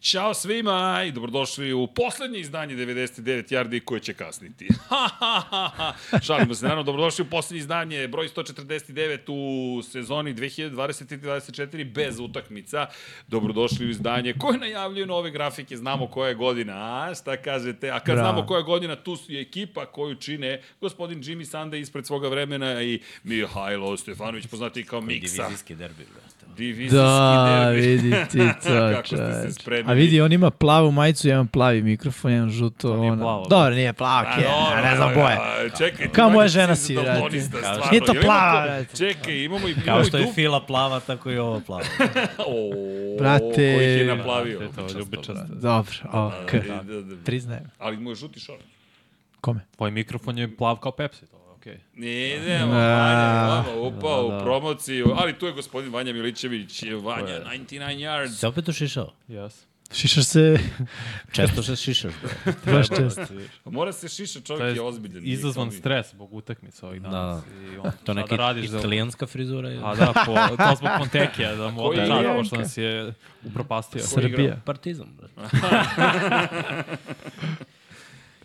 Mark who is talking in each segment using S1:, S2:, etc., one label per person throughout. S1: Ćao svima i dobrodošli u poslednje izdanje 99 Jardi koje će kasniti. Šalimo se, naravno, dobrodošli u poslednje izdanje, broj 149 u sezoni 2023-2024 bez utakmica. Dobrodošli u izdanje koje najavljuje nove grafike, znamo koja je godina, a šta kažete? A kad
S2: Bravo.
S1: znamo koja je godina, tu su i ekipa koju čine gospodin Jimmy Sande ispred svoga vremena i Mihajlo Stefanović, poznati kao Miksa.
S3: Divizijski derbi, brate.
S1: Divizijski
S2: Da,
S1: derbi.
S2: vidi ti to,
S1: Kako ste se
S2: čoveč.
S1: spremili.
S2: A vidi, on ima plavu majicu, ja imam plavi mikrofon, ja imam žuto.
S3: nije
S2: ona.
S3: plavo,
S2: Dobro, nije plavo,
S1: Pa
S2: okay,
S1: dobro,
S2: ne znam
S1: evo,
S2: boje.
S1: a, Čekaj,
S2: Kao
S1: ti
S2: moja
S1: manje
S2: žena
S1: si
S2: si, brate.
S1: daltonista,
S3: Kao-
S1: stvarno.
S2: Nije to
S1: Jel imamo
S2: plava,
S1: to?
S2: brate.
S1: Čekaj, imamo i
S3: Kao
S1: imamo
S3: što
S1: i
S3: je
S1: duplo.
S3: Fila plava, tako i ovo plava.
S1: O,
S2: Brate.
S1: Koji je naplavio.
S4: To je ljubičasto.
S2: Dobro, ok.
S1: Da, da, da.
S2: Priznajem.
S1: Ali mu je žuti šor.
S2: Kome?
S4: Tvoj mikrofon je plav kao Pepsi, to je okej.
S1: Ne, idemo,
S2: Da.
S1: Vanja, vama upao
S4: Da, da.
S1: u promociju, ali tu je gospodin Vanja Milićević, je Vanja, 99 yards.
S3: Se opet ušišao?
S4: Yes.
S2: Šišaš se,
S3: Često se šišaš, bro.
S2: baš
S4: да
S2: čest.
S1: Pa Mora se šiša,
S4: Znači, To
S1: čovjek
S4: je
S1: je ozbiljan.
S4: izazvan
S1: Nije kao mi.
S4: stres zbog utakmica ovih danas. I on,
S3: To
S4: to
S3: je
S4: neki
S3: neka
S4: da radiš za...
S3: italijanska frizura. Je.
S4: A da, po, to zbog Montekija, da mu
S1: Koji
S4: odem čar,
S1: Janka?
S4: pošto nas je upropastio.
S2: Srbija.
S3: Partizam, brate.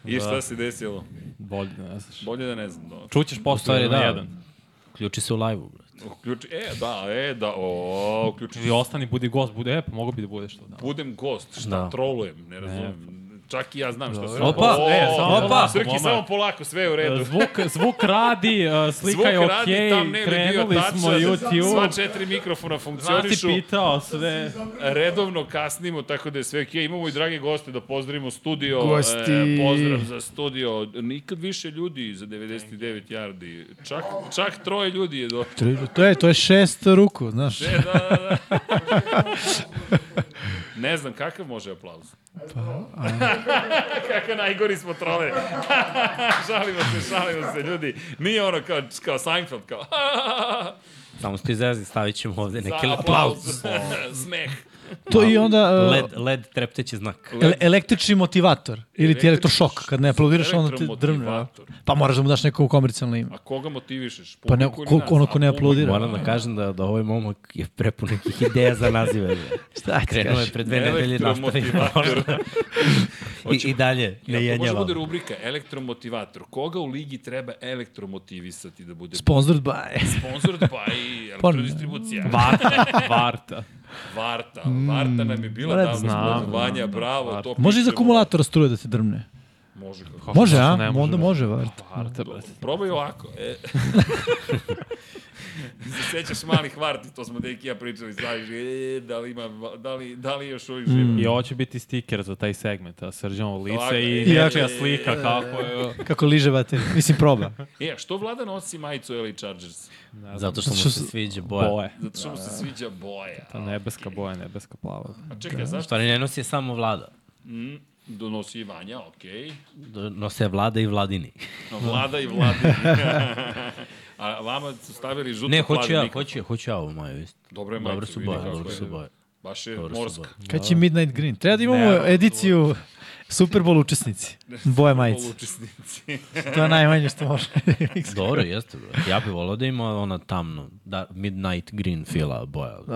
S1: I
S2: da.
S1: šta se desilo?
S4: Bolje, ne znaš.
S1: Bolje da ne znam. Da.
S4: Čućeš posle
S3: stvari,
S4: jedan da.
S3: da.
S4: jedan.
S3: Ključi se u live-u, brate.
S1: Uključi, e, da, e, da, o, uključi
S4: Ili ostani, budi gost, bude, e, pa mogu bi da budeš to. Da.
S1: budem gost, šta da.
S3: Da.
S1: trolujem, ne razumem. Čak i ja znam šta se...
S3: Opa,
S1: O,
S4: e, samo polako,
S1: Srki,
S4: momak.
S1: samo polako, sve je u redu.
S4: Zvuk, zvuk radi, uh, slika
S1: Zvuk
S4: je okej,
S1: radi, tam ne
S4: okay,
S1: bi bio da
S4: krenuli
S1: tačan,
S4: smo
S1: sva
S4: YouTube,
S1: četiri mikrofona
S4: znaš ti
S1: funkcionišu,
S4: pitao sve.
S1: redovno kasnimo, tako da je sve okej. Imamo i drage goste da pozdravimo studio,
S2: Gosti.
S1: E, pozdrav za studio. Nikad više ljudi za 99 yardi, čak, čak troje ljudi je došlo.
S2: Tri- To je, to je šest ruku, znaš.
S1: E, da, da, da. ne znam, kakav može aplauz?
S2: Pa,
S1: Kako najgori smo trole. šalimo se, šalimo se, ljudi. Nije ono kao, kao Seinfeld, kao...
S3: Samo ste izrazi, stavit ćemo ovde neki
S1: Za
S3: aplauz.
S1: Da, Smeh.
S2: To i onda... uh,
S3: Led, led trepteći znak.
S2: Ele električni motivator ili ti elektrošok. Kad ne aplaudiraš, onda te drvne. a?
S1: Elektromotivator.
S2: Pa moraš da mu daš neko komercijalno ime.
S1: A koga motivišeš?
S2: Pa ne,
S1: Publiku ili
S2: ko,
S1: nas?
S2: ono ko ne
S1: A, publiku.
S2: aplaudira.
S3: Moram da kažem da, da ovaj momak je prepun nekih ideja za nazive. brate.
S2: Šta ti
S3: Krenuo je
S2: kažeš?
S3: pre dve nedelje da nastavi.
S1: Elektromotivator.
S3: I, I dalje, ne
S1: Ja, to može da
S3: jenjava.
S1: bude rubrika elektromotivator. Koga u ligi treba elektromotivisati da bude
S2: Sponsored by.
S1: sponsor pa i elektrodistribucija?
S4: Varta, Varta.
S1: Varta. Varta nam je bila
S2: Red,
S1: davno
S4: znam,
S1: sponsor.
S4: znam,
S1: Vanja, bravo. To
S2: Da, Može iz
S1: pišemo.
S2: akumulatora struje da te drmne.
S1: Može. kako.
S4: Kako,
S2: Može,
S4: zašto
S2: a?
S4: ne
S2: Onda može, var.
S4: Varta, brate.
S1: Probaj ovako. E. Se sećaš malih varti, to smo deki ja pričali, znaš, e, da li ima, va- da li, da li još uvijek živi.
S3: Mm.
S4: I ovo će biti stiker za taj segment, a srđanovo
S1: Tako
S4: lice
S1: je.
S4: i
S1: Jako.
S4: nečija
S1: da,
S4: slika kako je...
S2: Kako liže baterije. Mislim, proba.
S1: E, a što Vlada nosi majicu LA Chargers?
S3: Zato što mu
S2: Što
S3: se
S2: su-
S3: sviđa boja.
S4: Boje.
S1: Zato što mu
S3: Da.
S1: se sviđa boja.
S4: Ta nebeska boja, nebeska plava.
S1: A čekaj,
S3: U
S1: zašto?
S3: stvari ne nosi je samo vlada.
S1: Mm, donosi i Vanja, okej.
S3: Do- Nose vlada i vladini.
S1: No, vlada i vlada. a vama su stavili žutu
S3: Ne, hoću ja,
S1: nikad.
S3: hoću ja, hoću ja ovo moju isto.
S1: Dobro je
S3: Dobro
S1: majicu,
S3: su
S1: vidi
S3: boje,
S1: kako
S3: dobro
S1: je.
S3: su boje.
S1: Baš je
S3: Dobro su
S1: morska.
S3: boje.
S2: Kad će Midnight Green? Treba da imamo ediciju Super Bowl učesnici. Boja majice.
S1: Polučesnici.
S2: To je najmanje što može.
S3: Dobro, jeste, bro. Ja bih volao da ima ona tamno, da, midnight green fila boja.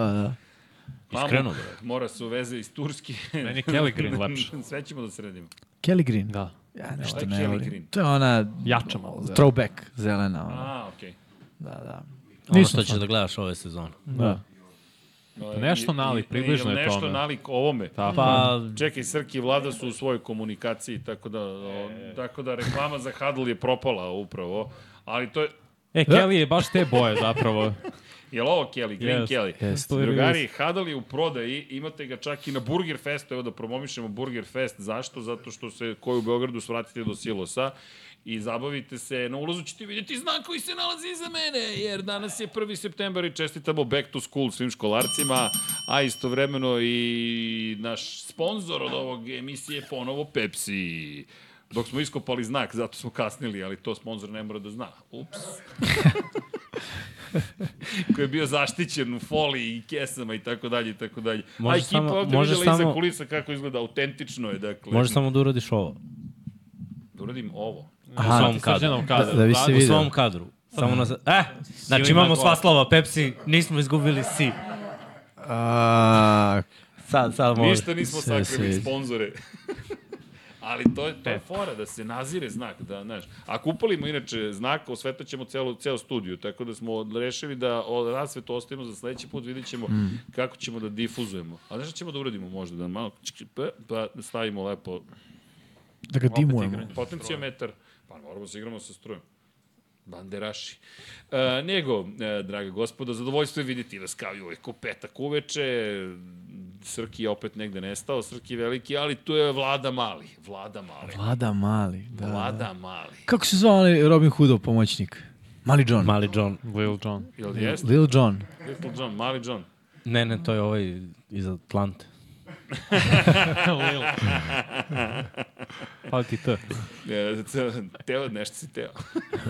S2: Da, da.
S3: Iskreno, bro.
S1: Mora su veze iz Turske.
S4: Meni je Kelly Green lepše.
S1: Sve ćemo da sredimo.
S2: Kelly Green.
S4: Da.
S2: Ja
S1: Šta je
S2: nešto
S1: Kelly
S2: ne
S1: Green?
S2: volim. To je ona
S4: Jača malo. zelena.
S2: throwback zelena. Ona.
S1: A, okej.
S2: Da, da.
S3: Ono
S2: Nisam
S3: što ćeš
S2: fan.
S3: da gledaš ove sezone.
S2: Da.
S1: Okay.
S4: Pa Nešto nalik, približno je
S1: Nešto
S4: tome.
S1: nalik ovome.
S4: Tako.
S3: Pa,
S1: Čekaj, Srki i Vlada su u svojoj komunikaciji, tako da, o, tako da reklama za Hadl je propala upravo. Ali to je,
S4: E, Kelly je baš te boje zapravo.
S1: Je li ovo Kelly? Green
S4: Yes,
S1: Kelly.
S4: yes. To je
S1: Drugari, Hadal je u prodaji, imate ga čak i na Burger Festu, evo da promovišemo Burger Fest. Zašto? Zato što se koji u Beogradu svratite do Silosa i zabavite se. Na ulazu ćete vidjeti znak koji se nalazi iza mene, jer danas je 1. september i čestitamo back to school svim školarcima, a istovremeno i naš sponsor od ovog emisije je ponovo Pepsi. Dok smo iskopali znak, zato smo kasnili, ali to sponsor ne mora da zna. Ups koji je bio zaštićen u foliji i kesama i tako dalje i tako dalje. A
S3: Može
S1: ekipa
S3: samo-
S1: ovde
S3: može
S1: videla samo... iza
S3: samo-
S1: kulisa kako izgleda, autentično je, dakle.
S3: možeš samo da uradiš ovo.
S1: Da uradim ovo.
S3: Aha, u svom kadru.
S4: Srđanom kadru.
S2: Da- da bi se
S3: U
S2: vidi.
S3: svom kadru. Samo na... Eh, znači imamo sva slova. Pepsi, nismo izgubili si.
S2: A,
S3: Sad, sad može.
S1: Ništa nismo
S2: sve se
S1: sakrili,
S2: vidi.
S1: sponzore. Ali to je, to je fora, da se nazire znak, da, znaš. Ako upalimo, inače, znak, osvetaćemo celo, ceo studiju, tako da smo rešili da o, rasvetu ostavimo za sledeći put, vidjet ćemo mm. kako ćemo da difuzujemo. A znaš šta ćemo da uradimo možda, da malo, čk, čk, pa, pa stavimo lepo
S2: Da ga dimujemo.
S1: Potencijometar. Pa moramo da se igramo sa strujem. Banderaši. E, nego, e, draga gospodo, zadovoljstvo je vidjeti vas kao i uvek u petak uveče. Srki je opet negde nestao, Srki je veliki, ali tu je Vlada Mali. Vlada Mali.
S2: Vlada mali, da.
S1: Vlada Mali.
S2: Kako se zvao onaj Robin Hoodov pomoćnik? Mali John.
S3: Mali John.
S4: Lil Jon.
S1: Jel jeste?
S2: Lil John. E,
S1: Little John, Mali John.
S3: Ne, ne, to je ovaj iz Atlante.
S4: Lil. Hvala ti T.
S1: E, c- teo, nešto si teo.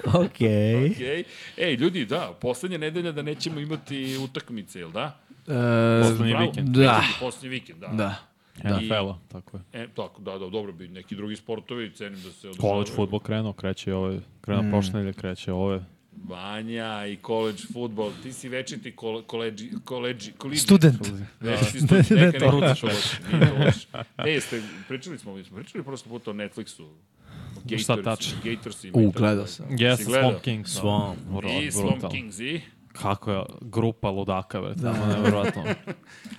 S3: Okej. Okay.
S1: Okej. Ej, ljudi, da, poslednja nedelja da nećemo imati utakmice, jel da?
S2: E,
S4: Poslednji
S1: Bravo.
S4: vikend.
S2: da.
S1: Poslednji vikend, da.
S2: da.
S4: NFL-a, tako je.
S1: E, tako, da, da, dobro bi neki drugi sportovi, cenim da se održavaju.
S4: College futbol krenuo, kreće ove, krenuo mm. prošle nedelje, kreće ove.
S1: Vanja i college futbol. Ti si večiti kole, koleđi, koleđi, koleđi.
S2: Student.
S4: Да.
S1: Neka si student, neka
S2: to.
S1: ne pričaš o loše. Nije to loše. E, jeste, pričali smo, mi smo pričali prosto puta o Netflixu. O Gators,
S4: Šta tačno?
S1: Gatorsima. i
S2: U,
S1: tako
S2: gledao
S1: dalje.
S2: sam.
S4: Yes,
S1: Si gledao?
S4: Swamp King. da.
S3: Swamp.
S1: I Swamp Kings i...
S4: Kako je grupa ludaka, bre, tamo nevjerovatno.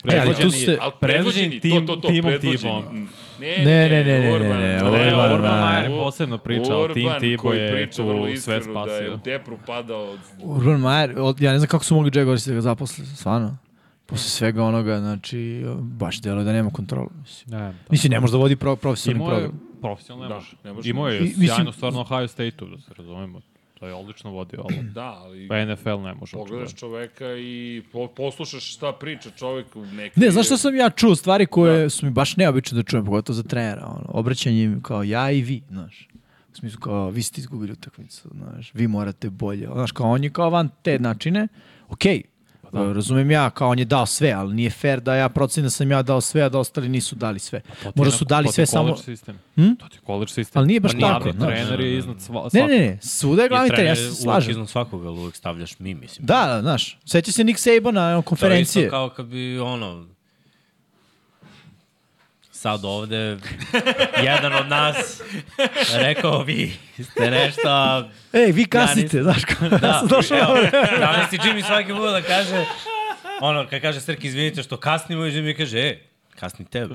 S2: E, ali tu se...
S1: Ali
S4: predvođeni
S1: predvođeni, to, to, to,
S4: tim- timom,
S1: predvođeni.
S4: timom.
S1: Mm.
S2: Ne, ne, ne, ne, ne, ne,
S1: Orban,
S2: Orban, Orban
S4: Majer posebno priča, ali tim
S1: Orban
S4: Tibo
S1: koji
S4: je
S1: priča
S4: tu
S1: vrlo
S4: sve
S1: iskreno Da je
S4: spasio.
S1: u depru padao od
S2: Urban Mayer, od- ja ne znam kako su mogli Jaguarsi da ga zaposle, stvarno. Posle svega onoga, znači, baš delo da nema kontrolu. Mislim,
S4: Ne,
S2: mislim ne može da vodi pro, profesionalni
S4: Imao je,
S2: program.
S4: profesionalno
S1: Da,
S4: ne može.
S1: ne može.
S4: Imao je
S2: I- mislim-
S4: sjajno stvarno Ohio State-u, da se razumemo. To je odlično vodio, ali
S1: Da, ali
S4: pa NFL ne može.
S1: pogledaš
S2: da.
S1: čoveka i po, poslušaš šta priča čovek u neki...
S2: Ne, znaš što sam ja čuo stvari koje da. su mi baš neobične da čujem, pogotovo za trenera, ono, obraćanje im kao ja i vi, znaš. U smislu kao, vi ste izgubili utakmicu, znaš, vi morate bolje. Znaš, kao on je kao van te načine, okej, okay, da. razumem ja, kao on je dao sve, ali nije fair da ja procenim da sam ja dao sve, a da ostali nisu dali sve. Možda su dali sve samo...
S4: Sistem.
S2: Hm?
S4: To ti je college sistem.
S2: Ali nije baš
S4: Pa
S2: tako,
S4: glavni
S2: znaš.
S4: trener je iznad sva,
S2: Ne, ne, ne, svuda je glavni
S3: I
S2: trener, ja
S3: trener
S2: se
S3: uvek
S2: slažem.
S3: iznad svakoga, ali uvek stavljaš mi, mislim.
S2: Da, da, znaš, seća se Nick Sabana na
S3: To je isto
S2: konferencije.
S3: kao kad bi, ono, sad ovde jedan od nas rekao vi ste nešto, a
S2: Ej, vi kasnite,
S3: nisam-
S2: znaš, kao,
S3: da,
S2: da, došao
S3: evo,
S2: na vreme.
S3: da li si Jimmy svaki put da kaže, ono, kad kaže Srki, izvinite što kasnimo, i Jimmy kaže, e, kasni tebe.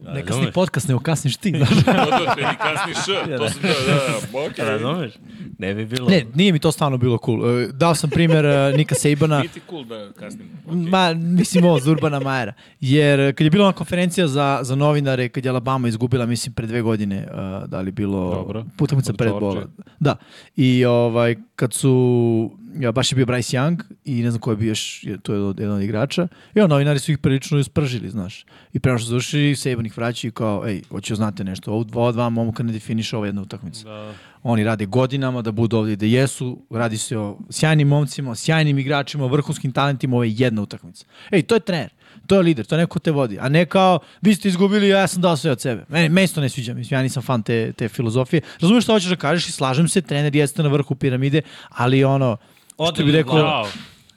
S3: Da,
S2: Ne kasni
S3: razumeš? Da.
S2: podcast, nego kasniš ti, znaš.
S1: To, to, to, kasni š, to sam teo, da, da, okej. Okay.
S3: Razumeš? Ne bi bilo.
S2: Ne, nije mi to stvarno bilo cool. E, Dao sam primjer e, Nika Sabana,
S1: Biti cool da kasnimo. Okay.
S2: ma, mislim ovo, za Urbana Majera. Jer e, kad je bila ona konferencija za, za novinare, kad je Alabama izgubila, mislim, pre dve godine, e, da li bilo
S4: Dobro.
S2: utakmica
S4: Od
S2: pred
S4: Georgije.
S2: bola. Da. I ovaj, kad su, ja, baš je bio Bryce Young i ne znam ko je bio još, je- to je od- jedan od igrača. I on, novinari su ih prilično ispržili, znaš. I prema što su završili, Saban ih vraća i kao, ej, hoće znate nešto, ovo dva, dva momka ne definiše ova jedna utakmica.
S4: Da,
S2: Oni rade godinama da budu ovde gde jesu, radi se o sjajnim momcima, o sjajnim igračima, o vrhunskim talentima, ovo je jedna utakmica. Ej, to je trener, to je lider, to je neko ko te vodi, a ne kao vi ste izgubili, a ja sam dao sve od sebe. Meni, meni se to ne sviđa, mislim, ja nisam fan te, te filozofije. Razumeš šta hoćeš da kažeš i slažem se, trener jeste na vrhu piramide, ali ono, što bi
S3: Odlično,
S2: rekao,
S4: Ćao.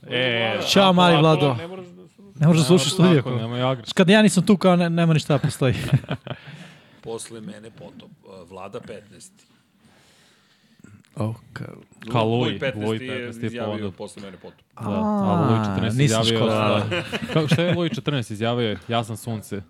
S4: E,
S2: čao mali Vlado,
S1: Ne moraš da se...
S2: ne možeš da slušaš studiju.
S4: Tako, nemoj agres.
S2: Kada ja nisam tu, kao ne, nema ništa da postoji.
S1: Posle mene potop, uh, vlada 15.
S2: oh, kao...
S4: Kao
S1: Luj
S4: Luj,
S1: 15
S4: Luj 15
S1: je
S4: je
S1: izjavio
S4: povodio.
S1: posle mene potop.
S4: Da, a Luj 14
S2: nisam
S4: izjavio...
S2: škola.
S4: Da. Kako, šta je Luj 14 izjavio? Ja sam sunce.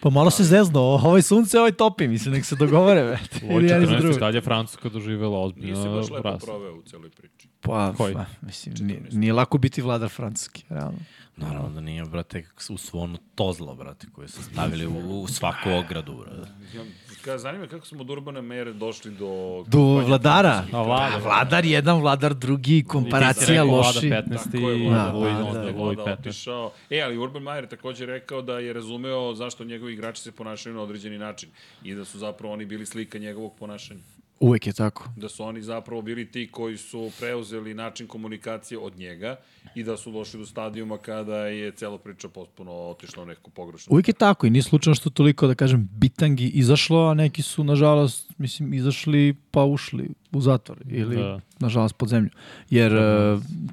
S2: Pa malo se zezno, ovaj sunce, ovaj topi, mislim, nek se dogovore, ve.
S4: Luj
S2: Ili ja nisam
S4: 14
S2: drugo.
S4: i dalje Francuska doživjela
S1: Nisi
S4: ozbiljno
S1: baš lepo
S4: rast.
S1: proveo u celoj priči.
S2: Pa,
S4: Koji?
S2: pa mislim, nije, nije lako biti vladar francuski, realno.
S3: Naravno da nije, brate, u svo ono tozlo, brate, koje su stavili u, u svaku ogradu, brate.
S1: Ja, ka, zanima me kako smo od urbane mere došli do...
S2: Do vladara?
S4: A vlada,
S2: Da, Vladar jedan, vladar drugi, komparacija
S4: rekao
S2: loši.
S4: Vlada 15
S1: Tako je
S4: i
S1: vlada,
S2: Da,
S4: Luj,
S2: da,
S4: onda
S1: da,
S4: Luj
S1: vlada
S4: 15.
S1: otišao. E, ali Urban Mayer je takođe rekao da je razumeo zašto njegovi igrači se ponašaju na određeni način i da su zapravo oni bili slika njegovog ponašanja.
S2: Uvek je tako.
S1: Da su oni zapravo bili ti koji su preuzeli način komunikacije od njega i da su došli do stadijuma kada je cela priča potpuno otišla u neku pogrešnu.
S2: Uvek je tako i nije slučajno što toliko, da kažem, bitangi izašlo, a neki su, nažalost, mislim, izašli pa ušli u zatvor ili
S4: Da.
S2: nažalost pod zemlju. Jer e,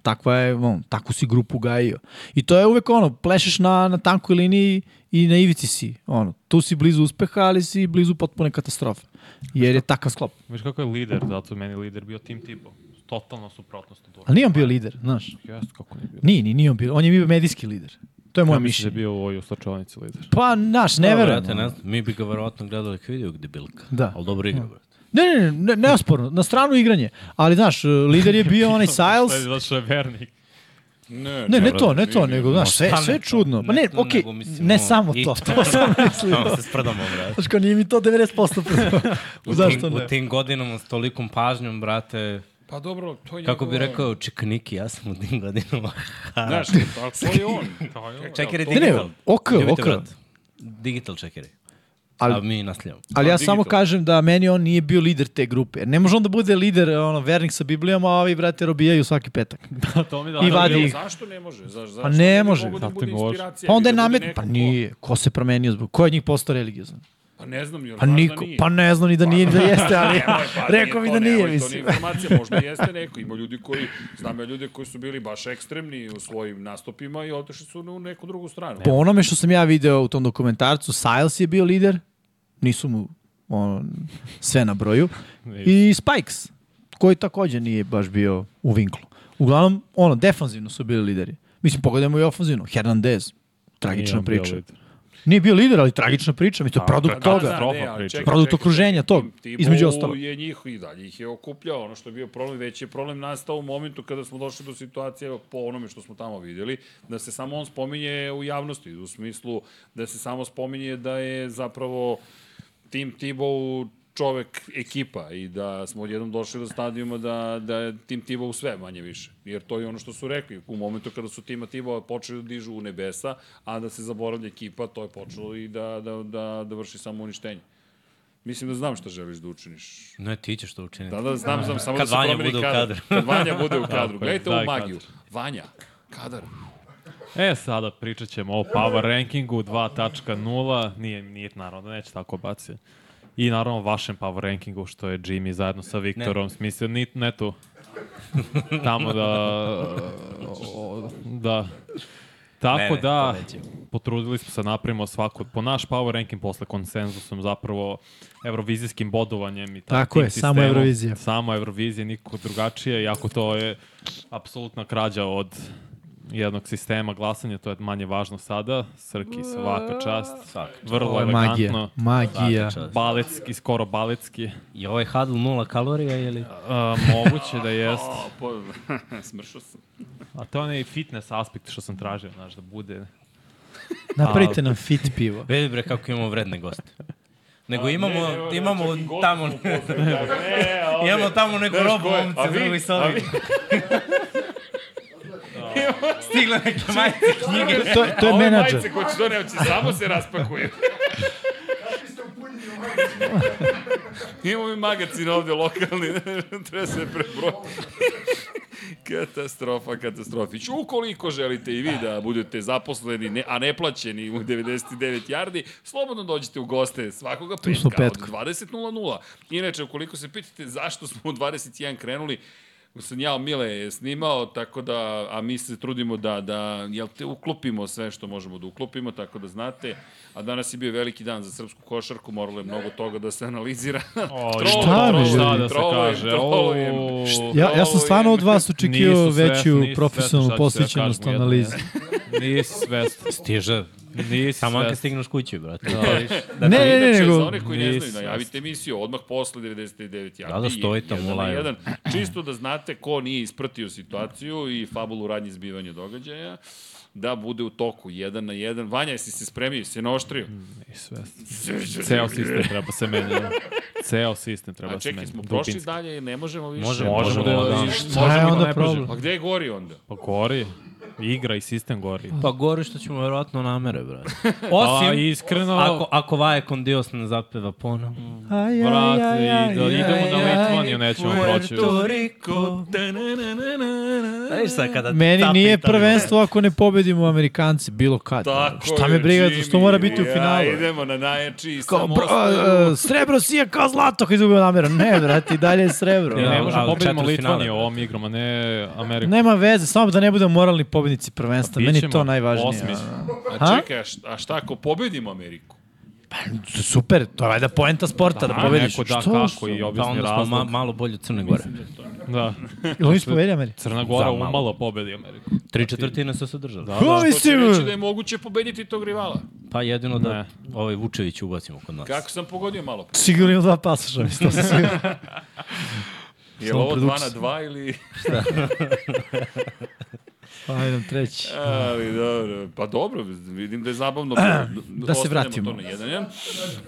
S2: takva je, on, takvu si grupu gajio. I to je uvek ono, plešeš na, na tankoj liniji i na ivici si. Ono, tu si blizu uspeha, ali si blizu potpune katastrofe. Jer je takav sklop.
S4: Viš kako je lider, zato je meni lider bio tim tipo. Totalno suprotnost od
S2: Ali nije on bio lider, znaš.
S4: Jeste kako nije bio.
S2: Nije, nije, nije on bio. On je bio medijski lider. To je moje
S4: Ja mislim da je
S2: mišljenje.
S4: bio u ovoj u slačovnici lider.
S2: Pa, naš, ne verujem.
S3: Brate, ne, mi bi ga verovatno gledali kao video gde bilka.
S2: Da.
S3: Ali dobro igra, brate.
S2: Ne, ne, ne, ne, neosporno, na stranu igranje. Ali, znaš, lider je bio onaj Siles,
S4: Šta
S1: da
S4: je zato što je vernik?
S1: Ne,
S2: Ne, ne to, ne to, nego, znaš, sve,
S3: Pa
S2: sve
S3: ne
S2: je
S3: to,
S2: čudno. Pa ne,
S3: to,
S2: okej,
S3: nego mislim,
S2: ne
S3: ono,
S2: samo
S3: i
S2: to, to sam mislio.
S3: Samo se sprdamo, brate.
S2: Znaš, kao nije mi to 90% prvo.
S3: U
S2: Zašto
S3: tim,
S2: ne?
S3: U tim godinama s tolikom pažnjom, brate,
S1: Pa dobro, to je
S3: kako bi
S1: njegova-
S3: rekao čekaniki, ja sam u tim godinama.
S1: Znaš, ali to je on.
S3: Čekere
S2: Ne, ne,
S3: digital.
S2: ok,
S3: Ljubite,
S2: ok.
S3: brate. Digital čekere.
S2: Ali-
S3: Ali, A mi nasljamo.
S2: Ali ja
S1: A,
S2: samo
S1: digital.
S2: kažem da meni on nije bio lider te grupe. Jer Ne može on da bude lider, ono, vernik sa Biblijom, a ovi, brate, robijaju svaki petak.
S4: Pa to mi da...
S2: I vadi
S1: Ali
S2: ih.
S1: Zašto ne može? Za, zašto
S2: Pa ne može.
S1: mogu Da
S4: Zato
S1: bude
S4: im može.
S1: inspiracija,
S2: Pa onda je
S1: ili da bude
S2: namet...
S1: neko
S2: Pa
S1: ko-
S2: nije, ko se promenio zbog... Ko je od njih postao religiozan?
S1: Pa ne znam, jer
S2: Pa niko,
S1: nije.
S2: pa ne znam ni da nije, ni da jeste, ali
S1: Nemoj, pa
S2: rekao mi
S1: nije to,
S2: da nije,
S1: nemoj, To
S2: mislim.
S1: nije informacija, možda jeste neko. Ima ljudi koji, znam ja ljude koji su bili baš ekstremni u svojim nastupima i otišli su u neku drugu stranu.
S2: Po onome što sam ja video u tom dokumentarcu, Siles je bio lider, nisu mu ono, sve na broju, i Spikes, koji takođe nije baš bio u vinklu. Uglavnom, ono, defanzivno su bili lideri. Mislim, pogledajmo i ofanzivno. Hernandez, tragična
S4: on bio
S2: priča.
S4: lider.
S2: Nije bio lider, ali tragična priča. Mi to je produkt
S1: Da,
S2: toga.
S1: da,
S4: Katastrofa
S1: ne, ali
S4: priča.
S1: čekaj,
S2: Produkt
S1: čekaj,
S2: okruženja
S1: čekaj,
S2: tog,
S1: Tim Tebow
S2: između ostalog.
S1: je njih i dalje ih je okupljao. Ono što je bio problem, već je problem nastao u momentu kada smo došli do situacije, evo, po onome što smo tamo vidjeli, da se samo on spominje u javnosti, u smislu da se samo spominje da je zapravo Tim Tebow čovek ekipa i da smo odjednom došli do stadijuma da, da je Tim Tebow sve manje više. Jer to je ono što su rekli. U momentu kada su Tima Tebow počeli da dižu u nebesa, a da se zaboravlja ekipa, to je počelo i da, da, da, da vrši samo uništenje. Mislim da znam šta želiš da učiniš.
S3: Ne, ti ćeš to učiniti.
S1: Da, da, znam, znam, samo
S3: Kad
S1: da se
S3: Vanja
S1: promeni
S3: bude u
S1: kadar.
S3: kadru.
S1: Kad Vanja bude u kadru.
S4: Tako je,
S1: Gledajte
S4: da,
S1: ovu
S4: i
S1: magiju.
S4: kadar.
S1: Vanja, kadar.
S4: E, sada pričat ćemo o Power Rankingu 2.0. Nije, nije, naravno, neće tako baci. I naravno vašem Power Rankingu, što je Jimmy zajedno sa Viktorom smislio. Ni, ne tu. Tamo da... o, da.
S3: Ne,
S4: Tako
S3: ne,
S4: da,
S3: to nećemo.
S4: potrudili smo se da napravimo svako, po naš Power Ranking posle konsenzusom, zapravo evrovizijskim bodovanjem i
S2: Tako
S4: tim
S2: je, samo Eurovizija.
S4: Samo Eurovizija, nikako drugačije, iako to je apsolutna krađa od jednog sistema glasanja, to je manje važno sada. Srki, svaka čast.
S3: Svaka čast.
S4: Vrlo
S2: Ovo je magija.
S4: elegantno.
S2: Magija.
S3: Svaka čast.
S4: Baletski, skoro baletski. E,
S3: I ovaj hadl nula kalorija ili...
S4: A, moguće da jest.
S1: O, po... smršao sam.
S4: A to je onaj fitness aspekt što sam tražio, znaš, da bude.
S2: Napravite nam fit pivo.
S3: Vidi bre kako imamo vredne goste. Nego imamo,
S1: ne, evo,
S3: imamo
S1: čak i gost
S3: tamo,
S1: smo pozdravili. E, ovde.
S3: imamo tamo neku
S1: Znaš
S3: robu
S1: ko je? A
S3: momce
S1: vi?
S3: drugi
S1: A
S3: sobi.
S1: vi?
S3: Stigle neke majice knjige.
S2: To, to je
S1: Ove
S2: menadžer.
S1: majice koje ću doneo će samo se raspakuju. Imamo mi magazin ovde lokalni, treba se prebroj. katastrofa, katastrofić. Ukoliko želite i vi da budete zaposleni, ne, a ne plaćeni u 99 yardi, slobodno dođite u goste svakoga
S2: smo
S1: petka od
S2: petkom.
S1: 20.00. Inače, ukoliko se pitate zašto smo u 21 krenuli, sam ja Mile je snimao, tako da, a mi se trudimo da, da jel te, uklopimo sve što možemo da uklopimo, tako da znate, a danas je bio veliki dan za srpsku košarku, moralo je mnogo toga da se analizira.
S4: O,
S1: Trolujem,
S2: šta mi,
S4: šta da se
S1: trolujem,
S4: kaže?
S1: trolujem.
S4: O,
S2: Ja, ja sam stvarno od vas očekio
S4: nisu svesni,
S2: veću
S4: nisu
S2: profesionalnu
S4: svesni šta će da
S2: posvećenost
S4: kažemo jedno,
S2: analizi.
S4: Nisi svestan.
S3: Stiže.
S4: Nisi
S3: Samo kad
S4: svestan.
S3: stigneš kući, brate.
S4: Da,
S2: Ne, ne, ne,
S1: Inače, za
S2: nego...
S1: one koji ne znaju,
S4: Nisam.
S1: najavite emisiju odmah posle 99 jardi.
S3: Da, da, stoji tamo
S1: Jedan na
S3: live.
S1: jedan. Čisto da znate ko nije ispratio situaciju i fabulu radnje zbivanja događaja da bude u toku, jedan na jedan. Vanja, jesi se spremio, jesi se naoštrio?
S2: Mm,
S4: Nisi svestan. Ceo sistem treba se menja. Ceo sistem
S2: da
S4: treba
S1: A
S4: se
S1: čekaj,
S4: menja.
S1: smo prošli
S4: Dubinski.
S1: dalje, ne možemo više.
S3: Možemo,
S4: Možemo da...
S3: da-
S4: i-
S2: Šta je
S4: možemo i
S2: onda
S4: ne prođemo.
S2: problem?
S1: Pa gde je gori onda?
S4: Pa gori. Igra i sistem gori.
S3: Pa gore što ćemo verovatno namere, brate.
S4: Osim,
S3: Osim,
S4: pa, iskreno,
S3: ako, ako Vaje Kondios ne zapeva ponovo.
S2: Aj,
S4: Brate, i da idemo na Litvaniju, nećemo proći.
S3: Rico. Znaš sad kada
S2: Meni
S3: ta
S2: nije
S3: pitanja-
S2: prvenstvo ako ne pobedimo Amerikanci, bilo kad.
S1: Tako
S2: Šta
S1: je,
S2: me briga,
S1: Jimmy.
S2: što mora biti u finalu?
S1: Ja, idemo na najjači i
S2: kao,
S1: samo
S2: bro, a, a, srebro sija kao zlato kad izgubio namjera. Ne, brate, i dalje je srebro.
S4: Ne, ne
S3: Ja,
S4: možemo
S3: ali
S4: pobedimo
S3: četvrtfinale,
S4: Litvaniju
S3: brate.
S4: ovom igrom, a ne Ameriku.
S2: Nema veze, samo da ne budemo moralni pobednici prvenstva.
S4: Pa
S2: Meni je
S4: bićemo
S2: to najvažnije.
S4: osmi.
S2: ono.
S1: A čekaj, a šta, a šta ako pobedimo Ameriku?
S2: Super, to je valjda poenta sporta, da,
S4: A,
S2: pobediš.
S4: neko da,
S2: Što?
S4: kako i
S3: Pa
S4: objasni
S3: onda smo ma,
S4: razlog.
S3: malo bolje od Crne Gore.
S4: Da.
S2: Jel oni su pobedili Ameri?
S4: Crna Gora
S3: Za malo.
S4: umalo pobedi Ameriku.
S3: Tri četvrtine su se držali.
S4: Pa
S3: Da.
S2: Ko
S1: Hoće reći
S2: Pa mislim?
S1: da je moguće pobediti tog rivala.
S3: Pa jedino da
S4: Ne.
S3: ovaj Vučević ubacimo kod nas.
S1: Kako sam pogodio malo pre?
S2: Sigurno ima dva pasaša, mislim. to sam siguran.
S1: Je
S2: Samo
S1: ovo 2
S2: produkcija.
S1: na 2 ili...
S2: Ajde, nam Pa, treći.
S1: Ali dobro, pa dobro, vidim da je zabavno.
S2: Da se
S1: Ostanemo
S2: vratimo.
S1: To na jedan, jedan.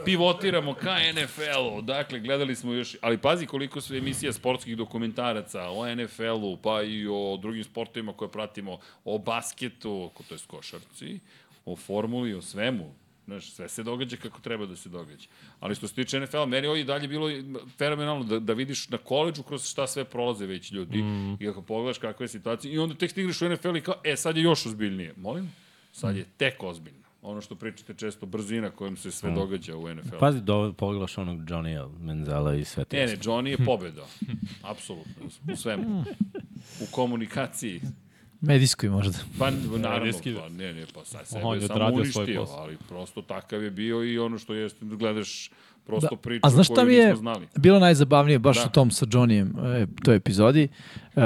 S1: Pivotiramo ka NFL-u, dakle, gledali smo još, ali pazi koliko su emisija sportskih dokumentaraca o NFL-u, pa i o drugim sportovima koje pratimo, o basketu, ko- to je košarci, o formuli, o svemu. Znaš, sve se događa kako treba da se događa. Ali što se tiče NFL, meni ovo je i dalje bilo fenomenalno da, da vidiš na koleđu kroz šta sve prolaze već ljudi. Mm. I ako pogledaš kakva je situacija, i onda tek stigneš u NFL i kao, e, sad je još ozbiljnije. Molim? Sad je tek ozbiljno. Ono što pričate često, brzina kojom se sve događa u NFL. Pa,
S3: Pazi, do, pogledaš onog Johnny Menzela i sve te.
S1: ne, ne, Johnny je pobedao. Apsolutno, u svemu. U komunikaciji.
S2: Medijskoj možda.
S1: Pa, naravno,
S4: riski.
S1: pa, ne, ne, pa sad sebe
S4: On
S1: je
S4: je
S1: samo
S4: odradio svoj
S1: uništio,
S4: posao.
S1: ali prosto takav je bio i ono što jeste, da gledaš prosto da. priču
S2: A znaš šta
S1: koju
S2: mi je
S1: nismo znali.
S2: bilo najzabavnije baš
S1: Da.
S2: da. u tom sa Johnnyem, e, toj epizodi? E,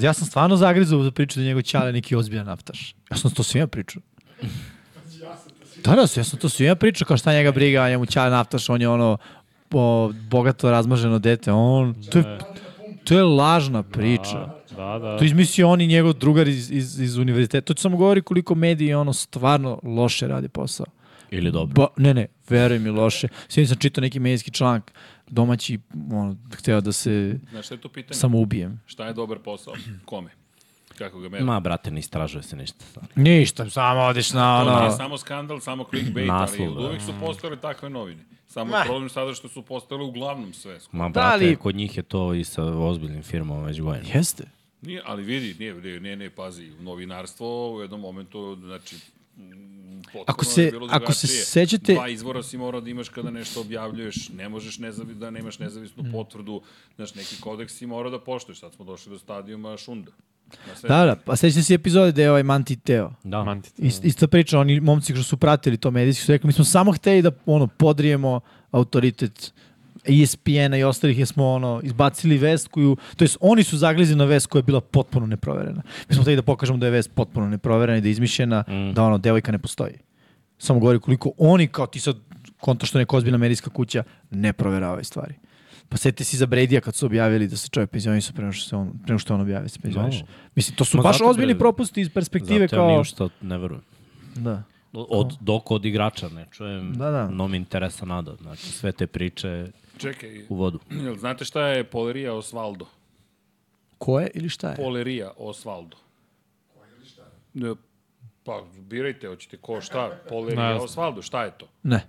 S2: ja sam stvarno zagrizao za priču da je njegov ćale neki ozbiljan naftaš. Ja sam to svima pričao. Da, da, ja sam to svima pričao, kao šta njega briga, a njemu ćale naftaš, on je ono po, bogato razmaženo dete, on, to je, to je lažna priča.
S4: Da, da.
S2: To izmislio on i njegov drugar iz, iz, iz univerziteta. To ti samo govori koliko mediji ono stvarno loše radi posao.
S3: Ili dobro.
S2: Ba, ne, ne, veruj mi loše. Svi sam čitao neki medijski članak, domaći, ono, hteo da se
S1: Znaš šta je to pitanje?
S2: samo ubijem.
S1: Šta je dobar posao? Kome? Kako ga meri?
S3: Ma, brate, ne istražuje se ništa. stvarno.
S2: Ništa, samo odeš na
S1: To nije
S2: ono...
S1: samo skandal, samo clickbait,
S3: Naslov,
S1: ali
S3: da.
S1: od uvek su postale takve novine. Samo je problem sada što su postale uglavnom sve.
S3: Ma,
S2: Da, ali-
S3: brate, kod njih je to i sa ozbiljnim firmama već gojeno.
S2: Jeste.
S1: Nije, ali vidi, nije, nije, nije, nije pazi, novinarstvo u jednom momentu, znači, mm, potpuno
S2: Ako
S1: je
S2: se-
S1: bilo
S2: ako se
S1: drugačije.
S2: sećate-
S1: Dva izvora si morao da imaš kada nešto objavljuješ, ne možeš nezavi, da nemaš nezavisnu mm. potvrdu, znaš, neki kodeks si morao da poštuješ, sad smo došli do stadijuma šunda. Na sve.
S2: Da, da, pa sećate se epizode gde je ovaj Manti Teo.
S3: Da.
S4: Mantica.
S2: Ist, ista priča, oni momci koji su pratili to medijski su rekli, mi smo samo hteli da ono, podrijemo autoritet E ESPN-a i ostalih, jer smo ono, izbacili vest koju, to jest oni su zaglizili na vest koja je bila potpuno neproverena. Mi smo hteli da pokažemo da je vest potpuno neproverena i da je izmišljena, mm. da ono, devojka ne postoji. Samo govori koliko oni, kao ti sad konta što je neka ozbiljna medijska kuća, ne proveravaju stvari. Pa setite se i za Bredija kad su objavili da se čovjek penzionisao pre nego što, se on, pre nego što je on objavio da se penzioniše.
S3: Da.
S2: Mislim, to su
S3: Ma
S2: baš
S3: zato,
S2: ozbiljni
S3: bre,
S2: propusti iz perspektive
S3: Zato ja ni
S2: kao...
S3: u što ne verujem.
S2: Da.
S3: Od, dok od igrača ne čujem,
S2: Da, da.
S3: no mi interesa nada. Znači, sve te priče
S1: Čekaj,
S3: u vodu.
S1: jel znate šta je Polerija Osvaldo?
S2: Ko je ili šta je?
S1: Polerija Osvaldo. Ko ili šta? Pa, birajte, hoćete ko, šta,
S4: Ne
S1: Polerija
S4: znam.
S1: Osvaldo, šta je to?
S2: Ne.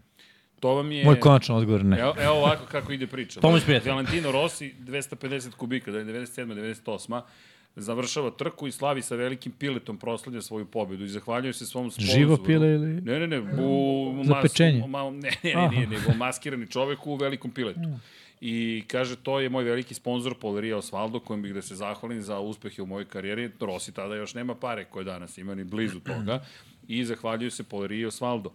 S1: To vam je...
S2: Moj konačan odgovor ne.
S1: Evo, evo ovako kako ide priča.
S3: Pomoć prijatelja.
S1: Valentino Rossi, 250 kubika, da je 97. 98. završava trku i slavi sa velikim piletom proslavlja svoju pobedu i zahvaljuje se svom sponzoru.
S2: Živo pile ili-
S1: Ne, ne, ne, u, u
S2: Za
S1: mas-
S2: pečenje?
S1: u malom- ne, ne, ne, nije, nego maskirani čovek u velikom piletu. I kaže, to je moj veliki sponsor Polerija Osvaldo, kojem bih da se zahvalim za uspehe u mojoj karijeri. Rossi tada još nema pare koje danas ima, ni blizu toga. I zahvaljuju se Polerija Osvaldo.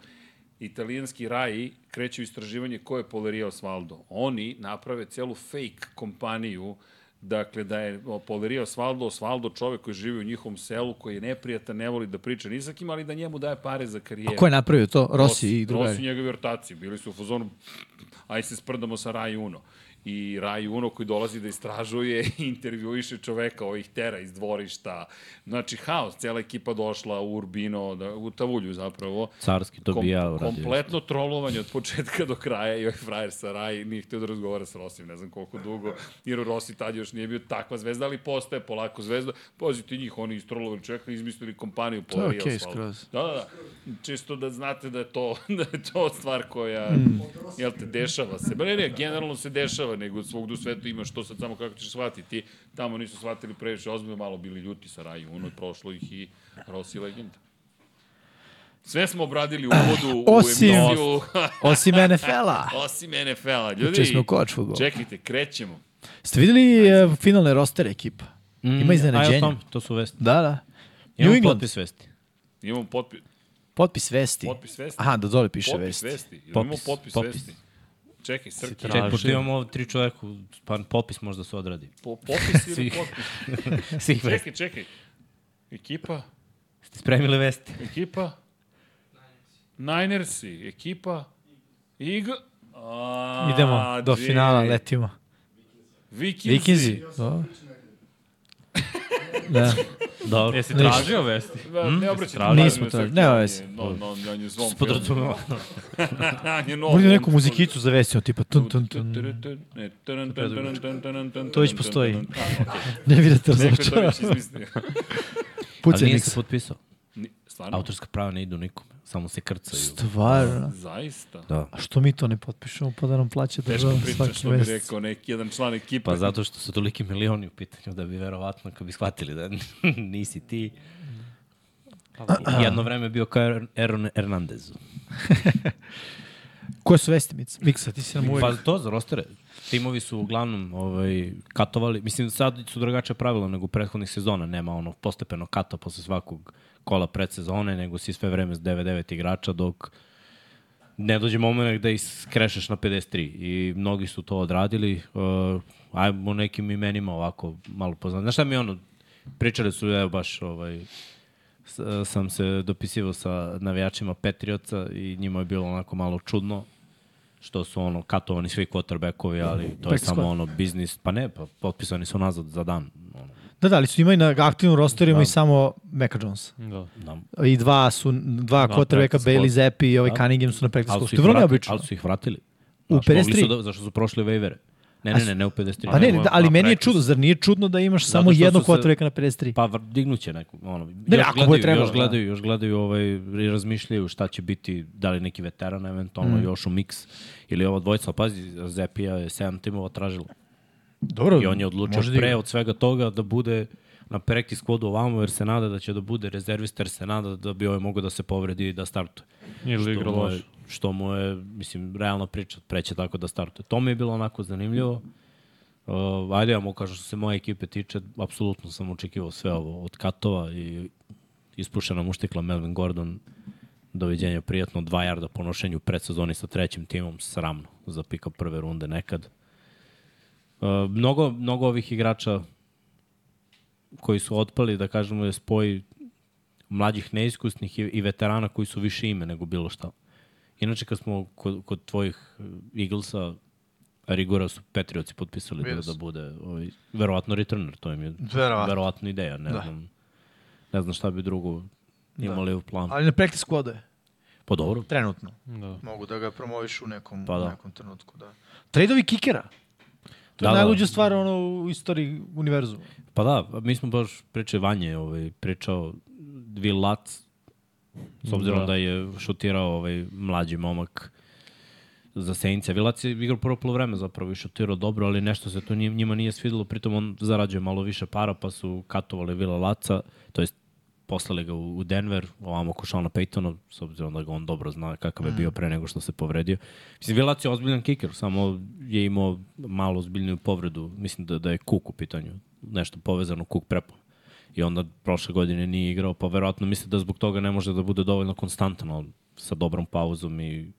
S1: Italijanski raji kreću istraživanje ko je Polerija Osvaldo. Oni naprave celu fake kompaniju Dakle, da je Polerija Osvaldo, Osvaldo čovek koji živi u njihovom selu, koji je neprijatan, ne voli da priča ni sa kim, ali da njemu daje pare za karijeru.
S2: A ko je napravio to? Rossi i
S1: Rossi
S2: drugari.
S1: i njegovi ortaci. Bili su u fazonu, aj se sprdamo sa Raj Uno. i Raj Uno koji dolazi da istražuje i intervjuiše čoveka ovih tera iz dvorišta. Znači, haos, cela ekipa došla u Urbino, da, u Tavulju zapravo.
S3: Carski to bi ja uradio.
S1: Kompletno trolovanje od početka do kraja i ovaj frajer sa Raj nije htio da razgovara sa Rosim, ne znam koliko dugo, jer Rossi tad još nije bio takva zvezda, ali postaje polako zvezda. Pazi ti njih, oni istrolovali čoveka, izmislili kompaniju po
S2: je
S1: Real
S2: okej
S1: Salt.
S2: skroz.
S1: Da, da, da. Čisto da znate da je to, da je to stvar koja, mm. jel te, dešava se. Ba ne, ne, generalno se dešava, nego svog u svetu imaš to sad samo kako ćeš shvatiti. Tamo nisu shvatili previše ozbiljno, malo bili ljuti sa Raju, ono je prošlo ih i Rossi legenda. Sve smo obradili u uvodu u
S2: Ah, Osim-
S1: emisiju,
S2: Osim NFL-a.
S1: osim NFL-a.
S2: Če
S1: Ljudi,
S2: smo koč futbol.
S1: čekajte, krećemo.
S2: Ste videli e, finalne rostere ekipa? Ima
S3: Ajde, o
S2: iznenađenja.
S3: tom, to su vesti.
S2: Da, da. New
S3: Imamo
S2: England.
S3: potpis vesti.
S1: Imamo potpis,
S2: Potpis vesti.
S1: potpis vesti.
S2: Aha, da dole piše
S1: potpis
S2: vesti.
S1: vesti. Jel Imamo
S3: Popis,
S1: potpis,
S3: popis.
S1: vesti. Čekaj, Srki,
S4: traži.
S3: Čekaj, pošto imamo ovo tri čoveka, pa potpis možda se odradi.
S1: po, popis ili
S3: Svih.
S1: potpis?
S3: Svih
S1: Čekaj,
S3: vesti.
S1: čekaj. Ekipa,
S3: Ste spremili vesti?
S1: ekipa. Ninersi, ekipa. Ig... A,
S2: Idemo do
S1: gee.
S2: finala, letimo.
S1: Vikinzi.
S2: Vikinzi. Dobro. da.
S3: Dobro.
S4: Jesi
S2: Ništa.
S4: tražio vesti?
S1: Da, Ne obraćaj pažnju
S4: Nismo
S1: na
S2: to,
S1: Srki,
S2: nema
S1: on je-
S2: veze.
S1: No, no, on je u svom filmu.
S3: Podrazumeva.
S1: On je novo.
S2: Možda neku muzikicu zavesio, tipa tun tun tun.
S1: To
S2: To već postoji. Ne vidite
S1: Neko je to
S2: razločava.
S1: već izmislio.
S3: Ali
S2: Pucaj
S3: nije se
S2: miks.
S3: potpisao.
S1: Ni- Stvarno?
S3: Autorska prava ne idu nikome. Samo se krcaju.
S2: Stvarno.
S1: Zaista.
S3: Da.
S2: A što mi to ne potpišemo pa da nam plaća
S1: Teško
S2: država
S1: priča
S2: svaki
S1: što bi
S2: mesec?
S1: rekao neki jedan član ekipe.
S3: Pa zato što su toliki milioni u pitanju da bi verovatno kad bi shvatili da nisi ti. Jedno vreme je bio kao Aaron Hernandez.
S2: Koje su vesti, Mica? Miksa, ti si nam uvijek.
S3: Pa to za rostere. Timovi su uglavnom ovaj, katovali. Mislim, sad su drugačije pravila nego prethodnih sezona. Nema ono postepeno kata posle svakog kola predsezone, nego si sve vreme s 9-9 igrača dok ne dođe moment da ih skrešeš na 53. I mnogi su to odradili. Uh, ajmo nekim imenima ovako malo poznati. Znaš šta mi je ono, pričali su, evo baš ovaj, s- e, sam se dopisivao sa navijačima Patriotsa i njima je bilo onako malo čudno što su ono katovani svi quarterbackovi, ali to je
S2: Practice
S3: samo
S2: squad.
S3: ono biznis, pa ne, pa potpisani su nazad za dan. Ono,
S2: Da, da, ali su imaju na aktivnom rosteru imaju samo Meka Jones.
S4: Da.
S3: da.
S2: I dva su, dva
S4: Da,
S2: kotrbeka,
S4: practice
S2: Bailey
S4: squad.
S2: Zappi i ovaj Cunningham su na practice
S3: Ali,
S2: squad.
S3: su
S2: Što je
S3: ih
S2: vrlo
S3: vratili,
S2: neobično.
S3: ali su ih vratili.
S2: U
S3: Znaš, mogli
S2: 53.
S3: su Da, zašto su prošli waivere? Ne, ne, ne, ne u 53.
S2: Pa ne,
S4: nego
S2: da, ali
S4: na
S2: meni je
S4: practice.
S2: čudo, zar nije čudno da imaš
S3: Zato
S2: samo
S3: što
S2: jednog
S3: su se-
S2: kotrbeka na 53?
S3: Pa vr- dignuće neko, ono, ne,
S2: ne,
S3: još,
S2: ako bude
S3: gledaju,
S2: trebalo,
S3: još
S2: da.
S3: gledaju, još gledaju, ovaj, i razmišljaju šta će biti, da li neki veteran eventualno mm. još u miks, ili ova dvojica, ali pazi, Zepija je 7 timova tražila.
S2: Dobro,
S3: I on je odlučio
S2: može da
S3: pre
S2: igra.
S3: od svega toga da bude na practice squadu ovamo, jer se nada da će da bude rezervista, jer se nada da bi ovaj mogao da se povredi i da startuje.
S4: Ili igra
S3: Što mu je-
S4: loš.
S3: Što mu je, mislim, realna priča, preće tako da startuje. To mi je bilo onako zanimljivo. Uh, ajde, ja mu kažem što se moje ekipe tiče, apsolutno sam očekivao sve ovo od katova i ispušena muštikla Melvin Gordon, doviđenja prijatno, dva jarda po nošenju u predsezoni sa trećim timom, sramno za pika prve runde nekad. Uh, mnogo, mnogo ovih igrača koji su otpali, da kažemo, je spoj mlađih neiskusnih i, i veterana koji su više ime nego bilo šta. Inače, kad smo kod, kod tvojih eh, Eaglesa, Rigora su Patriotsi potpisali da, da bude ovaj, verovatno returner, to im je
S2: Verovatno.
S3: verovatno ideja, ne, da. znam, ne znam šta bi drugo imali da. u planu.
S2: Ali na practice squadu je,
S3: Pa dobro,
S2: trenutno.
S4: Da.
S2: Mogu da ga promoviš u nekom,
S3: Pa da.
S2: nekom trenutku, da. Tradeovi kikera. To je
S3: Da, da.
S2: najluđa stvar ono, u istoriji univerzuma.
S3: Pa da, mi smo baš priče Vanje, ovaj, pričao Vilac, s obzirom da.
S4: Da.
S3: da je šutirao ovaj mlađi momak za Sejnice. Vilac je igrao prvo polovreme zapravo i šutirao dobro, ali nešto se to nije- njima nije svidelo, pritom on zarađuje malo više para, pa su katovali Vila Laca, to jest poslali ga u u Denver, ovamo ko Šona Paytona, s obzirom da ga on dobro zna kakav je bio pre nego što se povredio. Mislim, Vilac je ozbiljan kiker, samo je imao malo ozbiljniju povredu, mislim da, da je Cook u pitanju, nešto povezano Cook prepom. I onda prošle godine nije igrao, pa verovatno misli da zbog toga ne može da bude dovoljno konstantan, ali sa dobrom pauzom i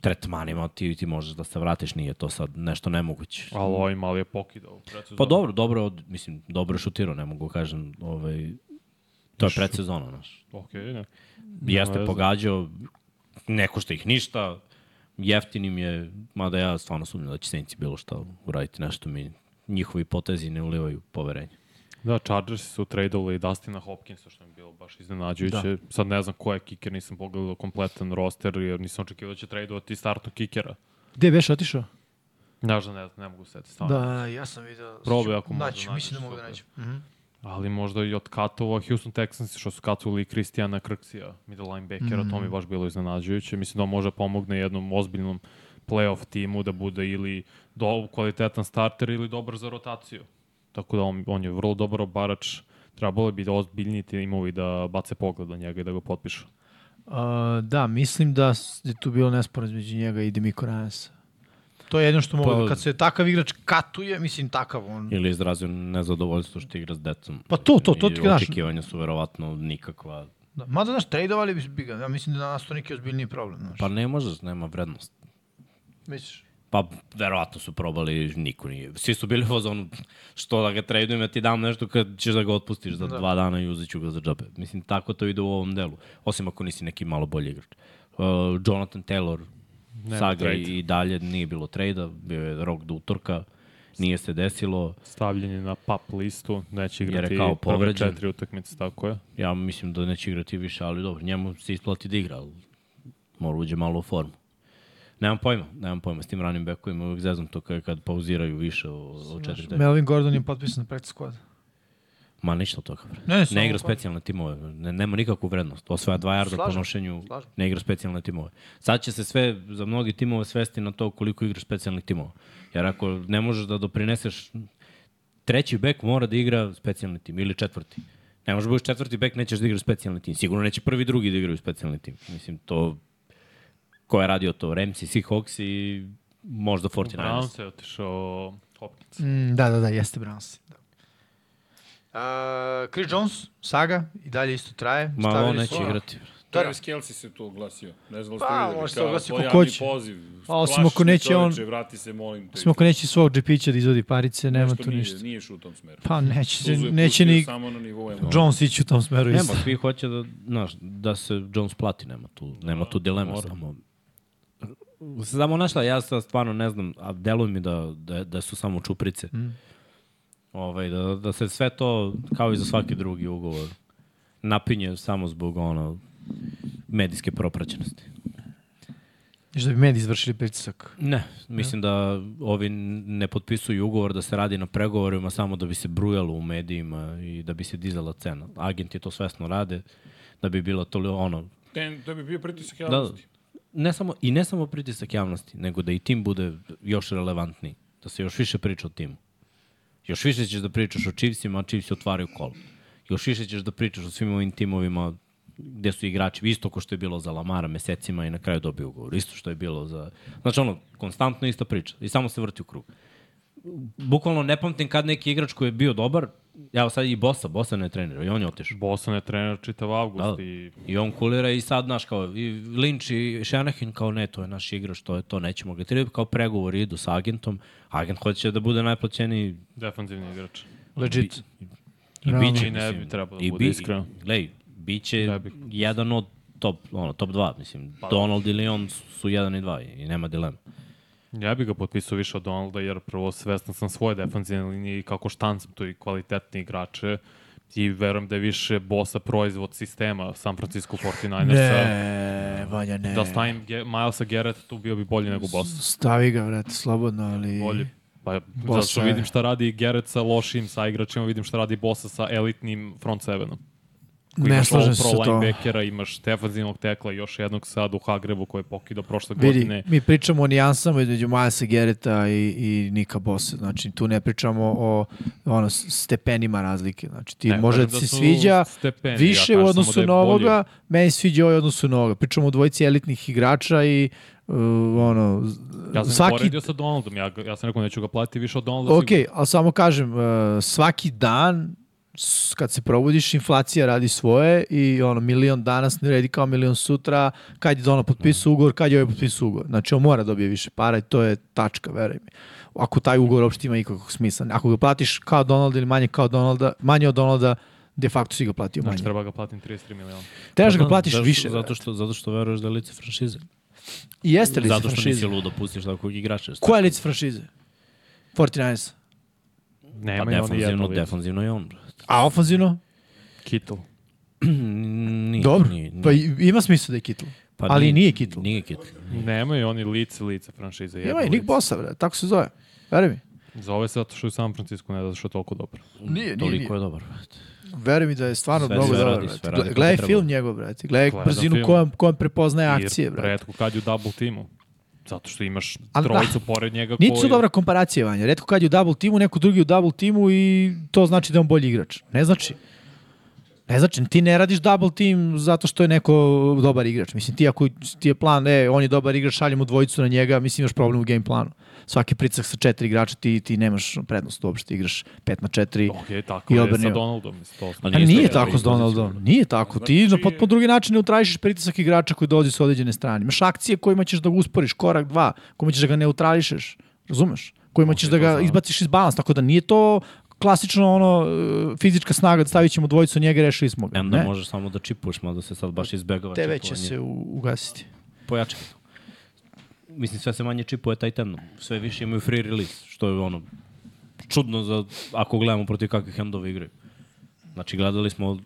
S3: tretmanima ti, ti možeš da se vratiš, nije to sad nešto nemoguće.
S4: Ali ovaj mali je pokidao. u predsezoni.
S3: Pa dobro, dobro, od, mislim, dobro je šutirao, ne mogu kažem, ovaj, to je predsezona, znaš.
S4: Okej, ne.
S3: Jeste
S4: veze.
S3: pogađao, neko što ih ništa, jeftinim je, mada ja stvarno sumnjam da će Saints bilo šta uraditi nešto mi njihovi potezi ne ulivaju poverenje.
S4: Da, Chargersi su tradeovali Dustina Hopkinsa, što mi je bilo baš iznenađujuće. Da. Sad ne znam ko je kiker, nisam pogledao kompletan roster, jer nisam očekivao da će tradeovati startnog kikera.
S2: Gde beš otišao?
S4: Znaš da ne, ne mogu seti stvarno. Da.
S2: Da, ja sam video.
S4: Probaj ako možda
S2: Naću, mislim da
S4: nađeš
S2: mogu da
S4: to.
S2: nađem. Mhm.
S4: Ali možda i od katova Houston Texans, što su katovali Kristijana Krksija, middle linebackera, mm. to mi je baš bilo iznenađujuće. Mislim da on može pomogne jednom ozbiljnom playoff timu da bude ili do, kvalitetan starter ili dobar za rotaciju. Tako da on, on je vrlo dobar obarač. Trebalo bi da ozbiljni timovi da bace pogled na njega i da ga potpišu.
S2: A, da, mislim da s- je tu bilo nesporaz između njega i Demiko Ryansa. To je jedno što mogu
S3: Pa-
S2: da, kad se takav igrač katuje, mislim takav on.
S3: Ili izrazio nezadovoljstvo što igra s decom.
S2: Pa to, to, to
S3: I
S2: ti kažem.
S3: Očekivanja su verovatno nikakva.
S2: Da. Mada, znaš, tradeovali bi bi ga. Ja mislim da je danas to neki ozbiljniji problem. Znaš.
S3: Pa ne možeš, nema vrednost.
S2: Misliš?
S3: Pa, verovatno su probali, niko nije. Svi su bili u fazonu, što da ga tradujem, ja ti dam nešto kad ćeš da ga otpustiš za da. dva dana i uzet ću ga za džabe. Mislim, tako to ide u ovom delu. Osim ako nisi neki malo bolji igrač. Uh, Jonathan Taylor, Nema saga
S4: trade.
S3: i dalje nije bilo trejda, bio je rok do utorka, nije se desilo.
S4: Stavljen je na pap listu, neće
S3: je
S4: igrati
S3: rekao
S4: prve
S3: povređen.
S4: četiri utakmice, tako je.
S3: Ja mislim da neće igrati više, ali dobro, njemu se isplati da igra, ali mora uđe malo u formu. Nemam pojma, nemam pojma, s tim ranim bekovima uvek zezam to kad, kad pauziraju više o, o četiri dana.
S2: Melvin Gordon je potpisan na practice squad.
S3: Ma ništa od toga. bre.
S2: Ne, samo
S3: ne igra
S2: ko-
S3: specijalne timove, ne, nema nikakvu vrednost. Osvaja 2 jarda po
S2: Slažem,
S3: nošenju,
S2: slažem.
S3: ne igra specijalne timove. Sad će se sve za mnogi timove svesti na to koliko igraš specijalnih timova. Jer ako ne možeš da doprineseš treći bek mora da igra specijalni tim ili četvrti. Ne možeš da budeš četvrti bek, nećeš da igraš specijalni tim. Sigurno neće prvi i drugi da igraju specijalni tim. Mislim, to ko je radio to? Remsi, Seahawks i možda 49ers.
S4: Browns je da otišao Hopkins.
S2: Mm, da, da, da, jeste Browns. Da. Uh, Chris Jones, saga, i dalje isto traje.
S3: Ma
S2: Stavili
S3: on neće
S2: su-
S3: igrati.
S1: Travis Kelce se tu oglasio. Ne znam da
S2: Pa,
S1: ste videli.
S2: može se
S1: kao
S2: oglasiti
S1: tvoj
S2: ko
S1: javni
S2: hoće.
S1: Poziv.
S2: A osim
S1: Plašiš
S2: ako
S1: me,
S2: neće on-
S1: čoveče, Vrati se, molim te.
S2: Osim ako neće svog džepića da izvodi parice, nema
S1: Nešto
S2: tu
S1: nije,
S2: ništa.
S1: Nije šut u tom smeru.
S2: Pa neće, se,
S1: Suzu je
S2: neće
S1: pustio
S2: ni
S1: Samo na nivou emocija.
S2: Jones ići u tom smeru.
S3: Nema,
S2: isto.
S3: svi hoće da, znaš, da se Jones plati, nema tu, nema tu dileme. Samo, samo našla, ja sad stvarno ne znam, a deluje mi da, da, da su samo čuprice. Mm. Ovaj, da, da se sve to, kao i za svaki drugi ugovor, napinje samo zbog ono, medijske propraćenosti.
S2: Još da bi mediji izvršili pritisak.
S3: Ne, mislim da ovi ne potpisuju ugovor da se radi na pregovorima samo da bi se brujalo u medijima i da bi se dizala cena. Agenti to svesno rade, da bi bila toliko ono,
S1: Ten, to bi bio pritisak
S3: Da,
S1: javnosti.
S3: ne samo, I ne samo pritisak javnosti, nego da i tim bude još relevantniji. Da se još više priča o timu. Još više ćeš da pričaš o Chiefsima, a Chiefsi otvaraju kolo. Još više ćeš da pričaš o svim ovim timovima gde su igrači, isto ko što je bilo za Lamara mesecima i na kraju dobio ugovor, isto što je bilo za... Znači ono, konstantno ista priča i samo se vrti u krug. Bukvalno ne pamtim kad neki igrač koji je bio dobar, evo sad i Bosa, Bosa ne trenira i on je otišao.
S4: Boston je trener čitav avgust
S3: Da.
S4: i
S3: I on kulira i sad, znaš, kao, i Lynch i Shanahan kao, ne, to je naš igrač, to je to, nećemo ga tirati, kao pregovori idu sa agentom, agent hoće da bude najplaćeniji
S4: defanzivni igrač.
S2: Legit.
S3: i
S2: Realno.
S3: biće,
S4: I ne bi
S3: mislim,
S4: trebalo da
S3: i
S4: bude, iskreno.
S3: Lej, biće
S4: Ne bi. Pa da.
S3: jedan od top, ono, top dva, mislim, Donald i Leon su jedan i dva i nema dilema.
S4: Ja bih ga potpisao više od Donalda, jer prvo svestan sam svoje defensivne linije i kako štancam tu i kvalitetni igrače i verujem da je više bosa proizvod sistema San Francisco 49ersa.
S2: Ne, Vanja, ne.
S4: Da stavim Ge Milesa Garrett, tu bio bi bolji nego bosa.
S2: Stavi ga, vrati, slobodno, ali...
S4: Bolji. Pa,
S2: Bosa
S4: zato što
S2: je-
S4: vidim šta radi Garrett sa lošim sa igračima, vidim šta radi bosa sa elitnim front sevenom. Koji
S2: ne
S4: imaš
S2: slažem se
S4: all-pro
S2: sa to.
S4: linebackera, imaš defanzivnog tekla, još jednog sad u Hagrebu koji je pokidao prošle
S2: Vidi,
S4: godine.
S2: mi pričamo o nijansama između Milesa Gereta i, i Nika Bosa. Znači, tu ne pričamo o ono, s- stepenima razlike. Znači, ti
S4: Ne,
S2: ne, može
S4: kažem
S2: da
S4: da
S2: se
S4: su
S2: sviđa
S4: stepeni, ja
S2: više
S4: kažem
S2: u
S4: samo da
S2: odnosu
S4: je
S2: na
S4: bolji.
S2: ovoga, meni se sviđa ovaj u odnosu na ovoga. Pričamo o dvojici elitnih igrača i uh, ono, z-
S4: Ja sam Svaki...
S2: svaki
S4: poredio sa Donaldom, ja, ga- ja sam rekao neću ga platiti više od Donalda.
S2: Ok,
S4: sigurno.
S2: ali samo kažem, uh, svaki dan s- kad se probudiš, inflacija radi svoje i ono, milion danas ne redi kao milion sutra, kad je Donald
S3: Mm.
S2: potpisao ugovor, kad je ovaj potpisao ugovor. Znači, on mora dobije više para i to je tačka, veruj mi. Ako taj ugovor uopšte ima ikakvog smisla. Ako ga platiš kao Donald ili manje kao Donalda, manje od Donalda, de facto si ga
S3: Znači,
S2: platio manje.
S4: Znači treba ga platim 33 miliona.
S2: Trebaš
S3: Pa
S2: da ga
S3: da,
S2: platiš
S3: zašto-
S2: više.
S3: Zato što, zato što veruješ da je lice franšize.
S2: I jeste li
S3: Zato što nisi
S2: franšize?
S3: ludo pustiš takvog igrača.
S2: Koja je lica franšize? 49
S3: Pa
S4: Nemaju oni jedno
S3: defanzivno,
S4: lice.
S3: defanzivno je on. brate.
S2: A ofanzivno?
S4: Kitl.
S3: Nije,
S2: Dobro.
S3: Nije, nije. pa
S2: Pa i- ima smisla da je Kitl. ali nije Kitl.
S3: Nije Kitl.
S4: Nemaju oni lice, lice franšize. jedno
S2: Ima i Nick
S4: lice.
S2: Bosa, bre, tako se zove. Veruj mi.
S4: Zove se zato što je u San Francisco, ne zato što je toliko dobro.
S2: Nije, nije,
S3: Toliko
S2: nije.
S3: je dobar.
S2: Veruj mi da je stvarno
S3: Sve-
S2: mnogo
S3: sve
S2: dobro,
S3: radi,
S2: brate.
S3: sve radi kako
S2: Gledaj
S3: treba.
S2: film njegov, brate. Gledaj
S4: Gledam
S2: brzinu
S4: film.
S2: kojom, kojom prepoznaje akcije,
S4: Jer
S2: brate.
S4: Redko kad je u double teamu. Zato što imaš
S2: Ali da.
S4: trojicu pored njega koji...
S2: Niti su dobra komparacija, Vanja. Redko kad je u double timu, neko drugi u double timu i to znači da je on bolji igrač. Ne znači. Ne znači, ti ne radiš double team zato što je neko dobar igrač. Mislim, ti ako ti je plan, e, on je dobar igrač, šaljemo dvojicu na njega, mislim imaš problem u game planu. Svaki pricak sa četiri igrača, ti, ti nemaš prednost uopšte, ti igraš pet na četiri.
S4: Ok, tako
S2: I
S4: je sa
S2: odbrani.
S4: Donaldom. Mislim, to...
S3: Ali
S2: A nije
S3: isto-
S2: tako s Donaldom. Nije tako. Ti na
S1: Znači-
S2: potpuno drugi način ne utražiš pritisak igrača koji dolazi s određene strane. Imaš akcije kojima ćeš da ga usporiš, korak dva, kojima ćeš da ga neutrališeš. Razumeš? Kojima ćeš da ga izbaciš iz balansa. Tako da nije to klasično ono e, fizička snaga da stavit ćemo dvojicu njega i rešili smo ga.
S3: Em da
S2: Ne,
S3: možeš samo da čipuješ, mada se sad baš izbegava
S2: TV će
S3: čipovanje.
S2: se u- ugasiti.
S3: Pojačaj to. Mislim, sve se manje čipuje taj temno. Sve više imaju free release, što je ono čudno za, ako gledamo protiv kakvih hendova igraju. Znači, gledali smo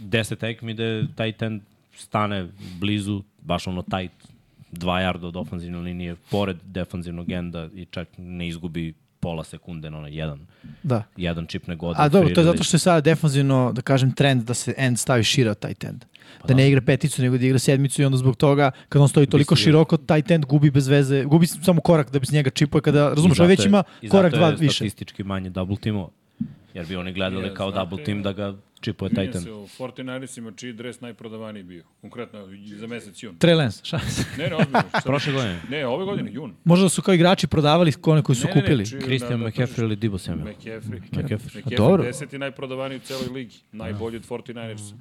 S3: 10 tekmi gde taj ten stane blizu, baš ono tight, dva jarda od ofenzivne linije, pored defanzivnog enda i čak ne izgubi pola sekunde na onaj jedan,
S2: Da.
S3: jedan čip ne godi.
S2: A dobro,
S1: da
S2: to je zato što je sada defanzivno, da kažem, trend da se end stavi šira od tight end.
S1: Pa
S2: Da ne igra peticu, nego da igra sedmicu i onda zbog toga, kad on stoji
S1: da
S2: toliko široko, tight end gubi bez veze, gubi samo korak da bi se njega čipuje, kada, razumiješ, ovaj već ima korak dva
S3: I zato je
S2: više.
S3: statistički manje double teamova. Jer bi oni gledali
S1: Je,
S3: kao
S1: znate,
S3: double team da ga čipuje
S1: Minja
S3: Titan.
S1: se u 49ersima čiji dres najprodavaniji bio. Konkretno za mesec jun.
S2: Trey Lance, šta se-
S1: Ne, ne, ozbiljno. šta-
S3: Prošle godine.
S1: Ne, ove godine, jun.
S2: Možda su kao igrači prodavali one koji su
S1: Ne, znači, ne, ne,
S2: kupili.
S1: čiji-
S3: Christian
S1: na- na
S3: McCaffrey ili Debo
S1: tržištu.
S3: Samuel?
S1: McCaffrey.
S3: McCaffrey.
S1: McCaffrey,
S2: dobro.
S1: dobro. deseti najprodavaniji u celoj ligi. Najbolji od 49ersa.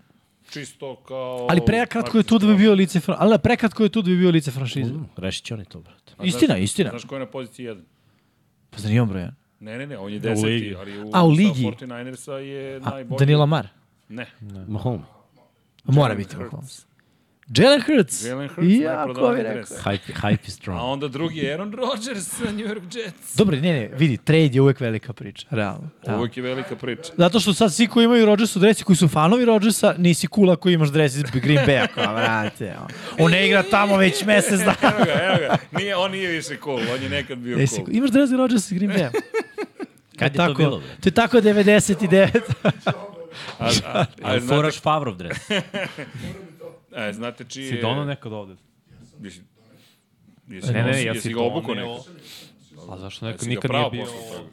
S1: Čisto kao...
S2: Ali prekratko je tu da bi bio lice, fra- ali da, prekratko je tu da bi bio lice franšize.
S3: Mm, Rešit će oni to, brate.
S1: A znaš-
S2: Istina, istina.
S1: Znaš ko je na poziciji 1?
S2: Pa zar nije on brojan?
S1: Ne, ne, ne, on je deseti,
S4: ligi.
S1: ali u,
S2: A, u
S1: sa
S2: ligi.
S1: 49ersa je
S2: A,
S1: najbolji.
S2: Danilo Mar.
S1: Ne.
S3: Mahomes.
S2: Mora biti Mahomes. Jalen Hurts.
S1: Jalen Hurts,
S2: Ja, ko bi
S1: najprodavaniji
S2: rekao?
S1: dres.
S3: Hype, hype is
S1: A
S3: strong.
S1: onda drugi je Aaron Rodgers sa New York Jets.
S2: Dobro, ne, ne, vidi, trade je uvek velika priča, realno. realno.
S1: Uvijek je velika priča.
S2: Zato što sad svi koji imaju Rodgersu dresi, koji su fanovi Rodgersa, nisi kula koji imaš dres iz Green Bay-a, kao vrate. ono. On ne igra tamo već mesec dana.
S1: Evo ga, evo ga. Nije, on nije više cool, on je nekad bio
S2: Nisi,
S1: cool.
S2: imaš dres Rodgersa iz Green Bay-a. E
S3: Kad je to
S2: tako,
S3: bilo, bre?
S2: To je tako 99.
S1: A, a, a,
S3: Ali
S1: znate,
S3: foraš Favrov dres.
S1: a, znate čiji
S4: Si
S1: je...
S4: dono nekad ovde.
S1: Jesi, jesi,
S4: Ne, ne, ne, ja
S1: jesi
S4: si
S1: ga
S4: to
S1: obuko
S4: ne-
S1: neko?
S4: A zašto neko
S1: Jesi ga
S4: nikad
S1: pravo
S4: nije bio?
S1: posle toga?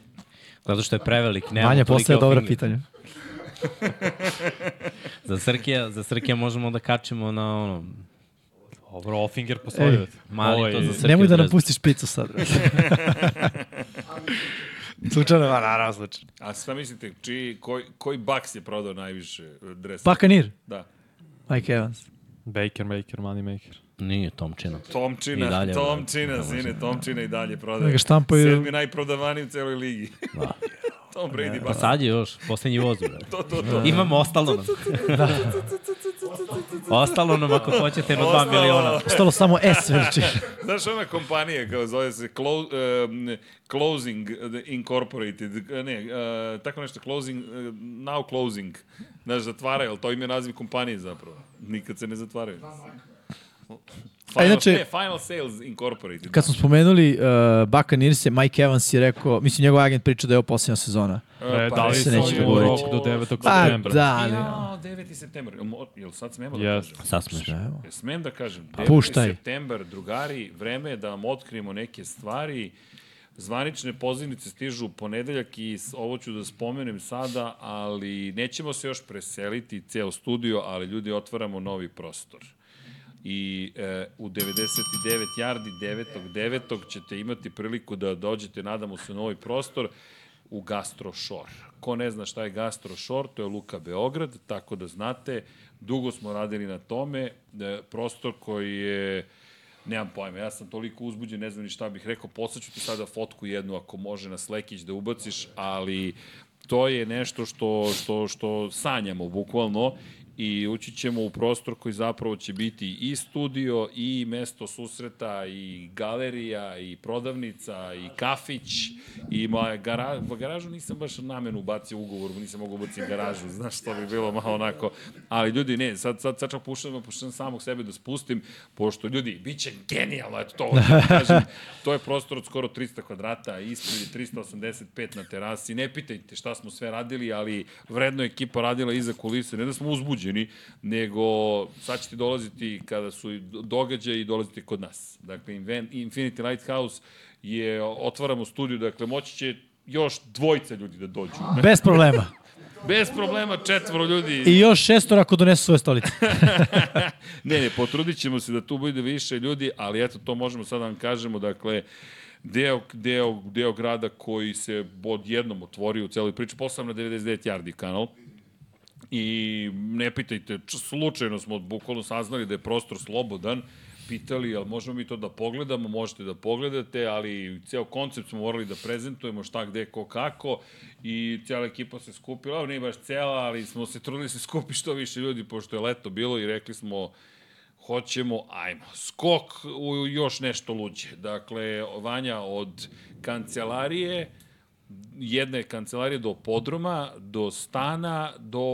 S3: Zato što je prevelik. Nema
S2: Manja,
S3: tolike
S2: postaje dobra
S3: ofinge.
S2: pitanja.
S3: Za Srkija, za Srkija možemo da kačimo na ono...
S4: Dobro, Offinger
S2: E,
S4: postoji.
S3: mali
S4: Ovo je-
S3: to za Srkija
S2: Nemoj da nam
S3: dres.
S2: pustiš picu sad. Slučajno, ma naravno slučajno.
S1: A šta mislite, čiji, koji, koji Bucks je prodao najviše eh, dresa?
S2: Bakanir,
S1: Da.
S2: Mike Evans.
S4: Baker, maker, money maker.
S3: Nije Tomčina. I
S1: Tomčina,
S3: dalje,
S1: Tomčina,
S3: brate, ne
S1: sine,
S3: može.
S1: Tomčina i dalje
S2: Da
S1: prodaje.
S2: ga štampaju.
S1: Sedmi najprodavaniji u celoj ligi.
S3: Da.
S1: Tom Brady
S3: Pa
S1: Bucks.
S3: sad je još, poslednji voz, brate.
S1: To, to, Da. to.
S3: Imamo ostalo nam. ostalo nam ako hoćete na 2
S1: Ostalo.
S3: miliona.
S2: Ostalo samo S veliči.
S1: Znaš ona kompanija kao zove se clo, um, Closing eh, Incorporated, eh, ne, uh, tako nešto, Closing, uh, Now Closing, znaš, zatvaraju, ali to im je naziv kompanije zapravo. Nikad se ne zatvaraju. Final,
S2: inače-
S1: ne, Final Sales Incorporated.
S2: Kad smo spomenuli uh, Bakanirse, Mike Evans je rekao, mislim, njegov agent priča da je ovo posljednja sezona.
S1: Eh,
S4: E,
S1: pa
S4: da li
S2: se
S4: se
S2: neće
S4: neće
S2: dogoditi.
S4: rok do 9.
S2: Pa,
S4: septembra?
S2: da, ali...
S1: Ja, 9. september. Jel mo- Jel sad smemo da
S4: Yes.
S1: kažem?
S3: Sasmeš.
S1: Jel Smem da kažem? 9.
S2: puštaj.
S1: september, drugari, vreme je da vam otkrijemo neke stvari. Zvanične pozivnice stižu u ponedeljak i s- ovo ću da spomenem sada, ali nećemo se još preseliti ceo studio, ali ljudi otvaramo novi prostor. I e, u 99 jardi 9.9. ćete imati priliku da dođete, nadamo se, u novi prostor u Gastro Shore. Ko ne zna šta je Gastro Shore, to je Luka Beograd, tako da znate, dugo smo radili na tome, e, prostor koji je Nemam pojma, ja sam toliko uzbuđen, ne znam ni šta bih rekao, poslaću ti sada fotku jednu ako može na Slekić da ubaciš, ali to je nešto što, što, što sanjamo bukvalno i ući ćemo u prostor koji zapravo će biti i studio i mesto susreta i galerija i prodavnica i kafić i moja gara, va, garažu nisam baš namenu ubacio u ugovor, nisam mogao ubaciti garažu, znaš što bi bilo malo onako. Ali ljudi, ne, sad, sad, sad čak puštam, puštam samog sebe da spustim, pošto ljudi, bit će genijalno, eto to, hoću da kažem. to je prostor od skoro 300 kvadrata, ispred je 385 na terasi, ne pitajte šta smo sve radili, ali vredno je ekipa radila iza kulise, ne da smo uzbuđeni, nego sad ćete dolaziti kada su i događaji i dolazite kod nas. Dakle, Inven- Infinity Lighthouse je, otvaramo studiju, dakle, moći će još dvojica ljudi da dođu.
S2: Bez problema.
S1: Bez problema četvoro ljudi.
S2: I još šestor ako donesu svoje stolice.
S1: Ne, ne, potrudit ćemo se da tu bude više ljudi, ali eto, to možemo sad da vam kažemo, dakle, deo, deo, deo grada koji se odjednom otvorio u celoj priči, posebno na 99 Yardi kanal, i ne pitajte, č- slučajno smo bukvalno saznali da je prostor slobodan, pitali, jel možemo mi to da pogledamo, možete da pogledate, ali ceo koncept smo morali da prezentujemo šta, gde, ko, kako i cijela ekipa se skupila, evo, ne baš cijela, ali smo se trudili da se skupi što više ljudi, pošto je leto bilo i rekli smo hoćemo, ajmo, skok u još nešto luđe. Dakle, Vanja od kancelarije, jedne kancelarije do podruma, do stana, do,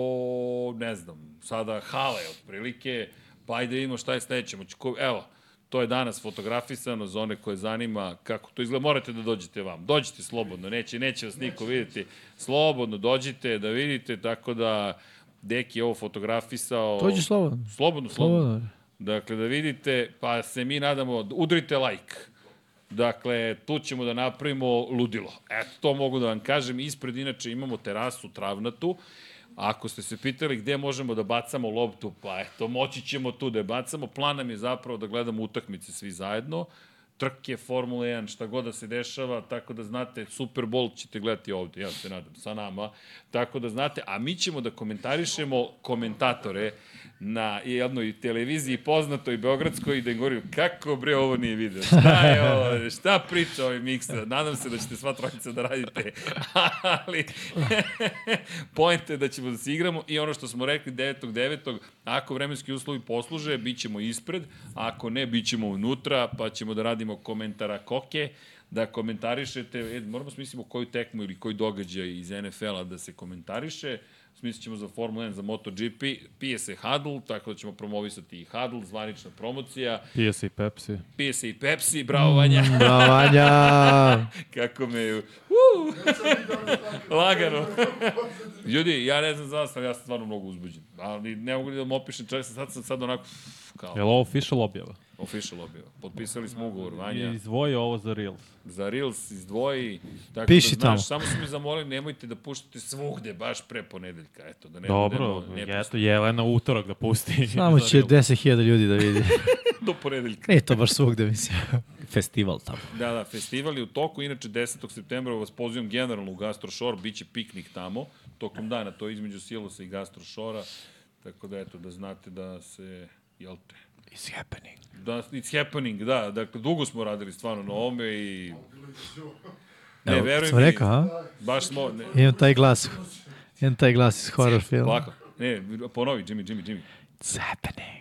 S1: ne znam, sada hale otprilike, pa ajde vidimo šta je sledeće. Moći ko- Evo, to je danas fotografisano za one koje zanima kako to izgleda. Morate da dođete vam. Dođite slobodno, neće, neće vas niko vidjeti. Slobodno dođite da vidite, tako da Deki je ovo fotografisao.
S2: Dođi slobodno.
S1: Slobodno, slobodno.
S2: Slobodno.
S1: Dakle, da vidite, pa se mi nadamo, udrite like. Dakle, tu ćemo da napravimo ludilo. Eto, to mogu da vam kažem. Ispred, inače, imamo terasu travnatu. Ako ste se pitali gde možemo da bacamo loptu, pa eto, moći ćemo tu da je bacamo. Plan nam je zapravo da gledamo utakmice svi zajedno. Trke, Formula 1, šta god da se dešava, tako da znate, Super Bowl ćete gledati ovde, ja se nadam, sa nama. Tako da znate, a mi ćemo da komentarišemo komentatore na jednoj televiziji poznatoj Beogradskoj i da im govorim kako bre ovo nije video, šta je ovo, šta priča ovaj miksa, nadam se da ćete sva trojica da radite, ali pojente da ćemo da se igramo i ono što smo rekli 9.9. ako vremenski uslovi posluže, bit ćemo ispred, a ako ne, bit ćemo unutra, pa ćemo da radimo komentara koke, da komentarišete, e, moramo smislimo koju tekmu ili koji događaj iz NFL-a da se komentariše, smislit ćemo za Formula 1, za MotoGP, pije se Huddle, tako da ćemo promovisati i Huddle, zvanična promocija,
S4: Pije se i Pepsi.
S1: pije se i Pepsi, bravo Vanja,
S2: Bravo, Da, Vanja. Mm.
S1: kako me... Uh, lagano. Ljudi, ja ne znam za vas, ali ja sam stvarno mnogo uzbuđen. Ali ne mogu ni da vam opišem, čak sam sad, sam sad onako ff, kao
S4: Je li ovo official objava?
S1: official objava. Potpisali smo ugovor, Vanja.
S4: I izdvoji ovo za Reels.
S1: Za Reels izdvoji. Tako
S2: Piši
S1: da,
S2: tamo.
S1: znaš, Samo su mi zamolili, nemojte da puštate svugde, baš pre ponedeljka. Eto, da ne
S4: Dobro,
S1: budemo, ne
S4: eto, Jelena utorak da pusti.
S2: Samo će 10.000 ljudi da vidi.
S1: do ponedeljka.
S2: Nije to baš svugde, mislim.
S3: Festival tamo.
S1: Da, da, festival je u toku, inače 10. septembra vas pozivam generalno u Gastrošor, bit će piknik tamo, tokom dana, to je između Silosa i Gastrošora, tako da eto, da znate da se, jel te,
S2: It's happening.
S1: da, it's happening, da, dakle, dugo smo radili stvarno na ovome i... Ne, verujem
S2: Sam
S1: E, mi,
S2: rekao, a?
S1: baš smo, ne,
S2: Imam taj glas. Imam taj glas iz horror filma.
S1: plako, ne, ponovi, Jimmy, Jimmy, Jimmy.
S2: It's happening.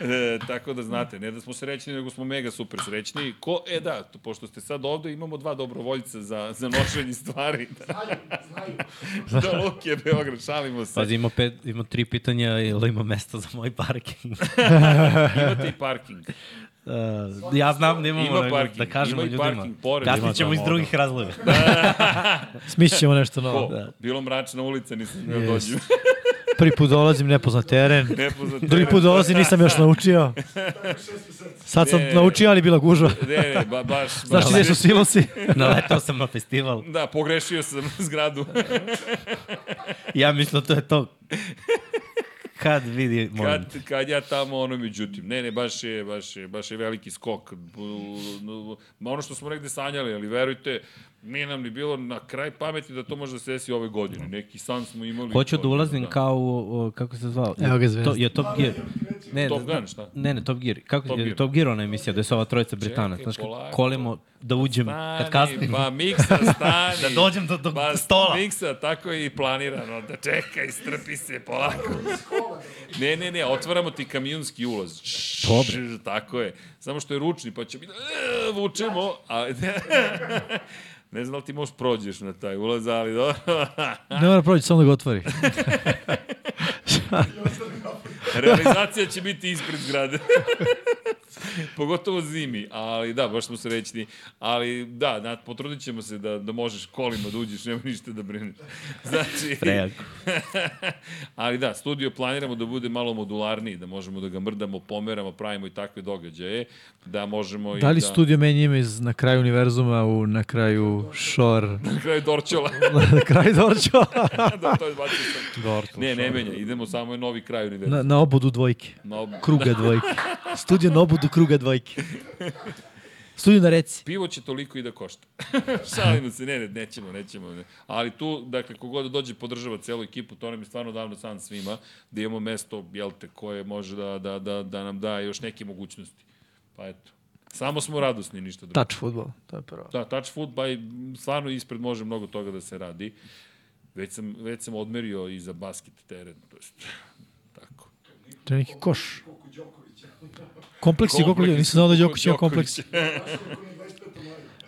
S1: E, tako da znate, ne da smo srećni, nego smo mega super srećni. Ko, e da, to, pošto ste sad ovde, imamo dva dobrovoljca za, za nošenje stvari. Znaju, znaju. da, Luki je Beograd, šalimo
S2: Pa-
S1: se.
S3: Pazi, ima, pet, ima tri pitanja, ili ima mesta za moj parking?
S1: Imate i parking.
S3: Uh, ja znam da imamo,
S1: Ima
S3: nego
S1: parking,
S3: da kažemo
S1: ima i
S3: ljudima.
S1: parking pored. Ima
S3: Kasnije ćemo iz
S4: tamo,
S3: drugih razloga.
S2: Smišit ćemo nešto
S1: O,
S2: novo.
S1: da. Bilo mračna ulica, nisam smio yes.
S2: Jest.
S1: dođu.
S2: Prvi put dolazim, nepoznat teren.
S1: Nepoznat
S2: Drugi put dolazim, nisam još naučio. Sad sam
S1: Ne.
S2: naučio, ali bila gužva.
S1: Ne, ne, ba, baš.
S2: Znaš,
S1: baš,
S2: ideš u silosi.
S3: Naletao sam na festival.
S1: Da, pogrešio sam zgradu.
S3: Ja mislim da to je to. Kad vidi, molim.
S1: kad, kad ja tamo, ono, međutim, ne, ne, baš je, baš je, baš je veliki skok. Bu- Ma ono što smo negde sanjali, ali verujte, nije nam ni bilo na kraj pameti da to može da se desi ove godine. Neki san smo imali.
S3: Hoću
S1: To- da.
S3: da ulazim kao, u, u, kako se zvao?
S2: Evo ga
S3: Je
S2: zvezda.
S3: To, je to, je, Ne,
S1: Top
S3: da-
S1: Gun, šta?
S3: Ne, ne, Top Gear. Kako
S1: Top
S3: Top Gear,
S1: Gear.
S3: Top Gear ona emisija, da su ova trojica Britana. Znaš, kad
S1: polako.
S3: kolimo da uđem, kad kasnim.
S1: pa miksa stani.
S3: Da dođem do- do
S1: pa,
S3: stola.
S1: Miksa, tako je i planirano, da čekaj, strpi se polako. ne, ne, ne, otvaramo ti kamionski ulaz. Dobre. Tako je. Samo što je ručni, pa će biti, e, vučemo, a... ne znam da li ti možeš prođeš na taj ulaz, ali dobro.
S2: Ne mora proći, samo da ga otvori.
S1: Realizacija će biti ispred zgrade. Pogotovo zimi, ali da, baš smo srećni. Ali da, da potrudit ćemo se da, da možeš kolima da uđeš, nema ništa da brineš. Znači,
S3: Prejako.
S1: ali da, studio planiramo da bude malo modularniji, da možemo da ga mrdamo, pomeramo, pravimo i takve događaje, da možemo
S2: Da
S1: i
S2: li
S1: da...
S2: studio meni ime iz na kraju univerzuma u na kraju šor,
S1: Na kraju Dorčola.
S2: na kraju Dorčo,
S1: da, to je bacio sam.
S4: Dortu.
S1: Ne, ne menja, idemo samo je novi kraj univerzuma.
S2: na, na obodu dvojke,
S1: Na ob...
S2: kruga dvojke. Studio na obodu kruga dvojke. Studio na reci.
S1: Pivo će toliko i da košta. Šalimo se, ne, ne, nećemo, nećemo. Ne. Ali tu, dakle, kogod dođe podržava celu ekipu, to nam je stvarno davno san svima, da imamo mesto, jel te, koje može da, da, da, da nam da još neke mogućnosti. Pa eto. Samo smo radosni, ništa drugo.
S2: Touch futbol, to je prvo.
S1: Da, touch food, by, stvarno ispred može mnogo toga da se radi. Već sam, već sam odmerio i za basket teren, to jest, tako.
S2: To je neki koš. Kompleksi,
S1: Kompleksi,
S2: kompleksi, nisam znao da Đoković ima
S1: Đoković.
S2: kompleksi.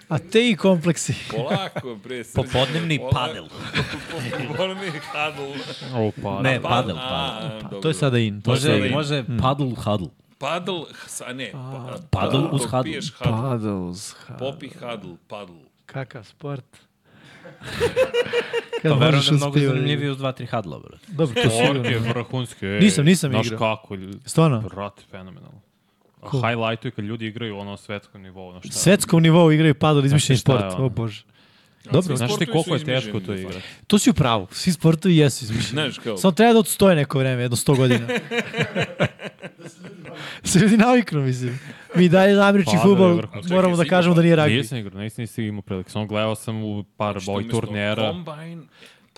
S2: A te i kompleksi.
S1: Polako, pre srđa.
S3: Popodnevni padel.
S1: Popodnevni padel.
S4: Opa.
S3: Ne, padel, padel.
S1: A, dobro.
S2: To je sada in. To je sada
S3: Može,
S1: i-
S2: in.
S3: može paddle huddle.
S1: Padl, sa ne, pa,
S3: Padl
S1: dok
S3: uz hadl.
S1: Piješ hadl.
S2: Paddles. Pa, da, ha.
S1: Popi hadl, padl.
S2: Kakav sport.
S3: Pa
S2: Kad
S3: verujem
S2: možeš
S3: da je mnogo
S2: uspivati.
S3: zanimljiviji uz dva, tri hadla, brate.
S2: Dobro, to
S4: Tork je
S2: sigurno.
S4: vrhunski. ej.
S2: Nisam, nisam
S4: Znaš
S2: igrao.
S4: kako, lj-
S2: Stvarno?
S4: brat, fenomenalno. A
S2: Cool.
S4: highlightu je kad ljudi igraju ono svetsko nivou. Ono šta,
S2: Svetskom nivou igraju padel izmišljen
S4: Znaš šta je
S2: sport.
S4: ono?
S2: O bože.
S1: Значи,
S2: Dobro,
S4: Znaš ti
S1: Sportovi
S4: koliko
S1: su
S4: je teško
S1: izmišljeni,
S4: to
S1: da.
S4: igrati?
S2: to si u pravu. Svi sportovi jesu izmišljeni.
S1: Znaš kao,
S2: Samo treba da odstoje neko vreme, jedno 100 godina. Da se ljudi naviknu, mislim. Mi dalje za američki
S4: Padel je
S2: futbol
S4: vrhunski.
S2: moramo da
S1: Čekaj,
S2: kažemo da nije ragbi.
S4: Nisam igrao, nisam, nisam imao prilike. Samo gledao sam u par
S1: što
S4: boj
S1: umjesto
S4: turnjera.
S1: Combine,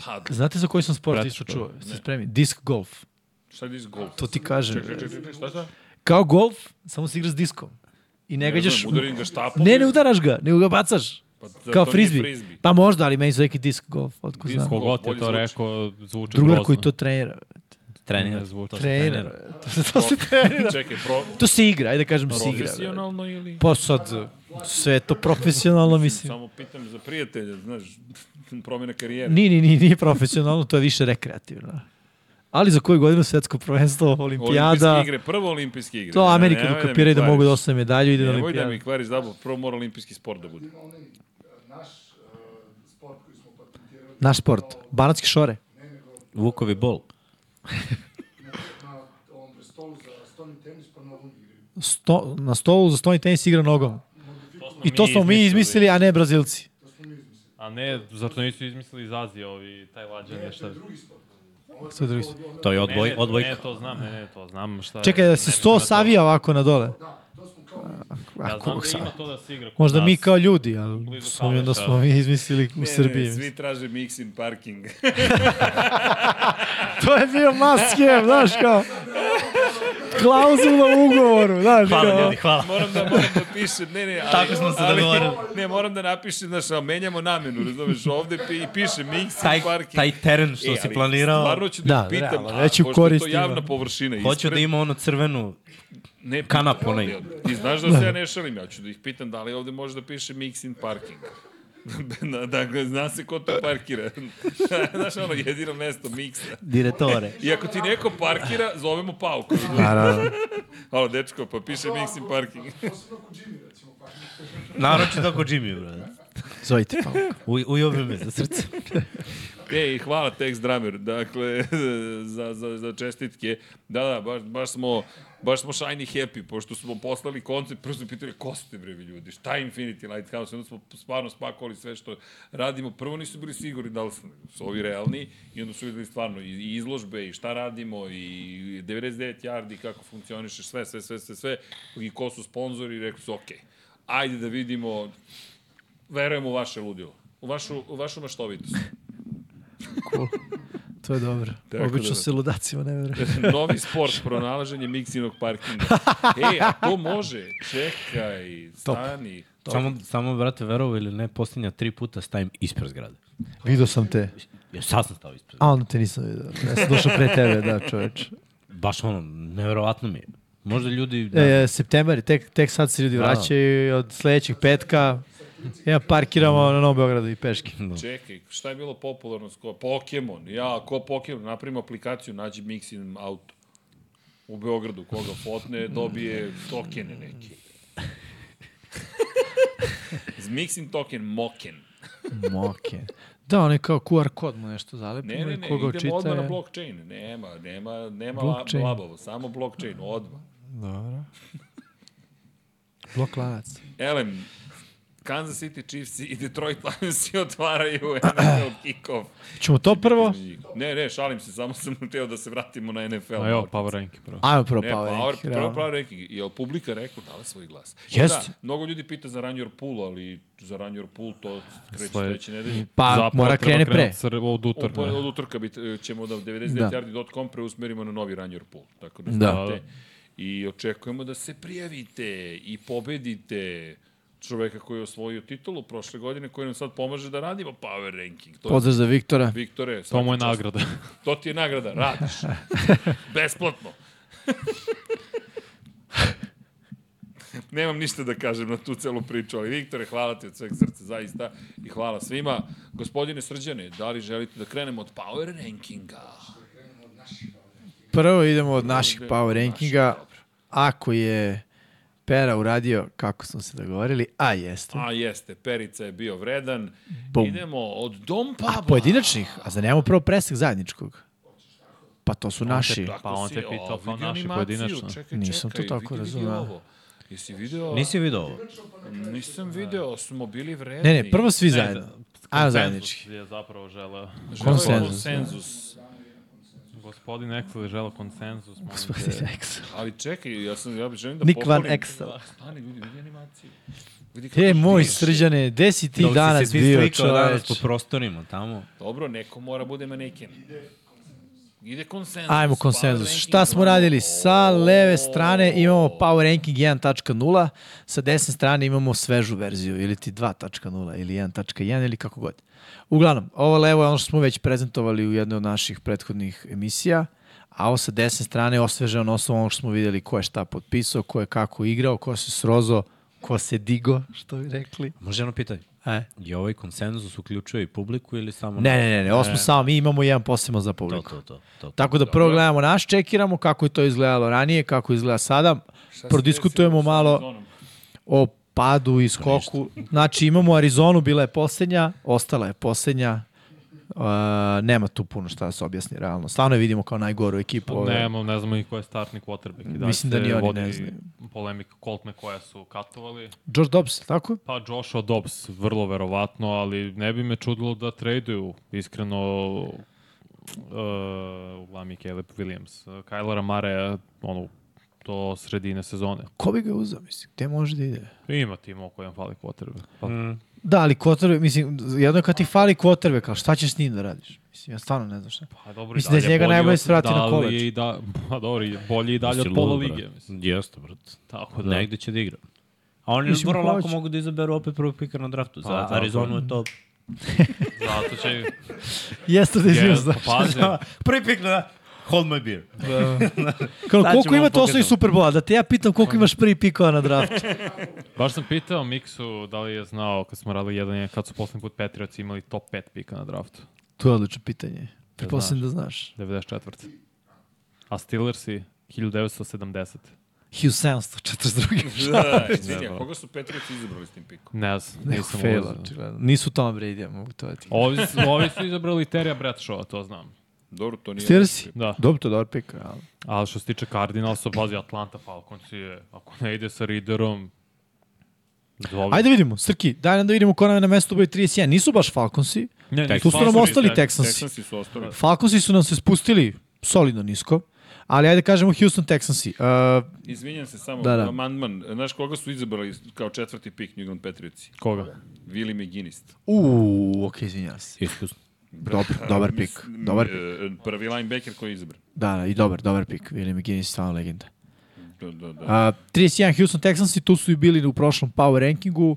S1: padl.
S2: Znate za koji sam sport
S4: Brate,
S2: isto
S4: to-
S2: čuo? Ste spremni? Disc golf.
S1: Šta je iz golf?
S2: To ti kažem.
S1: Čekaj, čekaj, čekaj, šta šta?
S2: Kao golf, samo se igra s diskom. I ne,
S1: Ne
S2: gađaš...
S1: znam, udarim ga štapom.
S2: Ne, ne udaraš ga, nego ga bacaš.
S1: Pa zar
S2: kao
S1: to nije
S2: frizbi.
S1: frizbi?
S2: Pa možda, ali meni su neki disc golf, otko
S1: Disc
S2: znam.
S1: golf.
S4: Kogod je
S1: Bolje
S4: to
S1: zvuči.
S4: rekao, zvuči
S2: Drugar
S4: grozno.
S2: koji to trenira.
S3: Trenira.
S4: Ne zvuči.
S3: To se
S2: Trenira. To se, to se trenira.
S1: Čekaj, pro,
S2: To se igra, ajde da kažem se igra.
S1: profesionalno ili?
S2: Pa sad, sve je to profesionalno, mislim.
S1: Samo pitam za prijatelja, znaš, promjena karijere.
S2: Ni, ni, ni, nije profesionalno, to je više rekreativno. Ali za koju godinu svetsko prvenstvo,
S1: Olimpijske
S2: olimpijada,
S1: igre, prvo olimpijske igre.
S2: to
S1: Ne,
S2: Amerika
S1: nemoj mi
S2: dokapiraju da, mogu da
S1: kvariš.
S2: osvoje medalju i da na
S1: Nemoj da
S2: olimpijadu.
S1: mi kvariš zabav, prvo mora olimpijski sport da bude.
S2: Naš sport, banatski šore.
S3: Vukovi bol.
S2: Sto, na stolu za stolni tenis igra nogom. I to smo mi izmislili, a ne Brazilci.
S4: A ne, zato nisu izmislili iz Azije ovi taj lađan nešto.
S2: Što je drugi sport?
S3: To je
S4: Ne,
S3: odboj,
S4: ne,
S3: odbojka.
S4: Ne, to znam, ne, ne, to znam šta je.
S2: Čekaj, da se
S4: Ne,
S2: sto
S4: ne, to-
S2: savija ovako na dole.
S4: Ja
S2: Ako,
S4: znam da ima
S2: sa,
S4: to da se igra kod
S2: možda mi
S4: nas.
S2: kao ljudi, ali
S4: Blizu
S2: sumnjam da
S4: Kaleša.
S2: smo mi izmislili u
S1: Ne,
S2: Srbiji.
S1: Ne, svi traže mixing parking.
S2: To je bio maske, znaš kao... Klauzula u ugovoru, znaš
S3: Hvala
S2: kao...
S3: ljudi, hvala.
S1: moram da moram da pišem, ne, ne, ali,
S3: Tako smo se dogovorili.
S1: Ne, moram da napišem, znaš, ali menjamo namenu, razumeš, ovde pi, i piše mix
S3: Taj,
S1: i parking.
S3: taj teren što
S1: E,
S3: si
S1: ali
S3: planirao,
S1: Stvarno ću da,
S2: Da,
S1: ih pitam,
S2: realno,
S1: a,
S2: već ju
S1: pošto je to
S2: koristim,
S1: javna
S2: da.
S1: površina.
S3: hoću
S1: ispred,
S3: da ima ono crvenu
S1: ne, pitam,
S3: kanap onaj.
S1: ali, Ti znaš da se ja ne šalim, ja ću da ih pitam da li ovde može da piše mix in parking. da, da, zna se ko to parkira. znaš, ono, jedino mesto miksa.
S3: direktore.
S1: I ako ti neko parkira, zovemo pauku.
S2: Naravno.
S1: Halo, dečko, pa piše mix in parking.
S3: Naročito ako Jimmy, brate.
S2: Zovite pa.
S3: Uj, ujobi me za srce.
S1: Ej, E, hvala Tex Drummer, dakle, za, za, za čestitke. Da, da, baš, baš smo baš smo shiny happy, pošto smo poslali koncept, prvo smo pitali, ko ste brevi ljudi, šta je Infinity Lighthouse, onda smo stvarno spakovali sve što radimo. Prvo nisu bili sigurni da li su, su ovi realni i onda su videli stvarno i, i izložbe i šta radimo i 99 yardi, kako funkcioniše, sve, sve, sve, sve, sve, i ko su sponzori i rekli su, okej, ajde da vidimo, verujemo u vaše ludilo, u vašu, u vašu maštovitost.
S2: to je dobro.
S1: Tako
S2: Obično
S1: da-
S2: se ludacima ne veruje.
S1: Novi sport, pronalaženje miksinog parkinga. E, a to može. Čekaj, stani.
S3: Samo, samo, brate, verovo ili ne, posljednja tri puta stavim ispred zgrade.
S2: Vidio sam te.
S3: Ja sad sam stao ispred.
S2: A onda te nisam vidio. Ja sam došao pre tebe, da čoveč.
S3: Baš ono, neverovatno mi je. Možda ljudi... da, ne
S2: E, septembar, je, tek, tek sad se ljudi
S3: Da.
S2: vraćaju i od sledećeg petka. Ja parkiramo na Novom Beogradu i peški.
S1: Čekaj, šta je bilo popularno? Sko? Pokemon. Ja, ko Pokemon? Napravim aplikaciju, nađi Mixin auto. U Beogradu, koga fotne, dobije tokene neke. Mixin token, moken.
S2: Moke. Da, on je kao QR kod mu nešto zalepimo
S1: Ne, ne,
S2: i
S1: ne,
S2: koga
S1: idemo
S2: čita
S1: odmah na
S2: je-
S1: blockchain. Nema, nema, nema
S2: Blockchain.
S1: blockchain. labovo, samo blockchain, odmah.
S2: Dobro. Blok lanac.
S1: Elem, Kansas City Chiefs i Detroit Lions i otvaraju NFL kick-off.
S2: Ćemo to prvo?
S1: između njih. Ne, ne, šalim se, samo sam hteo da se vratimo na NFL.
S4: A evo, Power Ranking, bro.
S2: Ajmo prvo
S1: Ne,
S2: Power
S1: Power,
S2: Ranking.
S1: prvo pa-
S2: pa realno.
S1: Power Ranking. Jel publika rekla dala svoj glas?
S2: Jeste.
S1: Da, mnogo ljudi pita za Run Your Pool, ali za Run Your Pool to kreće
S4: Sled-
S1: sledeće nedelje.
S2: Pa mora krene pre.
S4: Od utorka.
S1: Od, od utorka bit, ćemo da 99yardi.com preusmerimo na novi Run Your Pool. Tako da,
S2: Da.
S1: znate. I očekujemo da se prijavite i pobedite čoveka koji je osvojio titulu prošle godine, koji nam sad pomaže da radimo Power Ranking. To je
S2: Pozdrav za Viktora.
S1: Viktore, svaka
S4: To mu je
S1: čast.
S4: nagrada.
S1: To ti je nagrada, radiš. Besplatno. Nemam ništa da kažem na tu celu priču, ali Viktore, hvala ti od sveg srca, zaista, i hvala svima. Gospodine Srđane, da li želite da krenemo od Power Rankinga?
S2: Prvo idemo od naših
S1: idemo
S2: Power
S1: od naših,
S2: Rankinga.
S1: dobro.
S2: Ako je Pera uradio, kako smo se dogovorili, a jeste.
S1: A jeste, Perica je bio vredan.
S2: Bum.
S1: Idemo od Dom
S2: A
S1: Pabla.
S2: pojedinačnih? A za nemamo prvo presek zajedničkog? Pa to su naši.
S1: Tako
S4: Pa on
S1: si,
S4: te pitao
S1: o,
S4: kao
S1: vidi
S4: naše
S1: animaciju,
S4: pojedinačno.
S1: Čekaj,
S2: Nisam to
S1: čekaj,
S2: tako
S1: vidi, vidi
S2: razumeo.
S1: ovo. Jesi video?
S3: Nisi vidio ovo?
S1: Nisam video, smo bili vredni.
S2: Ne, ne, prvo svi zajedno. Ajmo zajednički.
S4: Konsenzus je zapravo želeo.
S1: Želeo je
S2: Konsenzus, da.
S1: konsenzus.
S4: Gospodin Excel je želeo konsenzus. molim te.
S2: Gospodin Excel.
S1: Ali čekaj, ja sam ja bih želim da
S2: Nik van
S1: pohvalim-
S2: Excel.
S1: Stani, vidi, vidi animaciju. Vidi kako
S2: E, moj
S1: ždiš.
S2: srđane, gde si ti
S3: Dok si se
S2: danas
S3: ti
S2: bio
S3: slikao danas
S2: čoveč?
S3: po prostorima tamo.
S1: Dobro, neko mora bude maneken. Ide konsenzus.
S2: Ajmo
S1: Power
S2: konsenzus.
S1: ranking,
S2: Šta smo
S1: imamo-
S2: radili? Sa leve strane
S1: O,
S2: imamo Power Ranking 1.0, sa desne strane imamo svežu verziju, ili ti 2.0, ili 1.1, ili kako god. Uglavnom, ovo levo je ono što smo već prezentovali u jednoj od naših prethodnih emisija, a ovo sa desne strane je osveženo na osnovu onog što smo videli ko je šta potpisao, ko je kako igrao, ko se srozo, ko se digo, što bi rekli.
S3: Može jedno pitanje.
S2: E.
S3: Je ovaj konsenzus uključio i publiku ili samo...
S2: Ne, ne, ne, ne, ovo smo samo, mi imamo jedan posebno za
S3: To,
S2: publiku.
S3: to, to. to.
S2: Tako da prvo gledamo naš, čekiramo kako je to izgledalo ranije, kako izgleda sada,
S1: šta se
S2: prodiskutujemo
S1: desilo sa
S2: malo
S1: Arizonom?
S2: o padu i skoku. Znači imamo Arizonu, bila je poslednja, ostala je poslednja, Uh, nema tu puno šta da se objasni realno. Stvarno je vidimo kao najgoru ekipu. ove-
S4: Nemamo, Pa ne znamo ni ko je startni quarterback. I dalje
S2: Mislim da
S4: se
S2: ni oni
S4: vodi
S2: ne znaju.
S4: Polemika Colt koja su katovali.
S2: George Dobbs, tako?
S4: Pa Joshua Dobbs, vrlo verovatno, ali ne bi me čudilo da traduju, iskreno, uh, uglavnom i Caleb Williams. Kylera Mare, ono, do sredine sezone.
S2: Ko bi ga uzao, mislim? Gde može da ide?
S4: Ima timo kojem fali quarterback. Pa, mm.
S2: Da, ali quarterback, mislim, jedno je kad ti fali quarterback, kao šta ćeš s njim da radiš? Mislim, ja stvarno ne znam šta.
S4: pa dobro,
S2: Mislim da je
S4: dalje
S2: njega
S4: bolji
S2: najbolje
S4: od-
S2: se vrati na
S4: dalje
S2: koleđ.
S4: i Da, pa dobro, i bolji i dalje
S3: Si
S4: od pola
S3: lud,
S4: lige.
S3: brate.
S4: Mislim.
S3: Jeste, brat.
S4: Tako da.
S3: Da. Negde će da igra. A oni
S2: Mislim,
S3: Mislim, vrlo lako
S2: hoće.
S3: mogu da izaberu opet prvog pika na draftu. Za
S4: tako.
S3: Arizonu je to...
S4: Zato će...
S2: Jeste da izvijem,
S4: Jeste,
S3: pa
S2: znaš.
S4: pazi.
S3: Prvi pik na... Hold my beer.
S2: Kao,
S3: Sad
S2: koliko
S3: ćemo
S2: imate
S3: pokazati.
S2: osnovi Superbola? Da te ja pitam koliko imaš prvi pikova na draftu.
S4: Baš sam pitao Miksu da li je znao kad smo radili jedan jedan, kad su poslednji put Patriots imali top 5 pika na draftu.
S2: To je odlično pitanje. Pretpostavljam da znaš.
S4: 94. A Steelersi 1970.
S2: 1742.
S1: Da, izvini, a koga su Patriots izabrali s tim pikom?
S4: Ne znam,
S2: Neko
S4: nisam
S2: fail,
S4: ulazio.
S2: očigledno. Nisu Tom Brady, ja mogu to da ti.
S4: Ovi, su- ovi su izabrali Terija Bradshaw, to znam.
S1: Dobro, to nije...
S2: Steelers?
S4: Da.
S2: Dobro, to je dobar pik. realno.
S4: Ali što se tiče Cardinalsa, bazi Atlanta Falcons je, ako ne ide sa Riderom, Dobre.
S2: Ajde vidimo, Srki, daj nam da vidimo ko nam je na mestu broj 31. Nisu baš Falconsi.
S4: ne, da,
S2: Tu su nam
S4: Falcons-
S2: ostali
S4: Tex-
S2: Texansi.
S1: Texansi su
S2: Da,
S1: ostali.
S2: Falconsi su nam se spustili solidno nisko. Ali ajde kažemo Houston Texansi. Uh,
S1: Izvinjam se samo,
S2: Da,
S1: da,
S2: da.
S1: da. amandman. Znaš koga su izabrali kao četvrti pik New England Patriotsi?
S4: Koga?
S1: Willi McGinnis.
S2: u, ok, izvinjam se.
S3: Iskusno.
S2: Dobar, dobar pik.
S1: Mislim,
S2: Dobar,
S1: e, Prvi linebacker koji je izabran.
S2: da, da, i dobar, dobar pik. Willie McGinnis je stvarno legenda.
S1: Da, da, da.
S2: A, 31 Houston Texansi, tu su i bili u prošlom power rankingu.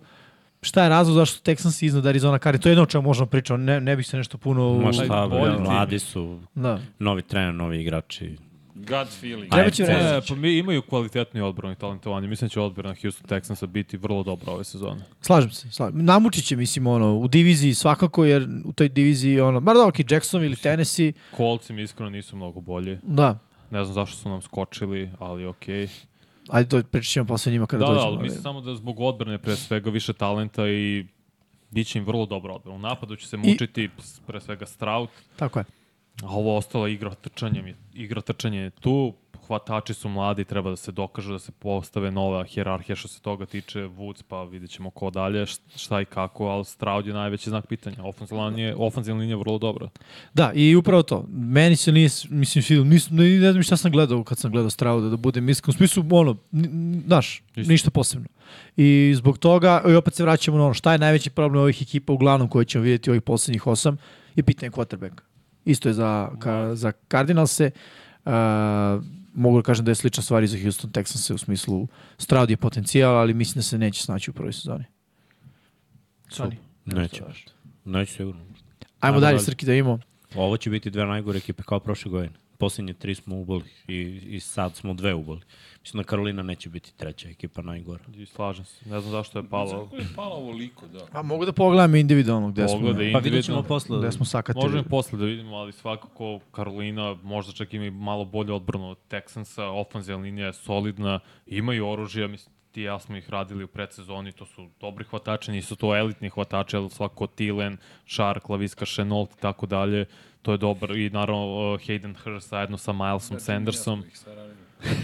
S2: Šta je razlog zašto su Texansi iznad Arizona Cardinals? To je jedno o čemu možemo pričati, ne, ne bih se nešto puno... u-
S3: Ma šta, bre,
S4: bolji tim.
S3: mladi su,
S2: Da.
S3: novi trener, novi igrači.
S1: Gut feeling.
S2: Treba
S3: Ajde.
S2: će
S3: AFC.
S2: vreme.
S4: E, pa mi imaju kvalitetni odbranu i talentovanje. Mislim da će odbrana Houston Texansa biti vrlo dobra ove sezone.
S2: Slažem se, slažem. Namučit će, mislim, ono, u diviziji svakako, jer u toj diviziji, ono, bar dobro, ok, Jackson ili Tennessee,
S4: Kolci mi iskreno nisu mnogo bolji.
S2: da,
S4: Ne znam zašto su nam skočili, ali okej.
S2: ajde, to pričat ćemo posle njima kada
S4: Da, da,
S2: dođemo.
S4: ali
S2: ali-
S4: mislim samo da zbog odbrane pre svega više talenta i bit će im vrlo dobra odbrana. U napadu će se mučiti s- pre svega Stroud,
S2: Tako je.
S4: a ovo ostalo igra trčanjem je, igra trčanje je tu, hvatači su mladi, treba da se dokažu, da se postave nova hjerarhija što se toga tiče, Woods, pa vidjet ćemo ko dalje, št- šta i kako, ali Stroud je najveći znak pitanja. Ofenzivna linija, ofenzivna linija je vrlo dobra.
S2: Da, i upravo to. Meni se nije, mislim, film, nis, ne, ne znam šta sam gledao kad sam gledao Strauda, da budem iskren. U smislu, ono, n- n- znaš,
S4: Isto.
S2: ništa posebno. I zbog toga, i opet se vraćamo na ono, šta je najveći problem ovih ekipa, uglavnom koje ćemo vidjeti ovih poslednjih osam, je pitanje quarterbacka. Isto je za, ka, za Cardinalse. Uh, mogu da kažem da je slična stvar i za Houston Texans u smislu Stroud je potencijal, ali mislim da se neće snaći u prvoj sezoni. Sony.
S3: Neće. Neće sigurno.
S2: Ajmo
S3: Ajmo
S2: dalje,
S3: dalje.
S2: Srki, da imamo.
S3: Ovo će biti dve najgore ekipe kao prošle godine. Poslednje tri smo uboli i, i sad smo dve uboli. Mislim da Karolina neće biti treća ekipa najgora.
S4: I slažem se, ne znam zašto je palo.
S1: Kako je palo ovoliko, da.
S2: A mogu da pogledam individualno gde smo. da.
S3: Pa
S4: Pogleda
S3: vidjet ćemo
S4: individualno.
S3: posle.
S2: Gde smo sakatili.
S4: Možemo i posle da vidimo, ali svakako Karolina možda čak ima i malo bolje odbranu od Texansa, ofenzivna linija je solidna, imaju oružja, mislim, ti i ja smo ih radili u predsezoni, to su dobri hvatači, nisu to elitni hvatači, ali svako Tilen, Shark, Laviska, Chenault i tako dalje, to je dobro i naravno uh, Hayden Hurst zajedno sa Milesom Sandersom,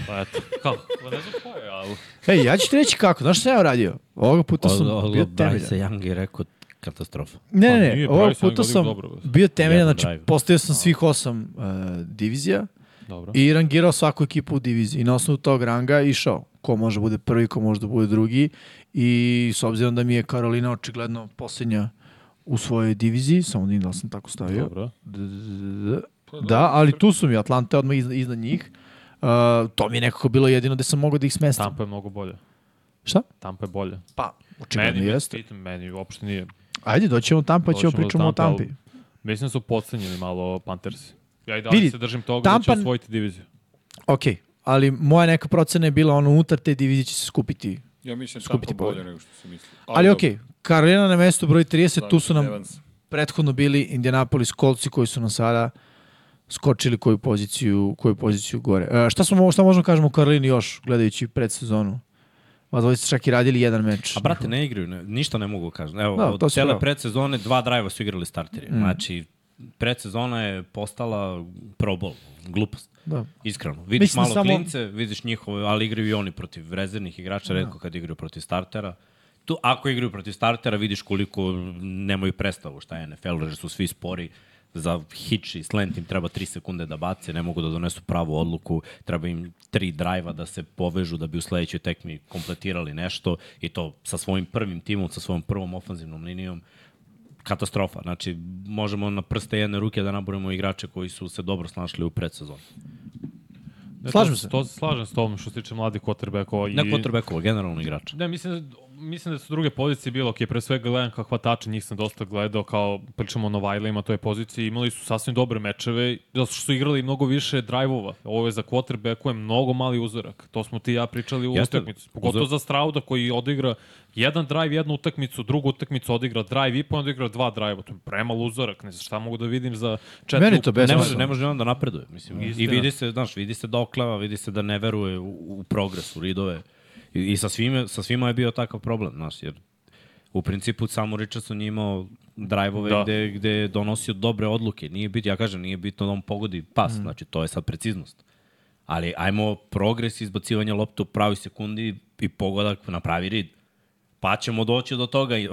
S4: pa eto, kako, pa ne znam ko je, ali
S2: Ej, ja ću ti reći kako, znaš šta ja uradio? Ovoga puta sam
S3: Ovo
S2: bio
S3: Bryce
S2: temeljan.
S3: Young je rekao katastrofa.
S2: Ne, ne,
S4: Pa
S2: ne,
S4: nije,
S2: ovoga
S4: Bryce Young
S2: puta
S4: je
S2: sam
S4: dobro, da brate.
S2: bio temeljan,
S3: Jedan
S2: znači
S3: drive.
S2: postavio sam svih osam uh, divizija
S4: dobro.
S2: i rangirao svaku ekipu u diviziji. I na osnovu tog ranga išao ko može da bude prvi, ko može da bude drugi i s obzirom da mi je Karolina očigledno posljednja u svojoj diviziji, samo da vidim da li sam tako stavio.
S4: Dobro.
S2: D- d- d- Da, ali tu su mi Atlanta odmah iznad, iznad njih. Uh, to mi je nekako bilo jedino gde sam mogao da ih smestim.
S4: Tampa je mnogo bolje.
S2: Šta?
S4: Tampa je bolje.
S2: Pa, očigledno
S4: meni,
S2: jeste.
S4: Pitam, meni uopšte nije.
S2: Ajde, doćemo Tampa, ćemo
S4: Doćemo do
S2: pričamo o
S4: Tampa, ali
S2: Tampi.
S4: Mislim da su podcenjeni malo Panthersi. Ja i dalje
S2: Vidi,
S4: se držim toga da
S2: Tampa-
S4: će osvojiti diviziju.
S2: Ok, ali moja neka procena je bila ono unutar te divizije će se skupiti.
S1: Ja mislim da
S2: Skupiti
S1: Tampa bolje
S2: poen.
S1: nego što sam mislio.
S2: Ali ok,
S1: dobro,
S2: Karolina na mestu broj 30, tu su nam
S1: Da, Evans.
S2: prethodno bili Indianapolis Coltsi koji su nam sada skočili koju poziciju, koju poziciju gore. E, šta, smo, šta možemo kažemo o Karolini još, gledajući predsezonu? Vas dvojice ste čak i radili jedan meč.
S3: A brate, ne igraju, ne, ništa ne mogu kažem. Evo,
S2: Da,
S3: da,
S2: to
S3: od
S2: si
S3: cele
S2: pravo.
S3: predsezone dva drajva su igrali starteri. Mm. Znači, predsezona je postala pro bowl, glupost.
S2: Da.
S3: Iskreno. Vidiš
S2: Mislim
S3: Mislim malo
S2: samo-
S3: samo... klince, vidiš njihove, ali igraju i oni protiv rezervnih igrača,
S2: Da.
S3: redko kad igraju protiv startera. Tu, ako igraju protiv startera, vidiš koliko nemaju predstavu šta je NFL, jer da su svi spori za hitch i slant im treba 3 sekunde da bace, ne mogu da donesu pravu odluku, treba im tri drajva da se povežu da bi u sledećoj tekmi kompletirali nešto i to sa svojim prvim timom, sa svojom prvom ofanzivnom linijom katastrofa. Znači, možemo na prste jedne ruke da naborimo igrače koji su se dobro snašli u predsezoni.
S4: Ne,
S2: Slažem
S4: to,
S2: se.
S4: To, slažem s tom što se tiče mladih quarterbackova.
S3: Ne
S4: i-
S3: quarterbackova, generalno igrača.
S4: Ne, mislim da, mislim da su druge pozicije bilo, ok, pre svega gledam kao hvatače, njih sam dosta gledao, kao pričamo o Novajlima, to je pozicije, imali su sasvim dobre mečeve, zato što su igrali mnogo više drajvova. Ovo je za quarterbacku je mnogo mali uzorak, to smo ti i ja pričali u
S3: Jeste.
S4: utakmicu. Pogotovo za Strauda koji odigra jedan drive, jednu utakmicu, drugu utakmicu odigra drive i pa onda igra dva drive, to je premal uzorak, ne znam šta mogu da vidim za četiri.
S2: Meni je to bez-
S3: Ne
S2: Bez
S3: može,
S2: veze.
S3: ne može on da napreduje. Mislim. I
S4: Istina.
S3: vidi se, znaš, vidi se da oklava, vidi se da ne veruje u, u progres, u ridove. I, i sa, svime, sa svima je bio takav problem, znaš, jer u principu samo Richardson je imao drajvove da.
S4: Da.
S3: gde, gde je donosio dobre odluke. Nije bitno, ja kažem, nije bitno da on pogodi pas, mm. znači to je sad preciznost. Ali ajmo progres izbacivanja lopte u pravi sekundi i pogodak na pravi rid. Pa ćemo doći do toga i, e,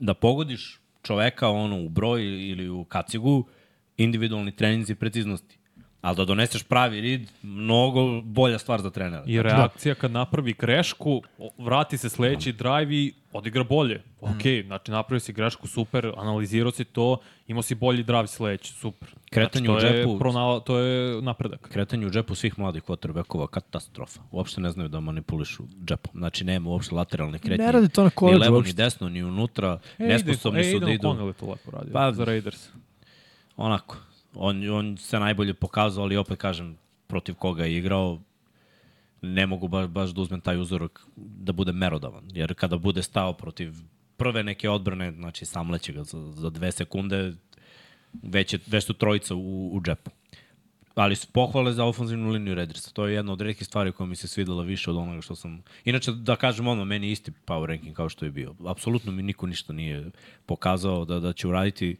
S3: da pogodiš čoveka ono u broj ili u kacigu individualni treninzi preciznosti. Ali da doneseš pravi rid, mnogo bolja stvar za trenera.
S4: I reakcija kad napravi grešku, o- vrati se sledeći
S3: Da.
S4: drive i odigra bolje.
S3: Mhm.
S4: Ok, znači napravio si grešku, super, analizirao si to, imao si bolji drive sledeći, super.
S3: Kretanje
S4: znači, to
S3: u
S4: Je
S3: džepu. E,
S4: pronala, to je napredak.
S3: Kretanje u džepu svih mladih quarterbackova katastrofa. Uopšte ne znaju da manipulišu džepom. Znači nema uopšte lateralne kretnje.
S2: Ne radi to na
S3: Ni
S2: koledžu
S3: levo, ni
S2: uopšte.
S3: desno, ni unutra. E, Nesposobni su da idu.
S4: Connell je to lepo radio.
S3: Pa-
S4: Pa, za Raiders.
S3: Onako. On, on se najbolje pokazao, ali opet kažem, protiv koga je igrao, ne mogu baš, baš da uzmem taj uzorak da bude merodavan. Jer kada bude stao protiv prve neke odbrane, znači samleće ga za, za dve sekunde, već, je, već su trojica u, u džepu. Ali su pohvale za ofenzivnu liniju Raidersa. To je jedna od redkih stvari koja mi se svidela više od onoga što sam... Inače, da kažem ono, meni je isti power ranking kao što je bio. Apsolutno mi niko ništa nije pokazao da, da će uraditi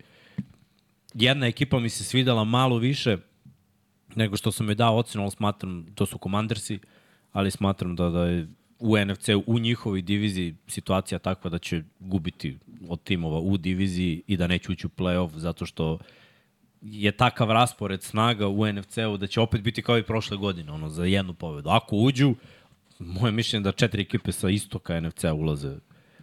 S3: jedna ekipa mi se svidela malo više nego što sam joj dao ocenu, ali smatram, to su komandersi, ali smatram da, da je u NFC, u njihovoj diviziji situacija takva da će gubiti od timova u diviziji i da neće ući u play-off zato što je takav raspored snaga u NFC-u da će opet biti kao i prošle godine, ono, za jednu pobedu. Ako uđu, moje mišljenje je da četiri ekipe sa istoka NFC-a ulaze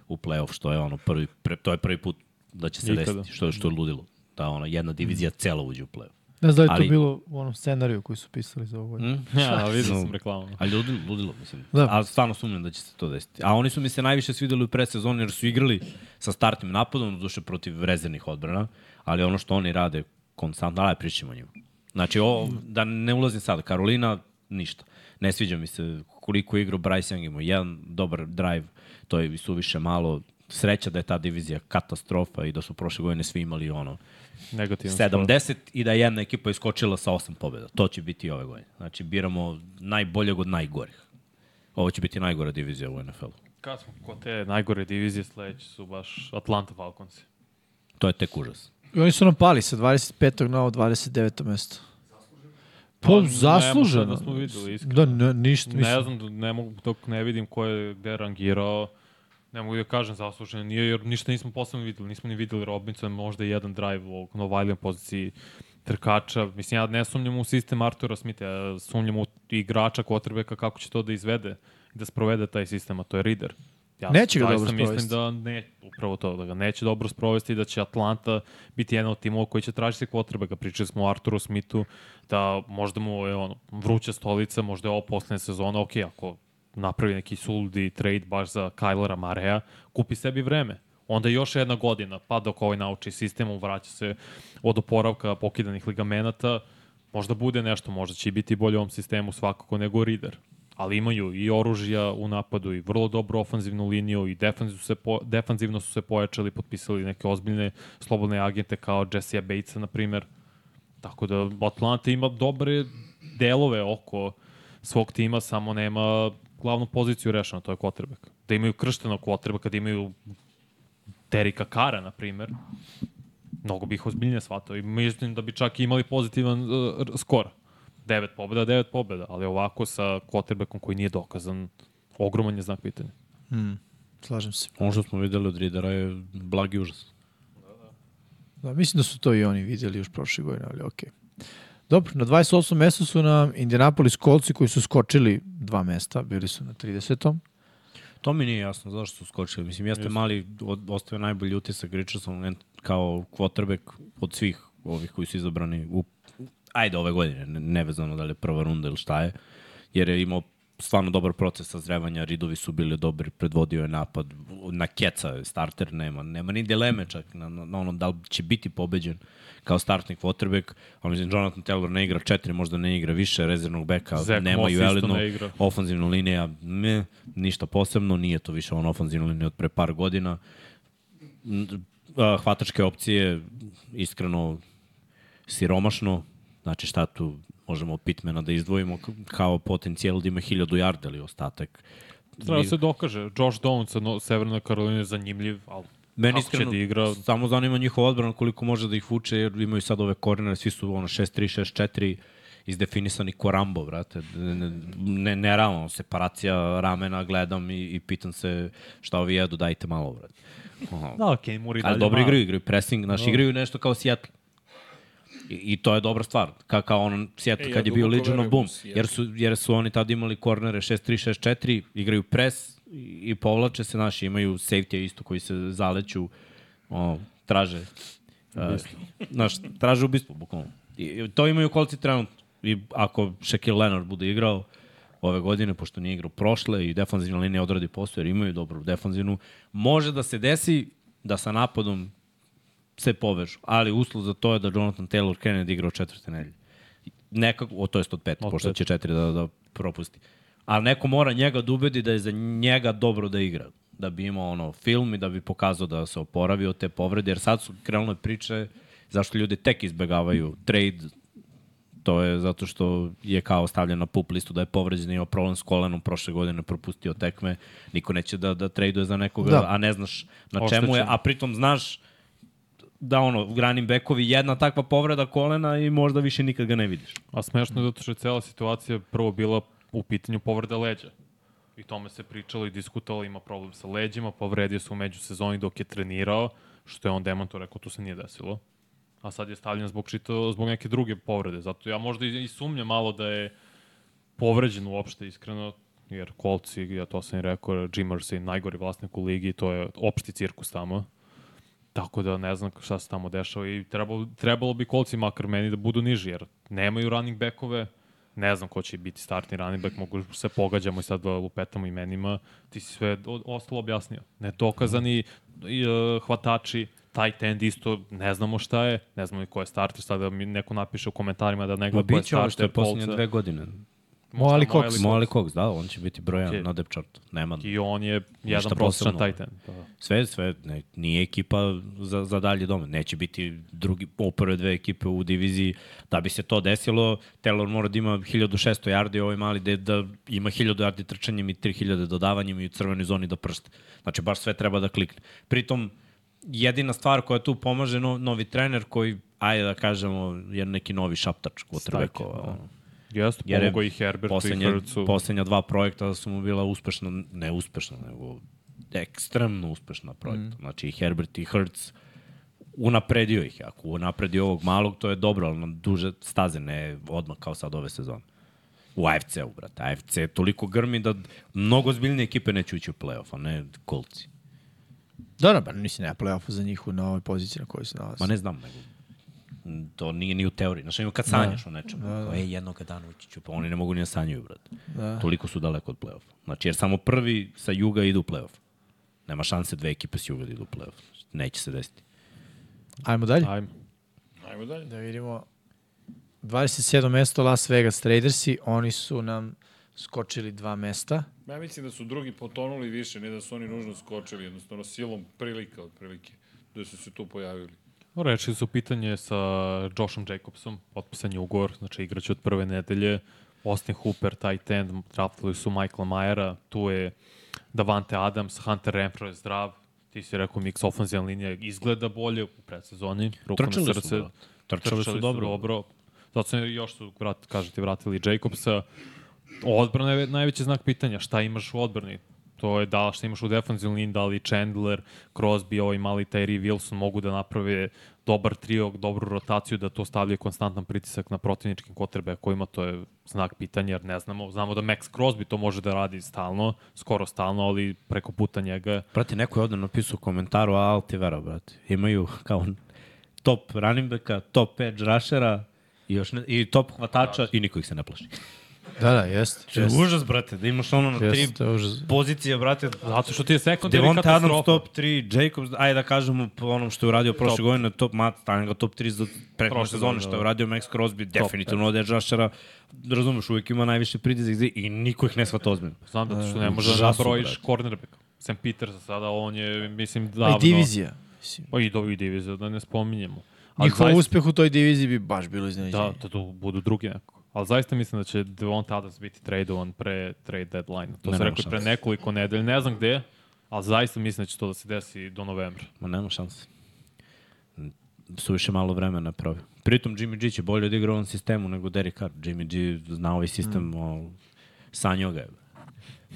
S3: u play-off, što je ono prvi, pre, to je prvi put da će se
S4: Ikada.
S3: desiti, što je, što je ludilo. Da ono, jedna divizija cela uđe u play-off.
S2: Ne znam da je
S3: Ali-
S2: to bilo u onom scenariju koji su pisali za ovo. Mm?
S4: Ja, vidio
S3: No.
S4: sam reklamu.
S3: A ludilo, ludilo mislim. Da.
S2: Da.
S3: A stvarno sumnjam da će se to desiti. A oni su mi se najviše svideli u predsezoni jer su igrali sa startnim napadom, duše protiv rezervnih odbrana, ali ono što oni rade konstantno, ali pričamo o njima. Znači, o, da ne ulazim sad, Karolina, ništa. Ne sviđa mi se koliko je igrao Bryce Young imao jedan dobar drive, to je suviše malo. Sreća da je ta divizija katastrofa i da su prošle godine svi imali ono
S4: Negativno.
S3: 70 i da je jedna ekipa iskočila sa 8 pobjeda. To će biti i ove godine. Znači, biramo najboljeg od najgorih. Ovo će biti najgora divizija u NFL-u.
S4: Kad smo kod te najgore divizije, sledeći su baš Atlanta Falconsi.
S3: To je tek užas.
S2: I oni su nam pali sa 25. na ovo 29. mesto. Pa,
S4: nema
S2: zasluženo.
S4: šta da smo videli,
S2: Da,
S4: iskreno.
S2: ne, ništa, mislim.
S4: Ne znam, ne mogu, dok ne vidim ko je gde je rangirao, ne mogu da kažem zasluženo nije, jer ništa nismo posebno videli. Nismo ni videli Robinson, možda jedan drive u Novajlijom poziciji trkača. Mislim, ja ne sumnjam u sistem Artura Smitha, ja sumnjam u igrača Kotrbeka kako će to da izvede i da sprovede taj sistem, a to je Reader. Ja
S2: Neće ga
S4: zaista
S2: dobro
S4: mislim da ne, upravo to, da ga neće dobro sprovesti i da će Atlanta biti jedan od timova koji će tražiti kvotrbeka. Pričali smo o Arturu Smithu da možda mu je ono, vruća stolica, možda je ovo poslednja sezona, ok, ako napravi neki suludi trade baš za Kylera Mareja, kupi sebi vreme. Onda još jedna godina, pa dok ovaj nauči sistemu, vraća se od oporavka pokidanih ligamenata, možda bude nešto, možda će i biti bolje u ovom sistemu svakako nego Reader. Ali imaju i oružja u napadu i vrlo dobru ofanzivnu liniju i defanzivno su se, po, defanzivno su se pojačali, potpisali neke ozbiljne slobodne agente kao Jesse'a Batesa, na primer. Tako da Atlanta ima dobre delove oko svog tima, samo nema glavnu poziciju rešeno, to je quarterback. Da imaju krštenog quarterbacka, da imaju Derika Kara, na primer, mnogo bih ozbiljnije shvatao i mislim da bi čak imali pozitivan uh, r- skor. 9 pobjeda, 9 pobjeda, ali ovako sa quarterbackom koji nije dokazan, ogroman je znak pitanja.
S2: Slažem se.
S3: Ono što smo videli od Ridera je blagi užas.
S2: Da, mislim da su to i oni vidjeli još prošle godine, ali okej. Dobro, na 28. mestu su nam Indianapolis Coltsi koji su skočili dva mesta, bili su na 30.
S3: To mi nije jasno zašto su skočili. Mislim, jeste mali, od, ostaje najbolji utisak Richardson en- kao quarterback od svih ovih koji su izabrani u, ajde ove godine, ne- nevezano da li je prva runda ili šta je, jer je imao stvarno dobar proces sazrevanja, ridovi su bili dobri, predvodio je napad, na keca je starter, nema, nema ni dileme čak na, na, na ono da li će biti pobeđen kao startni quarterback, ali mislim Jonathan Taylor ne igra četiri, možda ne igra više rezervnog beka,
S4: Zach
S3: nemaju
S4: Moss isto
S3: elitnu
S4: ne igra.
S3: ofanzivnu linija, ne, ništa posebno, nije to više on ofanzivna linija od pre par godina. N- a, Hvatačke opcije, iskreno, siromašno, znači šta tu možemo Pitmana da izdvojimo k- kao potencijal da ima 1000 jarda ili ostatak.
S4: Treba da se dokaže, Josh Downs sa no, Severnoj Karolini je zanimljiv, ali
S3: Meni
S4: kako će
S3: iskreno,
S4: da igra,
S3: samo zanima njihova odbrana koliko može da ih vuče, jer imaju sad ove kornere, svi su ono 6-3, 6-4, izdefinisani ko Rambo, brate. Ne, ne, ne, ne realno, separacija ramena, gledam i, i pitam se šta ovi jedu, dajte malo, brate. Ono,
S4: da, Kenny Moore i dalje
S3: Ali dobro
S4: ima-
S3: igraju, igraju pressing, znaš, igraju nešto kao Seattle. I, I to je dobra stvar, ka, kao on Seattle
S1: E, ja
S3: kad je bio
S1: duboko
S3: Legion of
S1: verujem
S3: Boom,
S1: u Seattle.
S3: jer su, jer su oni tad imali kornere 6-3, 6-4, igraju pres i, i povlače se, naši imaju safety isto koji se zaleću, o, traže, uh, znaš, traže ubistvo, bukvalno. I, I, to imaju kolci trenutno. I ako Shaquille Leonard bude igrao ove godine, pošto nije igrao prošle i defanzivna linija odradi posao, jer imaju dobru defanzivnu, može da se desi da sa napadom se povežu. Ali uslov za to je da Jonathan Taylor krene da igra od četvrte nedelje. Nekako, o, to jest od pet,
S4: Od
S3: pošto
S4: pet.
S3: će četiri da, da propusti. Ali neko mora njega da ubedi da je za njega dobro da igra. Da bi imao ono film i da bi pokazao da se oporavio od te povrede. Jer sad su krenule priče zašto ljudi tek izbegavaju trade. To je zato što je kao stavljen na pup listu da je povređen, imao problem s kolenom prošle godine, propustio tekme. Niko neće da, da traduje za nekoga, da.
S2: Da.
S3: a ne znaš na čemu je.
S4: Oštećen.
S3: A pritom znaš da ono, granim bekovi, jedna takva povreda kolena i možda više nikad ga ne vidiš.
S4: A smešno je zato što je cela situacija prvo bila u pitanju povrede leđa. I tome se pričalo i diskutovalo, ima problem sa leđima, povredio se u međusezoni dok je trenirao, što je on demanto rekao, to se nije desilo. A sad je stavljen zbog, čito, zbog neke druge povrede. Zato ja možda i, i sumnjam malo da je povređen uopšte, iskreno, jer kolci, ja to sam i rekao, Jimers je najgori vlasnik u ligi, to je opšti cirkus tamo. Tako da ne znam šta se tamo dešava i trebalo, trebalo bi kolci makar meni da budu niži, jer nemaju running backove, ne znam ko će biti startni running back, mogu se pogađamo i sad da lupetamo imenima, ti si sve o- ostalo objasnio. Nedokazani i, uh, hvatači, tight end isto, ne znamo šta je, ne znamo ni ko je starter, sad da mi neko napiše u komentarima da ne gleda ko je starter, kolca.
S3: godine.
S4: Možda
S2: Moali
S4: Moali
S2: Cox.
S4: Cox.
S3: Molly Cox, da, on će biti brojan
S4: Ok.
S3: na depth chartu. Nema.
S4: I on je jedan prosječan
S3: posebno.
S4: tight end. Da.
S3: Sve, sve, ne, nije ekipa za, za dalje dome. Neće biti drugi, o, prve dve ekipe u diviziji. Da bi se to desilo, Taylor mora da ima 1600 yardi, ovaj mali da, da ima 1000 yardi trčanjem i 3000 dodavanjem i u crvenoj zoni da pršte. Znači, baš sve treba da klikne. Pritom, jedina stvar koja tu pomaže no, novi trener koji, ajde da kažemo, je neki novi šaptač
S4: Stajke,
S3: quarterbackova.
S4: da.
S3: Da.
S4: Jeste,
S3: Jer
S4: pomogao
S3: je
S4: i Herbertu i
S3: poslednje,
S4: Hercu.
S3: poslednja dva projekta su mu bila uspešna, ne uspešna, nego ekstremno uspešna projekta. Mm. Znači i Herbert i Hertz unapredio ih. je. Ako unapredio ovog malog, to je dobro, ali na duže staze, ne odmah kao sad ove sezone. U AFC-u, brate. AFC je toliko grmi da mnogo zbiljne ekipe neće ući u play-off, a ne kolci.
S2: Dobro, Da, ba, nisi nema play-offa za njih u- na ovoj poziciji na kojoj se nalazi.
S3: Ma ne znam, nego m, to nije ni u teoriji. Znaš, ono kad sanjaš o nečemu, da, da. ej, jednog dana ući ću, pa oni ne mogu ni da sanjaju, brate. Da. Toliko su daleko od play-offa. Znači, jer samo prvi sa juga idu u play-off. Nema šanse dve ekipe s juga da idu u play-off. Znači, Neće se desiti.
S2: Ajmo dalje.
S4: Ajme.
S1: Ajmo dalje.
S2: Da vidimo 27. mesto Las Vegas Tradersi, oni su nam skočili dva mesta.
S1: Ja mislim da su drugi potonuli više, ne da su oni nužno skočili, jednostavno silom prilika otprilike, da su se tu pojavili.
S4: No, Rešili su pitanje sa Joshom Jacobsom, otpisan je ugovor, znači igraće od prve nedelje. Austin Hooper, tight end, draftali su Michaela Mayera, tu je Davante Adams, Hunter Renfro je zdrav, ti si rekao mix ofenzijalna linija izgleda bolje u predsezoni, ruku
S3: Trčali
S4: na
S3: su,
S4: srce. da.
S3: brate. Trčali su dobro.
S4: dobro. Zato su još su, vrat, kažete, vratili Jacobsa. Odbrana je najveći znak pitanja, šta imaš u odbrani? To je da li šta imaš u defensivnoj liniji, da li Chandler, Crosby, ovaj mali Terry Wilson mogu da naprave dobar trio, dobru rotaciju, da to stavlja konstantan pritisak na protivničkim kotrbe kojima to je znak pitanja, jer ne znamo. Znamo da Max Crosby to može da radi stalno, skoro stalno, ali preko puta njega.
S3: Brate, neko je ovde napisao u komentaru, a Altivera, brate. Imaju kao top running backa, top edge rushera, i, još ne, i top hvatača i niko ih se ne plaši.
S2: Da, da, jeste.
S3: Yes. Užas, brate, da imaš ono na tri
S2: Jeste, užas.
S3: pozicije, brate,
S4: Zato što ti je sekundari
S3: Devonta Adams
S4: katastrofa.
S3: top 3, Jacobs, ajde da kažemo po onom što je uradio prošle godine, top mat, stavljam ga top 3 za prethodne
S4: Prošle
S3: sezone,
S4: godine,
S3: što
S4: da.
S3: je uradio Max Crosby, definitivno od edge rushera, razumeš, uvijek ima najviše pritisak za- i niko ih ne shvata ozbiljno.
S4: Znam da
S2: E,
S4: što ne možeš da
S3: užasu,
S4: nabrojiš
S3: brate.
S4: cornerbacka. Sam Petersa sada, on je, mislim,
S2: Pa
S4: davno...
S2: i divizija. Mislim,
S4: Pa i do i divizija, da ne spominjemo. Ali
S2: njihov
S4: zaista-
S2: uspeh u toj diviziji bi baš bilo iznenađenje.
S4: Da, da to budu drugi neko. Ali zaista mislim da će Devonta Adams biti tradovan pre trade deadline.
S3: Ne,
S4: To ne,
S3: nema
S4: se rekli
S2: da
S4: pre
S3: šanse.
S4: nekoliko nedelja, ne znam gde, ali zaista mislim da će to da se desi do novembra.
S3: Ma nema šanse. Suviše malo vremena pravi. Pritom Jimmy G će bolje odigra u ovom sistemu nego Derek Carr. Jimmy G zna ovaj sistem, mm. o, sanjao ga je.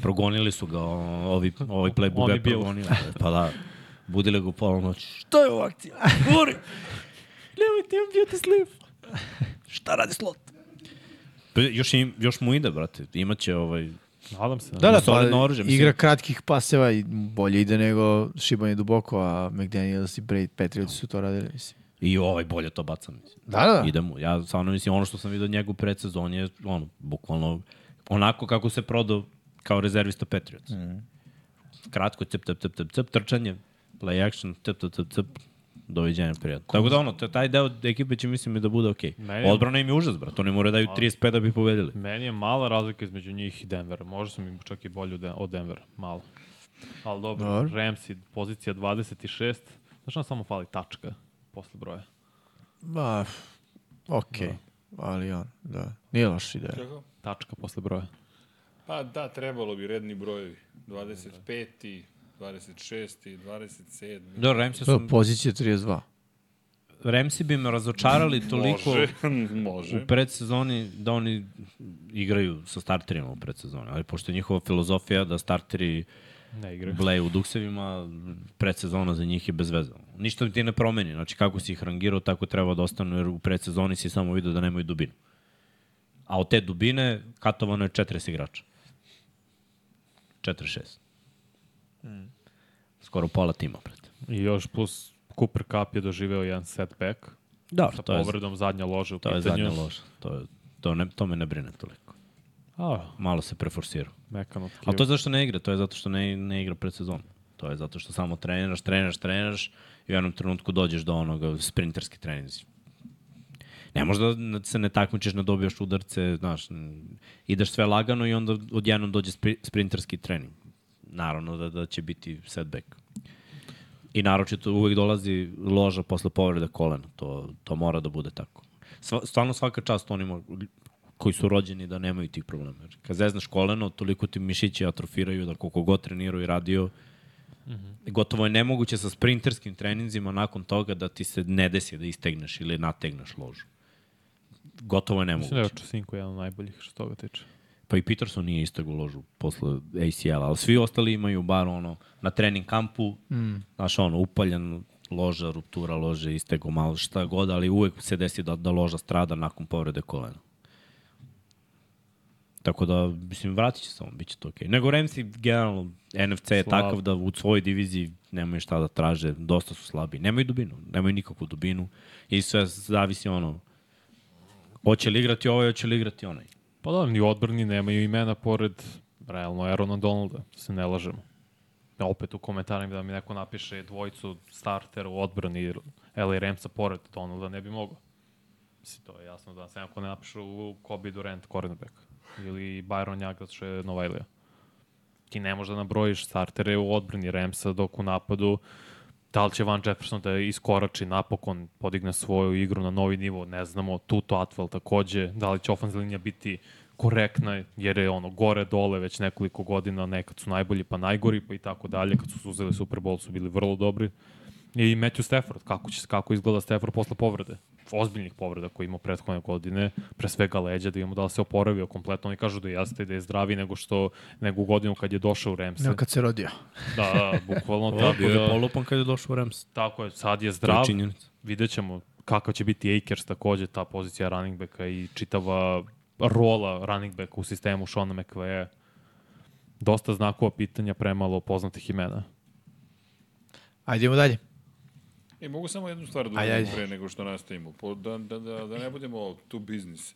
S3: Progonili su ga, o, ovi, ovaj playbook ga
S4: Oni
S3: je
S4: Bill.
S3: progonio. Pa da, budile ga u pola noći.
S2: To je u akciji.
S3: Gori! Nemoj ti, I'm beauty sleep.
S2: Šta radi slot?
S3: Pa još, im, još mu ide, brate. Imaće ovaj...
S4: Nadam se.
S2: Da, da, pa,
S3: Solidno oružje, mislim.
S2: igra kratkih paseva i bolje ide nego šibanje duboko, a McDaniels i Brady Patriots su to radili, mislim.
S3: I ovaj bolje to bacam. Mislim.
S2: Da, da, da.
S3: Idemo. Ja stvarno mislim, ono što sam vidio od njega u predsezoni je ono, bukvalno onako kako se prodao kao rezervista Patriots. Mm. Kratko, cep, cep, cep, cep, cep, trčanje, play action, cep, cep, cep, cep, doviđenja prijatno. Tako da ono, t- taj deo ekipe će mislim i da bude okej.
S4: Meni
S3: Okay.
S4: je-
S3: Odbrana im je užas, brate. Oni moraju daju 35 da bi pobedili.
S4: Meni je mala razlika između njih i Denvera. Možda sam im čak i bolji od Den- od Denvera. Malo. Ali dobro,
S2: Dobro.
S4: Dobar. Ramsey, pozicija 26. Znaš nam samo fali tačka posle broja.
S2: Ba, okej. Ali on, da. Nije loša ideja.
S1: Kako?
S4: Tačka posle broja.
S1: Pa da, trebalo bi redni brojevi. 25. 26. 27.
S3: Da, Remsi
S2: To
S3: su...
S2: je pozicija 32.
S3: Remsi bi me razočarali toliko...
S1: Može, može.
S3: u predsezoni da oni igraju sa starterima u predsezoni, ali pošto je njihova filozofija da starteri
S4: Ne igraju.
S3: bleju u duksevima, predsezona za njih je bez veze. Ništa ti ne promeni, znači kako si ih rangirao, tako treba da ostanu, jer u predsezoni si samo vidio da nemaju dubinu. A od te dubine katovano je 40 igrača. 46. Mm. Skoro pola tima, brate.
S4: I još plus Cooper Cup je doživeo jedan setback.
S3: Da,
S4: Sa
S3: to je,
S4: povredom zadnja lože u
S3: to je
S4: pitanju.
S3: zadnja loža. To, je, to, ne, to me ne brine toliko.
S4: A,
S3: Malo se preforsirao.
S4: mekano tkivo.
S3: A to je zašto ne igra, to je zato što ne, ne igra pred sezonu. To je zato što samo treniraš, treniraš, treniraš i u jednom trenutku dođeš do onoga sprinterski treninzi. Ne možda da se ne takmičiš, ne dobijaš udarce, znaš, n- ideš sve lagano i onda odjednom dođe spri, sprinterski trening. Naravno da, da će biti setback. I naročito uvek dolazi loža posle povrede kolena. To, to mora da bude tako. Sva, stvarno svaka čast onima koji su rođeni da nemaju tih problema. Jer kad zeznaš koleno, toliko ti mišići atrofiraju da koliko god trenirao i radio,
S4: Mhm.
S3: gotovo je nemoguće sa sprinterskim treninzima nakon toga da ti se ne desi da istegneš ili nategneš ložu. Gotovo je
S4: Mislim da je
S3: nemoguće.
S4: Čusinko jedan od najboljih što se toga tiče.
S3: Pa i Peterson nije istegu ložu posle ACL-a, ali svi ostali imaju bar ono, na trening kampu, mm. znaš ono, upaljan loža, ruptura lože, istegu malo šta god, ali uvek se desi da, da loža strada nakon povrede kolena. Tako da, mislim, vratit će se on, bit će to okej. Okay. Nego Remsi, generalno, NFC je
S4: Slab.
S3: takav da u svojoj diviziji nemaju šta da traže, dosta su slabi. Nemaju dubinu, nemaju nikakvu dubinu i sve zavisi ono, hoće li igrati ovaj, hoće li igrati onaj.
S4: Pa da, ni u odbrani nemaju imena pored realno Aarona Donalda, da se ne lažemo. Ja opet u komentarima da mi neko napiše dvojicu startera u odbrani Eli Remsa pored Donalda ne bi mogao. Mislim, to je jasno da se neko ne napišu Kobe Durant, cornerback. Ili Byron Jack, zato što je Novajlija. Ti ne možeš da nabrojiš startere u odbrani Remsa dok u napadu da li će Van Jefferson da iskorači napokon, podigne svoju igru na novi nivo, ne znamo, Tuto Atwell takođe, da li će ofenzivna linija biti korektna, jer je ono gore dole već nekoliko godina, nekad su najbolji pa najgori pa i tako dalje, kad su uzeli Super Bowl su bili vrlo dobri. I Matthew Stafford, kako, će, kako izgleda Stafford posle povrede, ozbiljnih povreda koje je imao prethodne godine, pre svega leđa, da vidimo da li se oporavio kompletno. Oni kažu da jeste i da je zdraviji nego što nego u godinu kad je došao u Remse.
S2: Evo kad se rodio.
S4: Da, da, bukvalno
S3: Pa,
S4: tako
S3: bio je
S4: da.
S3: polupan kad je došao u Rams.
S4: Tako je, sad
S3: To
S4: je
S3: je
S4: zdrav.
S3: činjenica.
S4: Vidjet ćemo kakav će biti Akers takođe, ta pozicija running backa i čitava rola running backa u sistemu Shona McVeja. Dosta znakova pitanja, premalo poznatih imena.
S2: Ajde, idemo dalje.
S1: E, mogu samo jednu stvar da
S2: Ajde,
S1: uzmem
S2: ajde.
S1: pre nego što nastavimo. Po, da, da, da, da ne budemo tu biznis.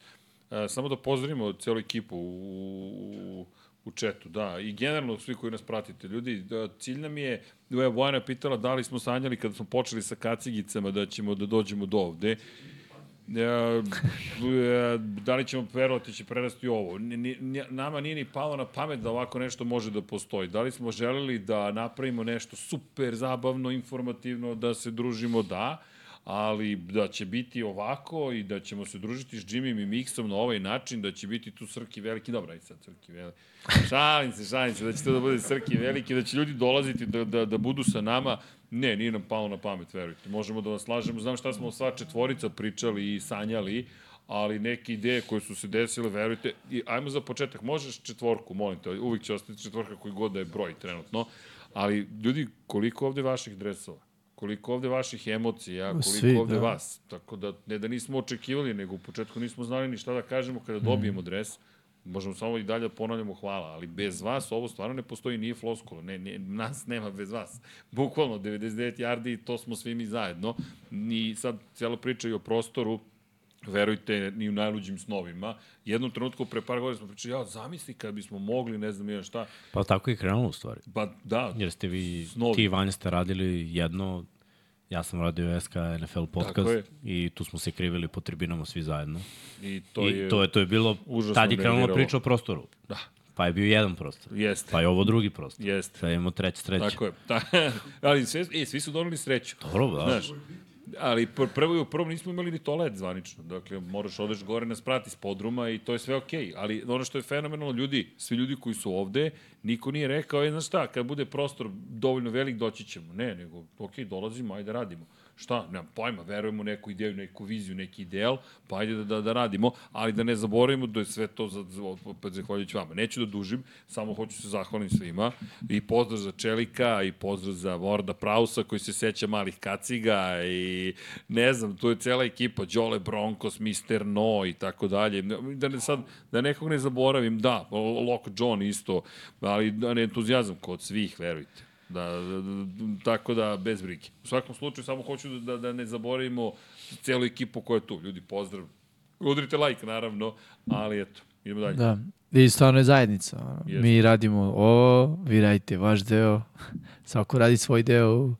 S1: E, samo da pozdravimo celu ekipu u, u, u četu, da. I generalno svi koji nas pratite. Ljudi, da, cilj nam je, evo je Vojna pitala da li smo sanjali kada smo počeli sa kacigicama da ćemo da dođemo do ovde. E, e, da li ćemo verovati će prerasti ovo. Ni- ni- ni- Nama nije ni palo na pamet da ovako nešto može da postoji. Da li smo želeli da napravimo nešto super, zabavno, informativno, da se družimo, da, ali da će biti ovako i da ćemo se družiti s Jimmy i Mixom na ovaj način, da će biti tu Srki veliki, dobro, ajde sad Srki veliki. Šalim se, šalim se, da će to da bude Srki veliki, da će ljudi dolaziti da, da, da budu sa nama, Ne, nije nam palo na pamet, verujte. Možemo da vas lažemo. Znam šta smo sva četvorica pričali i sanjali, ali neke ideje koje su se desile, verujte. I ajmo za početak. Možeš četvorku, molim te. Uvijek će ostati četvorka koji god da je broj trenutno. Ali, ljudi, koliko ovde je vaših dresova? koliko ovde vaših emocija, koliko
S2: Svi,
S1: Svi, ovde
S2: da.
S1: da. vas. Tako da, ne da nismo očekivali, nego u početku nismo znali ni šta da kažemo kada
S3: Mhm.
S1: dobijemo dres. Možemo samo i dalje da ponavljamo hvala, ali bez vas ovo stvarno ne postoji, nije floskula, ne, ne, nas nema bez vas. Bukvalno 99 yardi i to smo svi mi zajedno. I sad cijela priča i o prostoru, verujte, ni u najluđim snovima. Jednom trenutku pre par godina smo pričali, ja, zamisli kad bismo mogli, ne znam ja šta.
S3: Pa tako je krenulo u stvari.
S1: Pa da,
S3: Jer ste vi,
S1: Snovi.
S3: ti i Vanja ste radili jedno, ja sam radio SK NFL podcast
S1: Tako je.
S3: i tu smo se krivili po tribinama svi zajedno.
S1: i
S3: To
S1: to
S3: I
S1: je...
S3: je, to je, to je bilo,
S1: užasno
S3: tad je krenula
S1: nerviralo.
S3: priča o prostoru.
S1: Da.
S3: Pa je bio jedan prostor.
S1: Jeste.
S3: Pa je ovo drugi prostor.
S1: Jeste.
S3: Sad imamo treći, treći.
S1: Tako je. Ta, ali sve, e, svi su doneli sreću.
S3: Dobro, da.
S1: Znaš, ali pr prvo i u prvom nismo imali ni toalet zvanično. Dakle, moraš odeš gore na sprat iz podruma i to je sve okej. Okay. Ali ono što je fenomenalno, ljudi, svi ljudi koji su ovde, niko nije rekao, e, znaš šta, kad bude prostor dovoljno velik, doći ćemo. Ne, nego, okej, dolazimo, ajde radimo. Šta, nemam pojma, verujemo u neku ideju, neku viziju, neki ideal, pa ajde da, da, da radimo, ali da ne zaboravimo da je sve to za, za, opet zahvaljujući vama. Neću da dužim, samo hoću se zahvalim svima. I pozdrav za Čelika, i pozdrav za Vorda Prausa koji se seća malih kaciga i ne znam, tu je cela ekipa, Đole Broncos, Mr. No i tako dalje. Da ne, sad, da nekog ne zaboravim, da, Lok John isto, ali da, ne, entuzijazam kod svih, verujte. Da, da, da, da, tako da, bez brige. U svakom slučaju, samo hoću da, da ne zaboravimo celu ekipu koja je tu. Ljudi, pozdrav. Udrite like, naravno, ali eto, idemo dalje. Da.
S2: Da. I stvarno je zajednica. ono.
S1: Jeste.
S2: Mi radimo ovo, vi radite vaš deo, svako radi svoj deo u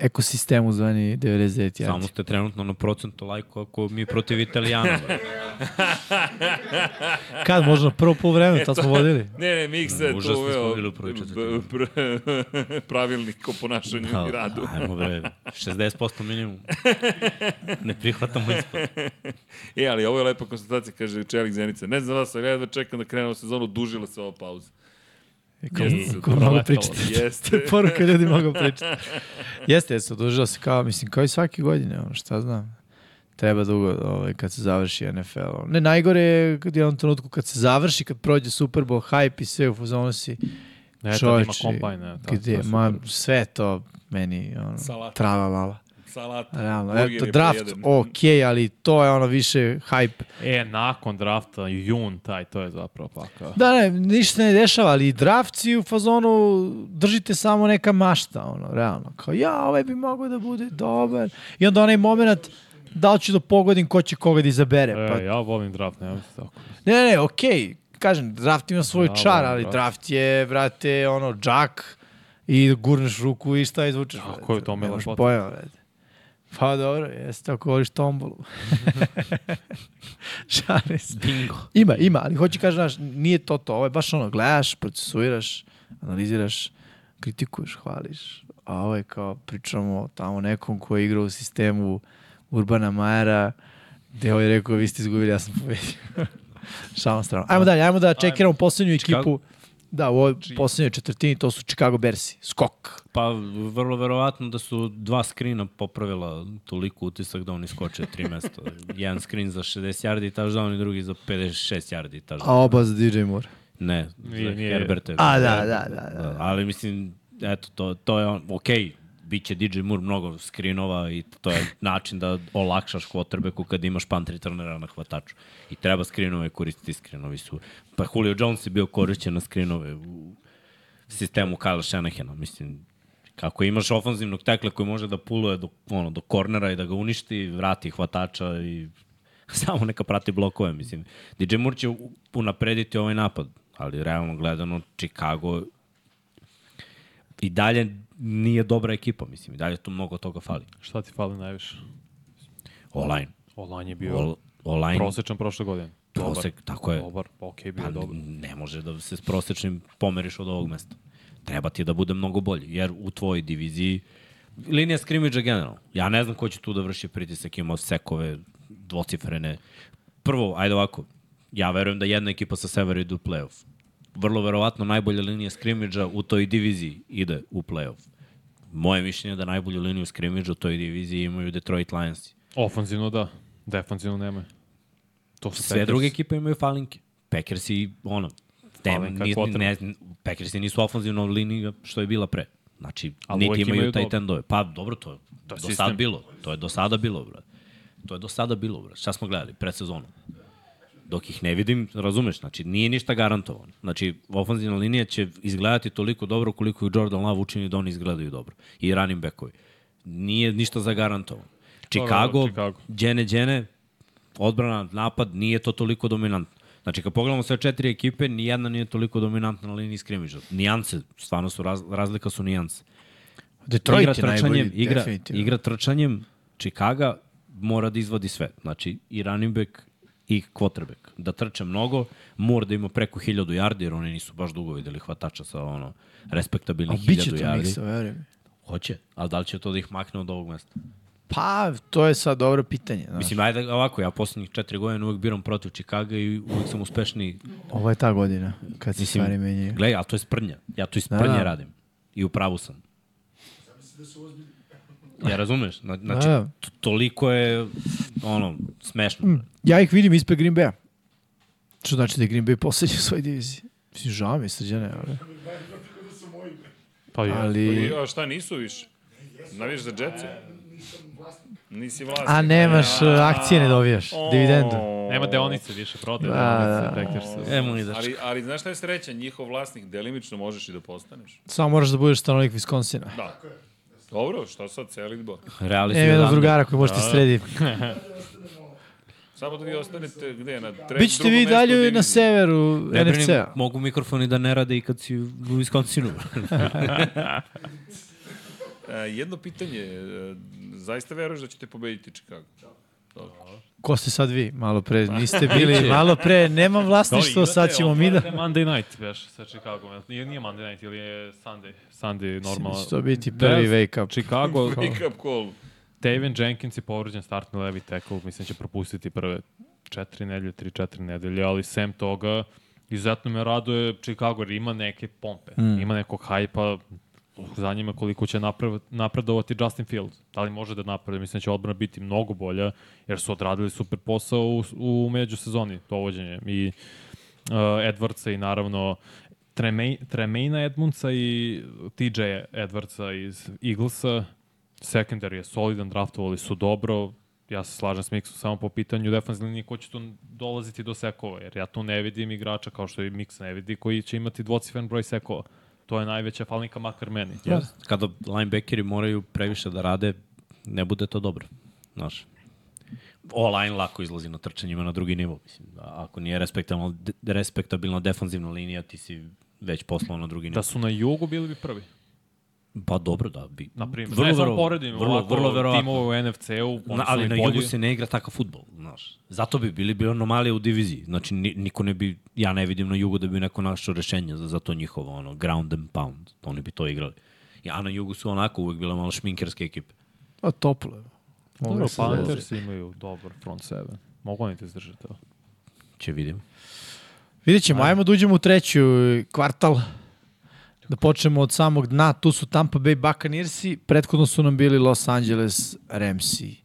S2: ekosistemu zvani 99 jardi.
S3: Samo ste trenutno na procentu lajku ako mi protiv Italijana. brate.
S2: Kad možda prvo po vreme, tad smo vodili.
S1: Ne, ne, Miksa je tu
S3: Užasni smo
S1: uveo
S3: bili u prvoj
S1: b- pr- pravilnik o ponašanju
S3: Da.
S1: i radu.
S3: Ajmo bre, 60% minimum. Ne prihvatamo ispod.
S1: E, ali ovo je lepa konstatacija, kaže Čelik Zenica. Ne znam vas, ali ja jedva čekam da krenemo sezonu, dužila se ova pauza.
S2: Kao,
S1: Jeste,
S2: kao
S1: to
S2: mnogo
S1: letalo.
S2: pričate.
S1: Jeste.
S2: to je poruka ljudi mnogo pričate. Jeste, jeste, odužila se kao, mislim, kao i svake godine, ono, šta znam. Treba dugo, ovaj, kad se završi NFL. ono. Ne, najgore je kad u jednom trenutku kad se završi, kad prođe Super Bowl, hype i sve u fazonu si,
S4: Ne, tad ima
S2: Čoveče,
S4: kombajna.
S2: gde, ma, sve to meni, ono,
S1: Salata.
S2: trala lala.
S1: Salata.
S2: Realno,
S1: burgeri
S2: eto,
S1: po
S2: draft,
S1: jedan.
S2: okej, ali to je ono više hype.
S4: E, nakon drafta, jun, taj, to je zapravo pakao.
S2: Da, ne, ništa ne dešava, ali i draft si u fazonu držite samo neka mašta, ono, realno. Kao, ja, ovaj bi mogao da bude dobar. I onda onaj moment, da li ću da pogodim ko će koga da izabere.
S4: E,
S2: Pa,
S4: ja volim draft, nemam se tako.
S2: ne, ne, ne, okej, kažem, draft ima svoj
S4: Da,
S2: čar,
S4: da,
S2: ali
S4: da.
S2: draft je, brate, ono, džak i gurneš ruku i šta izvučeš.
S4: Kako
S2: brate.
S4: je u tome
S2: Nemaš
S4: lepota?
S2: pojma, brate. Pa dobro, jeste ako voliš tombolu. Šalim se.
S3: Bingo.
S2: Ima, ima, ali hoće kažem, znaš, nije to to, ovo je baš ono, gledaš, procesuiraš, analiziraš, kritikuješ, hvališ, a ovo je kao pričamo o tamo nekom ko je igrao u sistemu Urbana Majera, gde ovaj je rekao, vi ste izgubili, ja sam pobedio. Šalom strano. Ajmo dalje, ajmo da čekiramo poslednju ekipu. Da, u ovoj poslednjoj četvrtini to su Chicago Bearsi. Skok.
S3: Pa vrlo verovatno da su dva skrina popravila toliko utisak da oni skoče tri mesta. Jedan skrin za 60 yardi touchdown i drugi za 56 yardi
S2: A
S3: touchdown.
S2: oba za DJ Moore.
S3: Ne, za
S4: Nije, nije.
S3: Herbert je.
S2: A, da, da, da. da.
S3: Da, ali mislim, eto, to, to je on, okej, okay, bit će DJ Moore mnogo skrinova i to je način da olakšaš quarterbacku kad imaš pantri trenera na hvataču. I treba skrinove koristiti, skrinovi su. Pa Julio Jones je bio korišćen na skrinove u sistemu Kyle Shanahana, mislim, kako imaš ofanzivnog tekla koji može da puluje do, ono, do kornera i da ga uništi, vrati hvatača i samo neka prati blokove, mislim. DJ Moore će u- unaprediti ovaj napad, ali realno gledano Chicago i dalje nije dobra ekipa, mislim, i dalje tu mnogo toga fali.
S4: Šta ti fali najviše?
S3: Online.
S4: Olan je bio
S3: Ol, online
S4: prosečan prošle godine. Dobar,
S3: prosek, tako je,
S4: dobar, okej, bio
S3: pa,
S4: je dobar.
S3: ne može da se s prosečnim pomeriš od ovog mesta. Treba ti da bude mnogo bolji, jer u tvojoj diviziji linija skrimidža generalno. Ja ne znam ko će tu da vrši pritisak, imamo sekove, dvocifrene. Prvo, ajde ovako, ja verujem da jedna ekipa sa severa ide u playoff. Vrlo verovatno najbolja linija skrimidža u toj diviziji ide u playoff. Moje mišljenje je da najbolju liniju skrimidža u toj diviziji imaju Detroit Lions.
S4: Ofanzivno da, defanzivno nemaju. To su
S3: Sve
S4: Packers.
S3: druge ekipe imaju falinke. Packers i ono,
S4: Falinka
S3: ne,
S4: je
S3: ne, ne, Packers i nisu ofenzivna linija što je bila pre. Znači,
S4: Ali
S3: niti
S4: uvek
S3: imaju,
S4: imaju
S3: taj
S4: dobro.
S3: tendove. Pa dobro, to je, to
S4: je
S3: je do
S4: sistem.
S3: sada bilo. To je do sada bilo, brate. To je do sada bilo, brate. Šta smo gledali? Predsezonu. Dok ih ne vidim, razumeš, znači nije ništa garantovano. Znači, ofenzivna linija će izgledati toliko dobro koliko ih Jordan Love učini da oni izgledaju dobro. I running backovi. Nije ništa zagarantovano. Chicago,
S4: Chicago.
S3: Đene Đene, odbrana, napad, nije to toliko dominantno. Znači, kad pogledamo sve četiri ekipe, ni jedna nije toliko dominantna na liniji skrimiža. Nijanse, stvarno su, raz, razlika su nijanse.
S2: Detroit
S3: igra
S2: je najbolji,
S3: trčanjem, igra,
S2: definitivno.
S3: igra trčanjem, Chicago mora da izvadi sve. Znači, i running back, i quarterback. Da trče mnogo, mora da ima preko 1000 yardi, jer oni nisu baš dugo videli hvatača sa ono,
S2: Ali
S3: respektabilnih 1000
S2: biće to
S3: yardi.
S2: miksa, verujem.
S3: Hoće, ali da li će to da ih makne od ovog mesta?
S2: Pa, to je sad dobro pitanje. Znaš.
S3: Mislim, ajde ovako, ja poslednjih četiri godine uvek biram protiv Chicaga i uvek sam uspešniji.
S2: Ovo je ta godina kad se Mislim, stvari menjaju.
S3: Gle, ali to je sprnja. Ja to iz sprnje
S2: Da, da.
S3: radim. I u pravu sam. Ja razumeš? Na- Znači,
S2: Da, Mm. da.
S3: to- toliko je ono, smešno.
S2: Ja ih vidim ispred Green Bay-a. Što znači da je Green Bay poslednji u svojoj diviziji. Mislim, žao mi je srđane. ali-
S4: Pa je.
S2: Ali...
S1: I, a šta, nisu više? Naviš za Jetsi? Nisi vlasnik.
S2: A nemaš e, akcije, ne dobijaš. Dividendu.
S4: Nema deonice više, prodaje
S2: Da, da.
S4: deonice, Packersu.
S3: Emo ni da
S1: Ali, ali znaš šta je sreća? Njihov vlasnik delimično možeš i da postaneš.
S2: Samo moraš da budeš stanovnik Viskonsina.
S1: Da. Dobro, šta sad celi izbor?
S3: reali
S2: Ne,
S3: su
S2: jednog
S3: jedan
S2: drugara koji možete sredi.
S1: Samo da vi ostanete gde? Na tre,
S2: Bićete
S1: drugom
S2: vi
S1: mestu u
S2: dalje i na
S1: diviziji.
S2: severu
S3: Ne brini,
S2: NFC-a.
S3: mogu mikrofoni da ne rade i kad si u Wisconsinu.
S1: A, jedno pitanje, e, zaista veruješ da ćete pobediti Chicago?
S2: Ko ste sad vi? Malo pre niste bili. Malo pre nemam vlasništvo, sad ćemo mi da...
S4: Monday night, veš, sa Chicago. Nije, nije Monday night, ili je Sunday. Sunday, normalno. Da,
S2: Mislim, da će to biti prvi
S4: znam,
S2: wake up.
S4: Chicago,
S1: Pick up call.
S4: Taven Jenkins je povređen startni levi tackle, mislim da će propustiti prve četiri nedelje, tri, četiri nedelje, ali sem toga, izuzetno me raduje Chicago jer ima neke pompe, mm. ima nekog hajpa, zanima koliko će napre- napredovati Justin Fields. Da li može da napreduje? Mislim da će odbrana biti mnogo bolja, jer su odradili super posao u, u međusezoni, dovođenje. I uh, Edwardsa i naravno Tremej, Tremejna Edmundsa i TJ Edwardsa iz Eaglesa. Secondary je solidan, draftovali su dobro. Ja se slažem s Miksom samo po pitanju defensivne linije ko će tu dolaziti do sekova, jer ja tu ne vidim igrača kao što i Miks ne vidi koji će imati dvocifren broj sekova. To je najveća falinka makar meni. Yes.
S3: Kada linebackeri moraju previše da rade, ne bude to dobro. Znaš, O-line lako izlazi na trčanjima na drugi nivo. Mislim, a- ako nije respektabilna, de, respektabilna defanzivna linija, ti si već poslao na drugi nivo.
S4: Da su na jugu bili bi prvi.
S3: Pa dobro, da bi.
S4: Na primjer,
S3: Vrlo
S4: ne znam
S3: vero-
S4: poredim
S3: vrlo-
S4: ovako
S3: vrlo verovatno.
S4: timove u NFC-u,
S3: Na, ali na jugu se ne igra takav futbol, znaš. Zato bi bili bi anomalije u diviziji. Znači, ni, niko ne bi, ja ne vidim na jugu da bi neko našao rešenje za, za to njihovo, ono, ground and pound. Oni bi to igrali. Ja na jugu su onako uvek bila malo šminkerske ekipe.
S2: A toplo je. Mogu
S4: Dobro, pa
S2: da se dolazi.
S4: Panthers imaju dobar front seven. Mogu oni te izdržati ovo.
S3: Če vidim.
S2: Vidjet ćemo, ajmo da uđemo u treću kvartal. Da počnemo od samog dna, tu su Tampa Bay Buccaneersi, prethodno su nam bili Los Angeles Ramsi.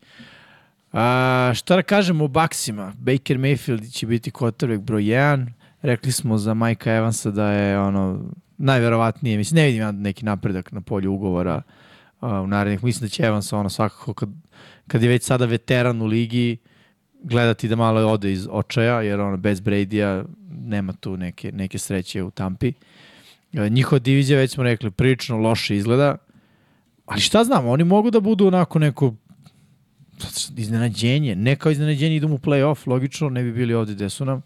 S2: A, šta da kažemo o Baksima? Baker Mayfield će biti quarterback broj 1. Rekli smo za Majka Evansa da je ono najverovatnije, mislim ne vidim ja neki napredak na polju ugovora a, u narednih. Mislim da će Evans ono svakako kad, kad je već sada veteran u ligi gledati da malo ode iz očaja, jer ono bez Brady-a nema tu neke, neke sreće u Tampi. E, Njihova divizija, već smo rekli, prilično loše izgleda, ali šta znam, oni mogu da budu onako neko iznenađenje, ne kao iznenađenje idemo u play-off, logično, ne bi bili ovde gde su nam,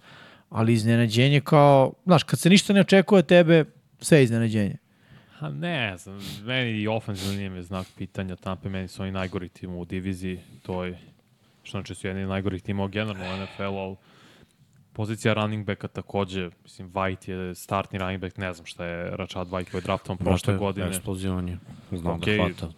S2: ali iznenađenje kao, znaš, kad se ništa ne očekuje od tebe, sve je iznenađenje.
S4: Ha, ne znam, meni i ofenzivno nije mi znak pitanja Tampa, meni su oni najgori tim u diviziji, to je, što znači su jedni od najgorih timova generalno u NFL-u, ali pozicija running backa takođe, mislim, White je startni running back, ne znam šta je Račad White koji je draftom prošle godine.
S3: Eksplozivan je. Znam
S4: Okej.
S3: da hvata.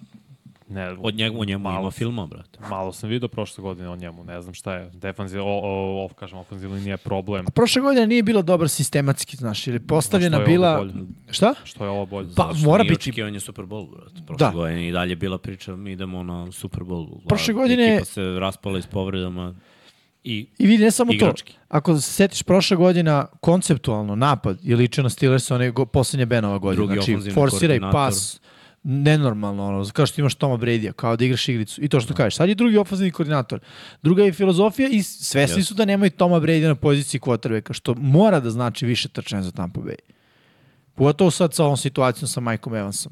S4: Ne,
S3: Od njega, o njemu
S4: Malo.
S3: ima filma, brate.
S4: malo sam vidio prošle godine o njemu, ne znam šta je. Defanziv, o, o, o, kažem, ofenzivna linija je problem.
S2: A prošle godine nije bila dobra sistematski, znaš, ili postavljena
S4: Što je ovo
S2: bila...
S4: bolje?
S2: Šta?
S4: Što je ovo bolje?
S2: Pa mora biti.
S3: očekivanje Super Bowl, brate. Prošle
S2: Da.
S3: da. godine i dalje bila priča, mi idemo na Super Bowl.
S2: Prošle godine-
S3: Ekipa se raspala iz povredama i
S2: I vidi, ne samo
S3: Igrački.
S2: to. Ako se setiš prošla godina, konceptualno napad je ličio na Steelers one go, poslednje Benova godine.
S3: Drugi
S2: znači,
S3: ofanzivni
S2: forsiraj
S3: koordinator.
S2: pas, nenormalno, ono, kao što imaš Toma Bredija, kao da igraš igricu. I to što kažeš, sad je drugi ofazivni koordinator. Druga je filozofija i svesni su da nemaju Toma Bredija na poziciji quarterbacka, što mora da znači više trčanja za Tampa Bay. Pogotovo sad sa ovom situacijom sa Mikeom Evansom,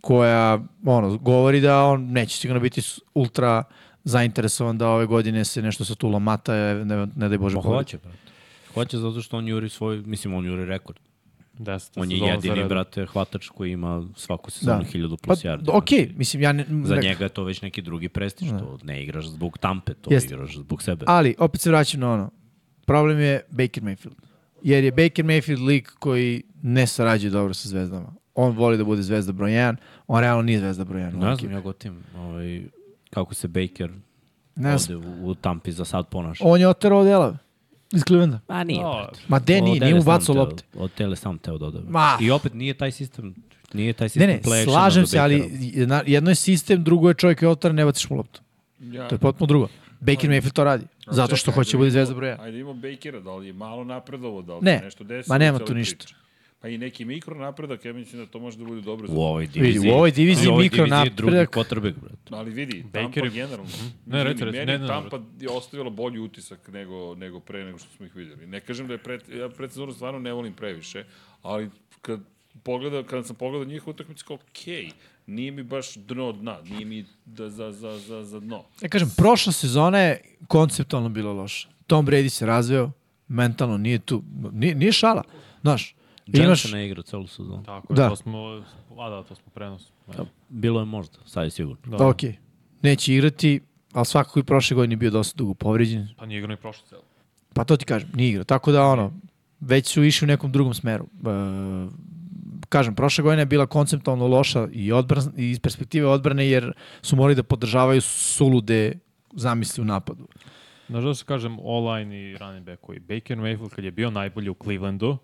S2: koja ono, govori da on neće sigurno biti s- ultra zainteresovan da ove godine se nešto sa Tula Mata, e, ne, ne daj Bože,
S3: Ma
S2: povredi.
S3: hoće, brate. Hoće zato što on juri svoj, mislim, on juri rekord.
S4: Deseta
S3: On je
S4: sezona za
S3: jedini,
S4: redom.
S3: brate, hvatač koji ima svaku sezonu 1000 plus yardi.
S2: Da. Pa, okej, Da. mislim, ja ne...
S3: Za
S2: ne-
S3: njega je to već neki drugi prestiž, to ne igraš zbog tampe, to
S2: Jeste.
S3: igraš zbog sebe.
S2: Ali, opet se vraćam na ono, problem je Baker Mayfield. Jer je Baker Mayfield lik koji ne sarađuje dobro sa zvezdama. On voli da bude zvezda broj 1, on realno nije zvezda broj 1.
S3: ne znam, ja gotim ovaj, kako se Baker
S2: Ne
S3: ovde u, u tampi za sad ponaša.
S2: On je oterao delove iz Clevelanda.
S3: Ma nije,
S4: O,
S3: brate.
S2: Ma de, nije,
S3: Odele
S2: nije mu
S3: sam
S2: bacao
S3: teo-
S2: lopte.
S3: Od tele sam teo dodao.
S2: Ma.
S3: I opet nije taj sistem, nije taj
S2: Ne,
S3: sistem
S2: ne,
S3: play da actiona
S2: slažem
S3: do
S2: se, ali
S3: Bakera.
S2: jedna- jedno je sistem, drugo je čovjek je otar, ne baciš mu loptu.
S1: Ja,
S2: To je potpuno drugo. Baker Mayfield to radi, zato što
S1: čekaj,
S2: hoće
S1: ajde
S2: da bude
S1: vidimo-
S2: zvezda broj 1.
S1: Ajde imamo Bakera, da li je malo napredovo, da li
S2: Ne,
S1: se nešto desilo.
S2: ma nema
S1: u celoj
S2: tu ništa.
S1: priči? Pa i neki mikro napredak, ja mislim da to može da bude dobro.
S3: U
S1: Za...
S3: ovoj
S2: Vidi,
S3: diviziji.
S2: u ovoj diviziji
S3: u ovoj
S2: mikro
S3: diviziji je drugi
S2: napredak.
S3: quarterback, brate.
S1: Ali vidi, Tampa
S4: Baker je- Mhm.
S1: generalno.
S4: Ne, reci,
S1: meni
S4: reci, ne, ne, ne.
S1: Tampa je ostavila bolji utisak nego, nego pre nego što smo ih vidjeli. Ne kažem da je pred, ja predsezonu stvarno ne volim previše, ali kad pogleda, kada sam pogledao njih utakmicu, kao okej, nije mi baš dno dna, nije mi da, za, za, za, za dno.
S2: Ja kažem, prošla sezona je konceptualno bila loša. Tom Brady se razveo, mentalno nije tu, nije, nije šala, znaš. Pa Imaš,
S3: Jensen ne igra celu sezonu.
S4: Tako je,
S2: Da.
S4: da. to smo, a da, to smo prenos.
S3: Bilo je možda, sad je sigurno.
S4: Da.
S2: ok, neće igrati, ali svakako i prošle godine je bio dosta dugo povređen.
S4: Pa nije igrao ni prošlo celo.
S2: Pa to ti kažem, nije igrao. Tako da ono, već su išli u nekom drugom smeru. E, kažem, prošla godina je bila konceptualno loša i, odbran, i iz perspektive odbrane jer su morali da podržavaju sulude zamisli u napadu.
S4: Znaš da se kažem, online i running back koji Baker Mayfield kad je bio najbolji u Clevelandu,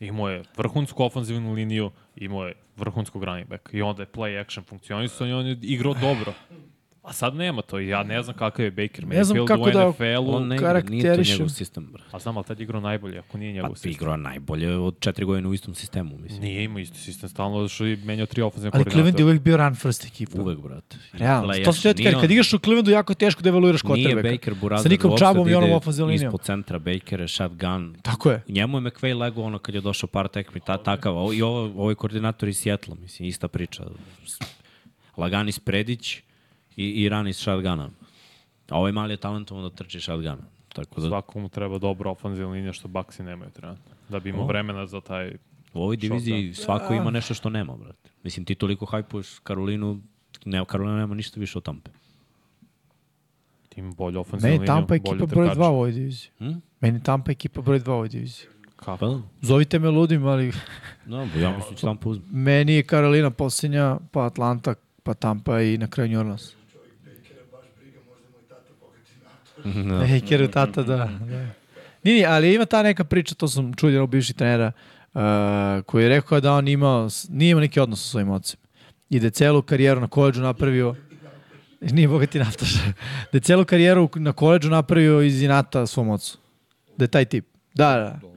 S4: imao je vrhunsku ofenzivnu liniju, imao je vrhunskog running back. I onda je play action funkcionisao i on je igrao dobro. A sad nema to. i Ja ne znam kakav je Baker
S2: Ne znam
S4: Mayfield
S2: kako
S4: u
S2: da-
S4: NFL-u.
S3: On ne igra, nije to
S2: karakterišem.
S3: njegov sistem, brate.
S4: A znam, ali tad je igrao najbolje, ako nije
S3: Pa ti
S4: njegov sistem.
S3: igrao najbolje od četiri godine u istom sistemu, mislim.
S4: Nije imao isti sistem stalno, što je menjao tri ofenzivne
S2: Ali Cleveland je
S4: koordinata.
S2: uvek bio run first ekipa.
S3: Uvek, brate. I
S2: Realno,
S3: play
S2: to sam
S3: action.
S2: četiri, kad, kad igraš u Clevelandu jako je teško da evaluiraš
S3: Nije
S2: quarterbacka.
S3: Baker Burazer
S2: Sa nikom čabom i onom ofenzivnom linijom.
S3: Ispod centra Baker je shotgun.
S2: Tako je.
S3: Njemu je McVay lego ono kad je došao par tekmi, ta, takav. O- I ovo, ovo je koordinator iz Sjetla, mislim, ista priča. S- Lagani Spredić i, i rani iz shotguna. A ovaj mali je talentovan da trči shotguna. Tako da
S4: Svakom mu treba dobra ofenzivna linija što Baxi nemaju trenutno. Da bi imao vremena za taj...
S3: u ovoj diviziji svako ima nešto što nema, brate. Mislim, ti toliko hajpuješ Karolinu, ne, Karolina nema ništa više od Tampe.
S4: Tim bolju ofenzivnu
S2: Meni
S4: liniju,
S2: Tampa je
S4: bolje
S2: ekipa broj
S4: trkače.
S2: 2 u ovoj diviziji.
S3: Hm?
S2: Meni Tampa je ekipa broj 2 u ovoj diviziji.
S3: Pa, da.
S2: Zovite me ludim, ali
S3: No, ja mislim da će Tampa uzme.
S2: meni je Karolina posljednja, pa Atlanta, pa Tampa i na kraju New Orleans.
S3: Da.
S2: Bakeru tata, da. da. Nije, nije, ali ima ta neka priča, to sam čuo od jednog bivših trenera, uh, koji je rekao da on imao, s- nije imao neki odnos sa svojim ocem. I da je celu karijeru na koleđu napravio, nije bogati naftaš, da je celu karijeru na koleđu napravio iz inata svom ocu. Da je taj tip. Da, da.
S1: Dobro.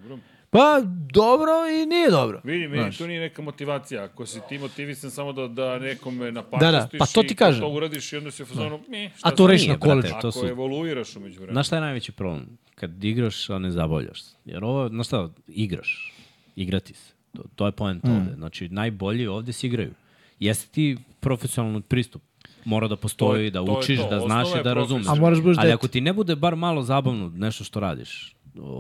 S2: Pa, dobro i nije dobro.
S1: Vidi, meni
S2: Znaš.
S1: to nije neka motivacija. Ako si ti motivisan samo da, da nekome
S2: Da,
S1: napačastiš
S2: da, pa to
S1: i
S2: ti
S1: kad
S2: kažem. Da.
S1: to uradiš i onda si u fazonu, ne, šta
S2: A to
S1: sad?"
S2: reši na
S3: Nije, brate,
S2: koleđu.
S3: to
S1: Ako
S3: su-
S1: evoluiraš umeđu vremena.
S3: Znaš šta je najveći problem? Kad igraš, a ne zabavljaš se. Jer ovo, znaš šta, igraš. Igrati se. To, to je point mm. ovde. Znači, najbolji ovde se igraju. Jeste ti profesionalni pristup. Mora da postoji,
S1: To je-
S3: da
S1: to je
S3: učiš,
S1: to.
S3: da znaš
S1: Osnova
S3: i
S1: je
S3: da razumeš.
S2: A moraš budeš
S3: Ali
S2: dete.
S3: ako ti ne bude bar malo zabavno nešto što radiš,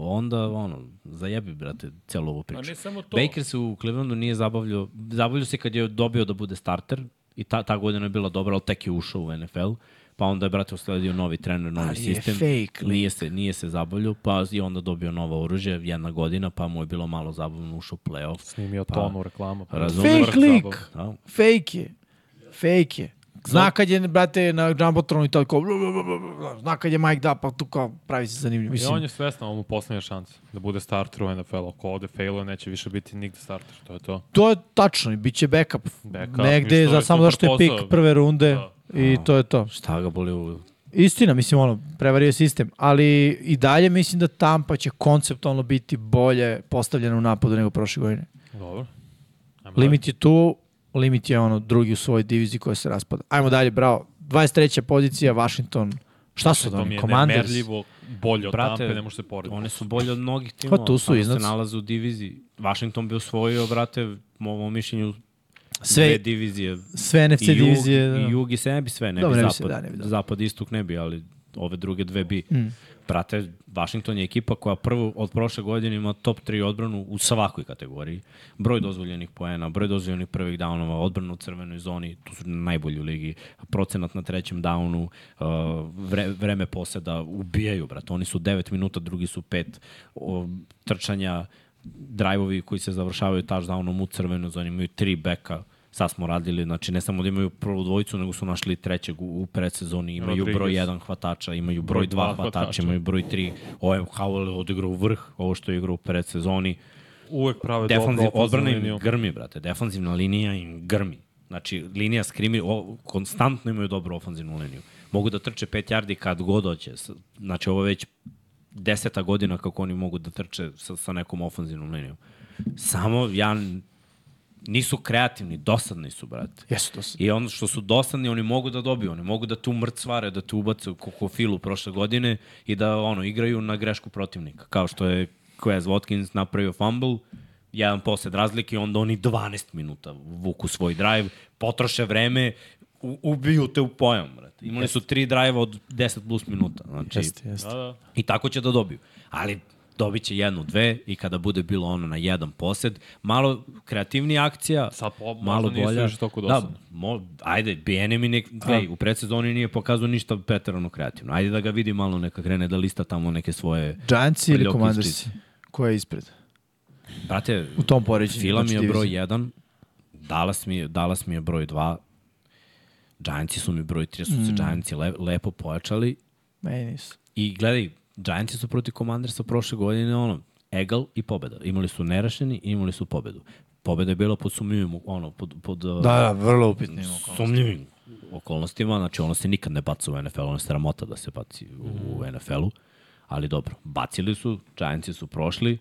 S3: onda, ono, zajebi, brate, celu ovu priču.
S1: A Pa ne samo to.
S3: Baker se u Clevelandu nije zabavljao, zabavljao se kad je dobio da bude starter i ta, ta godina je bila dobra, ali tek je ušao u NFL, pa onda je, brate, usledio novi trener, novi
S2: Ali je
S3: sistem.
S2: fake
S3: nije se, nije se zabavljao, pa i onda dobio novo oružje, jedna godina, pa mu je bilo malo zabavno, ušao u playoff.
S4: Snimio
S3: Pa,
S4: tonu reklama. Pa,
S3: razumem.
S4: vrh
S2: Fake lik.
S4: zabave.
S3: Da.
S2: Fake je. Fake je. Zna kad je, brate, na Jumbotronu i tako, blu, blu, blu, blu, blu, blu. zna kad je Mike da, pa tu kao pravi se zanimljiv.
S4: I on
S2: Mislim,
S4: je svestan, ovo mu poslednja šansa da bude starter u NFL. Ako ovde failuje, neće više biti nigde starter. To je to.
S2: to je tačno i bit će backup.
S4: Backup,
S2: Negde,
S4: mislim,
S2: za,
S4: je Da.
S2: samo
S4: super
S2: zašto je pik
S4: posao.
S2: prve runde i to je to.
S3: Šta ga boli u...
S2: Istina, mislim, ono, prevario je sistem, ali i dalje mislim da Tampa će konceptualno
S4: Da.
S2: biti bolje postavljena u napadu nego prošle godine.
S4: Dobro. Ajmo dalje.
S2: Limit je tu, limit je ono drugi u svojoj diviziji koja se raspada. Ajmo dalje, bravo. 23. pozicija, Washington. Šta su
S4: To mi
S2: oni?
S4: je
S2: Commanders?
S4: nemerljivo bolje od
S3: Brate,
S4: Tampe, ne može se porediti.
S3: One su bolje od mnogih timova.
S2: Pa tu su
S3: samo
S2: iznad.
S3: se nalaze u diviziji. Washington bi osvojio, brate, mojom mišljenju,
S2: Sve-
S3: sve dve divizije.
S2: Sve NFC
S3: I jug,
S2: divizije.
S3: I
S2: da.
S3: jug i sve ne bi sve, ne
S2: Dobro,
S3: bi
S2: ne bi se,
S3: zapad.
S2: da, ne bi, da. Mm.
S3: zapad i istok ne bi, ali ove druge dve bi. Brate, Washington je ekipa koja prvo od prošle godine ima top 3 odbranu u svakoj kategoriji. Broj dozvoljenih poena, broj dozvoljenih prvih downova, odbranu u crvenoj zoni, tu su najbolji u ligi, procenat na trećem downu, uh, vre, vreme poseda, ubijaju, brate. Oni su 9 minuta, drugi su 5 o, trčanja, drajvovi koji se završavaju touchdownom u crvenoj zoni, imaju tri beka, sad smo radili, znači ne samo da imaju prvu dvojicu, nego su našli i trećeg u, u predsezoni, imaju
S4: Rodriguez.
S3: broj jedan hvatača, imaju broj
S4: dva
S3: dva hvatača,
S4: hvatača.
S3: imaju broj tri. Ovo je Howell je odigrao vrh, ovo što je igrao u predsezoni.
S4: Uvek prave dobro
S3: Defanziv,
S4: ofenzivnu
S3: odbrana im
S4: liniju.
S3: grmi, brate. Defanzivna linija im grmi. Znači, linija skrimi, o, konstantno imaju dobru ofanzivnu liniju. Mogu da trče 5 yardi kad god hoće. S- Znači, ovo je već deseta godina kako oni mogu da trče sa, sa nekom ofanzivnom linijom. Samo ja n- nisu kreativni, dosadni su, brate.
S2: Jesu to su.
S3: I ono što su dosadni, oni mogu da dobiju, oni mogu da tu mrcvare, da tu ubace u kokofilu prošle godine i da ono igraju na grešku protivnika. Kao što je Quez Watkins napravio fumble, jedan posed razlike, onda oni 12 minuta vuku svoj drive, potroše vreme, u, ubiju te u pojam, brate. Imali su tri drive od 10 plus minuta. Znači,
S2: Jeste, jeste.
S4: Da, da.
S3: I tako će da dobiju. Ali dobit će jednu, dve i kada bude bilo ono na jedan posed, malo kreativnija akcija,
S4: Sad po- možda
S3: malo
S4: nisu
S3: bolja.
S4: više toliko
S3: da,
S4: dosadni.
S3: mo, ajde, Bienemi nek, ej, u predsezoni nije pokazao ništa preterano kreativno. Ajde da ga vidi malo neka krene da lista tamo neke svoje...
S2: Giants ili
S3: Prljok
S2: Commandersi?
S3: ističe.
S2: Ko je ispred?
S3: Brate,
S2: U tom poređenju.
S3: Fila mi
S2: znači,
S3: je
S2: divizije.
S3: broj 1, Dallas mi je, Dallas mi je broj 2, Giantsi su mi broj 3, su se
S2: Mm.
S3: Giantsi le, lepo pojačali
S2: Meni nisu.
S3: I gledaj, Giantsi su protiv Commandersa prošle godine ono, egal i pobeda. Imali su nerašeni i imali su pobedu. Pobeda je bila pod sumnjivim, ono, pod, pod da,
S2: Da, da, vrlo upitno.
S3: sumnjivim okolnostima, znači ono se nikad ne baca u NFL, ono je sramota da se baci u, u NFL-u, ali dobro, bacili su, Giantsi su prošli,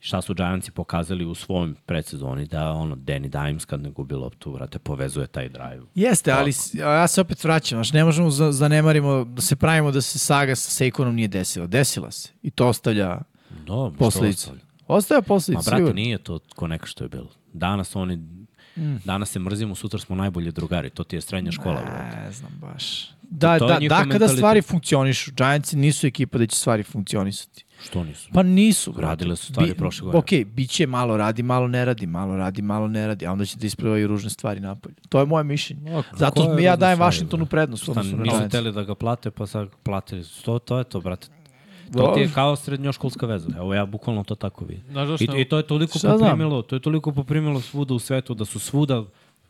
S3: šta su Giantsi pokazali u svom predsezoni, da ono, Danny Dimes kad ne gubi loptu, vrate, povezuje taj drive.
S2: Jeste, ali s- a ja se opet vraćam, znači ne možemo za- zanemarimo da se pravimo da se saga sa Seikonom nije desila. Desila se i to ostavlja
S3: Dobro, Da, što
S2: posledice.
S3: ostavlja?
S2: Ostavlja
S3: Ma,
S2: posledice,
S3: brate,
S2: sigurno.
S3: nije to ko neka što je bilo. Danas oni, mm. danas se mrzimo, sutra smo najbolji drugari. To ti je srednja škola, brate.
S2: Ne znam baš. Da,
S3: To je
S2: da,
S3: njihov
S2: da, kada
S3: mentalitet.
S2: stvari funkcionišu. Giantsi nisu ekipa da će stvari funkcionisati.
S3: Što nisu?
S2: Pa nisu. brate.
S3: Radile su stvari
S2: Bi-
S3: prošle godine.
S2: Okej, bit će malo radi, malo ne radi, malo radi, malo ne radi, a onda će da isplivaju ružne stvari napolje. To je moje mišljenje. Zato
S3: koje
S2: mi ja
S3: ružne
S2: dajem
S3: stvari,
S2: Washingtonu prednost.
S3: da Šta,
S2: odnosno na
S3: nisu
S2: Giants.
S3: hteli da ga plate, pa sad ga platili. su. To, to je to, brate. To ti je kao srednjoškolska veza. Evo ja bukvalno to tako vidim.
S4: Znaš zašto?
S3: I, I to je toliko
S2: Šta znam?
S3: poprimilo, to je toliko poprimilo svuda u svetu da su svuda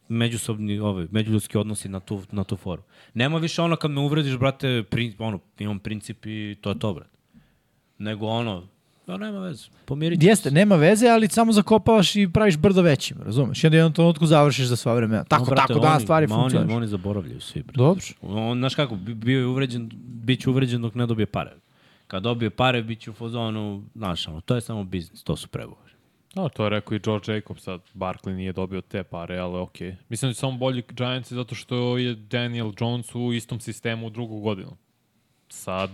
S3: međusobni ovaj međuljudski odnosi na tu na tu foru. Nema više ono kad me uvrediš brate, prin, ono imam princip i to je to brate. Nego ono, da nema veze. Pomirite.
S2: Jeste, nema veze, ali samo zakopavaš i praviš brdo većim, razumeš? I onda u jednom trenutku završiš za sva vremena. Tako, tako danas stvari
S3: funkcionišu.
S2: funkcionišu.
S3: Oni, oni zaboravljaju svi brate.
S2: Dobro.
S3: On, znaš kako, bi- bio je uvređen, bit će uvređen dok ne dobije pare. Kad dobije pare, bit će u fazonu, znaš, ono, to je samo biznis, to su pregovori.
S4: Da, to je rekao i George Jacobs, sad Barkley nije dobio te pare, ali okej. Mislim da su samo bolji Giants zato što je Daniel Jones u istom sistemu drugu godinu. Sa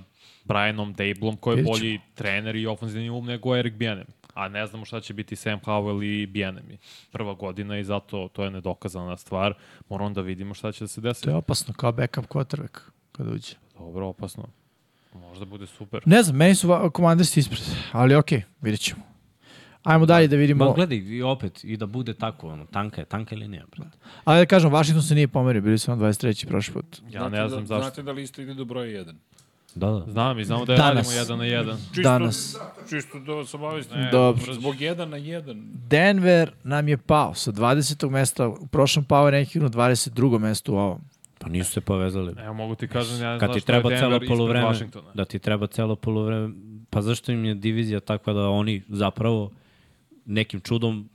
S4: Brianom Dablom koji je
S2: Vidjet ćemo.
S4: bolji trener i ofenzivni um nego Eric Bienemi. A ne znamo šta će biti Sam Howell i Bienemi. Prva godina i zato to je nedokazana stvar. Moramo da vidimo šta će da se
S2: To
S4: desiti.
S2: je opasno, kao backup quarterback kada uđe.
S4: Dobro, opasno. Možda bude super.
S2: Ne znam, meni su va- komandersi ispred, ali okej, vidjet ćemo. Ajmo dalje da
S3: Ma
S2: vidimo.
S3: gledaj, i opet, i da bude tako, ono, tanka je, tanka ili nije, brate.
S2: Ali da kažem, Washington se nije pomerio, bili su na 23. prošli put.
S4: Ja ne znam
S1: da,
S4: zašto.
S1: Znate da lista ide do broja 1.
S3: Da, da.
S4: Znam i znamo da je
S2: Danas.
S4: radimo jedan na jedan.
S2: Danas.
S1: Čisto da vas
S3: E,
S1: obavestim.
S2: Dobro.
S1: Zbog 1 na 1.
S2: Denver nam je pao sa 20. mesta u prošlom power rankingu, 22. mesto u ovom.
S3: Pa nisu se povezali.
S4: Evo mogu ti kažem, ja ne
S3: Kad
S4: znam
S3: ti
S4: što je
S3: treba celo
S4: Denver ispred
S3: polovreme,
S4: Washingtona.
S3: da ti treba celo polovreme, pa zašto im je divizija takva da oni zapravo nekim čudom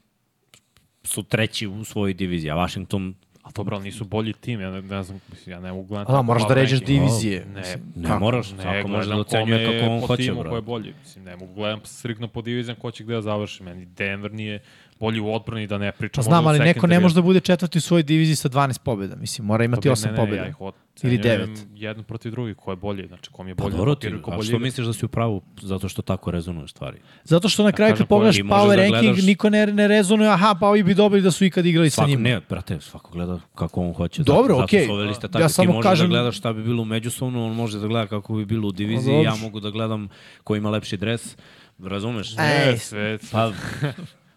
S3: su treći u svojoj diviziji, a Washington
S4: A dobro, ali nisu bolji tim, ja ne, ne znam, mislim, ja ne mogu gledati.
S2: A da, moraš da
S4: power
S2: ređeš
S4: ranking.
S2: divizije.
S4: Ne,
S2: mislim.
S3: ne
S2: Kako?
S3: moraš,
S4: Ne,
S3: svako može da
S4: gledam
S3: ocenjuje
S4: kome je
S3: kako on
S4: po
S3: hoće,
S4: timu ko je
S3: brate.
S4: bolji. Mislim, ne mogu gledam strikno po divizijama ko će gde da završi. Meni Denver nije bolji u odbrani da ne
S2: Pa
S4: pričamo.
S2: znam,
S4: možda u
S2: ali neko ne
S4: secondary.
S2: može da bude četvrti u svojoj diviziji sa 12 pobjeda. Mislim, mora imati
S4: Ne,
S2: 8
S4: ne, ne,
S2: pobjeda.
S4: Ja ih od-
S2: Ili
S4: ocenjujem
S2: devet.
S4: Jedno protiv drugi, ko je bolji, znači kom je
S3: Pa
S4: bolji.
S3: dobro
S4: u
S3: ti,
S4: papiru, ko
S3: a
S4: bolji
S3: što
S4: igra.
S3: misliš da si u pravu zato što tako rezonuje stvari?
S2: Zato što na kraju
S4: kažem,
S2: kad pogledaš
S3: i možeš
S2: power
S3: da
S2: ranking,
S3: gledaš-
S2: niko ne, ne rezonuje, aha, pa ovi bi dobili da su ikad igrali sa
S3: Svako,
S2: njim.
S3: ne, brate, svako gleda kako on hoće.
S2: Dobro,
S3: zato,
S2: okej.
S3: Zato su ove liste
S2: Ja
S3: tako. Ja ti
S2: samo
S3: možeš
S2: kažem-
S3: da gledaš да šta bi bilo međusobno, on može da gleda kako bi bilo u diviziji,
S2: dobro.
S3: ja mogu da gledam ko ima lepši dres. Razumeš?
S2: Ej,
S4: E, sve, sve.
S3: Pa,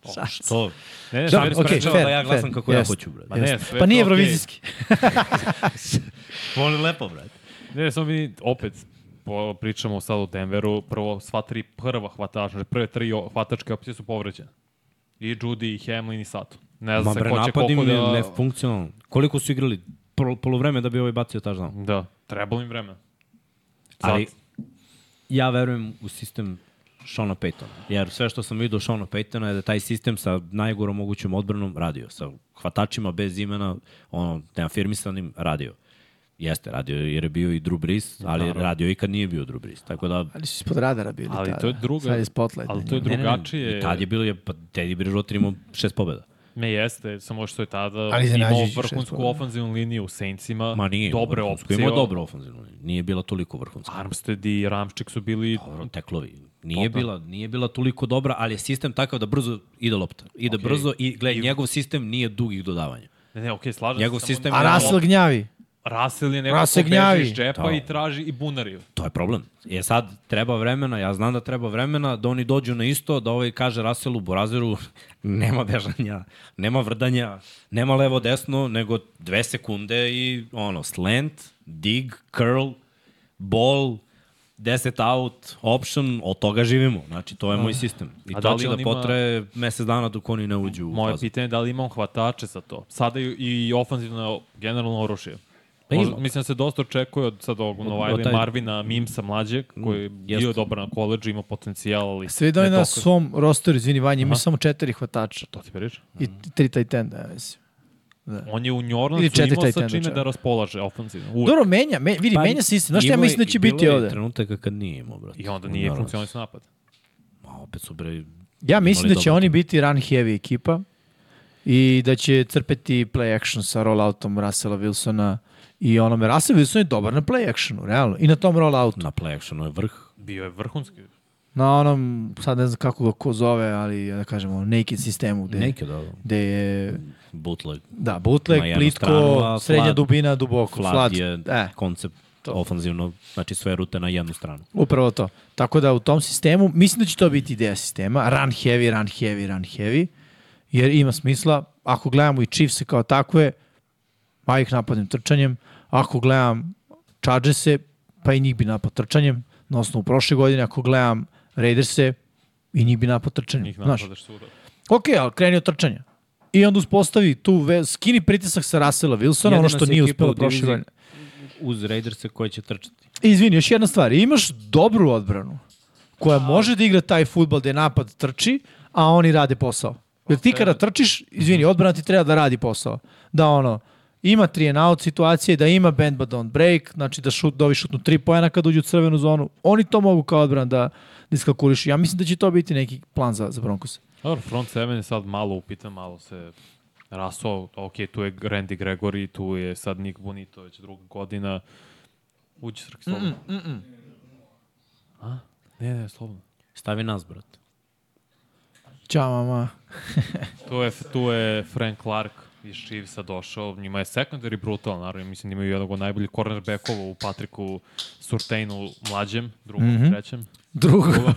S3: o, što?
S4: Ne, ne,
S2: Da,
S4: sve
S2: okej,
S4: sprečava
S2: fair,
S3: da ja glasam
S2: fair,
S3: kako ja
S2: jest.
S3: hoću, brate.
S4: Ma ne,
S2: Jeste.
S4: sve
S2: pa
S4: to
S2: nije
S4: okej.
S2: evrovizijski.
S3: Molim lepo, brate.
S4: Ne, samo mi opet po, pričamo sad o Denveru, prvo sva tri prva hvatača, znači prve tri o- hvatačke opcije su povređene. I Judy, i Hamlin, i Sato. Ne
S3: Ma
S4: znam se
S3: bre,
S4: ko će
S3: napad im
S4: koliko
S3: je
S4: da...
S3: nefunkcionalno. Koliko su igrali? Pol, polovreme da bi ovaj bacio taždan.
S4: Da, trebalo im vremena.
S3: Ali
S4: Sad-
S3: ja verujem u sistem Shona Paytona. Jer sve što sam vidio Shona Paytona je da taj sistem sa najgorom mogućom odbranom radio. Sa hvatačima bez imena, ono, neafirmisanim radio. Jeste radio jer je bio i Drew Brees, ali radio i kad nije bio Drew Brees. Tako da
S2: Ali su ispod radara bili
S4: Ali
S2: tada.
S4: to je druga...
S2: Sad je spotlight.
S4: Ali to je
S3: Ne, ne, ne,
S4: drugačije.
S3: I tad je bilo, je, pa Teddy Bridgewater imao šest pobjeda.
S4: Ne jeste, samo što je tada
S2: Ali
S4: imao
S2: iznenađujuće šest
S4: vrhunsku
S2: pobjeda.
S4: ofanzivnu liniju u Saintsima,
S3: Ma nije.
S4: dobre
S3: vrhunsko.
S4: opcije.
S3: Imao dobro ofenzivno. Nije bila toliko vrhunska.
S4: Armstead i Ramček su bili
S3: Dobro, teklovi. Nije bila, nije bila toliko dobra, ali je sistem takav da brzo ide lopta. Ide brzo i gledaj, njegov sistem nije dugih dodavanja.
S4: Ne, ne, okej, slažem
S3: Njegov
S4: se.
S3: sistem
S2: A
S3: je-
S2: Russell gnjavi.
S4: Rasel je neko
S2: Russell
S4: ko beže
S2: gnjavi.
S4: iz džepa
S3: Da.
S4: i traži i bunariju.
S3: To je problem. Je sad treba vremena, ja znam da treba vremena, da oni dođu na isto, da ovaj kaže Raselu Borazeru, nema bežanja, nema vrdanja, nema levo desno, nego dve sekunde i ono, slant, dig, curl, ball, 10 out, option, od toga živimo. Znači, to je moj sistem. I to
S4: A da li
S3: će da
S4: on ima-
S3: potre mesec dana dok oni ne uđu u
S4: Moje
S3: fazu.
S4: pitanje je da li imam hvatače za to. Sada i, i ofanzivno generalno oružje.
S3: Pa
S4: Možda,
S3: ima.
S4: mislim da se dosta očekuje od sad ovog Novajla
S3: od
S4: i
S3: taj- Mm,
S4: Marvina Mimsa mlađeg, koji je bio
S3: jeste.
S4: dobar na koleđu, ima potencijal, ali...
S2: Sve da
S4: ne
S2: na
S4: toliko.
S2: svom rosteru, izvini Vanja, ima samo četiri hvatača.
S4: To ti priča?
S2: I tri tight enda, ja mislim.
S3: Da.
S4: On je u
S2: Ili
S4: Njorlancu
S2: četiri
S4: imao sa
S2: tight enda
S4: čime
S2: čak.
S4: da raspolaže ofanzivno. Uvek.
S2: Dobro, menja, me, vidi, Pa, menja se istina. Znaš šta ja
S3: Imao je-
S2: mislim da će biti
S3: Pa, bilo je
S2: ovde?
S3: trenutaka kad nije imao, brate.
S4: I onda nije
S3: Naravno.
S4: funkcionalni napad.
S3: Ma, opet su bre...
S2: Ja mislim
S3: imali
S2: da će
S3: dobar
S2: oni biti run heavy ekipa i da će crpeti play action sa rolloutom Russella Wilsona i onome. Russell Wilson je dobar na play actionu, realno. I na tom rolloutu.
S3: Na play actionu je vrh.
S4: Bio je vrhunski.
S2: Na onom, sad ne znam kako ga ko zove, ali da kažemo, naked sistemu gde,
S3: Neki, da.
S2: gde je,
S3: Bootleg.
S2: da, bootleg,
S3: Na jednu
S2: plitko,
S3: stranu, a
S2: srednja
S3: flat-
S2: dubina, duboko,
S3: Flat,
S2: flat.
S3: je
S2: E,
S3: koncept
S2: to.
S3: ofanzivno, znači sve rute na jednu stranu.
S2: upravo to. Tako da u tom sistemu, mislim da će to biti ideja sistema, run heavy, run heavy, run heavy, jer ima smisla, ako gledamo i Chiefs kao takve, pa ih napadnem trčanjem, ako gledam Chargers-e, pa i njih bi napad trčanjem, na osnovu prošle godine, ako gledam Raiders-e, i njih bi napad trčanjem.
S4: Njih
S2: Znaš,
S4: napadaš svuda.
S2: Ok, ali kreni od trčanja. I onda uspostavi tu, ve, skini pritisak sa Rasela Wilsona, ono što nije uspelo prošle godine.
S3: Uz Raiderse koje će trčati.
S2: E, Izvini, još jedna stvar. Imaš dobru odbranu koja može da igra taj futbal gde napad trči, a oni rade posao. Jer ti kada trčiš, izvini, odbrana ti treba da radi posao. Da ono, ima tri and out situacije, da ima bend but don't break, znači da, šut, da ovi šutnu tri pojena kad uđu u crvenu zonu. Oni to mogu kao odbrana da, da iskalkulišu. Ja mislim da će to biti neki plan za, za Broncos.
S4: Dobro, front seven je sad malo upitan, malo se raso, ok, tu je Randy Gregory, tu je sad Nik Bonito, već druga godina. Uđi, Srki, slobodno. Mm -mm, mm A? Ne, ne, slobodno.
S3: Stavi nas, brate.
S2: Ćao, mama.
S4: Tu je, tu je Frank Clark iz Chiefsa došao, njima je secondary brutal, naravno, mislim da imaju jednog od najboljih cornerbackova u Patriku Surtainu mlađem, drugom, mm -hmm. trećem.
S2: Drugo.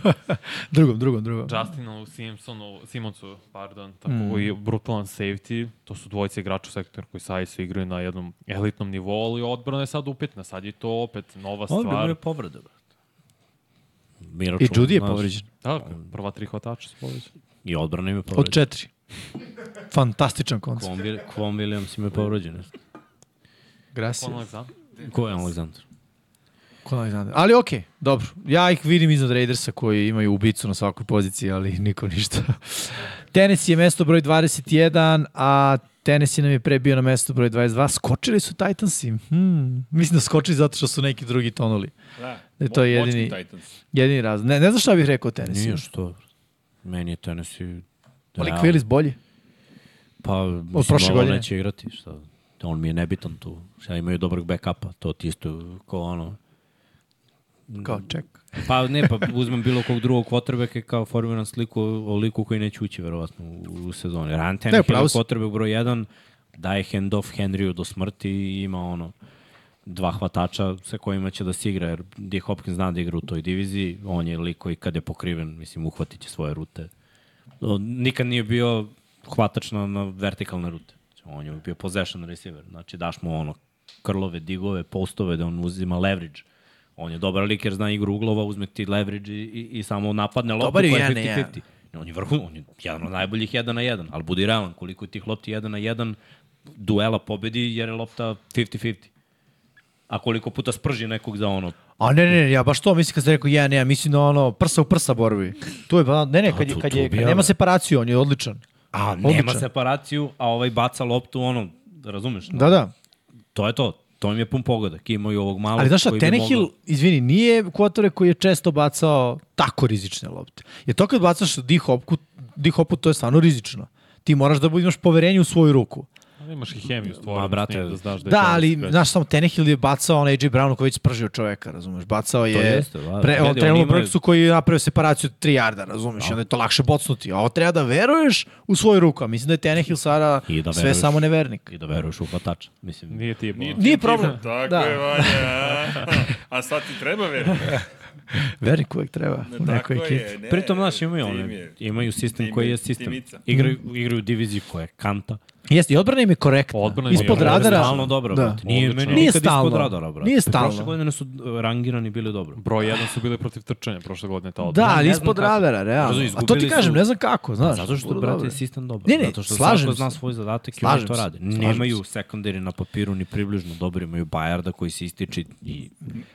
S2: drugom, drugom, drugom.
S4: Da, Justinu Simpsonu, Simonsu, pardon, tako mm. i brutalan safety. To su dvojice igrača u sektoru koji sad se igraju na jednom elitnom nivou, ali odbrana je sad upitna. Sad je to opet nova
S3: Ovo bi
S4: stvar.
S3: bilo povrede, brate. Mi
S2: I
S3: računamo,
S2: Judy je
S3: znaš,
S2: povređen.
S4: Da, prva tri hvatača su povređena.
S3: I odbrana im je
S2: Od
S3: povređena.
S2: četiri. Fantastičan koncert.
S3: Kvon, Wil- Kvon Williams im je povređen.
S2: Gracias.
S4: Kon Alexander.
S3: Ko je Aleksandar?
S2: Kon
S3: da
S2: Alexander. Ali okej, okay, dobro. Ja ih vidim iznad Raidersa koji imaju ubicu na svakoj poziciji, ali niko ništa. Tennessee je mesto broj 21, a Tennessee nam je pre bio na mesto broj 22. Skočili su Titansi. Hmm. Mislim da skočili zato što su neki drugi tonuli.
S1: Da,
S2: E, to je
S1: Mo- moćni
S2: jedini-
S1: Titans.
S2: E, Jedini razlog. Ne, ne znam šta bih rekao o Tennessee.
S3: Nije što. Meni je Tennessee
S2: Ali
S3: realno.
S2: Kvilis bolji.
S3: Pa, mislim,
S2: Pa Od prošle
S3: Lolo
S2: godine.
S3: neće igrati, šta? On mi je nebitan tu. Šta imaju dobrog backupa, to ti isto ko ono.
S2: Kao, ček.
S3: Pa ne, pa uzmem bilo kog drugog quarterbacka i kao formiram sliku o liku koji neće ući verovatno u, u sezoni. Ryan Tannehill
S2: pravo
S3: je
S2: si.
S3: quarterback broj 1, daje handoff Henryu do smrti i ima ono dva hvatača sa kojima će da se igra, jer D. Hopkins zna da igra u toj diviziji, on je lik koji kad je pokriven, mislim, uhvatit će svoje rute. On Nikad nije bio hvatač na, na vertikalne rute. On je uvijek bio possession receiver, znači daš mu ono krlove, digove, postove da on uzima leverage. On je dobar lik jer zna igru uglova, uzme ti leverage i, i, i samo napadne loptu
S2: Dobar je
S3: koja je
S2: jedan na jedan.
S3: 50-50. On je vrhu, on je jedan od najboljih jedan na jedan, ali budi realan, koliko je tih lopti jedan na jedan duela pobedi jer je lopta 50-50. A koliko puta sprži nekog za ono.
S2: A ne, ne, ne, ja baš to mislim kad ste rekao ja, ne, ja mislim na ono prsa u prsa borbi. Tu je, ba- ne, ne, kad, je,
S3: tu-
S2: kad,
S3: tu
S2: je,
S3: bi
S2: kad
S3: ja-
S2: nema separaciju, on je odličan.
S3: A nema
S2: odličan.
S3: separaciju, a ovaj baca loptu ono, razumeš?
S2: Da, da.
S3: To je to. To im je pun pogodak. Imaju ovog malog
S2: Ali znaš šta,
S3: koji bi
S2: Tenehill,
S3: mogao-
S2: izvini, nije kvotore koji je često bacao tako rizične lopte. Jer to kad bacaš D-hopku, D-hopu to je stvarno rizično. Ti moraš da imaš poverenje u svoju ruku.
S4: Ali Pa imaš i hemiju stvorenu
S3: Ma, brate,
S4: s njim, da znaš da je
S2: Da,
S4: to
S2: ali,
S4: uspeh.
S2: znaš, samo Tenehill je bacao on AJ Brownu koji je već spržio čoveka, razumeš? Bacao je...
S3: jeste,
S2: pre,
S3: da. Gledaj,
S2: on
S3: oni
S2: trenutno
S3: imaju-
S2: projektu koji je napravio separaciju od 3 jarda, razumeš? I onda je to lakše bocnuti. A ovo treba da veruješ u svoju ruku. A mislim da je Tenehill sada
S3: I da
S2: sve
S3: veruješ.
S2: samo nevernik.
S3: I da veruješ u hvatača. Mislim,
S4: Nije ti je
S1: Nije,
S2: Nije problem.
S1: Tako
S2: Da.
S1: je, Vanja. A sad ti treba veriti.
S2: Vernik uvek treba u nekoj
S1: Tako
S2: ekipi.
S1: je, ne,
S3: Pritom, znaš, imaju,
S1: tim
S3: one,
S1: je.
S3: imaju sistem
S1: tim
S3: koji
S1: je-
S3: je sistem.
S1: timica.
S3: Igraju, igraju diviziju koja je kanta.
S2: Jeste, i odbrana im je korektna.
S3: Pa
S4: Odbrana im je
S2: Ispod
S4: odlična.
S2: radara.
S3: Stalno dobro,
S2: Da.
S3: da. brate. Nije
S4: Odlično.
S3: meni
S2: Nije
S3: nikad
S2: stalno.
S3: ispod radara, brate.
S2: Nije stalno.
S3: Prošle godine su uh, rangirani bili dobro.
S4: Broj 1 su bili protiv trčanja prošle godine ta odbrana.
S2: Da, ali
S3: ne
S2: ispod
S3: znam kako.
S2: radara, realno.
S3: Razumem,
S2: A to ti
S3: izgubili
S2: kažem,
S3: su-
S2: ne znam kako, znaš.
S3: Zato što,
S2: Bilo
S3: brate,
S2: dobro.
S3: je sistem dobar.
S2: Ne, ne,
S3: Zato što
S2: slažem
S3: svako
S2: se.
S3: zna svoj zadatak i
S2: Slažem
S3: oni to
S2: se.
S3: rade.
S2: Slažem
S3: Nemaju sekundari na papiru ni približno dobro, imaju Bajarda koji se ističe i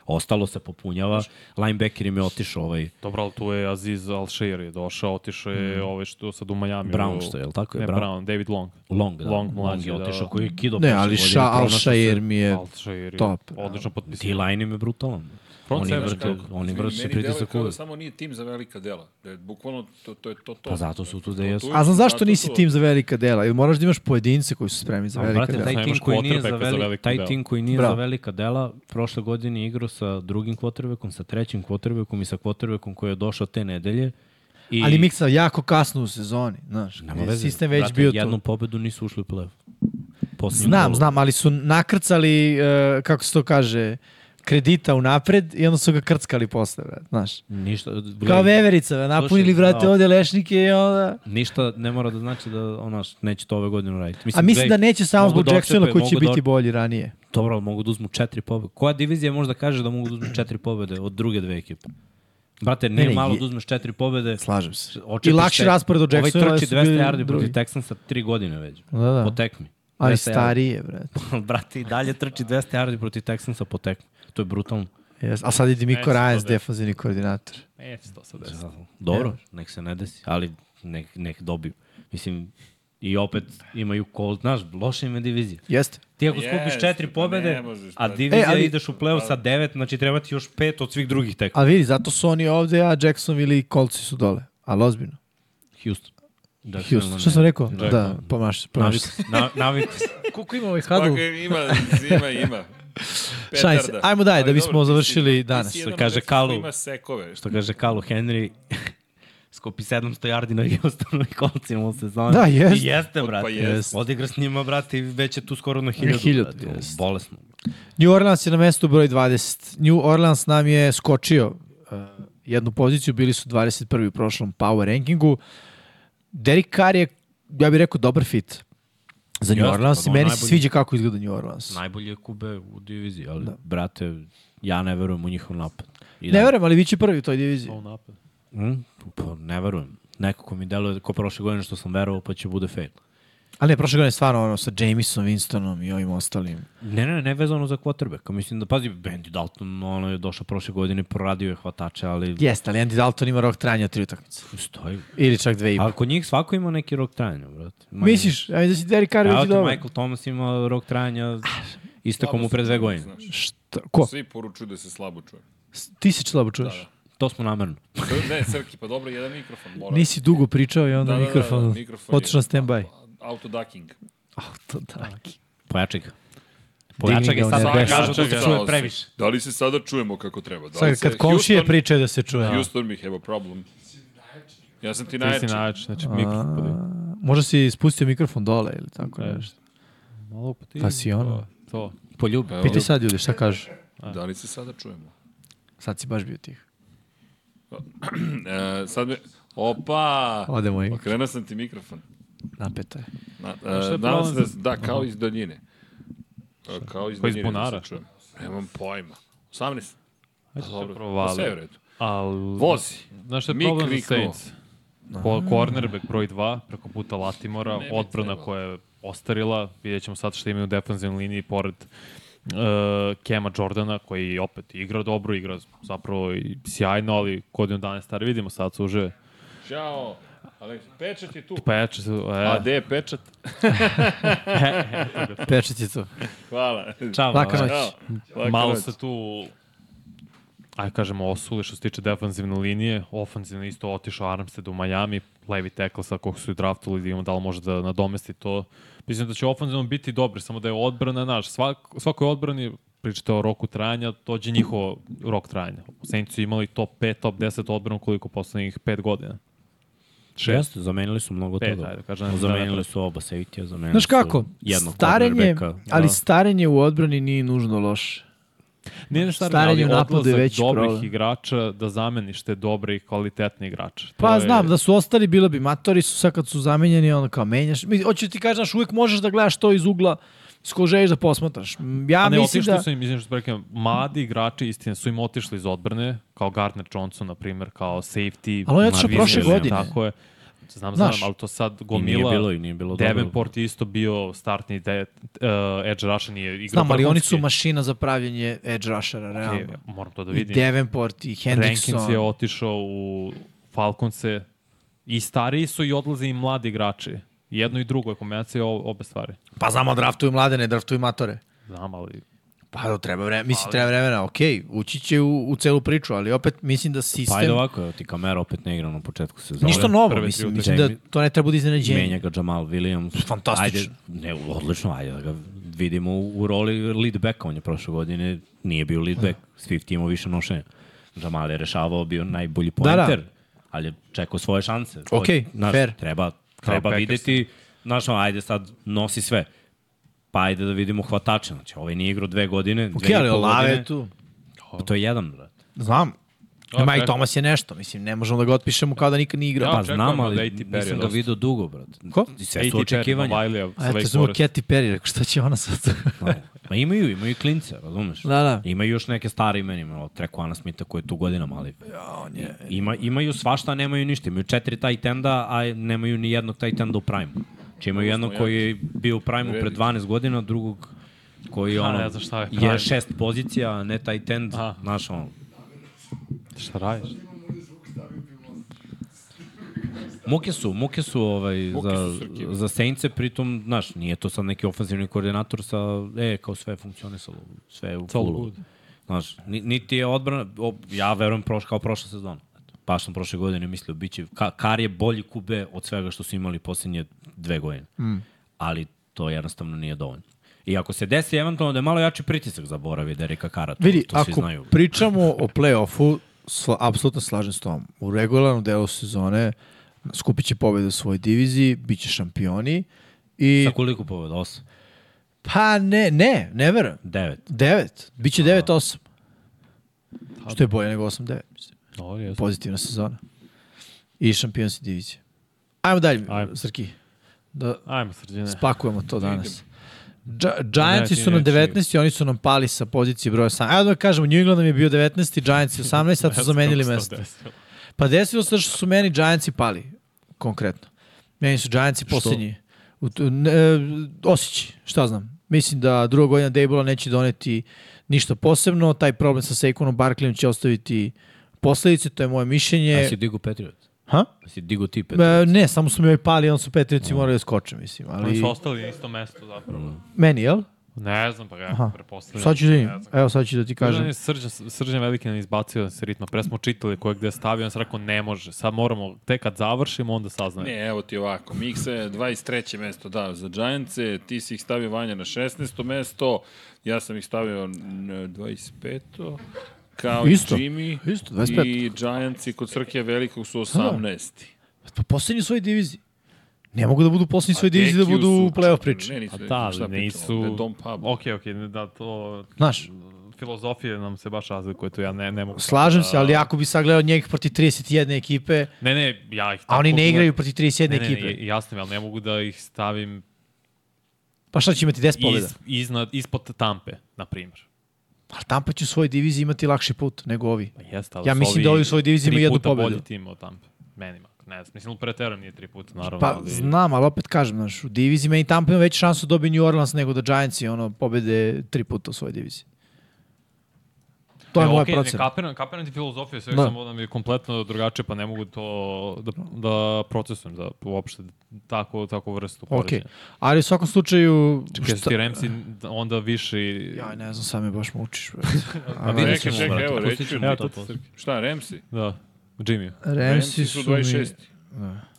S3: ostalo se popunjava. Linebacker im je otišao ovaj
S4: Dobro, ali tu je Aziz Alšir je došao, otišao je ovaj što sad u Miami.
S3: Mm. Brown
S4: u-
S3: što je, jel tako je?
S4: Ne,
S3: Brown?
S4: Brown, David Long.
S3: Long, da.
S4: Long,
S3: Long,
S4: mlađi,
S3: je
S4: da.
S3: otišao koji je kido.
S2: Ne,
S3: prošle
S2: ali
S3: godine,
S2: Ša, Al
S3: pronašao se-
S2: Shair mi je...
S4: Alšir je
S2: Top.
S4: odlično potpisao.
S3: D-line im je brutalan.
S4: Front
S3: Oni
S4: seven,
S3: vrte,
S4: kako?
S3: oni
S1: Meni-
S3: vrte
S1: meni deluje
S3: pritisak
S1: kao da
S3: uvek.
S1: Samo nije tim za velika dela. Da je bukvalno to, to je to, to.
S3: Pa zato su tu da jesu.
S2: A znam zašto
S1: Zato
S2: nisi
S1: su-
S2: tim za velika dela? Ili moraš da imaš pojedince koji su spremni za
S3: A,
S2: velika
S3: Brate,
S2: dela?
S3: taj
S4: Nemaš
S3: tim koji nije za,
S4: quarterbacka za
S3: veli,
S4: veliko
S3: taj
S4: delo.
S3: tim koji nije
S2: Bravo.
S3: za velika dela, prošle godine igrao sa drugim quarterbackom, sa trećim quarterbackom i sa quarterbackom koji je došao te nedelje. I
S2: Ali Miksa jako kasno u sezoni, znaš.
S3: Nema
S2: je
S3: veze,
S2: Sistem već
S3: brate,
S2: bio
S3: jednu
S2: tu.
S3: pobedu nisu ušli u play-off. Posljednju
S2: Znam,
S3: kolu.
S2: znam, ali su nakrcali, e, kako se to kaže, kredita u napred i onda su ga krckali posle, vrat, znaš.
S3: Ništa,
S2: Kao
S3: gledaj,
S2: veverica, vrat, napunili,
S3: Slušaj, da.
S2: vrate,
S3: a-
S2: ovde lešnike i onda...
S3: ništa ne mora da znači da ono, neće to ove godine raditi.
S2: A mislim da
S3: gledaj,
S2: neće samo
S3: mogu
S2: zbog
S3: da
S2: Jacksona
S3: odcepe,
S2: koji će
S3: mogu da
S2: biti bolji ranije.
S3: Dobro, ali mogu da uzmu četiri pobede. Koja divizija možda kaže da mogu da uzmu četiri pobede od druge dve ekipe? Brate, nije
S2: ne,
S3: malo
S2: je-
S3: da uzmeš četiri pobede.
S2: Slažem se.
S3: Očepiš
S2: I lakši
S3: se.
S2: raspored od Jacksona,
S3: Ovaj
S2: ali
S3: trči
S2: su
S3: 200
S2: bili
S3: yardi
S2: drugi.
S3: protiv Texansa tri godine već.
S2: Da, da.
S3: Po tekmi.
S2: Ali
S3: 200 yardi.
S2: stariji je, brate.
S3: Brate, i dalje trči 200 yardi protiv Texansa po tekmi. To je brutalno.
S2: Yes. A sad ide Miko
S4: Neće
S2: Ryan,
S4: to da-
S2: defensivni koordinator.
S4: Neće to se desiti.
S3: Dobro, nek se ne desi, ali nek, nek dobiju. Mislim, i opet imaju kol, znaš, loša im je divizija.
S2: Jeste.
S3: Ti ako
S1: Jeste,
S3: skupiš četiri
S1: pa ne
S3: pobede,
S1: možeš,
S3: a
S1: pa-
S3: divizija
S2: E, ali-
S3: ideš u play-off sa devet, znači treba ti još pet od svih drugih tekmi.
S2: A vidi, zato su oni ovde, a Jacksonville i Coltsi su dole. Ali ozbiljno.
S3: Houston. Da,
S2: Houston. Što sam rekao? Da, pomaš se, pomaš
S3: Naviku,
S2: se.
S3: na, naviku. se.
S2: Koliko ima ovih
S1: Pa ga ima, ima, ima.
S2: Šalim se.
S1: Petarda.
S2: Ajmo dalje, da
S1: Ali
S2: bismo
S1: dobro, ti si-
S2: završili
S1: ti si
S2: danas.
S1: jedan od
S3: Kaže
S1: retkih
S3: Kalu.
S1: koji Ima sekove.
S3: Što kaže Carlo Henry, skopi 700 jardi na Houstonu i kolcima u sezoni.
S2: Da, jest.
S3: I jeste, brate.
S1: Pa jest.
S3: Odigra s njima, brate, i već je tu skoro na 1000.
S2: Hiljadu,
S3: brate.
S2: jest.
S3: Bolesno.
S2: New Orleans je na mestu broj 20. New Orleans nam je skočio uh, jednu poziciju, bili su 21. u prošlom power rankingu. Derek Carr je, ja bih rekao, dobar fit za New
S3: Jeste,
S2: Orleans
S3: pa
S2: i
S3: on je
S2: meni se
S3: najbolji.
S2: sviđa kako izgleda New Orleans.
S3: Najbolje kube u diviziji, ali, da. brate, ja ne verujem u njihov napad. I
S2: Ne verujem, ali vi će prvi u toj diviziji.
S4: U napad.
S3: Mm, pa ne verujem. Neko ko mi deluje, ko prošle godine što sam verovao, pa će bude fail.
S2: Ali ne, prošle godine stvarno ono sa Jamesom, Winstonom i ovim ostalim.
S3: Ne, ne, ne vezano za quarterbacka. Mislim da, pazi, Bendy Dalton, ono je došao prošle godine, proradio je hvatače, ali
S2: Jeste, ali Andy Dalton ima rok trajanja od tri utakmice.
S3: stoji.
S2: Ili čak dve i
S3: A
S2: po.
S3: kod njih svako ima neki rok trajanja, brate. Ma,
S2: Misliš, ajde da si Derek Carr
S3: Evo
S2: već
S3: ti
S2: dobar.
S3: Michael Thomas ima rok trajanja
S4: da
S3: istekom mu pre dve godine.
S1: Znaš,
S2: Šta, ko?
S1: Svi poručuju da se slabo čuje.
S2: S- Ti se slabo čuješ.
S3: To smo namerno.
S1: Ne, Srki, pa dobro, jedan mikrofon mora.
S2: Nisi dugo pričao i onda
S1: Da, da, da,
S2: mikrofon, da,
S1: da, mikrofon je-
S2: otišao na stand-by.
S1: Autoducking.
S2: Auto, daki.
S3: Pojačaj ga.
S2: Digni
S3: Pojačaj ga
S2: ga
S3: i sad
S2: u nebo.
S3: pa kažu
S1: Pojačaj
S3: da
S1: ga.
S3: se čuje previše.
S1: Da li se sada čujemo kako treba? Da li
S2: Sad,
S1: se-
S2: kad komšije
S1: Houston-
S2: pričaju da se čuje.
S1: Houston mi have a problem. Ja sam ti
S4: Ti si
S1: najjači.
S4: najjači, znači mikrofon podigni.
S2: Možda si spustio mikrofon dole ili tako
S4: E.
S2: nešto.
S4: Malo podigni.
S2: Pa si ono.
S4: To, To.
S3: Poljubi.
S1: Evo.
S2: Piti sad ljudi šta kažu.
S1: Da li se sada čujemo?
S2: Sad si baš bio tih.
S1: E, sad me... Opa!
S2: Odemo i
S1: Okrenuo sam ti mikrofon.
S2: napeta je.
S1: Na,
S4: šta
S1: e,
S4: je
S1: nadam se
S4: problem?
S1: da, da, kao iz daljine. E, Kao iz
S4: Pa iz
S1: daljine da
S4: bunara?
S1: se čujem. Nemam pojma. 18.
S4: Ajde se
S1: Dobro, pa sve je u
S4: provali.
S1: redu.
S4: Al...
S1: Vozi.
S4: Znaš šta je
S1: Mik
S4: problem za
S1: viknuo.
S4: Saints? Po, cornerback broj 2, preko puta Latimora,
S1: Ne bi
S4: odbrana
S1: trebalo.
S4: koja je ostarila, vidjet ćemo sad što imaju u defensivnoj liniji pored uh, Kema Jordana, koji opet igra dobro, igra zapravo i sjajno, ali godinu dana je star, vidimo sad suže.
S1: Ćao! Aleks, pečat je tu.
S4: Peče se,
S1: A
S4: e,
S1: gde je pečat?
S2: Pečet je to.
S1: Hvala.
S3: Čao.
S2: Laka
S3: ovaj.
S2: noć.
S1: Laka
S4: malo
S1: noć.
S4: se tu aj kažemo osuli što se tiče defanzivne linije, ofanzivno isto otišao Armstead u Miami, levi tackle sa kog su i draftuli, da vidimo da li može da nadomesti to. Mislim da će ofanzivno biti dobri, samo da je odbrana naš, svak, svakoj odbrani pričate o roku trajanja, dođe njihov rok trajanja. Saints su imali top 5, top 10 odbranu koliko poslednjih 5 godina.
S3: Jeste, zamenili su mnogo
S4: Pet,
S3: toga.
S4: ajde, kažem, ne znam,
S3: zamenili su oba safety-a, zamenili
S2: Znaš kako?
S3: su jednog
S2: Starenje,
S3: cornerbacka. Da.
S2: ali starenje u odbrani nije nužno loše.
S4: Nije nešto
S2: Starenje
S4: starenje,
S2: u
S4: ali
S2: napadu je
S4: odlazak dobrih
S2: veći problem.
S4: igrača da zameniš te dobre i kvalitetne igrače. To
S2: Pa
S4: je-
S2: znam, da su ostali, bilo bi matori su, sad kad su zamenjeni, ono kao menjaš. Mi- Hoću ti kažem, znaš, uvek možeš da gledaš to iz ugla s kog želiš da posmatraš. M, Ja
S4: A ne,
S2: mislim
S4: otišli
S2: da...
S4: su im, izvim što prekam, mladi igrači, istina, su im otišli iz odbrane, kao Gardner Johnson, na primjer, kao safety.
S2: Ali on je otišao
S4: Marvin
S2: prošle
S4: Williams,
S2: godine.
S4: Tako je. Znam, znam,
S2: Znaš.
S4: ali to sad
S3: I nije
S4: gomila.
S3: bilo, i nije bilo dobro.
S4: Davenport je isto bio startni de, uh, edge rusher, nije igrao.
S2: Znam, ali oni
S4: vrhunski.
S2: su mašina za pravljanje edge rushera, realno.
S4: E, moram to da
S2: I
S4: vidim.
S2: Davenport, i
S4: Rankins je
S2: Hendrickson.
S4: otišao u Falconse. I stariji su i odlaze i mladi igrači. Jedno i drugo je kombinacija o- obe stvari.
S2: Pa znamo, draftuju mlade, ne draftuju matore.
S4: Znam, ali
S2: Pa da, treba vremena, mislim, treba vremena, okej, ući će u, u celu priču, ali opet mislim da sistem...
S3: Pa ajde ovako, evo ti kamera opet ne igra na početku sezone.
S2: Ništa novo,
S4: prve tri
S2: mislim, mislim
S4: utakmice.
S2: da to ne treba bude iznenađenje.
S3: Menja ga Jamal Williams.
S2: Fantastično.
S3: Ajde, ne, odlično, ajde da ga vidimo u, u roli lead backa. On je prošle godine nije bio lead back. Swift je imao više nošenja. Jamal je rešavao, bio najbolji pointer. Da, da. Ali je čekao svoje šanse. To je,
S2: Okej,
S3: znaš,
S2: fair.
S3: Treba, treba
S4: Packers.
S3: videti, znaš, ono, ajde sad nosi sve. Pa ajde da vidimo hvatače. Znači, ovaj nije igrao dve godine,
S2: Okej,
S3: dve
S2: ali
S3: i pol
S2: Olave
S3: godine.
S2: je tu.
S3: Pa to je jedan, brate.
S2: Znam. Ima i
S4: Ok.
S2: Tomas je nešto, mislim, ne možemo da ga otpišemo kao da nikad nije igrao.
S4: Ja,
S3: Pa
S4: očekujem
S3: znam,
S4: od
S3: ali
S4: AT Perry'a
S3: nisam ga
S4: dosta.
S3: vidio dugo, brate.
S2: Ko?
S3: I Sve su očekivanja.
S4: Miley,
S2: A eto, sam Katy Perry, rekao, šta će ona sad?
S3: Ma imaju, imaju i klince, razumeš?
S2: Da, da.
S3: Imaju još neke stare imenima, od Treko Ana Smitha koji je tu godinama, ali
S2: on je...
S3: ima, imaju svašta, a nemaju ništa. Imaju četiri tight enda, a nemaju ni jednog tight enda u prime. Či imaju jednog koji je bio u prime pre 12 godina, drugog koji je
S4: A,
S3: ono,
S4: ne znam šta je prime.
S3: je šest pozicija, a ne tight end,
S4: Aha.
S3: znaš ono.
S4: Šta radiš?
S3: Muke su, muke su, ovaj,
S1: Muke
S3: za,
S1: su da. Srkive.
S3: za Sejnce, pritom, znaš, nije to sad neki ofenzivni koordinator sa, e, kao sve je funkcionisalo, sve je u
S4: all
S3: fulu.
S4: good.
S3: Znaš, ni- niti je odbrana, o, ja verujem proš, kao prošla sezona. Eto, Baš sam prošle godine mislio, bit će, ka, Kar je bolji kube od svega što su imali posljednje dve godine. Mm. Ali to jednostavno nije dovoljno. I ako se desi eventualno da je malo jači pritisak zaboravi Derika Kara, to,
S2: Vidi,
S3: to svi
S2: ako
S3: znaju.
S2: pričamo o play-offu, sla, apsolutno slažem s tom. U regularnom delu sezone skupit će pobjede u svojoj diviziji, bit će šampioni i...
S3: Sa koliko poveda? Osam?
S2: Pa ne, ne, ne verujem.
S3: Devet?
S2: Devet. Biće 9-8. Što je bolje nego 8-9, mislim.
S4: Ovo je
S2: Pozitivna sezona. I šampionske divizije. Ajmo dalje,
S4: Ajmo.
S2: Srki. Da
S4: Ajmo, srđene.
S2: spakujemo to danas. Gi Giantsi
S4: Ne,
S2: su nam
S4: ti neću.
S2: 19 i oni su nam pali sa pozicije broja 18. Ajde da kažemo, New England nam je bio 19 i Giants 18, sad su zamenili mesto. Pa desilo se što su meni Giantsi pali, konkretno. Meni su Giantsi posljednji. U, tu- ne, e, osjeći, šta znam. Mislim da druga godina Dejbola neće doneti ništa posebno. Taj problem sa Seikonom Barkleyom će ostaviti posledice, to je moje mišljenje.
S3: A si digo Patriot?
S2: Ha?
S3: A si digo ti
S2: E,
S3: Patriot?
S2: ne, samo su mi ovi pali, onda su Petrici morali da skoče, mislim.
S4: Oni
S2: Ali,
S4: su ostali na istom mestu zapravo.
S2: meni, jel?
S4: Ne znam, pa ja
S2: Aha.
S4: prepostavljam.
S2: Sad ću da im,
S4: Ne znam.
S2: evo sad ću da ti
S4: Kažem.
S2: kažem.
S4: Je srđan, srđan Velikin izbacio s ritma. Pre smo čitali ko je gde stavio, on se rekao ne može. Sad moramo, tek kad završimo, onda
S2: Pa
S4: saznajemo.
S1: Ne, evo ti ovako. Miksa je 23. mesto dao za Giantse, ti si ih stavio Vanja na 16. mesto, ja sam ih stavio na 25. Kao
S2: Isto.
S1: i Jimmy.
S2: Isto, Da. 25.
S1: I Giantsi kod Srkija Velikog su 18.
S2: Pa poslednji u svojoj diviziji. Ne mogu da budu poslednji u svojoj diviziji da
S1: Tekiju
S2: budu
S1: su-
S2: u play-off Pa priči.
S1: Ne, nisu,
S4: A da,
S1: šta
S4: ali
S1: pričamo,
S4: nisu...
S1: Dom Pablo.
S4: Ok, ok, da to...
S2: Znaš,
S4: Filozofije nam se baš razlikuje tu, ja ne, ne mogu.
S2: slažem se,
S4: Da.
S2: ali ako bi sagledao njih proti 31 ekipe,
S4: Ne, ne, ja ih...
S2: a oni ne
S4: tako-
S2: igraju proti 31
S4: Ne, ne, ne,
S2: ekipe,
S4: jasno mi, je, ali ne mogu da ih stavim
S2: pa šta će imati 10 pobjeda?
S4: iz, iznad, ispod tampe, na primjer.
S2: Ali Tampa će u svojoj diviziji imati lakši put nego ovi.
S4: Pa jeste,
S2: Ja mislim da ovi u svojoj diviziji imaju jednu
S4: Tri
S2: pobedu.
S4: puta bolji tim od Tampe. Meni, mak- ne znam. Mislim, preteram nije tri puta, naravno.
S2: Pa
S4: ali...
S2: znam, ali opet kažem, znaš, u diviziji meni Tampa ima veću šansu da dobije New Orleans nego da Giants i ono pobede tri puta u svojoj diviziji. To je
S4: E,
S2: moja
S4: okej,
S2: procena.
S4: Ne, kapiram, kapiram ti filozofiju, sve
S2: Da.
S4: samo da mi je kompletno drugačije, pa ne mogu to da, da procesujem, da uopšte tako, tako vrstu
S2: Okej.
S4: poređenja.
S2: Ali u svakom slučaju...
S4: Čekaj, su
S2: šta-
S4: ti Remsi onda viši...
S2: Ja ne znam, sad me baš mučiš.
S1: A
S3: vidjet
S1: čekaj,
S3: ćemo,
S1: čekaj,
S3: brate,
S1: evo,
S3: pustit
S1: reći
S3: ćemo
S1: ću.
S3: to
S1: Eto,
S3: posle.
S1: Šta, Remsi?
S4: Da, Jimmy.
S2: Remsi su, mi- Da.
S1: 26.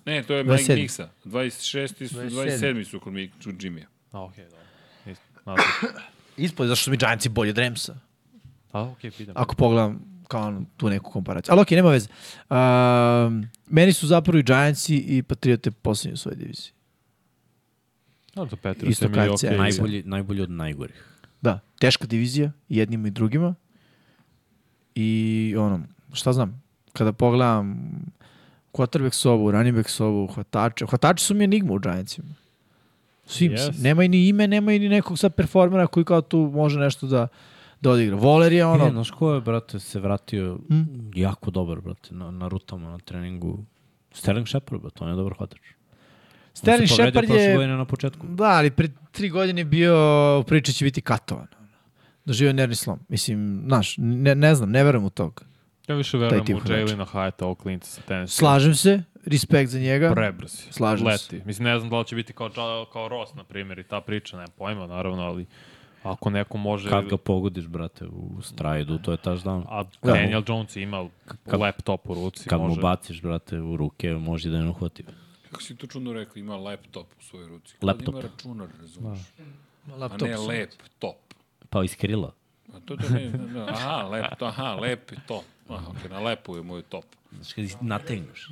S1: Ne, to je Mike
S2: 27.
S1: Nixa. 26. su, 27. su kod Mike Jimmy.
S4: A, okej, dobro. Isto. Nadam se.
S2: Ispod, zašto su mi Giantsi bolji od Remsa?
S4: A, okej, pitam.
S2: Ako pogledam kao ono, tu neku komparaciju. Ali okej, nema veze. Um, meni su zapravo i Giantsi i Patriote poslednji u svojoj diviziji.
S4: Dobro, Petru,
S2: Isto
S4: sve mi
S2: kao
S4: je
S2: CR.
S4: okej.
S2: Najbolje.
S3: Najbolji, najbolji od najgorih.
S2: Da, teška divizija i jednima i drugima. I ono, šta znam, kada pogledam quarterback sobu, running back sobu, hvatače, hvatači su mi enigma u Giantsima. Svim, yes.
S4: Yes.
S2: nema i ni ime, nema i ni nekog sad performera koji kao tu može nešto da, da odigra. Voler je
S3: Ono,
S2: ono, Hm?
S3: ne, E, znaš ko je, brate, se vratio mm. jako dobar, brate, na, na rutama, na treningu. Sterling Shepard, brate, on je dobar hvatač.
S2: Sterling Shepard
S3: On se povredio prošle
S2: je
S3: godine na početku.
S2: Da, ali pre tri godine je bio, priča će biti katovan. Doživio je nervni slom. Mislim, znaš, ne, ne znam, ne verujem u toga.
S4: Ja više verujem
S2: tip
S4: u
S2: hvatača.
S4: Jalena Hyatta, ovog klinca sa tenisa.
S2: Slažem se, respekt za njega.
S4: Prebrz je.
S2: Slažem
S4: Leti.
S2: se.
S4: Mislim, ne znam da li će biti kao, Dža- kao Ross, na primjer, i ta priča, nemam pojma, naravno, ali ako neko može...
S3: Kad ga pogodiš, brate, u strajdu, to je taš dan.
S4: A
S2: Da.
S4: Daniel Jones ima laptop u ruci.
S3: Kad mu
S4: može.
S3: baciš, brate, u ruke, može da je ne uhvati.
S1: Kako si to čudno rekao, ima laptop u svojoj ruci. da
S3: Laptop.
S1: Ima računar, razumiješ. A
S2: Laptop.
S1: ne laptop.
S3: Pa iz krila.
S1: A to, to ne, ne, ne, aha, lep, aha, lepi top. Aha, ok, na lepu je moj top.
S3: Znaš, kad ih nategneš.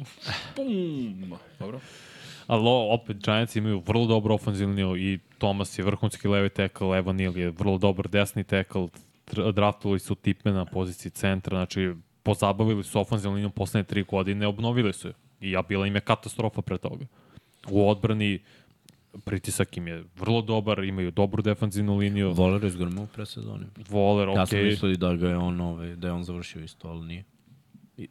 S1: Pum! Dobro.
S4: Ali o- opet, Giants imaju vrlo dobro ofanzivni i Thomas je vrhunski levi tackle, Evan Neal je vrlo dobar desni tackle, tr- draftovali su tipe na poziciji centra, znači pozabavili su ofanzivnu liniju poslednje tri godine, obnovili su je. I ja bila im je katastrofa pre toga. U odbrani pritisak im je vrlo dobar, imaju dobru defanzivnu liniju,
S3: Voler je zgrmao pre sezoni.
S4: Voler,
S3: Ja sam
S4: okej.
S3: mislio i da ga je on, ovaj, da je on završio isto, ali nije. I-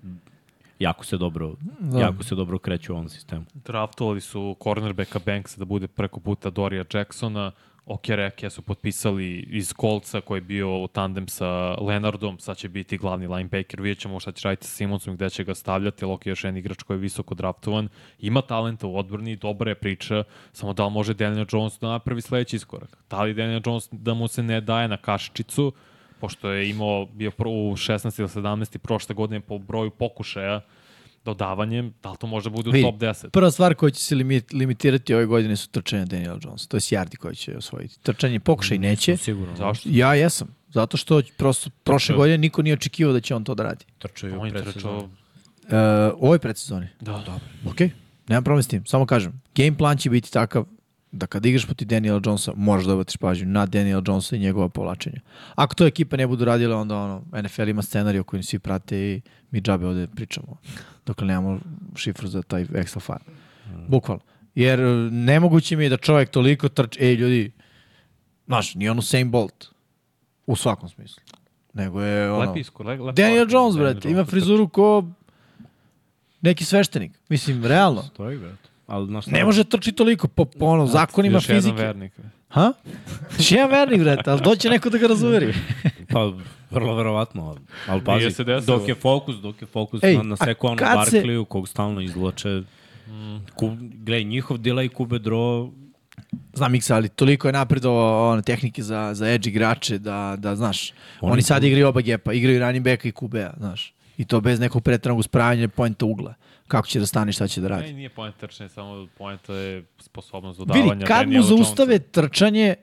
S3: Jako se dobro, da. jako se dobro kreće u ovom sistemu.
S4: draftovali su cornerbacka Banksa da bude preko puta Dorija Jacksona, Okereke su potpisali iz Kolca koji je bio u tandem sa Lenardom, sad će biti glavni linebacker, vidjet ćemo šta će raditi sa Simonsom, gde će ga stavljati, ali Oki je još jedan igrač koji je visoko draftovan, ima talenta u odbrani, dobra je priča, samo da li može Daniel Jones da napravi sledeći iskorak? Da li Daniel Jones da mu se ne daje na kašičicu, pošto je imao, bio pro, u 16 ili 17 prošle godine po broju pokušaja, dodavanjem, da li to može da bude u
S2: Vidi,
S4: top 10?
S2: Prva stvar koja će se limit, limitirati ove godine su trčanje Daniela Jonesa. To je Jardi koji će osvojiti. Trčanje pokušaj neće.
S3: Sigurno.
S4: Zašto?
S2: Ja jesam. Zato što prosto prošle
S4: Trčao.
S2: godine niko nije očekivao da će on to da radi.
S3: Trčao je
S4: On
S3: u
S4: je trčao...
S3: predsezoni.
S2: Uh, ovo je predsezoni.
S4: Da, dobro.
S2: Ok, nemam problem s tim. Samo kažem, game plan će biti takav da kad igraš proti Daniela Jonesa, možeš da obratiš pažnju na Daniela Jonesa i njegova povlačenja. Ako to ekipa ne budu radile, onda ono, NFL ima scenarij o kojem svi prate i mi džabe ovde pričamo. Dokle nemamo šifru za taj Excel file. Bukvalno. Jer e, nemoguće mi je da čovek toliko trče, ej ljudi, znaš, nije on Usain Bolt. U svakom smislu. Nego je ono...
S4: Lepi iskor, le, lepi
S2: Па Daniel
S4: iskor.
S2: Jones,
S4: Pa Daniel
S2: brate, ima
S4: Jones.
S2: frizuru ko neki sveštenik. Mislim, realno.
S3: Stoji, brate. Ali, znaš,
S2: Ne može trči toliko po, po ono, zakonima
S4: Još jedan
S2: fizike.
S4: vernik.
S2: Ha? Još jedan vernik, brate, ali doće neko da ga razuveri.
S3: Pa, vrlo verovatno, ali- ali pazi,
S4: se desilo.
S3: dok je fokus, dok je fokus
S2: Ej,
S3: Ej, na, na
S2: a
S3: seku ono
S2: kad se-
S3: Barkliju, kog stalno izloče, ku, gledaj, njihov delay Kube Dro
S2: Znam Miksa, ali toliko je napredovao ono, tehnike za, za edge igrače da, da znaš, oni,
S3: Oni
S2: oni
S3: su-
S2: sad igraju oba gepa, igraju running backa i QB-a, znaš. I to bez nekog pretranog uspravljanja poenta ugla. Kako će da stane, šta će da radi.
S4: Ne, nije pojenta trčanje, samo pojenta je sposobnost dodavanja.
S2: Vidi, kad mu
S4: Daniela
S2: zaustave
S4: Jonesa.
S2: trčanje,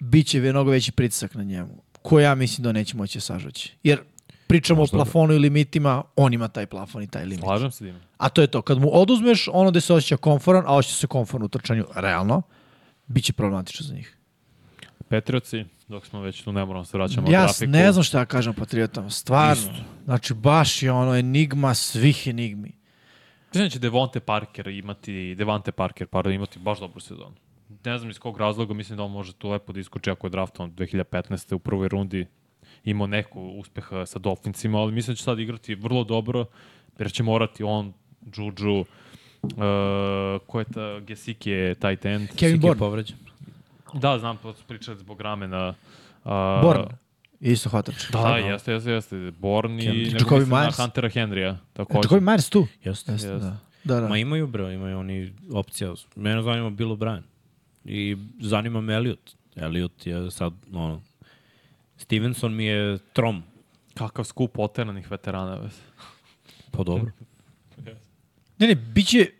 S2: bit će mnogo veći pritisak na njemu, koji ja mislim da neće moći da sažući. Jer pričamo o plafonu i limitima, on ima taj plafon i taj limit.
S4: da. Slažem se, Dima.
S2: A to je to, kad mu oduzmeš ono gde se osjeća konforan, a osjeća se konforan u trčanju, realno, bit će problematično za njih.
S4: Petrioci, dok smo već tu, ne moramo se vraćamo
S2: ja
S4: grafiku.
S2: ne znam šta ja kažem patriotama, stvarno. Znači, baš je ono enigma svih enigmi.
S4: Mislim da će Devonte Parker imati, Devante Parker, pardon, imati baš dobru sezonu. Ne znam iz kog razloga, mislim da on može tu lepo da iskuči ako je draftovan 2015. u prvoj rundi imao neku uspeha sa Dolphinsima, ali mislim da će sad igrati vrlo dobro, jer će morati on, Juju, Uh, ko je ta, Gesicki je tight
S2: Kevin
S4: end.
S3: Siki je
S2: Born.
S3: povređen.
S4: Da, znam, to su pričali zbog ramena. Uh,
S2: Born. Isto hvatač.
S4: Da, da, jeste, jeste, jeste. Born i
S3: Henry.
S4: nego
S2: Jacoby
S4: mislim na
S2: Myers.
S4: Huntera Henrya.
S2: E,
S4: Takođe.
S2: Tako je Myers tu.
S3: Jeste.
S2: Jeste,
S4: Jeste.
S2: da. Da, da.
S3: Ma imaju bre, imaju oni opcija. Mene zanima Bill O'Brien. I zanima me Elliot. Elliot je sad, ono, Stevenson mi je trom.
S4: Kakav skup oteranih veterana. ves.
S3: Pa dobro.
S2: Ne, ne, bit će,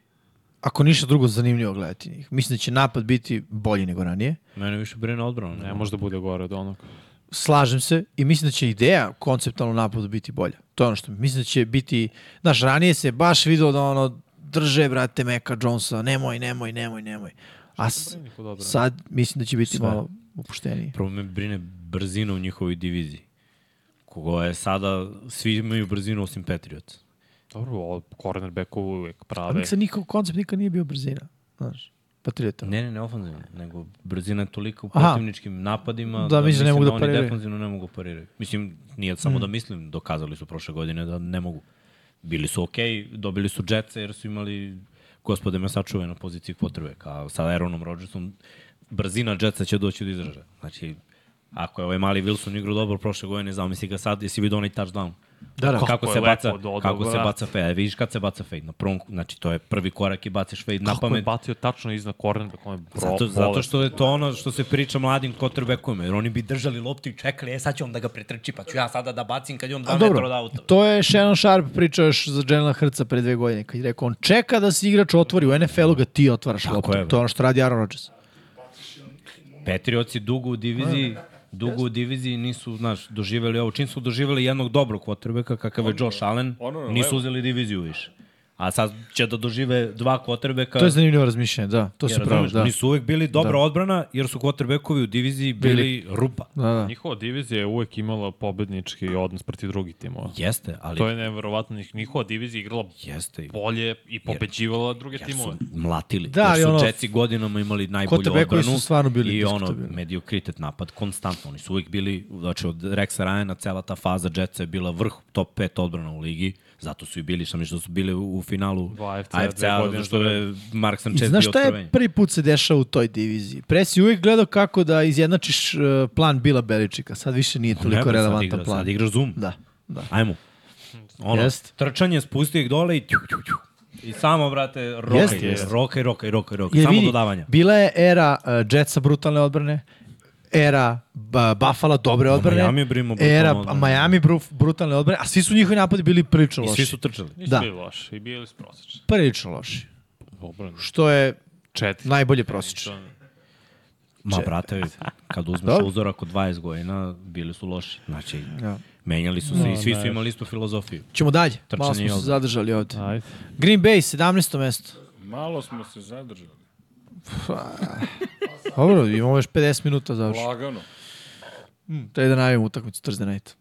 S2: ako ništa drugo, zanimljivo gledati njih. Mislim da će napad biti bolji nego ranije.
S3: Mene više brine odbrana.
S4: Ne može da bude gore od onog.
S2: Slažem se i mislim da će ideja konceptualno napadu biti bolja. To je ono što mislim da će biti... Znaš, ranije se baš vidio da ono drže, brate, Meka Jonesa, nemoj, nemoj, nemoj, nemoj. A s,
S4: Niko dobro.
S2: sad mislim da će biti malo opušteniji.
S3: Prvo me brine brzina u njihovoj diviziji. Kogo je sada, svi imaju brzinu osim Patriots.
S4: Dobro, o, cornerbacku uvijek
S2: A
S4: prave.
S2: mislim da njihov koncept nikad nije bio brzina. Znaš, patriota.
S3: Ne, ne, ne ofanzivno, nego brzina je toliko u
S2: Aha.
S3: protivničkim napadima
S2: Da, mislim da ne mogu da
S3: oni
S2: pariraju. Mm.
S3: defanzivno ne mogu parirati. Mislim, nije samo da mislim, dokazali su prošle godine da ne mogu. Bili su okej, dobili su Jetsa jer su imali gospode me sačuve na poziciji quarterback, a sa Aaronom Rodgersom brzina Jetsa će doći do izražaja. Znači, ako je ovaj mali Wilson igrao dobro prošle godine, zamisli ga sad, jesi vidio onaj touchdown.
S2: Da, da.
S3: kako
S4: je
S3: se
S4: lepo
S3: baca,
S4: dodao,
S3: kako se
S4: brate.
S3: baca fade. Vidiš kad se baca fade na prvom, znači to je prvi korak i baciš fade na
S4: Kako je
S3: pamet.
S4: bacio tačno iznad cornerbacka, on je bro,
S3: Zato,
S4: bolest.
S3: zato što je to ono što se priča mladim kotrbekovima, jer oni bi držali loptu i čekali, e sad će on da ga pretrči, pa ću ja sada da bacim kad je on
S2: A
S3: 2 metra od
S2: dobro,
S3: auta.
S2: to je Shannon Sharp pričao još za Jelena Hrca pre dve godine, kad je rekao, on čeka da se igrač otvori, u NFL-u ga ti otvaraš loptu.
S3: je, E. bre.
S2: To je ono što radi Aaron Rodgers.
S3: Patriotsi dugo u diviziji, dugo u diviziji nisu, znaš, doživeli ovo. Čim su doživeli jednog dobrog quarterbacka kakav je Josh Allen,
S1: ono na
S3: nisu
S1: levo.
S3: uzeli diviziju više. A sad će da dožive dva quarterbacka.
S2: To je zanimljivo razmišljanje, da, to se
S3: jer,
S2: pravo,
S3: razumeš,
S2: da.
S3: Nisu uvek bili dobra odbrana, jer su quarterbackovi u diviziji bili, rupa.
S2: Da, da.
S4: Njihova divizija je uvijek imala pobednički odnos protiv drugih timova.
S3: Jeste, ali
S4: To je neverovatno. njih- Njihova divizija je igrala
S3: jeste i
S4: bolje i pobeđivala druge
S3: jer su
S4: timove.
S3: mlatili.
S2: Da,
S3: Da,
S2: ali
S3: jer su
S2: ono-
S3: ono, Jetsi godinama imali najbolju
S2: Quarterbackovi
S3: odbranu.
S2: su stvarno bili
S3: I ono,
S2: diskutabilni.
S3: mediokritet napad, konstantno. Oni su uvijek bili, znači od Rexa Ryana cela ta faza Jetsa je bila vrh top 5 odbrana u ligi. Zato su i bili, što mi što su bili u, u finalu
S4: Dva AFC-a, dve
S3: AFC-a,
S4: godine
S3: zato što
S4: za
S3: je Mark
S2: I
S3: Sanchez
S2: znaš
S3: bio
S2: šta
S3: otkroven.
S2: je prvi put se dešava u toj diviziji? Pre si uvijek gledao kako da izjednačiš e, plan Bila Beličika, sad više nije
S3: Pa Ne,
S2: toliko
S3: bre, sad
S2: relevantan
S3: igra-
S2: plan.
S3: Sad igraš Zoom.
S2: Da, da.
S3: Ajmo. Ono,
S2: Jest.
S3: trčanje, spusti ih dole i tju, tju, tju. I samo, brate, rokaj,
S2: Jest, jest.
S3: yes. rokaj, rokaj, rokaj, rokaj.
S2: Jer
S3: Samo
S2: vidi,
S3: dodavanja.
S2: Bila je era uh, Jetsa brutalne odbrane, era ba, Buffalo dobre odbrane,
S3: Miami brimo brutalne
S2: era
S3: odbrane.
S2: Miami bruf, brutalne odbrane, a svi su njihovi napadi bili prilično
S3: I
S2: loši.
S3: svi su trčali.
S4: Nisu
S2: Da.
S4: bili loši i bili su prosječni.
S2: prilično loši,
S4: Dobro,
S2: što je
S4: četiri.
S2: najbolje prosječno.
S3: Ma, brate, kad uzmeš
S2: Dobro.
S3: uzorak od 20 godina, bili su loši. Znači,
S2: Da? Ja. Da,
S3: menjali su se i svi su imali istu filozofiju.
S2: Ćemo dalje,
S3: Trčanje
S2: malo smo
S3: i
S2: se
S3: odbrana.
S2: zadržali ovde.
S4: Ajde.
S2: Green Bay, 17. mesto.
S1: Malo smo se zadržali.
S2: Dobro, imamo još 50 minuta za još.
S1: Lagano.
S2: Treba da najavimo utakmicu Thursday night.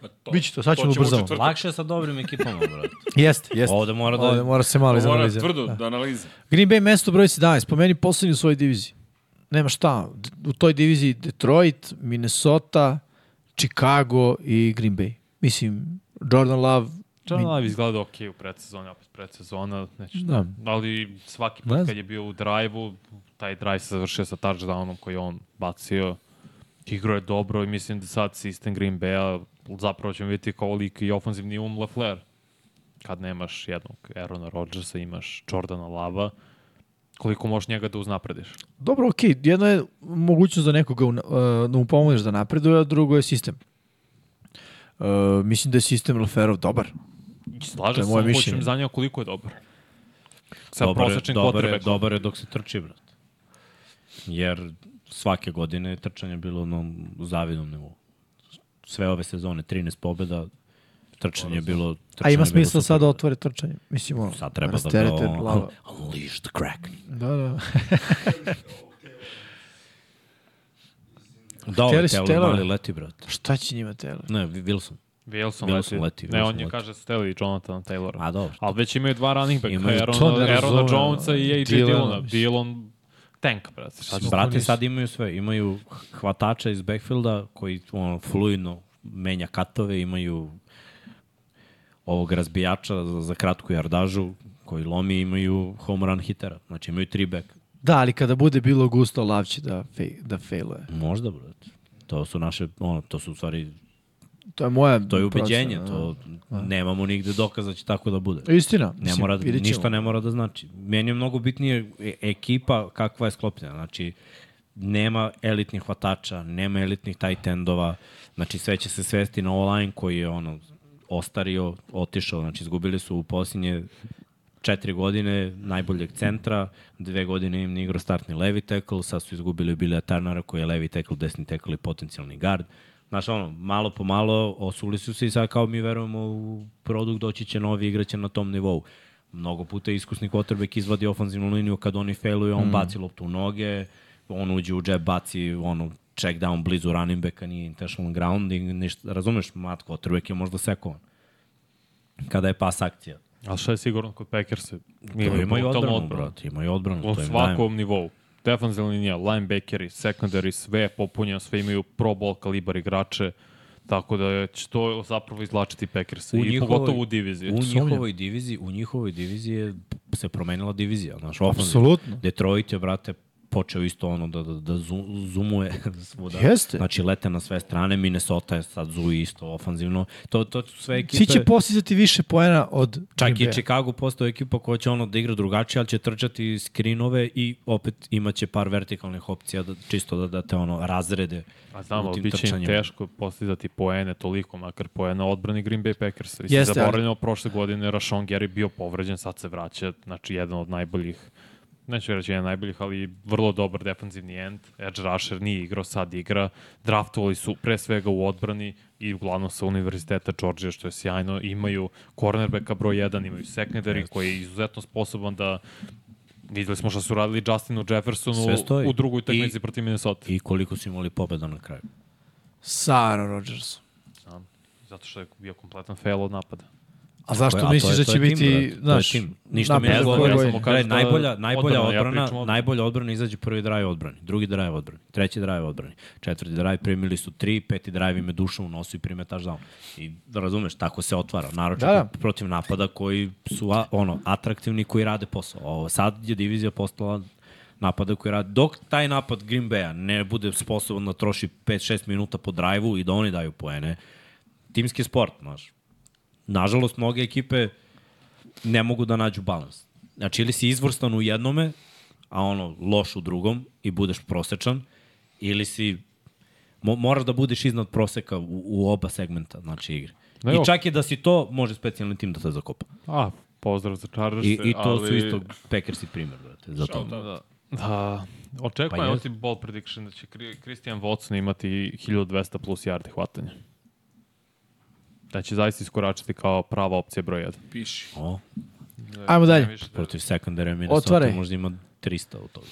S1: Pa to-
S2: Biće to, sad
S1: to
S2: ćemo
S1: ćemo u
S2: ubrzamo.
S1: četvrtak.
S3: Lakše je sa dobrim ekipama, brate.
S2: Jeste, jeste.
S3: Ovde mora da-
S2: Ovde mora se
S1: To
S2: malo
S1: Mora
S2: izanalizirati.
S1: tvrdo da analize.
S2: Green Bay mesto broj 17, po meni poslednji u svojoj diviziji. Nema šta, D- u toj diviziji Detroit, Minnesota, Chicago i Green Bay. Mislim, Jordan Love,
S4: John Love izgleda ok u predsezoni, opet predsezona, neće
S2: da,
S4: Ali svaki
S2: Ne znam.
S4: put kad je bio u drive-u, taj drive se završio sa touchdownom koji je on bacio. Igro je dobro i mislim da sad sistem Green Bay-a zapravo ćemo vidjeti koliki je ofenzivni um LaFleur. Kad nemaš jednog Aarona Rodgersa, imaš Jordana Lava, koliko možeš njega da uznaprediš.
S2: Dobro, okej, okay. jedno je mogućnost da nekoga una- e, da mu pomogneš da napreduje, a drugo je sistem. E, mislim da je sistem Leferov dobar. To je
S4: Slažem se,
S2: moje
S4: samo
S2: mišljenje.
S4: hoćem za njega koliko je dobar. Sa
S3: je-
S4: prosečnim
S3: dobar, je,
S4: kvotrbek.
S3: dobar je dok se trči, brat. Jer svake godine je trčanje bilo na zavidnom nivou. Sve ove sezone, 13 pobjeda, trčanje je bilo...
S2: A
S3: Trčanje je
S2: ima
S3: bilo
S2: smisla
S3: super.
S2: sad da otvore trčanje. Mislim, ono,
S3: Sad treba da ga
S2: rasterete
S3: on-
S2: glava.
S3: unleash the crack.
S2: Da, da.
S3: Da, ovaj
S2: Htjeli su
S3: telo
S2: Taylora?
S3: mali leti, brat.
S2: Šta će njima tele?
S3: Ne, Wilson.
S4: Wilson,
S3: Wilson leti,
S4: Ne,
S3: Wilson
S4: on je
S3: leti.
S4: kaže Steli i Jonathan Taylor.
S3: A dobro.
S4: Ali već imaju dva running backa,
S3: Imaju,
S2: to
S4: Aaron,
S2: ne
S4: Aaron
S2: razumem,
S4: Jonesa i AJ
S2: Dylana,
S4: Dillona.
S2: mislim.
S4: Dillon tank, brate. Šta će-
S3: Brate, sad imaju sve. Imaju hvatača iz backfielda koji ono, fluidno menja katove, imaju ovog razbijača za, za kratku jardažu koji lomi, imaju home run hitera. Znači imaju tri back.
S2: Da, ali kada bude bilo gusto, Lav će da, fej, da failuje.
S3: Možda, brate. To su naše, ono, to su u stvari,
S2: To je moja
S3: to je ubeđenje,
S2: procena,
S3: to nemamo nigde dokaza da će tako da bude.
S2: da. Istina.
S3: Ne
S2: mislim,
S3: mora da,
S2: vidjet ćemo.
S3: ništa ne mora da znači. Meni je mnogo bitnije e- ekipa kakva je sklopljena. Znači, nema elitnih hvatača, nema elitnih tight endova. Znači, sve će se svesti na online koji je ono, ostario, otišao. Znači, izgubili su u posljednje četiri godine najboljeg centra, dve godine im nije igrao startni levi tackle, sad su izgubili Bilja Tarnara koji je levi tackle, desni tackle i potencijalni guard. Znaš, ono, malo po malo osuli su se i sad kao mi verujemo u produkt, doći će novi, igraće na tom nivou. Mnogo puta je iskusni quarterback izvadi ofanzivnu liniju kad oni failuju, on baci loptu u noge, on uđe u džep, baci ono, check down blizu running backa, nije intentional grounding, ništa, razumeš, mat quarterback je možda sekovan kada je pas akcija.
S4: Ali šta je sigurno kod Packersa?
S3: To ima i
S4: brutalnu
S3: odbranu, brate, ima i odbranu.
S4: U
S3: to im dajem.
S4: svakom nivou. Defensivna linija, linebackeri, secondary, sve je popunjeno, sve imaju pro ball kalibar igrače. Tako da će to zapravo izlačiti Packers. I pogotovo u diviziji.
S3: U njihovoj diviziji, u njihovoj diviziji je se promenila divizija, znaš, ofanzivna.
S2: Apsolutno.
S3: Detroit je, brate, počeo isto ono da, da, da zu- zoomuje svuda.
S2: Jeste.
S3: Znači, lete na sve strane, Minnesota je sad zui isto ofanzivno. To, to su sve ekipe...
S2: Svi će postizati više poena od
S3: Čak
S2: Green
S3: i
S2: Baya.
S3: Chicago postao ekipa koja će ono da igra drugačije, ali će trčati skrinove i opet imaće par vertikalnih opcija da, čisto da, da te ono razrede
S4: A znamo,
S3: u tim
S4: bit će im
S3: trčanjima.
S4: teško postizati poene toliko, makar poena odbrani Green Bay Packers. Mislim,
S2: Jeste,
S4: Jeste,
S2: ali-
S4: zaboravljamo, prošle godine Rashawn Gary bio povređen, sad se vraća, znači jedan od najboljih neću reći jedan od najboljih, ali vrlo dobar defensivni end. Edge rusher nije igrao, sad igra. Draftovali su pre svega u odbrani i uglavnom sa univerziteta Georgia, što je sjajno. Imaju cornerbacka broj 1, imaju secondary koji je izuzetno sposoban da Videli smo što su radili Justinu Jeffersonu
S3: Sve stoji.
S4: u drugoj utakmici
S3: I-
S4: protiv Minnesota.
S3: i koliko su imali pobeda na kraju.
S2: Sa Aaron Rodgersom.
S4: Znam. Zato što je bio kompletan fail od napada.
S2: A
S3: To
S2: zašto
S3: je- a to
S2: misliš
S3: je-
S2: da
S3: to
S2: će
S3: je tim,
S2: biti,
S3: brate, to je
S2: znaš,
S3: tim. Ništa mi
S2: napred
S3: ne
S2: koje
S3: govori.
S4: ja
S2: godine?
S4: samo kažem
S3: Gledaj,
S4: šta
S3: najbolja, najbolja
S4: odbrana, ja
S3: odbrana,
S4: pričam odbranu.
S3: najbolja odbrana izađe prvi drive odbrani, drugi drive odbrani, treći drive odbrani, četvrti drive primili su tri, peti drive im je duša u nosu i prime touchdown. I da razumeš, tako se otvara, naročito
S2: Da, da.
S3: protiv napada koji su a, ono, atraktivni, koji rade posao. Ovo, sad je divizija postala napada koji rade. Dok taj napad Green Bay-a ne bude sposoban da troši 5-6 minuta po drive-u i da oni daju poene, timski sport, znaš. Nažalost, mnoge ekipe ne mogu da nađu balans. Znači, ili si izvrstan u jednome, a ono, loš u drugom i budeš prosečan, ili si, mo, moraš da budeš iznad proseka u, u oba segmenta, znači, igre.
S4: No,
S3: I
S4: evo.
S3: čak i da si to, može specijalni tim da te zakopa.
S4: A, pozdrav za Chargers.
S3: I, i to ali... su isto Packersi primer, brate, za to.
S4: Da, da. Očekujem
S3: Pa
S4: pa
S3: jest.
S4: oti ball prediction da će Kri- Christian Watson imati 1200 plus yardi hvatanja. Da će zaista iskoračiti kao prava opcija broj 1.
S1: Piši.
S3: O,
S2: Ajmo dalje.
S4: da-
S3: protiv sekundara Minnesota
S2: Otvaraj.
S3: možda ima 300 od toga.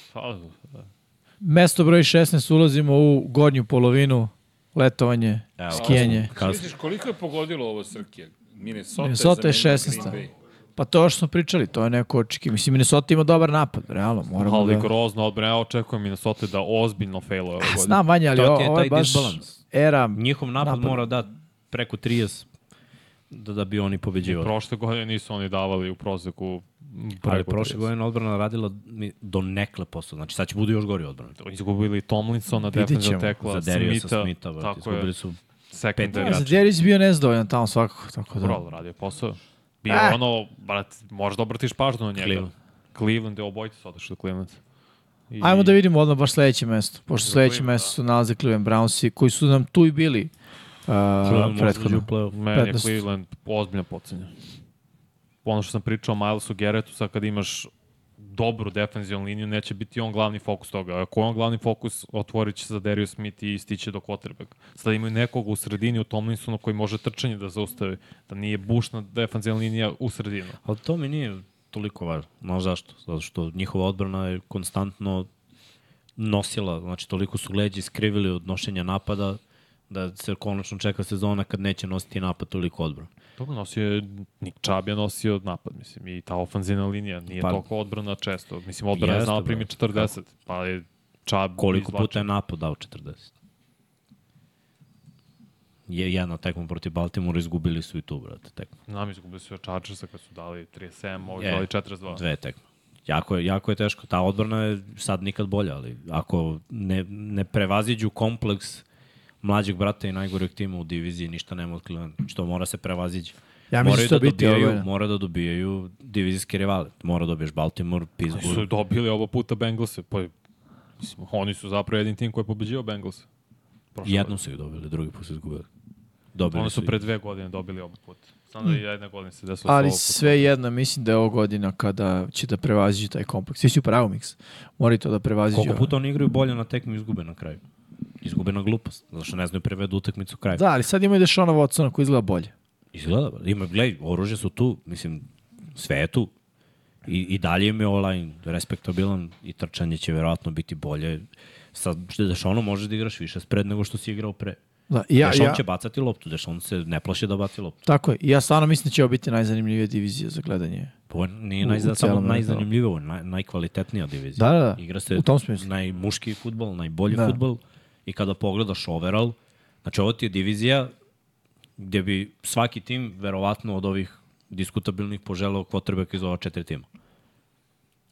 S2: Mesto broj 16 ulazimo u gornju polovinu letovanje,
S3: Evo,
S2: skijanje.
S3: Kas,
S1: Misliš, koliko je pogodilo ovo Srkija? Minnesota,
S2: Minnesota je
S1: zamenila
S2: 16.
S1: Green Bay.
S2: Pa to što smo pričali, to je neko očeki. Mislim, Minnesota ima dobar napad, realno. Moramo
S4: Ali
S2: da...
S4: grozno odbrana, ja očekujem Minnesota da ozbiljno failuje ove godine.
S2: Znam, Vanja, ali
S3: To ti je
S2: ovo je
S3: taj
S2: baš
S3: disbalans.
S2: era...
S3: njihov napad,
S2: Napad.
S3: mora da preko 30 da, da bi oni pobeđivali.
S4: Prošle godine nisu oni davali u proseku m,
S3: Ali
S4: preko
S3: prošle
S4: 30.
S3: godine odbrana radila mi- do nekle posao. Znači sad će budu još gori odbrana.
S4: izgubili Tomlinsona,
S2: Vidjet
S4: defensive
S2: ćemo.
S4: tekla,
S3: Za Dariusa
S4: Smitha,
S3: Smitha, brate.
S4: tako je,
S3: Izgubili su pet
S4: secondary.
S3: igrača.
S2: Zadjerić bio nezdovoljan tamo svakako, tako da...
S4: Brol radio posao. Bio
S2: Ah.
S4: ono, brat, možeš da obratiš pažnju na njega.
S3: Cleveland.
S4: Cleveland, obojte su otišli do Clevelanda. I,
S2: Ajmo da vidimo odmah baš sledeće mesto, pošto
S3: Da
S2: sledeće
S4: Cleveland,
S2: mesto su nalaze Cleveland Brownsi, koji su nam tu i bili uh,
S3: Cleveland može da uđe u
S2: prethodno.
S3: play-off.
S4: Meni je
S2: 15.
S4: Cleveland ozbiljno pocenja. Ono što sam pričao o Milesu Gerretu, sad kad imaš dobru defensivnu liniju, neće biti on glavni fokus toga. Ako je on glavni fokus, otvorit će se za Darius Smith i stiće do quarterbacka. Sada imaju nekog u sredini u Tomlinsonu koji može trčanje da zaustavi, da nije bušna defensivna linija u sredinu.
S3: Ali to mi nije toliko važno. No zašto? Zato što njihova odbrana je konstantno nosila, znači toliko su leđe iskrivili od nošenja napada da se konačno čeka sezona kad neće nositi napad toliko odbrana.
S4: Dobro, nosio je, Nick Chubb je nosio napad, mislim, i ta ofanzivna linija nije
S3: Pa-
S4: pa, toliko odbrana često. Mislim, odbrana je
S3: Jeste,
S4: znala
S3: bre.
S4: primi 40, pa je Chubb
S3: Koliko puta
S4: izvlačen.
S3: je napad dao 40? Je jedna tekma protiv Baltimora izgubili su i tu, brate, tekmu.
S4: Znam, izgubili su od Chargersa kad su dali 37, ovi
S3: Je.
S4: dali 42.
S3: E, Dve tekme. Jako je, jako je teško. Ta odbrana je sad nikad bolja, ali ako ne, ne prevaziđu kompleks mlađeg brata i najgoreg tima u diviziji, ništa nema od Clevelanda. Što mora se prevaziđe.
S2: Ja mislim
S3: Moraju
S2: da će to biti
S3: dobijaju,
S2: ove, ne?
S3: Mora da dobijaju divizijske rivale. Mora da dobiješ Baltimore,
S4: Oni su
S3: Pittsburgh.
S4: dobili oba puta Bengalse. Pa, mislim, oni su zapravo jedin tim koji je pobeđio Bengalse. Prošle
S3: Jednom su ih dobili, drugi put su izgubili.
S4: godine.
S3: Dobili
S4: Oni su
S3: ih. Hm.
S4: pre dve godine dobili oba puta. Znam da je jedna godina se desila. sa
S2: Ali
S4: ovog
S2: sve jedno, mislim da je ovo godina kada će da prevaziđe taj kompleks. Svi su u pravu miks. Mori to da prevaziđe.
S3: Koliko puta oni igraju bolje na tekmi izgube na kraju. Izgube na glupost, zato što ne znaju prevedu utakmicu kraju.
S2: Da, ali sad imaju Dešona Watsona koji izgleda bolje.
S3: Izgleda, brate. ima, gledaj, oružje su tu, mislim, sve je tu. I, i dalje im je online respektabilan i trčanje će verovatno biti bolje. Sa Dešonom možeš da igraš više spred nego što si igrao pre.
S2: Da, i
S3: Ja,
S2: ja,
S3: Dešon
S2: ja,
S4: pa-
S3: će bacati loptu, Dešon se ne plaši da baci loptu.
S2: Tako je. I ja stvarno mislim da će ovo biti najzanimljivija divizija za gledanje.
S3: Ovo nije
S2: U- u
S3: najza, samo
S2: celom, da.
S3: najzanimljivije, ovo je naj, najkvalitetnija divizija.
S2: Da, da, da.
S3: Igra se
S2: U tom smislu.
S3: najmuški futbol, najbolji
S2: Da.
S3: da. futbol i kada pogledaš overall, значи, znači ovo ti je divizija gde bi svaki tim verovatno od ovih diskutabilnih poželeo quarterback iz ova četiri tima.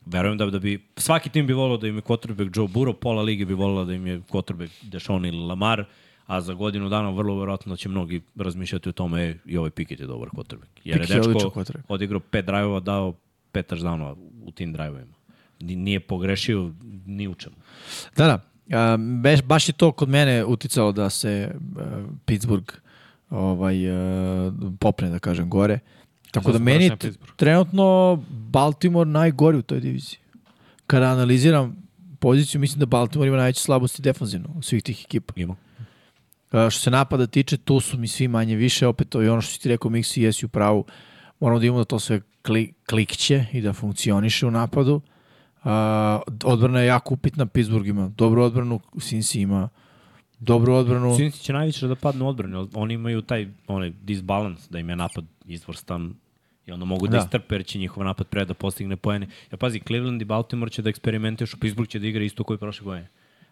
S3: Verujem da, bi- da bi svaki tim bi volao da im je quarterback Joe Burrow, pola lige bi volao da im je quarterback Deshaun ili Lamar, a za godinu dana vrlo verovatno će mnogi razmišljati o tome e, i ovaj Pickett je dobar quarterback. Jer
S2: Pickett
S3: je
S2: je odličan
S3: dečko
S2: quarterback.
S3: odigrao pet drajvova, dao pet touchdownova u tim drajvovima. Ni- Nije pogrešio ni u čemu.
S2: Da, da. A, beš, baš je to kod mene uticalo da se uh, Pittsburgh ovaj, uh, popne, da kažem, gore. Tako
S4: Zato
S2: da
S4: sam
S2: meni
S4: prešao na
S2: je t-
S4: Pittsburgh.
S2: trenutno Baltimore najgori u toj diviziji. Kada analiziram poziciju, mislim da Baltimore ima najveće slabosti defanzivno od svih tih ekipa.
S3: Ima.
S2: Uh, što se napada tiče, tu su mi svi manje više, opet to je ono što si ti rekao, Miksi, jesi u pravu, moramo da imamo da to sve kli, klikće i da funkcioniše u napadu. Uh, odbrana je jako upitna, Pittsburgh ima dobru odbranu, Sinsi ima dobru odbranu.
S3: Sinci će najviše da padnu u odbranu, ali oni imaju taj onaj disbalans da im je napad izvrstan i onda mogu da,
S2: Da.
S3: da. istrpe jer će njihov napad pre da postigne poene. Ja pazi, Cleveland i Baltimore će da eksperimentišu, Pittsburgh će da igra isto koji prošle godine.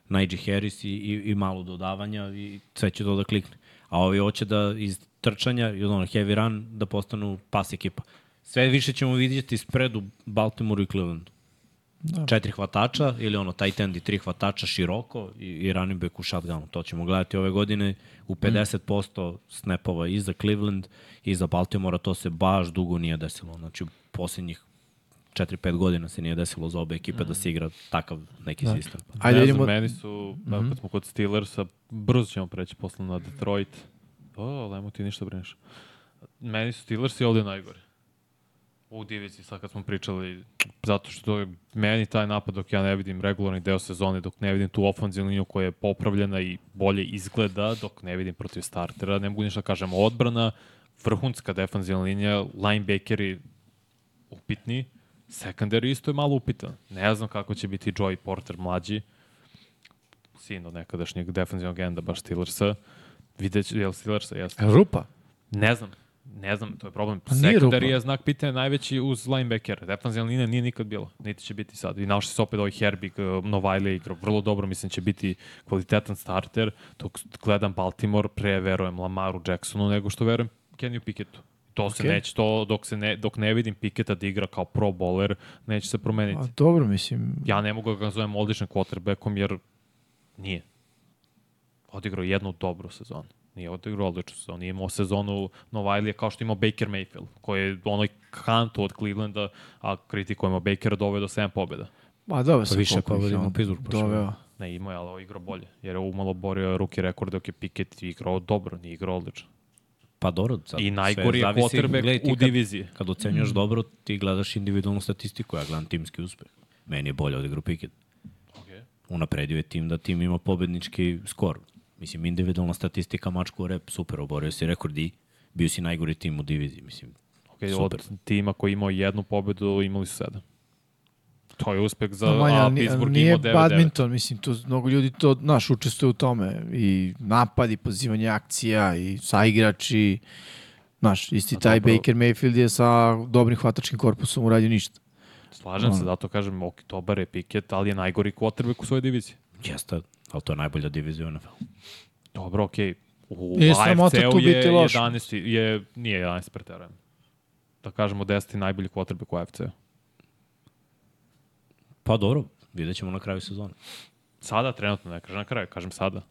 S3: Najee Harris i, i, i malo dodavanja i sve će to da klikne. A ovi hoće da iz trčanja i od ono heavy run da postanu pas ekipa. Sve više ćemo vidjeti spread u Baltimoreu i Clevelandu. Da. Četiri hvatača ili ono tight end i tri hvatača široko i, i running back u shotgunu. To ćemo gledati ove godine u 50% snapova i za Cleveland i za Baltimora. To se baš dugo nije desilo. Znači u posljednjih 4-5 godina se nije desilo za obe ekipe mm. da se igra takav neki da. sistem.
S2: Ajde
S4: ne
S2: vidimo,
S4: Znam, meni su, mm -hmm. kad smo kod Steelersa, brzo ćemo preći posle na Detroit. O, lemo ti ništa brineš. Meni su Steelersi ovde najgori. U diviziji, sad kad smo pričali, zato što je meni taj napad dok ja ne vidim regularni deo sezone, dok ne vidim tu ofenzivnu liniju koja je popravljena i bolje izgleda, dok ne vidim protiv startera, ne mogu ništa da kažem odbrana, vrhunska defanzivna linija, linebackeri upitni, secondary isto je malo upitan. Ne znam kako će biti Joey Porter mlađi, sin od nekadašnjeg defensivnog enda baš Steelersa. Vidjet ću, jel Steelersa jeste?
S2: rupa.
S4: Ne znam. Ne znam, to je problem.
S2: Pa nije rupa.
S4: Secondary je znak pitanja najveći uz linebacker. Defensivna linija nije nikad bila, niti će biti sad. I našli se opet ovaj Herbig, Novajlija igra vrlo dobro, mislim će biti kvalitetan starter. Dok gledam Baltimore, pre verujem Lamaru Jacksonu nego što verujem Kenny Picketu. To se
S2: Okej.
S4: neće, to dok, se ne, dok ne vidim Picketa da igra kao pro bowler, neće se promeniti
S2: A, dobro, mislim,
S4: ja ne mogu da ga nazovem odličnim quarterbackom jer nije. Odigrao jednu dobru sezonu. Nije odigrao odličnu sezonu. Nije imao sezonu Novajlije kao što imao Baker Mayfield, koji je u onoj kantu od Clevelanda, a kritikujemo Bakera, doveo do 7 pobjeda.
S2: Ma dobro
S3: Pa
S2: sam
S3: više
S2: koliko ih
S3: pobedimo
S2: je on
S3: Pittsburgh pa prošle
S2: Doveo.
S4: Ne, imao je, ali igrao bolje. Jer je umalo borio ruki rekord dok je Pickett igrao dobro, nije igrao odlično.
S3: Pa dobro, sad,
S4: I
S3: sve
S4: najgori je
S3: zavisi, gledaj
S4: quarterback
S3: ti
S4: u
S3: kad-
S4: diviziji.
S3: Kad
S2: Mm.
S3: ocenjuješ dobro, ti gledaš individualnu statistiku, ja gledam timski uspeh. Meni je bolje od igru Pickett.
S4: Okay.
S3: Unapredio je tim da tim ima pobednički skor. Mislim, individualna statistika, mačku u rep, super, oborio si rekord i bio si najgori tim u diviziji, mislim.
S4: Okay,
S3: Super.
S4: od tima koji je imao jednu pobedu, imali su sedam. To je uspeh za
S2: Manja,
S4: Da, a,
S2: ni-
S4: Pittsburgh
S2: nije
S4: imao 9-9.
S2: badminton, mislim, tu mnogo ljudi to, znaš, učestvuju u tome. I napad, i pozivanje akcija, i saigrači, znaš, isti taj
S4: zapravo-
S2: Baker Mayfield je sa dobrim hvatačkim korpusom uradio ništa.
S4: Slažem
S2: Da.
S4: se, zato kažem, ok, dobar je Pickett, ali je najgori quarterback u svojoj diviziji.
S3: Jeste, ali to je najbolja divizija u NFL.
S4: Dobro, okej. U
S2: Nije sramota
S4: AFC-u
S2: tu
S4: je
S2: biti loš.
S4: 11, je, nije 11 preterujem. Da kažemo 10. najbolji quarterback u AFC-u.
S3: Pa dobro, vidjet ćemo na kraju sezone.
S4: Sada trenutno, ne kažem na kraju, kažem sada.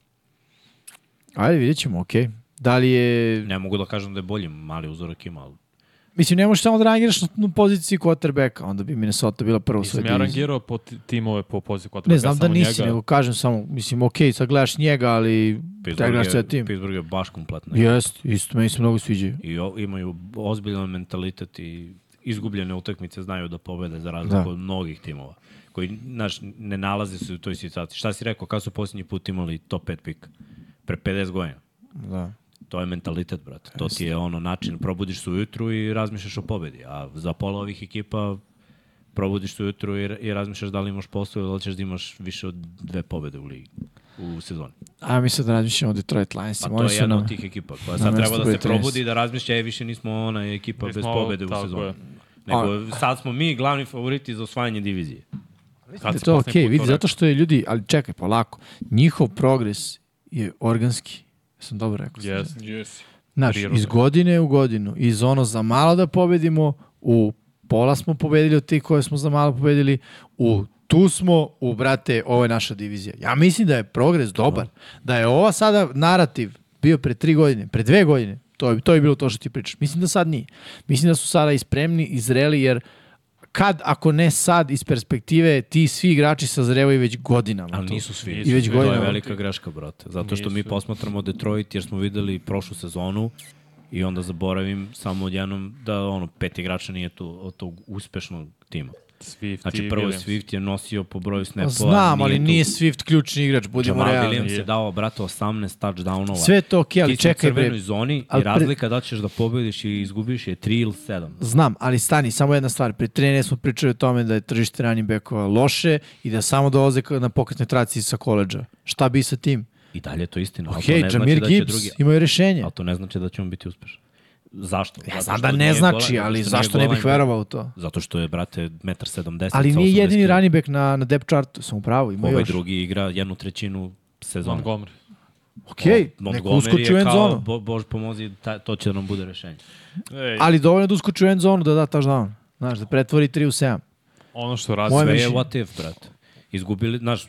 S2: Ajde, vidjet ćemo, okej. Da li je...
S3: Ne mogu da kažem da je bolji, mali uzorak ima, ali
S2: Mislim, ne možeš samo da rangiraš na- na poziciji quarterbacka, onda bi Minnesota bila prva u svoj
S4: Nisam ja
S2: diviziji.
S4: rangirao po ti- timove po poziciji quarterbacka.
S2: Ne, znam da
S4: samo
S2: nisi,
S4: njega.
S2: nego kažem samo, mislim, okej, sad gledaš njega, ali treba gledaš
S3: Pittsburgh
S2: sve
S3: je,
S2: tim.
S3: Pittsburgh je baš kompletna.
S2: Jest, isto, meni se mnogo sviđaju.
S3: I o, imaju ozbiljan mentalitet i izgubljene utakmice znaju da pobede za razliku
S2: Da.
S3: od mnogih timova koji znaš, ne nalaze se u toj situaciji. Šta si rekao, kad su posljednji put imali top 5 pik? Pre 50 godina.
S2: Da.
S3: To je mentalitet, brate. To ti je ono način, probudiš se ujutru i razmišljaš o pobedi. A za pola ovih ekipa probudiš se ujutru i, i razmišljaš da li imaš posao ili hoćeš da imaš više od dve pobede u ligi u sezoni.
S2: A mi sad da razmišljamo o Detroit Lionsima.
S3: Pa
S2: Oni
S3: to
S2: su
S3: je jedna
S2: nam-
S3: od tih ekipa koja
S2: na
S3: sad treba
S2: mestu
S3: da se
S2: broj 13.
S3: probudi i da razmišlja, e, više nismo ona ekipa
S4: Nismo
S3: bez
S4: ovo,
S3: pobede u
S4: tako
S3: sezoni.
S4: je.
S3: Nego sad smo mi glavni favoriti za osvajanje divizije.
S4: Kad
S2: Da
S4: si
S2: to je
S4: posljednji
S2: okej,
S4: put
S2: vidi,
S4: to
S2: zato što je ljudi, ali čekaj, polako, njihov progres je organski. Sam dobro rekao.
S4: rekao? Yes.
S1: Jesi.
S2: Znaš,
S4: prirodan.
S2: iz godine u godinu, iz ono za malo da pobedimo, u pola smo pobedili od tih koje smo za malo pobedili, u tu smo, u brate, ovo je naša divizija. Ja mislim da je progres dobar. Da je ova sada narativ bio pre tri godine, pre dve godine, to je, to je bilo to što ti pričaš. Mislim da sad nije. Mislim da su sada i spremni, i zreli, jer kad, ako ne sad, iz perspektive, ti svi igrači sazrevaju već godinama.
S3: Ali
S2: tu.
S3: nisu svi.
S2: I već
S4: Nisu,
S3: To je
S2: godinama.
S3: velika greška, brate. Zato što mi posmatramo Detroit jer smo videli prošlu sezonu i onda zaboravim samo odjednom da ono, pet igrača nije tu od tog uspešnog tima.
S4: Swift
S3: Znači
S4: i
S3: prvo je
S4: Williams.
S3: Swift je nosio po broju snapova.
S2: Pa Znam, ali
S3: tu.
S2: nije Swift ključni igrač, budimo
S3: Jamal
S2: realni.
S3: Williams je dao, brate, 18 touchdownova.
S2: Sve je to okej, ali
S3: Ti si u
S2: čekaj, bre.
S3: crvenoj zoni
S2: Ali
S3: i
S2: pre-
S3: razlika da ćeš da pobediš i izgubiš je 3 ili 7.
S2: Znam, ali stani, samo jedna stvar. Pre 13 smo pričali o tome da je tržište running backova loše i da samo dolaze ka- na pokretne traci sa koleđa. Šta bi sa tim?
S3: I dalje je to istina. ali to
S2: Hej,
S3: ne znači
S2: Jamir
S3: da će
S2: Gibbs,
S3: drugi-
S2: imaju rešenje.
S3: Ali to ne znači da će on biti uspešan. Zašto?
S2: Ja
S3: Zato
S2: znam
S3: što
S2: da
S3: nije
S2: ne
S3: golan-
S2: znači,
S3: zato
S2: ali
S3: što
S2: zašto
S3: nije
S2: ne bih
S3: golan-
S2: verovao u to?
S3: Zato što je, brate, 1,70 m.
S2: Ali nije jedini running back na, na depth chartu, sam upravo, ima
S3: Ovaj
S2: još.
S3: drugi igra jednu trećinu sezona.
S4: Montgomery.
S2: Okej, neko
S3: Montgomery
S2: uskoči u
S3: je
S2: end
S3: kao,
S2: zonu.
S3: bo, Bož pomozi, ta, to će da nam bude rešenje.
S4: Ej,
S2: Ali dovoljno je da uskoči u end zonu da da touchdown. Znaš, da pretvori 3 u 7.
S4: ono što
S2: Moje
S4: razve
S3: Sve je
S2: mišljenje.
S3: what if, brate. Izgubili, znaš,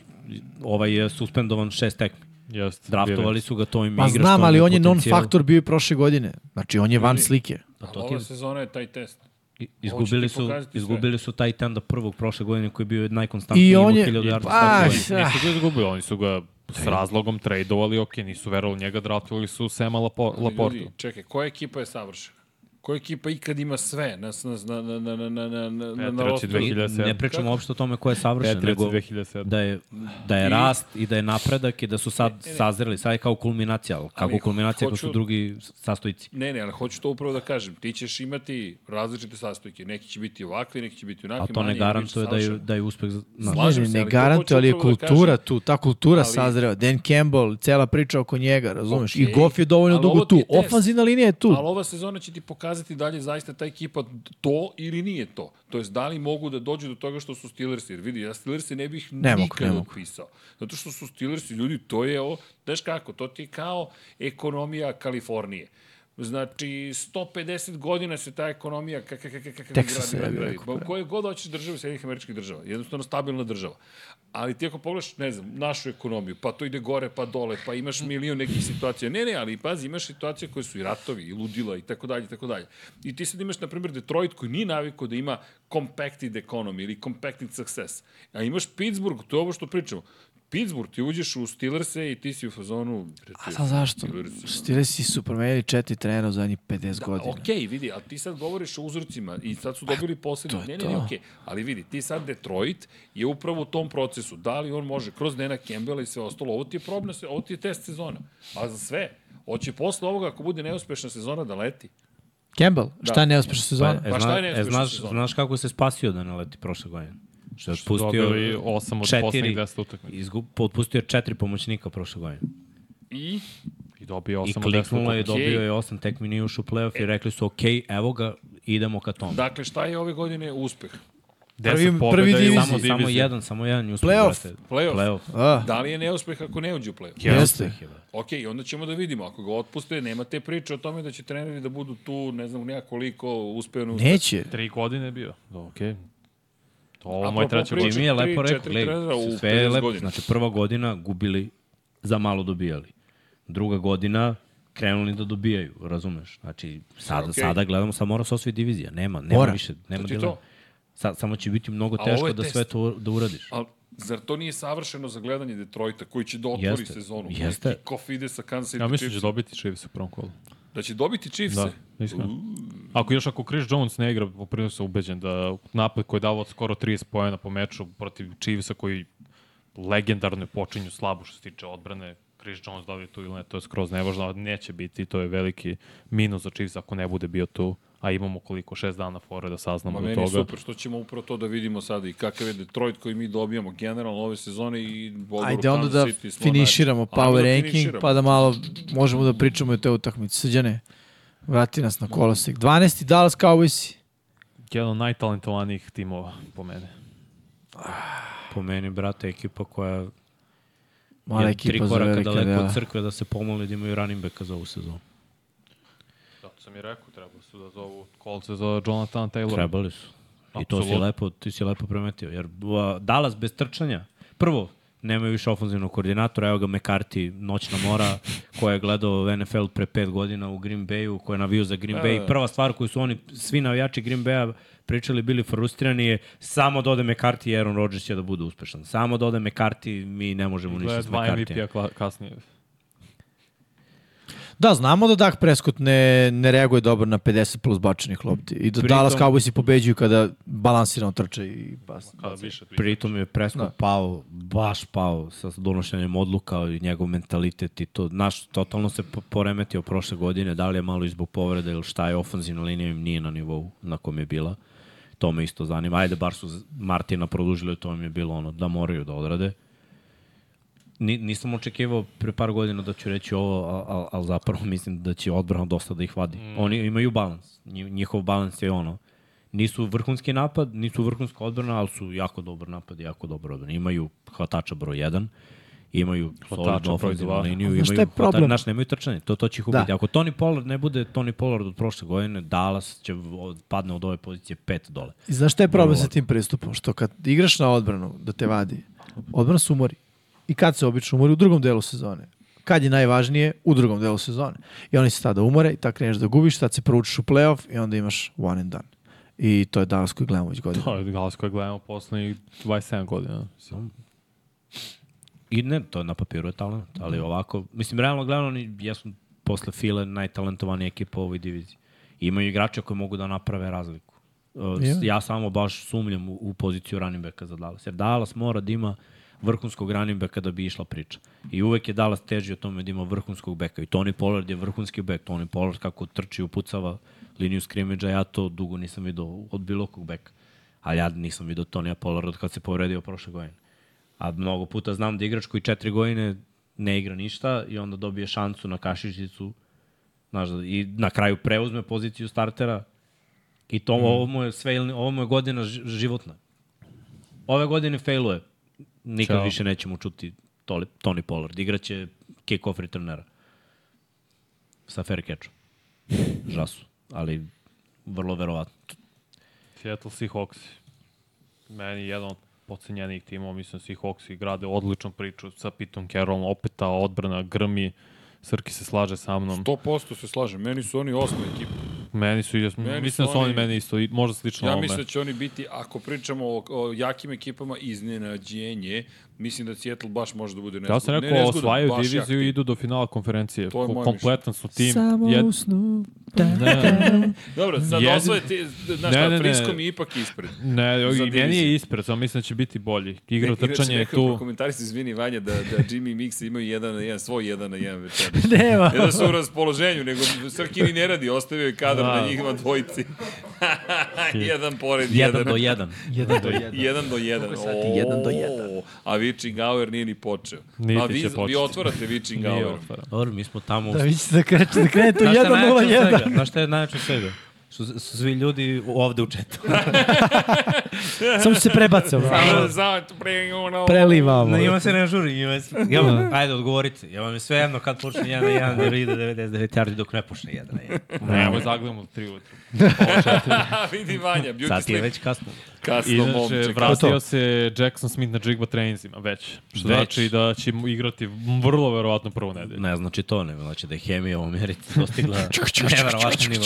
S3: ovaj je suspendovan šest tekmi.
S4: Jeste.
S3: Draftovali su ga, to im
S2: Pa
S3: igraš.
S2: znam,
S3: to im
S2: ali on je
S3: potencijal.
S2: non-faktor bio i prošle godine. Znači, on je van slike.
S3: Pa to ti
S1: Ova sezona je taj test.
S3: I-
S1: Ovo će
S3: Izgubili
S1: ti
S3: su,
S1: pokazati sve.
S3: izgubili su taj tenda prvog prošle godine koji je bio najkonstantniji
S2: I on
S3: imao
S2: je...
S3: 1000 yardi
S2: Pa,
S3: svake godine.
S4: Nisu
S2: ah,
S4: ga izgubili, oni su ga s razlogom tradeovali, ok, nisu verovali u njega, draftovali su Sema Lapo,
S1: Ali
S4: Laportu.
S1: Ljudi, čekaj, koja ekipa je savršena? Koja ekipa ikad ima sve na, na, na, na, na, na, na, na, na, na
S4: Petrac je
S1: rosteru?
S4: 2000.
S3: I ne pričamo uopšte o tome ko je savršen,
S4: Patriots
S3: nego
S4: 2007.
S3: da je, da je rast i da je napredak i da su sad sazreli, sad je kao kulminacija, ali kako
S1: E, Ali
S3: kulminacija ako su
S1: hoću-
S3: drugi sastojci.
S1: Ne, ne, ali hoću to upravo da kažem. Ti ćeš imati različite sastojke. Neki će biti ovakvi, neki će biti onakvi.
S3: A to ne
S1: manje,
S3: garantuje
S1: biće
S3: da je,
S1: savršeno.
S3: da je uspeh za nas.
S1: Slažem
S2: Ne,
S1: se,
S2: ne, ne
S1: ali to
S2: garantuje,
S1: hoću
S2: ali je
S1: upravo da
S2: kultura
S1: kažem.
S2: tu, ta kultura
S1: Ali-
S2: sazreva. Dan Campbell, cela priča oko njega, razumeš? I
S1: Okej,
S2: Goff je dovoljno
S1: ali
S2: dugo
S1: ovo ti
S2: tu.
S1: je test.
S2: Ofanzivna linija je tu.
S1: Ali ova sezona će ti pokazati da li je zaista ta ekipa to ili nije to. To jest da li mogu da dođu do toga što su Steelersi. Jer vidi, ja Steelersi ne bih
S2: Ne mogu,
S1: nikad
S2: ne mogu.
S1: otpisao. Zato što su Steelersi, ljudi, to je o... Znaš kako, to ti je kao ekonomija Kalifornije. Znači, 150 godina se ta ekonomija ka, ka, ka, ka, ka,
S2: Teksas,
S1: gradi,
S2: ja
S1: gradi,
S2: bih
S1: gradi.
S2: rekao,
S1: Pa u kojoj god hoćeš državu Sjedinih američkih država, jednostavno stabilna država. Ali ti ako pogledaš, ne znam, našu ekonomiju, pa to ide gore, pa dole, pa imaš milion nekih situacija. Ne, ne, ali pazi, imaš situacije koje su i ratovi, i ludila, i tako dalje, i tako dalje. I ti sad imaš, na primjer, Detroit koji nije navikao da ima compacted economy ili compacted success. A imaš Pittsburgh, to je ovo što pričamo. Pittsburgh, ti uđeš u Steelers-e i ti si u fazonu...
S2: A sad zašto? Steelers su promenili četiri trenera u zadnjih 50 da, godina.
S1: Okej, okay, vidi, ali ti sad govoriš o uzorcima i sad su dobili poslednje.
S2: je
S1: Ne, ne,
S2: to.
S1: ne, okej. Okay. Ali vidi, ti sad Detroit je upravo u tom procesu. Da li on može kroz Nena Campbella i sve ostalo? Ovo ti je probna, se- ovo ti je test sezona. A za sve, hoće posle ovoga, ako bude neuspešna sezona, da leti.
S2: Campbell,
S1: Da.
S2: šta je neuspešna
S3: Pa,
S2: sezona?
S3: e,
S1: Pa šta
S3: zna,
S1: je
S3: e,
S1: neuspešna
S3: znaš,
S1: sezona?
S3: znaš kako se spasio da ne leti prošle godine? Što je otpustio
S4: Dobili 8 od poslednjih 10 utakmica.
S3: izgub, otpustio je četiri pomoćnika prošle godine.
S1: I
S4: I dobio 8
S3: I
S4: od 10
S3: kliknulo je,
S4: utakmica.
S3: dobio je osam tekmi, nije ušao u playoff i rekli su, ok, evo ga, idemo ka tomu.
S1: Dakle, šta je ove godine uspeh?
S2: Prvi- prvi
S4: 10 pobjeda i
S2: diviziji.
S4: osam
S3: samo,
S4: od
S3: samo
S4: divizije.
S3: jedan, samo jedan je uspio.
S2: Playoff.
S3: brate.
S1: Playoff.
S3: Playoff.
S2: A,
S1: Da li je neuspeh ako ne uđe u play-off?
S2: jeste.
S1: Ok, onda ćemo da vidimo. Ako ga otpuste, nema te priče o tome da će treneri da budu tu, ne znam, nijakoliko uspevno.
S2: Neće.
S4: Tri godine je bio. Okej. To ovo je
S1: Apropo
S4: moj treći
S1: priče.
S4: put.
S3: I mi je
S1: Tri,
S3: lepo rekao,
S1: četiri trenera
S3: gledaj,
S1: u
S3: sve je
S1: 50
S3: lepo.
S1: godina.
S3: Znači, prva godina gubili, za malo dobijali. Druga godina krenuli da dobijaju, razumeš? Znači, sada,
S1: Okej.
S3: sada gledamo, sad mora se osvoji divizija. Nema, nema
S2: Mora.
S3: više, nema
S1: To ti je
S3: dilema.
S1: to.
S3: Sad, samo će biti mnogo
S1: A ovo
S3: teško
S1: je
S3: da
S1: test.
S3: sve to da uradiš.
S1: Ali zar to nije savršeno za gledanje Detroita koji će da otvori
S3: Jeste,
S1: sezonu?
S3: jeste.
S1: Kof ide sa Kansas City
S4: Ja mislim da će
S1: Chiefs.
S4: dobiti Chiefs u prvom kolu.
S1: Da će dobiti Chiefs.
S4: Da, iskreno. Ako još ako Chris Jones ne igra, poprilično sam ubeđen da napad koji je davao skoro 30 poena po meču protiv Chiefsa koji legendarno počinju slabu što se tiče odbrane, Chris Jones dobio tu ili ne, to je skroz nevažno, ali neće biti, to je veliki minus za Chiefs ako ne bude bio tu, a imamo koliko, šest dana fore da saznamo
S1: Ma
S4: do
S1: Pa meni je
S4: toga.
S1: super što ćemo upravo to da vidimo sada i kakav je Detroit koji mi dobijamo generalno ove sezone i Bogoru
S2: Ajde onda da
S1: znači.
S2: finiširamo power ranking, pa da malo možemo da pričamo i o te utakmici. Srđane, vrati nas na kolosek. 12. Dallas Cowboys.
S4: Jedan od najtalentovanijih timova po mene.
S3: Po meni, brate, ekipa koja
S2: Mala
S3: je
S2: ekipa
S3: tri
S2: za
S3: koraka
S2: velike,
S3: daleko
S2: da.
S3: od crkve da se pomoli da imaju running backa za ovu sezonu.
S4: Zato sam i rekao, trebali su da zovu kolce za Jonathan Taylor.
S3: Trebali su. I to si
S4: Apsolutno.
S3: lepo, ti si lepo primetio. Jer uh, Dallas bez trčanja, prvo, nemaju više ofenzivnog koordinatora, evo ga McCarthy, noćna mora, koja je gledao NFL pre pet godina u Green Bayu, koja je navio za Green
S4: E.
S3: Bay. Prva stvar koju su oni, svi navijači Green Baya pričali, bili frustrirani je samo da ode McCarthy i Aaron Rodgers će da bude uspešan. Samo da ode McCarthy, mi ne možemo
S4: Gleda
S3: ništa s
S4: dva P-a MVP-a
S3: McCarthy.
S4: kla- kasnije.
S2: Da, znamo da Dak Prescott ne, ne reaguje dobro na 50 plus bačenih lopti i da
S3: Pritom-
S2: Dallas Cowboysi pobeđuju kada balansirano trče i pas.
S4: Kada Da, više
S3: Pritom je Prescott da. pao, baš pao sa donošenjem odluka i njegov mentalitet i to. Naš, totalno se po- poremetio prošle godine, da li je malo i zbog povrede ili šta je, ofenzivna linija im nije na nivou na kom je bila. To me isto zanima. Ajde, bar su z- Martina produžili, to im je bilo ono, da moraju da odrade. Ni, nisam očekivao pre par godina da ću reći ovo, ali al zapravo mislim da će odbrana dosta da ih vadi. Mm. Oni imaju balans. Nji- Njihov balans je ono, nisu vrhunski napad, nisu vrhunska odbrana, ali su jako dobar napad i jako dobro odbrana. Imaju hvatača broj 1, imaju solidnu
S4: broj
S3: ofenzivnu
S4: dva.
S3: liniju,
S2: A
S3: imaju
S2: znaš šta je problem?
S3: hvatača, znaš, nemaju trčanje, to, to će ih ubiti.
S2: Da.
S3: Da. Ako Tony Pollard ne bude Tony Pollard od prošle godine, Dallas će v- od- padne od ove pozicije 5 dole.
S2: I znaš šta je problem sa tim pristupom? Što kad igraš na odbranu, da te vadi, odbrana se umori. I kad se obično umori? U drugom delu sezone. Kad je najvažnije? U drugom delu sezone. I oni se tada umore i tako kreneš da gubiš, tad se provučeš u playoff i onda imaš one and done. I to je danas koji gledamo već godinu.
S4: To je Pa, glas koje gledamo poslednjih 27 godina. Mislim,
S3: I ne, to je na papiru je talent, ali ovako, mislim, realno gledano, oni jesu posle File najtalentovanija ekipa u ovoj diviziji. Imaju igrače koji mogu da naprave razliku. Uh,
S2: Je.
S3: Ja samo baš sumljam u, u poziciju running backa za Dallas, jer Dallas mora da ima vrhunskog running backa da bi išla priča. I uvek je Dallas teži o tome da ima vrhunskog beka. I Tony Pollard je vrhunski bek. Tony Pollard kako trči i upucava liniju skrimidža, ja to dugo nisam vidio od bilo kog beka. Ali ja nisam vidio Tonija Pollard od kad se povredio prošle godine. A mnogo puta znam da igrač koji četiri godine ne igra ništa i onda dobije šansu na kašičicu znaš, da- i na kraju preuzme poziciju startera i to mm. ovo mu je sve ili- ovo mu je godina ži- životna. Ove godine failuje. Nikad
S4: Ćao.
S3: Ćao. više nećemo čuti toli, Tony Pollard. Igraće kick-off returnera. Sa fair catchom. žasu, ali vrlo verovatno.
S4: Seattle Seahawks. Meni jedan od pocenjenih timova, mislim Seahawks i grade odličnu priču sa Pitom Carrollom, opet ta odbrana grmi, Srki se slaže sa mnom.
S1: 100% se slažem, meni su oni osma ekipa.
S4: Meni su, meni
S1: Meni
S4: mislim
S1: su
S4: da su oni
S1: oni-
S4: meni isto, i možda slično
S1: Ja
S4: ovome.
S1: mislim da će oni biti, ako pričamo o, o jakim ekipama, iznenađenje. Mislim da Seattle baš može da bude nezgodan.
S4: Ja sam
S1: Ne,
S4: rekao,
S1: nezgodan,
S4: osvajaju
S1: baš jak
S4: diviziju
S1: tim.
S4: i idu do finala konferencije.
S1: To je moje
S4: Kompletan su tim.
S2: Samo
S4: Jed...
S2: u snu. Da,
S1: Dobro, sad
S4: Jedin-
S1: osvoje ti, znaš
S4: Ne,
S1: šta,
S4: ne, ne.
S1: Friskom je ipak ispred.
S4: Ne,
S1: Za
S4: i meni je
S1: diviziju.
S4: ispred, samo mislim da će biti bolji. Igra
S1: Inače,
S4: trčanja je
S1: neko
S4: tu.
S1: Prokomentaristi, izvini Vanja, da, da Jimmy i Mix imaju jedan na jedan, svoj jedan na jedan večer.
S2: Nema.
S1: Ne da su u raspoloženju, nego Srkini ne radi, ostavio je kadar
S4: Da.
S1: na njihima dvojici. jedan pored
S3: Jedan do jedan.
S2: Jedan do jedan.
S1: Jedan do jedan.
S2: sati? Jedan do jedan.
S1: O, A Witching Hour nije ni počeo.
S4: Niti
S1: a vi,
S4: će
S1: vi
S4: početi.
S1: otvarate Witching
S4: Nije
S1: Hour.
S4: otvara.
S3: Dobro, mi smo tamo u
S2: Da vi ćete da krećete da krenete u
S3: Znaš šta
S2: 1-0-1.
S3: je najjače od svega? Znaš šta je najjače od svega? Što su su svi ljudi ovde u četu.
S2: Samo se prebacao.
S1: Zato pre ono...
S2: Prelivamo.
S3: Ne, ima se ne žuri. Ima se... Ja vam, ajde, odgovorite. Ja vam je sve jedno kad počne 1 na 1 da ide 99 yardi dok ne počne 1 na 1.
S1: da
S4: Nemoj zagledamo tri ujutru.
S1: A vidi Vanja, beauty
S3: Sad je
S1: sleep.
S3: već kasno.
S1: Kasno
S4: Inače,
S1: momče.
S2: To
S4: vratio
S2: to.
S4: se Jackson Smith na Jigba treninzima, već. Što
S3: Već.
S4: znači da će mu igrati vrlo verovatno prvu nedelju.
S3: Ne znači to, ne znači da je hemija u Americi dostigla nevjerovatno nivo.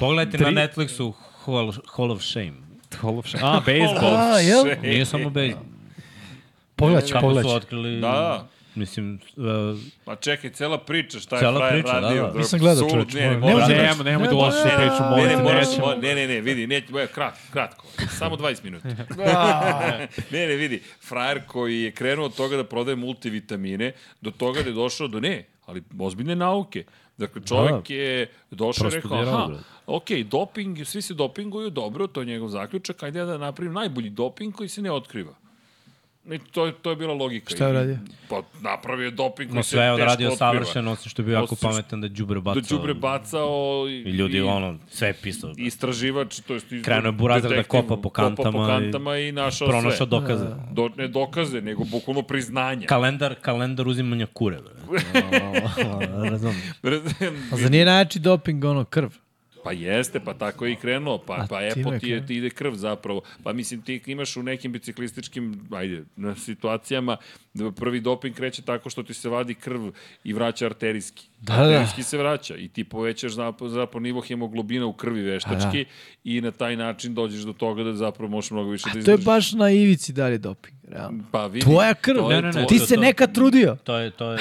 S3: Pogledajte na Netflixu Hall, Hall of Shame.
S4: Hall of Shame. A, baseball.
S2: A, jel?
S1: Še-
S3: Nije samo baseball.
S2: Pogledaj, ću,
S3: Kako
S2: pogledaj.
S3: su
S2: ću.
S3: otkrili...
S1: Da.
S3: Mislim, uh,
S1: Ma čekaj, cela priča, šta je
S3: Cela
S1: frajer
S3: priča, da,
S1: radio.
S3: da.
S1: dobro,
S2: Nisam gledao,
S1: sulu,
S2: čoveče,
S1: Ne, ne,
S2: moram.
S1: moram. da
S2: Ne,
S1: Ne,
S2: može-
S4: Nemoj, nemoj tu lošu priču, molim
S3: da,
S1: ne,
S4: te,
S1: moraš,
S4: nećemo.
S1: mo- ne, ne, ne, vidi, neće, moja, kratko, kratko, samo 20 minuta. ne, ne, vidi, frajer koji je krenuo od toga da prodaje multivitamine, do toga da je došao do, ne, ali ozbiljne nauke. Dakle, čovjek je došao i rekao,
S3: Da. Prostudirao,
S1: aha,
S3: bre."
S1: ok, doping, svi se dopinguju, dobro, to je njegov zaključak, ajde ja da napravim najbolji doping koji se ne otkriva. I to, je, to je bila logika.
S2: Šta je uradio?
S1: Pa napravio je doping koji
S3: no,
S1: se
S3: sve je
S1: teško
S3: odradio
S1: otkriva.
S3: savršeno, osim što je bio jako
S1: Osim što-
S3: pametan da đubre bacao.
S1: Da đubre bacao i,
S3: I ljudi, ono, sve je pisao.
S1: i istraživač, to jest
S3: Krenuo je Burazar da
S1: detektiv,
S3: kopa po
S1: kopa po
S3: kantama i
S1: kantama i, našao
S3: Pronašao
S1: sve. Da.
S3: dokaze.
S1: Do, ne dokaze, nego bukvalno priznanja.
S3: Kalendar, kalendar uzimanja kure, bre. Razumem.
S2: A za nije najjači doping ono krv?
S1: pa jeste, pa tako je i krenuo. Pa,
S2: A
S1: pa
S2: time
S1: Apple ti,
S2: krenuo.
S1: je- ti ide krv zapravo. Pa mislim, ti imaš u nekim biciklističkim ajde, na situacijama da prvi doping kreće tako što ti se vadi krv i vraća arterijski.
S2: Da, da.
S1: arterijski se vraća i ti povećaš zapravo, zapravo nivo hemoglobina u krvi
S2: da.
S1: veštački i na taj način dođeš do toga da zapravo možeš mnogo više da
S2: To je
S1: izdržiš.
S2: baš na ivici da li je doping, realno.
S1: Pa vidi,
S2: Tvoja krv,
S1: to je
S3: Ne, ne, ne,
S2: ti
S3: to-
S2: se
S3: to-
S2: nekad trudio.
S3: To je, to je,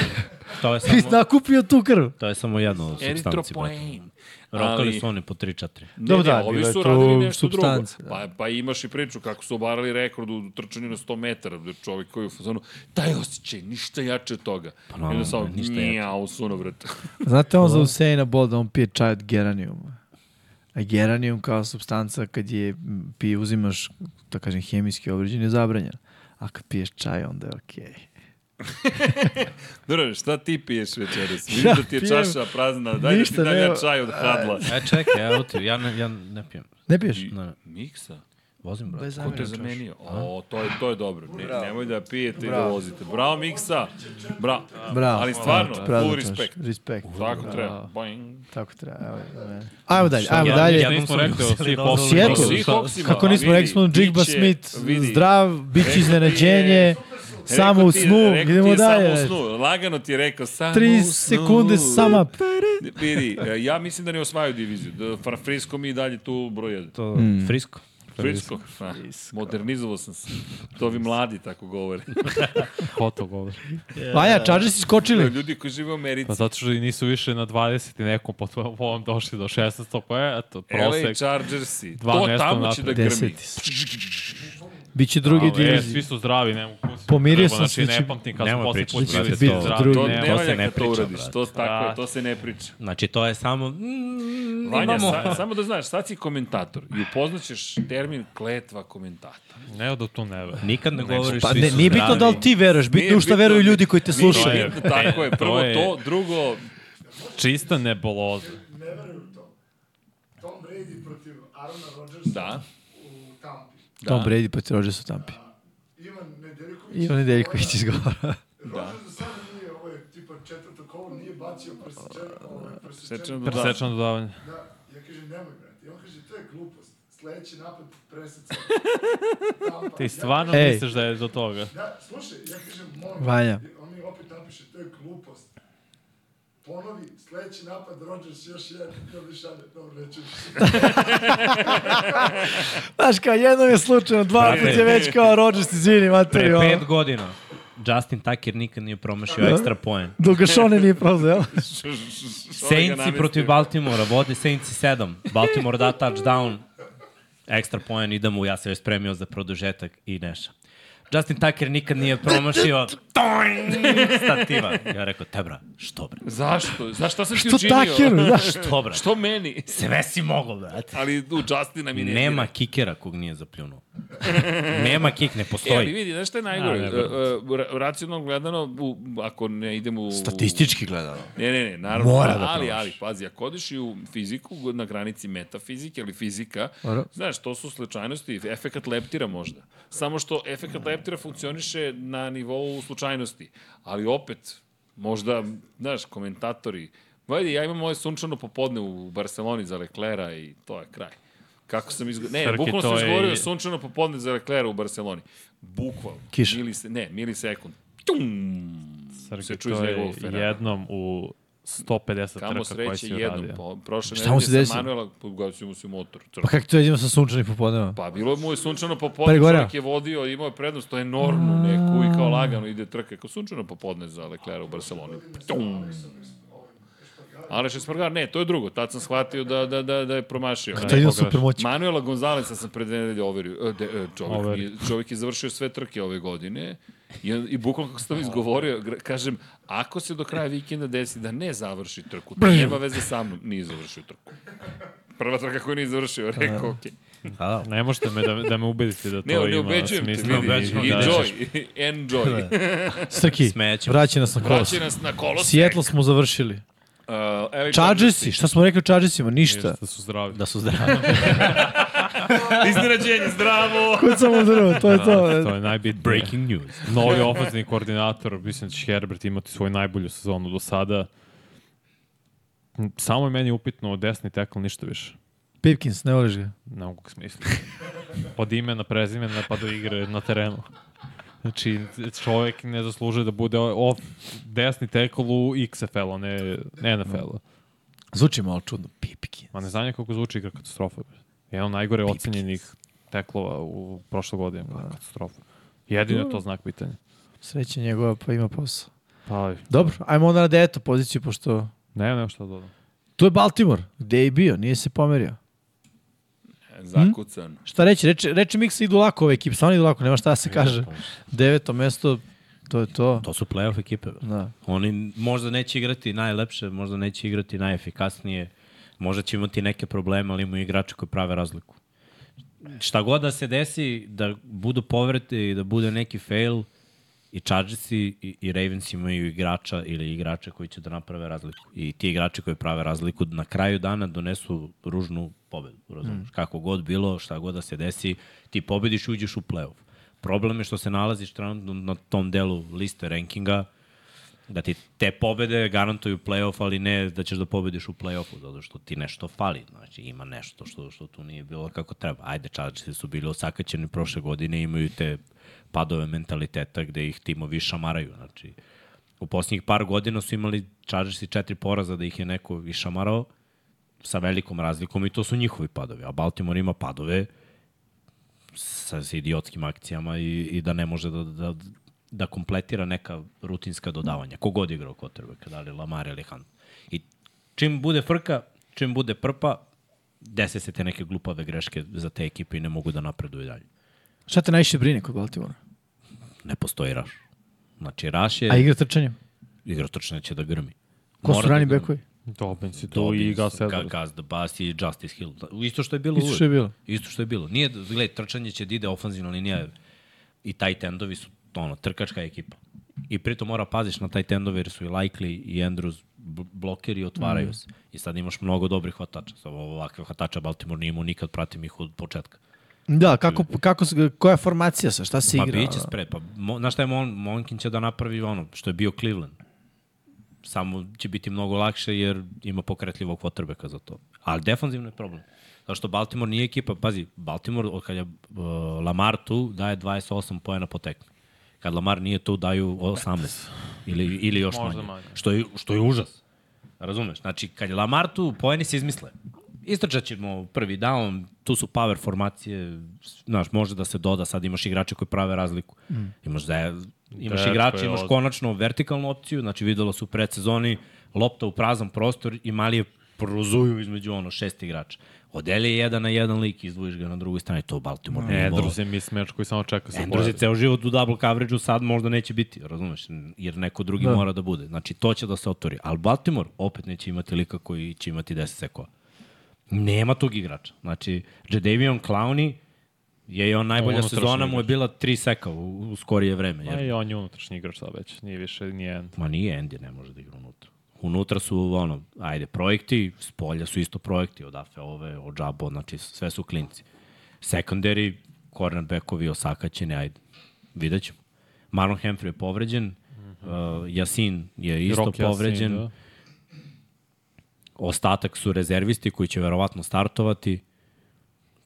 S3: to je
S2: Ti
S3: samo...
S2: nakupio tu krv.
S3: To je samo jedno od substanci, brate.
S1: Eritropoen.
S3: Rokali
S1: Ali-
S3: su oni po 3-4.
S1: Ne,
S2: Dobro,
S1: ne,
S2: da,
S1: ovi
S2: bilo je
S1: su
S2: tu
S1: radili nešto drugo.
S2: supstanci, da.
S1: Pa, pa imaš i priču kako su obarali rekord u trčanju na 100 metara, da čovjek koji je u fazonu, taj osjećaj, ništa jače od toga. Pa,
S3: naravno,
S1: I onda samo,
S3: ništa
S1: ništa
S3: jače.
S1: njau, suno vrat.
S2: Znate on za Usaina Bolt da on pije čaj od geranijuma. A geranijum kao substanca kad je m, pije, uzimaš, da kažem, hemijski obrađen je zabranjen. A kad piješ čaj, onda je okej.
S1: Dobro, šta ti piješ večeras? Vidim da ti je
S2: pijem
S1: čaša prazna, daj da ti
S2: ništa,
S1: dam ja
S2: nema-
S1: čaj od hadla.
S3: E, čekaj, evo ti, ja ne, ja ne pijem.
S2: Ne piješ?
S3: Ne, ne,
S1: Miksa?
S3: vozim, brate.
S2: Bez
S1: Ko te zamenio? O, to je, to je dobro. Ne, nemoj da pijete i da vozite. Bravo, Miksa! Bravo.
S2: Bravo.
S1: Ali stvarno,
S2: Bravo,
S1: full
S2: bravo,
S1: respekt.
S2: Respekt.
S1: Tako
S2: Bravo.
S1: treba. Boing.
S2: Tako treba. Evo, evo. Ajmo dalje, ajmo dalje.
S4: ja- Nismo rekli o
S2: Seattle.
S1: O Seahawksima,
S2: Kako
S1: a
S2: nismo,
S1: vidi,
S2: rekli smo Jigba
S1: bit će-
S2: Smith,
S1: vidi.
S2: zdrav, bit će
S1: Rekao
S2: iznenađenje,
S1: ti Rekao
S2: samo u
S1: ti-
S2: snu,
S1: rekao ti
S2: idemo
S1: je
S2: dalje.
S1: Samo u snu, lagano ti je rekao, samo u
S2: 3
S1: snu.
S2: sekunde sama.
S1: Vidi, e, ja mislim da ne osvajaju diviziju. Da Fra- Frisco mi i dalje tu broj 1.
S3: To,
S2: Mm.
S3: Mm. frisko.
S1: Frisco. Ah, modernizovao sam se. To vi mladi tako govore.
S4: Ko to govori?
S2: Vanja, Chargers iskočili.
S1: Ljudi koji žive u Americi.
S4: Pa zato što i nisu više na 20 i nekom po ovom došli do 16, pa je, eto,
S1: LA
S4: prosek.
S1: Chargersi.
S4: Dva
S1: To
S4: mesta
S1: tamo će da
S4: napred.
S1: grmi.
S2: Deseti Biće drugi
S4: E,
S2: diviziji.
S4: svi su zdravi, ne mogu pustiti.
S2: Pomirio
S4: treba,
S2: sam se
S4: znači,
S2: da
S4: ne
S2: će-
S4: pamtim kad
S3: Nemoj
S4: smo posle
S3: pričati,
S4: put bili
S3: brate,
S2: to-
S4: zdravi.
S2: to
S1: da To
S4: ne,
S1: ne
S3: to se
S1: valja
S3: ne
S1: kad to
S3: priča,
S1: uradiš.
S3: brate.
S1: To, tako je,
S4: Da.
S1: to se ne priča.
S3: Znači, to je samo... Mm,
S1: Vanja,
S3: imamo.
S1: sa, samo da znaš, sad si komentator i upoznaćeš termin kletva komentatora.
S4: Ne, da tu ne ve.
S3: Nikad ne govoriš
S2: Pa
S3: svi
S2: ne,
S3: su
S2: nije bitno
S3: zdravi.
S2: da li ti veruješ, bitno
S1: Nije
S2: u šta veruju
S1: bitno- da
S2: ljudi koji te
S1: nije
S2: slušaju.
S1: bitno, Tako je,
S4: To
S1: prvo
S4: je-
S1: to, drugo,
S4: Čista neboloza.
S5: ne verujem u to. Tom Brady protiv Arona Rodgersa
S1: da.
S5: u Tampi.
S2: Tom Brady protiv Rodgersa u Tampi.
S5: Ivan Nedeljković.
S2: Ivan Nedeljković izgovara.
S5: Rodgers do sada nije, ovo je je tipa četvrto kolo, nije bacio presečeno, ovaj, presečeno.
S1: Sečan do da.
S4: Presečano dodavanje.
S5: Da, ja kažem, nemoj, brate. I on kaže, to je glupost. Sledeći napad, presecao. Tampa.
S4: Ti stvarno
S2: Ej.
S4: misliš da je do toga?
S5: Da, slušaj, ja kažem, molim.
S2: Vanja.
S5: I On mi opet napiše, to je glupost. Ponovi, sledeći napad, Rodgers još jedan, ja bi šalje, dobro, neću više.
S2: Znaš, kao jednom je slučajno, dva put je već kao Rodgers, izvini, materi,
S3: Pre
S2: ono.
S3: pet godina Justin Tucker nikad nije
S2: Da.
S3: promašio ekstra poen.
S2: Dok ga Šone nije prozeo.
S3: Saintsi protiv Baltimora, vodi Saintsi 7. Baltimore da touchdown, ekstra poen, idemo, ja sam joj spremio za produžetak i neša. Justin Tucker nikad nije promašio toing, stativa. Ja rekao, te bra, što bre,
S1: Zašto? Za šta sam ti
S2: Što
S1: učinio?
S2: takiru, znaš?
S3: što bre,
S1: Što meni?
S3: sve si mogao, brate.
S1: Ali u Justina mi ne
S3: Nema kikera kog nije zapljunuo. Nema kik, ne
S1: E, ali
S3: postoji.
S1: vidi, znaš šta je najgore?
S3: A, ne,
S1: E, e, ra- racionalno gledano, u, ako ne idemo u...
S2: Statistički gledano.
S1: Ne, ne, ne, naravno.
S2: Mora da
S1: ali,
S2: promaši.
S1: ali, pazi, ako odeš i u fiziku, na granici metafizike ili fizika,
S2: Dobro.
S1: znaš, to su slučajnosti, efekat leptira možda. Samo što efekat leptira funkcioniše na nivou slučajnosti. Ali opet, možda, znaš, komentatori, vajde, ja imam moje sunčano popodne u Barceloni za Leklera i to je kraj. Kako sam izgovorio? Ne,
S4: Srki,
S1: bukvalno
S4: to
S1: sam
S4: je-
S1: izgovorio sunčano popodne za Leklera u Barceloni. Bukvalno.
S2: Kiša.
S1: Milise, ne, milisekund. Tum! se
S4: Srki,
S1: čuje iz
S4: to je
S1: njegovog Ferrara.
S4: jednom u 150
S1: Kamo
S4: trka koji
S1: sreće
S4: si
S1: jednom.
S4: uradio.
S1: Po, prošle
S2: Šta mu se
S1: nedelje
S2: desilo?
S1: sa Manuela pogasio mu se motor.
S2: Pa
S1: Crk.
S2: kako to jedino sa sunčanim popodneva?
S1: Pa bilo mu je sunčano popodne,
S2: Pregoreo.
S1: čovjek je vodio, imao je prednost, to je enormnu neku i kao lagano ide trka, kao sunčano popodne za Leclerc u Barceloni. Tum. Aleš Espargar, ne, to je drugo, tad sam shvatio da, da, da, da je promašio.
S2: To je jedino
S4: pogrešno.
S2: super moć.
S1: Manuela Gonzalesa sam pre dve nedelje overio. E, De, e, čovjek,
S4: Overio.
S1: je, čovjek je završio sve trke ove godine i, i bukvalno kako sam izgovorio, gra- kažem, ako se do kraja vikenda desi da ne završi trku, to nema veze sa mnom, nije završio trku. Prva trka koju nije završio, rekao, okej.
S3: Pa da.
S4: Ne možete me da, da me ubedite da to
S1: Ne, ne
S4: ima
S1: ubeđujem te,
S4: smisla.
S1: vidi,
S3: ubeđujem, da.
S1: enjoy, enjoy.
S4: Da.
S2: Srki,
S3: Smećemo.
S2: vraća nas na kolos.
S1: Vraća nas na kolos.
S2: Sjetlo smo završili.
S1: Uh, Alex-
S2: Chargersi, šta smo rekli o Chargersima? Ništa.
S4: Da su zdravi.
S3: Da su zdravi.
S1: Iznenađenje, zdravo!
S2: Kucamo drvo, to je to.
S4: To je najbitnije.
S3: Breaking news.
S4: Novi ofenzivni koordinator, mislim da će Herbert imati svoju najbolju sezonu do sada. Samo je meni upitno desni tekl, ništa više.
S2: Pipkins, ne voliš ga.
S4: Ne mogu ga smisliti. Od imena, prezimena, pa do igre na terenu. Znači, čovjek ne zaslužuje da bude off, desni tekl u XFL-u, ne NFL-u.
S2: Zvuči malo čudno. Pipkins.
S4: Ma ne znam ja kako zvuči igra katastrofa. bre. Jedan od najgore ocenjenih teklova u prošloj godini. Katastrofa. Jedino je to znak pitanja.
S2: Sreće njegova, pa ima posao.
S4: Pa,
S2: Dobro, ajmo onda na devetu poziciju, pošto...
S4: ne, nema šta da dodam.
S2: Tu je Baltimore, gde je i bio, nije se pomerio.
S1: E,
S4: Hm?
S1: Zakucan.
S2: Šta reći, reče, reče Miksa idu lako ove ekipe, stvarno idu lako, nema šta da se kaže. Deveto mesto, to je to.
S3: To su playoff ekipe. Da.
S2: Da.
S3: Oni možda neće igrati najlepše, možda neće igrati najefikasnije, možda će imati neke probleme, ali imaju igrače koji prave razliku. Šta god da se desi, da budu povrete i da bude neki fail, i Chargersi i, i Ravens imaju igrača ili igrače koji će da naprave razliku. I ti igrači koji prave razliku na kraju dana donesu ružnu pobedu. Razumiješ? Mm. Kako god bilo, šta god da se desi, ti pobediš i uđeš u playoff. Problem je što se nalaziš trenutno na tom delu liste rankinga, da ti te pobede garantuju playoff, ali ne da ćeš da pobediš u playoffu, zato što ti nešto fali, znači ima nešto što, što tu nije bilo kako treba. Ajde, Chargersi su bili osakaćeni prošle godine, imaju te padove mentaliteta gde ih timovi šamaraju, znači u posljednjih par godina su imali Chargersi četiri poraza da ih je neko išamarao sa velikom razlikom i to su njihovi padovi, a Baltimore ima padove sa, sa idiotskim akcijama i, i da ne može da, da, da kompletira neka rutinska dodavanja. Kogod igrao quarterback, da li Lamar ili Hunt. I čim bude frka, čim bude prpa, dese se te neke glupave greške za te ekipe i ne mogu da napreduju dalje.
S2: Šta te najviše brine kod Baltimora?
S3: Ne postoji Raš. Znači, Raš
S2: A
S3: je
S2: igra trčanjem?
S3: igrotočna će da grmi.
S2: Ko
S3: Mora
S2: su rani
S3: da grmi.
S2: bekovi?
S4: Dobin si tu i
S3: Dobbins,
S4: Gus
S3: Ga-
S4: Edwards.
S3: Gus the Bass i Justice Hill. Da, Isto što je bilo
S2: Isto što je
S3: uvek.
S2: bilo.
S3: Isto što je bilo. Nije, gledaj, trčanje će da ide ofanzivna linija i tight endovi su ono, trkačka ekipa. I pritom mora paziš na tight endove jer su i Likely i Andrews bl- blokeri i otvaraju mm. se. I sad imaš mnogo dobrih hvatača. Samo ovakve hvatača Baltimore nije imao nikad, pratim ih od početka.
S2: Da, kako, kako, se- koja formacija sa, šta se
S3: Pa
S2: igra?
S3: biće spre, pa mo, znaš šta je Mon, Monkin će da napravi ono što je bio Cleveland. Samo će biti mnogo lakše jer ima pokretljivog kvotrbeka za to. Ali defanzivno je problem. Zato što Baltimore nije ekipa, pazi, Baltimore od kad je uh, Lamar tu daje 28 poena po tekmi. Kad Lamar nije tu daju 18 ili, ili još
S4: Možda
S3: manje.
S4: manje.
S3: Što je, što je užas. Razumeš? Znači, kad je Lamar tu, poeni se izmisle. Istrčat ćemo prvi down, tu su power formacije, znaš, može da se doda, sad imaš igrače koji prave razliku. Mm. Imaš, da, imaš
S4: Teško
S3: igrače,
S4: je
S3: imaš
S4: ovo.
S3: konačno vertikalnu opciju, znači videlo su u predsezoni, lopta u prazan prostor i malije prozuju između ono šest igrača. Odeli je jedan na jedan lik, izdvojiš ga na drugoj strani, to Baltimore nije volao.
S4: Andrews je mismeč koji samo čeka se
S3: Andrews je ceo život u double coverage-u, sad možda neće biti, razumeš, jer neko drugi da. mora da bude. Znači, to će da se otvori. Ali Baltimore opet neće imati lika koji će imati 10 sekova. Nema tog igrača. Znači, Jadavion Clowney je i on najbolja
S4: Ono,
S3: sezona
S4: strašan
S3: mu je
S4: igrač.
S3: bila 3 seka u, u skorije vreme.
S4: Ma
S3: Jer,
S4: i on je unutrašnji igrač sad već, nije više nijedan.
S3: ma nije, Andy ne može da igra unutra. Unutra su, ono, ajde, projekti, s polja su isto projekti, od Afeove, od Džabo, znači sve su klinci. Secondary, cornerbackovi osakaćeni, ajde, vidjet ćemo. Marlon Humphrey je povređen, uh, Jasin je isto
S4: Rock Yasin,
S3: povređen,
S4: da.
S3: ostatak su rezervisti koji će verovatno startovati,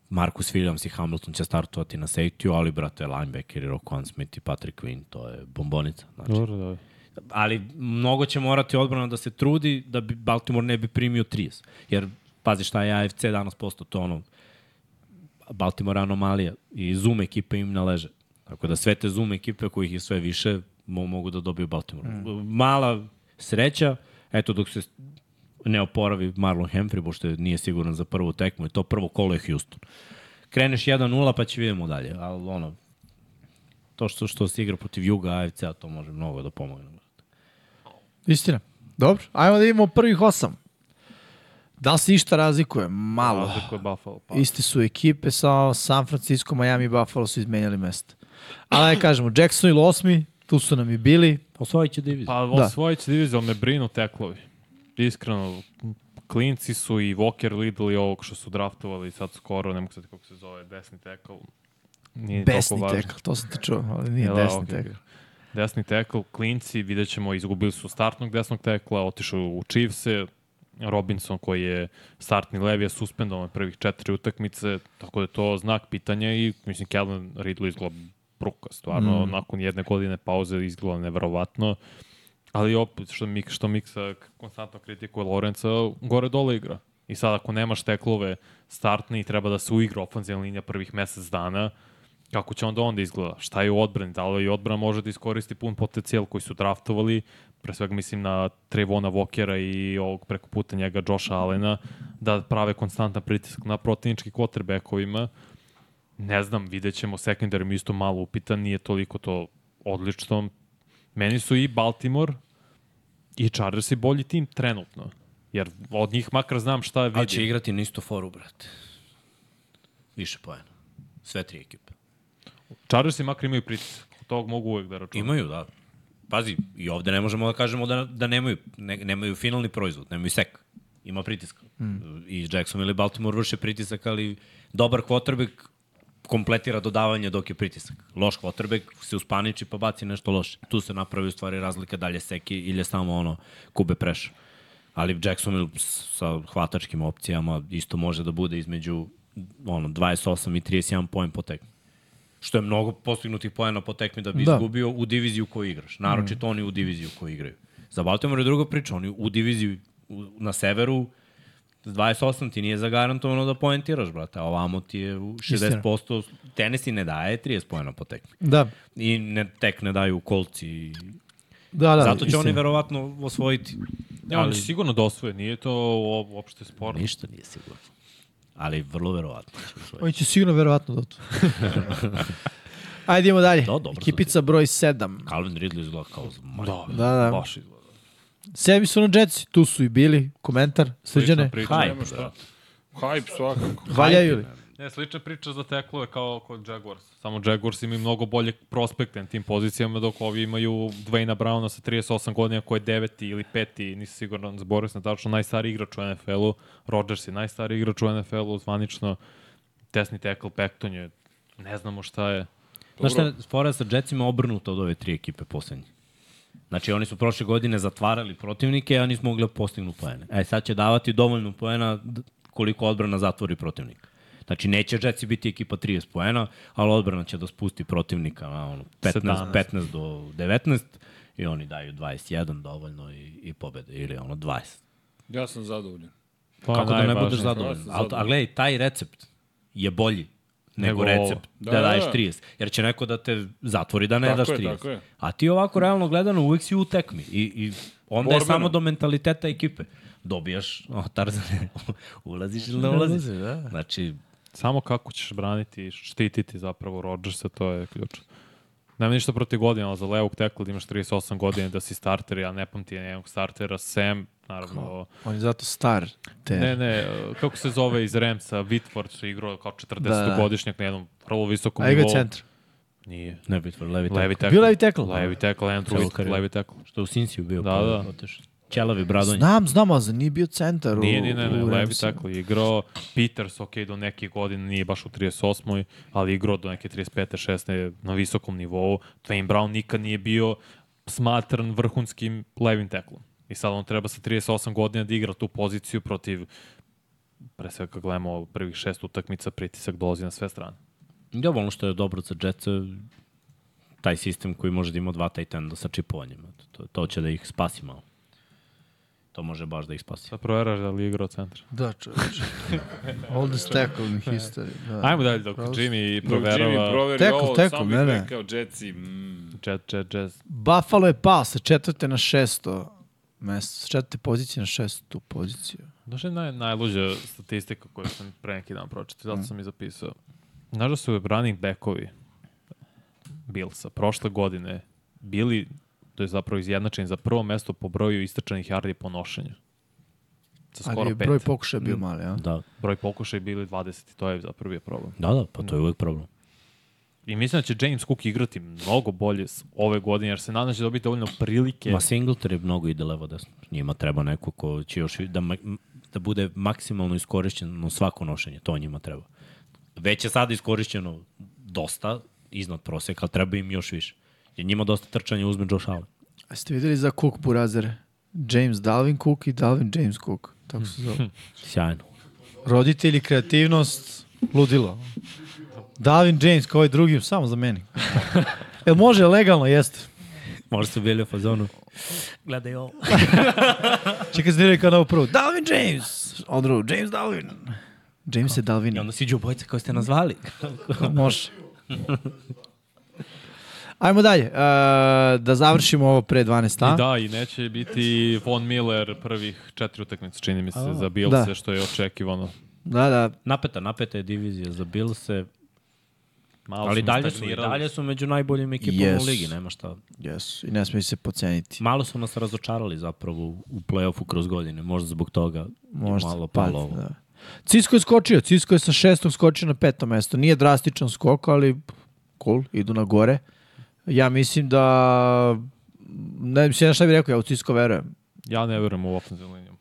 S3: Marcus Williams i Hamilton će startovati na safety ali, brate, linebacker, Roquan Smith i Patrick Quinn, to je bombonica. Znači,
S4: Dobro, da.
S3: ali mnogo će morati odbrana da se trudi da bi Baltimore ne bi primio 30. Jer, pazi šta je AFC danas postao, to ono, Baltimore anomalija i Zoom ekipe im naleže. Tako da sve te Zoom ekipe kojih je sve više mo mogu da dobiju Baltimore. Mm. Mala sreća, eto dok se ne oporavi Marlon Humphrey, pošto je- nije siguran za prvu tekmu i to prvo kolo je Houston. Kreneš 1-0 pa će vidimo dalje, ali ono, to što, što se igra protiv Juga AFC-a, to može mnogo da pomogne.
S2: Istina. Dobro, ajmo da vidimo prvih osam. Da li se išta razlikuje? Malo.
S4: Razliku je Buffalo. Pa.
S2: Iste su ekipe, sa San Francisco, Miami i Buffalo su izmenjali mesta. Ali da kažemo, Jacksonville osmi, tu su nam i bili.
S3: Osvojit će diviziju.
S4: Pa
S2: Da.
S4: osvojit će diviziju, ali me brinu teklovi. Iskreno, klinci su i Walker Lidl i ovog što su draftovali sad skoro, ne mogu sad kako se zove, desni tekl. Nije ni toliko
S2: Besni
S4: važno.
S2: tekl, to sam te čuo, ali nije
S4: Jel da,
S2: desni
S4: okej,
S2: tekl.
S4: okej. Desni tekl, klinci, vidjet ćemo, izgubili su startnog desnog tekla, otišao u Chiefse, Robinson koji je startni levi je suspendovan prvih četiri utakmice, tako da je to znak pitanja i mislim Calvin Ridley izgleda bruka, stvarno, mm. nakon jedne godine pauze izgleda neverovatno. Ali opet, što, Mik, što Miksa konstantno kritikuje Lorenca, gore-dole igra. I sad ako nemaš teklove startni i treba da se uigra ofenzivna linija prvih mesec dana, kako će onda onda izgleda? Šta je u odbrani? Da li i odbrana može da iskoristi pun potencijal koji su draftovali? Pre svega mislim na Trevona Walkera i ovog preko puta njega Josha Allena, da prave konstantan pritisak na protivnički quarterbackovima. Ne znam, vidjet ćemo, secondary mi je isto malo upitan, nije toliko to odlično. Meni su i Baltimore i Chargers i bolji tim trenutno. Jer od njih makar znam šta je
S3: Ali će
S4: vidim.
S3: igrati na istu foru, brate. Više pojena. Sve tri ekipe.
S4: Chargers i makar imaju pritisak. Tog mogu uvek da računam.
S3: Imaju, da. Pazi, i ovde ne možemo da kažemo da, da nemaju, ne, nemaju finalni proizvod, nemaju sek. Ima pritiska. Mm. I Jackson ili Baltimore vrše pritisak, ali dobar quarterback kompletira dodavanje dok je pritisak. Loš quarterback se uspaniči pa baci nešto loše. Tu se napravi u stvari razlika dalje seki ili je samo ono kube preša. Ali Jacksonville sa hvatačkim opcijama isto može da bude između ono 28 i 31 poen po tekmi što je mnogo postignutih poena po tekmi da bi
S2: Da. Mhm.
S3: da. izgubio u diviziju koju igraš. Naročito mm. oni u diviziju koju igraju. Za Baltimore je druga priča, oni u diviziju u- na severu s 28 ti nije zagarantovano da poentiraš, brate, a ovamo ti je u 60%, tenisi ne daje 30 poena po tekmi.
S2: Da,
S3: I ne, tek ne daju kolci. i-
S2: da, da.
S3: Zato će
S2: istina.
S3: oni verovatno osvojiti.
S4: Ne, on će sigurno da osvoje, nije to o- uopšte sporno.
S3: Ništa nije sigurno. Ali vrlo verovatno će osvojiti.
S2: Oni će sigurno verovatno do tu. Ajde, idemo dalje.
S3: Da, dobro su
S2: Ekipica broj 7.
S3: Calvin Ridley izgleda kao zmaj. Da.
S2: Da, da.
S4: Baš izgleda.
S2: Sedmi su na Jetsi, tu su i bili. Komentar, srđane.
S4: priča.
S3: Hajde,
S1: Nema šta. Hype svakako.
S2: Valjaju li?
S4: Ne, slična priča za teklove kao kod Jaguars. Samo Jaguars imaju mnogo bolje prospekte na tim pozicijama, dok ovi imaju Dwayna Browna sa 38 godina koji je deveti ili peti, nisam siguran, zaboravio sam tačno, najstariji igrač u NFL-u. Rodgers je najstariji igrač u NFL-u, zvanično. Desni tekl, Pekton je, ne znamo šta je.
S3: Znaš šta, je fora sa Jetsima obrnuta od ove tri ekipe poslednje. Znači, oni su prošle godine zatvarali protivnike, a nisu mogli da postignu poene. E, sad će davati dovoljno poena d- koliko odbrana zatvori protivnika. Znači, neće Jetsi biti ekipa 30 poena, ali odbrana će da spusti protivnika na ono, 15,
S4: 17.
S3: 15 do 19 i oni daju 21 dovoljno i, i pobede, ili ono 20.
S1: Ja sam zadovoljan.
S4: To je
S3: Kako da ne
S4: najvažnije.
S3: budeš zadovoljan?
S1: Prosto
S3: Ali, a
S1: zadovoljan.
S3: gledaj, taj recept je bolji nego,
S4: Nego ovo.
S3: recept da,
S1: Da,
S3: da
S1: da,
S3: daješ
S1: da.
S3: 30. Jer će neko da te zatvori da ne
S1: Tako
S3: daš
S1: je,
S3: 30.
S1: tako je.
S3: A ti ovako realno gledano uvek si u tekmi. I, i onda je
S1: Borbeno.
S3: samo do mentaliteta ekipe. Dobijaš, o, Tarzane, ulaziš ili ne
S2: Ne
S3: ulaziš.
S2: ulaziš, da.
S3: Znači,
S4: Samo kako ćeš braniti i štititi zapravo Rodgersa, to je ključ. Nema ništa protiv godina, ali za levog tekla da imaš 38 godina da si starter, ja ne pamtim jednog startera, Sam, naravno...
S2: On je zato star. Te.
S4: Ne, ne, e, kako se zove iz Remsa, Whitford je igrao kao 40-godišnjak na jednom vrlo visokom
S2: Da. A igra
S4: nivou.
S2: je centar.
S4: Nije.
S3: ne bi tvoj levi
S4: Levi
S3: levi.
S4: tekl.
S2: Bio levi tekl?
S4: Levi tekl, Andrew
S3: Celu
S4: Whitford,
S3: karijeru.
S4: levi tekl.
S3: Što je u Sinsiju bio.
S4: Da,
S3: pa
S4: da.
S3: Oteš. Ćelavi bradonje.
S2: Znam, znam, ali za nije bio centar. u-
S4: Nije, nije, ne, ne,
S2: u
S4: levi
S2: Ramsima.
S4: tekl je igrao. Peters, ok, do nekih godina nije baš u 38. ali je igrao do neke 35. 16. na visokom nivou. Dwayne Brown nikad nije bio smatran vrhunskim levim teklom. I sad on treba sa 38 godina da igra tu poziciju protiv pre svega kad gledamo prvih šest utakmica, pritisak dolazi na sve strane.
S3: Da, ono što je dobro za Jetsa, taj sistem koji može da ima dva tight enda sa čipovanjem. eto, To, to će da ih spasi malo. To može baš da ih spasi.
S4: Sad proveraš da li je igrao centar.
S2: Da, čoveče. All the stack in history. Da.
S4: Ajmo dalje dok Jimmy
S1: Dok Jimmy
S4: proverava
S1: proveri
S2: Tekl,
S1: ovo,
S2: tekl,
S1: samo bih
S2: ne, ne.
S1: rekao Jetsi, mm,
S4: Jet, Jet, Jet.
S2: Buffalo je pao sa četvrte na šesto mesto. Sa četvrte pozicije na šestu poziciju.
S4: Znaš je naj, najluđa statistika koju sam pre neki dan pročitao, zato sam i zapisao. Mm. Znaš da su running backovi Billsa prošle godine bili, to je zapravo izjednačeni za prvo mesto po broju istrčanih yardi po nošenju. Sa
S2: Ali
S4: skoro
S2: je
S4: pet.
S2: broj pokušaja bio mali, a?
S3: Da,
S4: broj pokušaja bili 20 i to je zapravo bio problem.
S3: da, da pa to je uvek problem.
S4: I mislim da će James Cook igrati mnogo bolje s- ove godine, jer se nadam da će dobiti dovoljno prilike.
S3: Ma Singletary je mnogo ide levo desno. Njima treba neko ko će još i da, ma- m- da bude maksimalno iskorišćeno svako nošenje. To njima treba. Već je sada iskorišćeno dosta, iznad proseka, ali treba im još više. Jer njima dosta trčanja uzme Josh Allen.
S2: A ste videli za Cook burazere? James Dalvin Cook i Dalvin James Cook. Tako se zove.
S3: Sjajno.
S2: Roditelji, kreativnost, ludilo. Dalvin James kao ovaj drugi, samo za meni. Jel može legalno? Jeste.
S3: Možda su bili u fazonu. Gledaj ovo.
S2: Čekaj, zdiraj kao na ovu prvu. Dalvin James! Odru, James Dalvin. James je Dalvin.
S3: I onda siđu obojica kao ste nazvali.
S2: Može. Ajmo dalje. E, da završimo ovo pre 12.
S4: I
S2: a?
S4: da, i neće biti Von Miller prvih četiri utakmice, čini mi se, za Bilse,
S2: Da.
S4: što je očekivano.
S2: da, da.
S3: Napeta, napeta je divizija za Bilse,
S4: Malo
S3: ali
S4: smo
S3: dalje su, i
S4: stagnirali.
S3: dalje su među najboljim ekipama
S2: Yes.
S3: u ligi, nema šta.
S2: Yes. I ne smije se poceniti.
S3: Malo su nas razočarali zapravo u play-offu kroz godine, možda zbog toga
S2: Možda.
S3: je malo
S2: pa,
S3: palo ovo.
S2: Da. Cisco je skočio. Cisco je sa šestog skočio na peto mesto. Nije drastičan skok, ali cool, idu na gore. Ja mislim da... Ne, mislim, ja šta bih rekao, ja u Cisco verujem.
S4: Ja ne verujem u ofenzivnu liniju.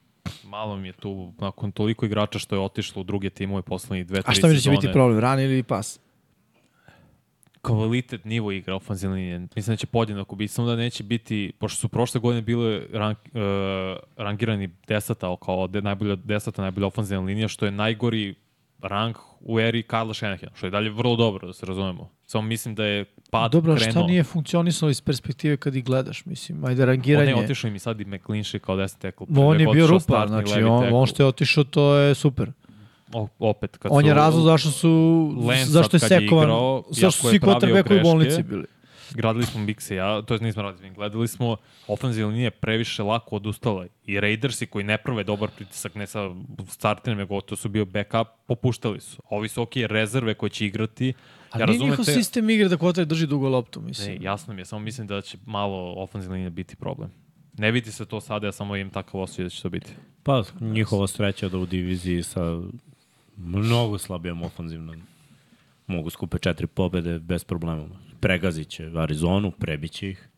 S4: Malo mi je tu, nakon toliko igrača što je otišlo u druge timove poslednjih dve, tri
S2: A
S4: sezone.
S2: šta mi da će biti problem, ran ili pas?
S4: Kvalitet nivo igre ofenzivne linije. Mislim da će podjednako biti, samo da neće biti, pošto su prošle godine bile rank, uh, rangirani desata, kao de, najbolja desata, najbolja ofenzivna linija, što je najgori rang u eri Karla Šenahena, što je dalje vrlo dobro, da se razumemo. Samo mislim da je pad
S2: Dobro, a
S4: krenuo.
S2: šta nije funkcionisalo iz perspektive kad ih gledaš, mislim, ajde
S4: On
S2: rangiranje.
S4: je otišao im i sad i McLinshi kao desni tekl.
S2: No, on je
S4: Nego
S2: bio
S4: otišao
S2: rupa,
S4: startni
S2: znači
S4: levi
S2: on,
S4: tekl.
S2: on što je otišao to je super.
S4: O- opet, kad
S2: On je
S4: su-
S2: razlog zašto su
S4: Lance
S2: zašto je
S4: sad kad je
S2: sekovan,
S4: igrao,
S2: zašto
S4: jako
S2: su
S4: je
S2: svi
S4: pravio
S2: quarterbackovi u bolnici
S4: greške.
S2: bili.
S4: gradili smo Bigse ja, to je nismo radili, gledali smo ofenzivna linija je previše lako odustala i Raidersi koji ne prave dobar pritisak ne sa starterima, nego to su bio backup, popuštali su. Ovi su ok, rezerve koje će igrati.
S2: A nije
S4: ja razumem
S2: njihov
S4: te-
S2: sistem igre da quarterback drži dugo loptu, mislim.
S4: Ne, jasno mi je, samo mislim da će malo ofenzivna linija biti problem. Ne vidi se to sada, ja samo imam takav osjećaj da će to biti.
S3: Pa, njihova sreća da u diviziji sa mnogo slabijom ofenzivnom mogu skupe četiri pobede bez problema. Pregazit će Arizonu, prebiće ih.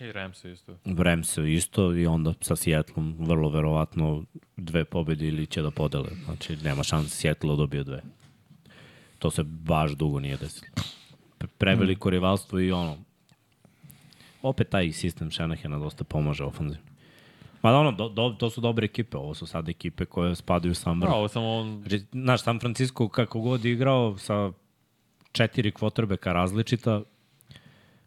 S4: I Rams isto.
S3: Remse isto i onda sa Sjettlom vrlo verovatno dve pobede ili će da podele. Znači, nema šanse Sjetlo dobio dve. To se baš dugo nije desilo. Pre- Preveliko rivalstvo i ono, opet taj sistem Šenehena dosta pomaže ofanzivno. Ma ono, do, do, to su dobre ekipe, ovo su sad ekipe koje spadaju sam vrh.
S4: Bravo, samo on...
S2: Da.
S3: Znači, znaš, San Francisco kako god je igrao sa četiri kvotrbeka različita,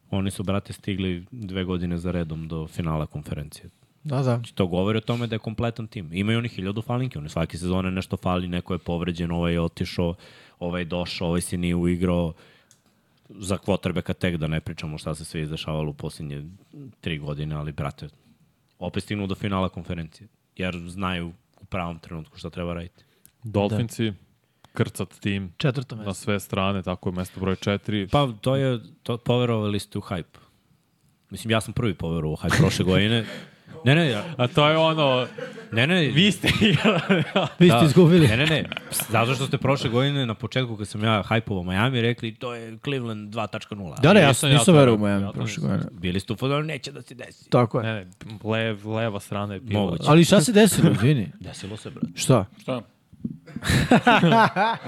S3: oni su, brate, stigli dve godine za redom do finala konferencije.
S2: Da, da.
S3: Znači, to govori o tome da je kompletan tim. Imaju oni hiljadu falinke, oni svake sezone nešto fali, neko je povređen, ovaj je otišao, ovaj je došao, ovaj se nije uigrao. Za kvotrbeka tek da ne pričamo šta se sve izdešavalo u posljednje tri godine, ali brate, opet stignu do finala konferencije, jer znaju u pravom trenutku šta treba raditi.
S4: Dolfinci, da. krcat tim
S2: Četvrto
S4: na
S2: mesto.
S4: sve strane, tako je mesto broj 4.
S3: Pa to je, to, poverovali ste u hype. Mislim, ja sam prvi poverovao u hype prošle godine. Ne, ne, ja,
S4: A to je ono,
S3: ne, ne.
S4: vi ste igrali.
S2: Vi ste izgubili.
S3: Ne, ne, ne. Zato što ste prošle godine na početku kad sam ja hajpovao Miami rekli to je Cleveland 2.0.
S2: Da, ne, ja
S4: Nisam
S2: sam
S4: ja
S2: nisam
S4: to-
S2: verovao u
S4: ja
S2: Miami
S4: to
S2: prošle
S4: nisam.
S2: godine.
S3: Bili ste u fazonu, neće da se desi.
S2: Tako
S4: Ne,
S2: je.
S4: ne, lev, leva strana je bila.
S3: Moguće.
S2: Ali šta se desilo, izvini?
S3: Desilo se, brate.
S2: Šta?
S1: Šta?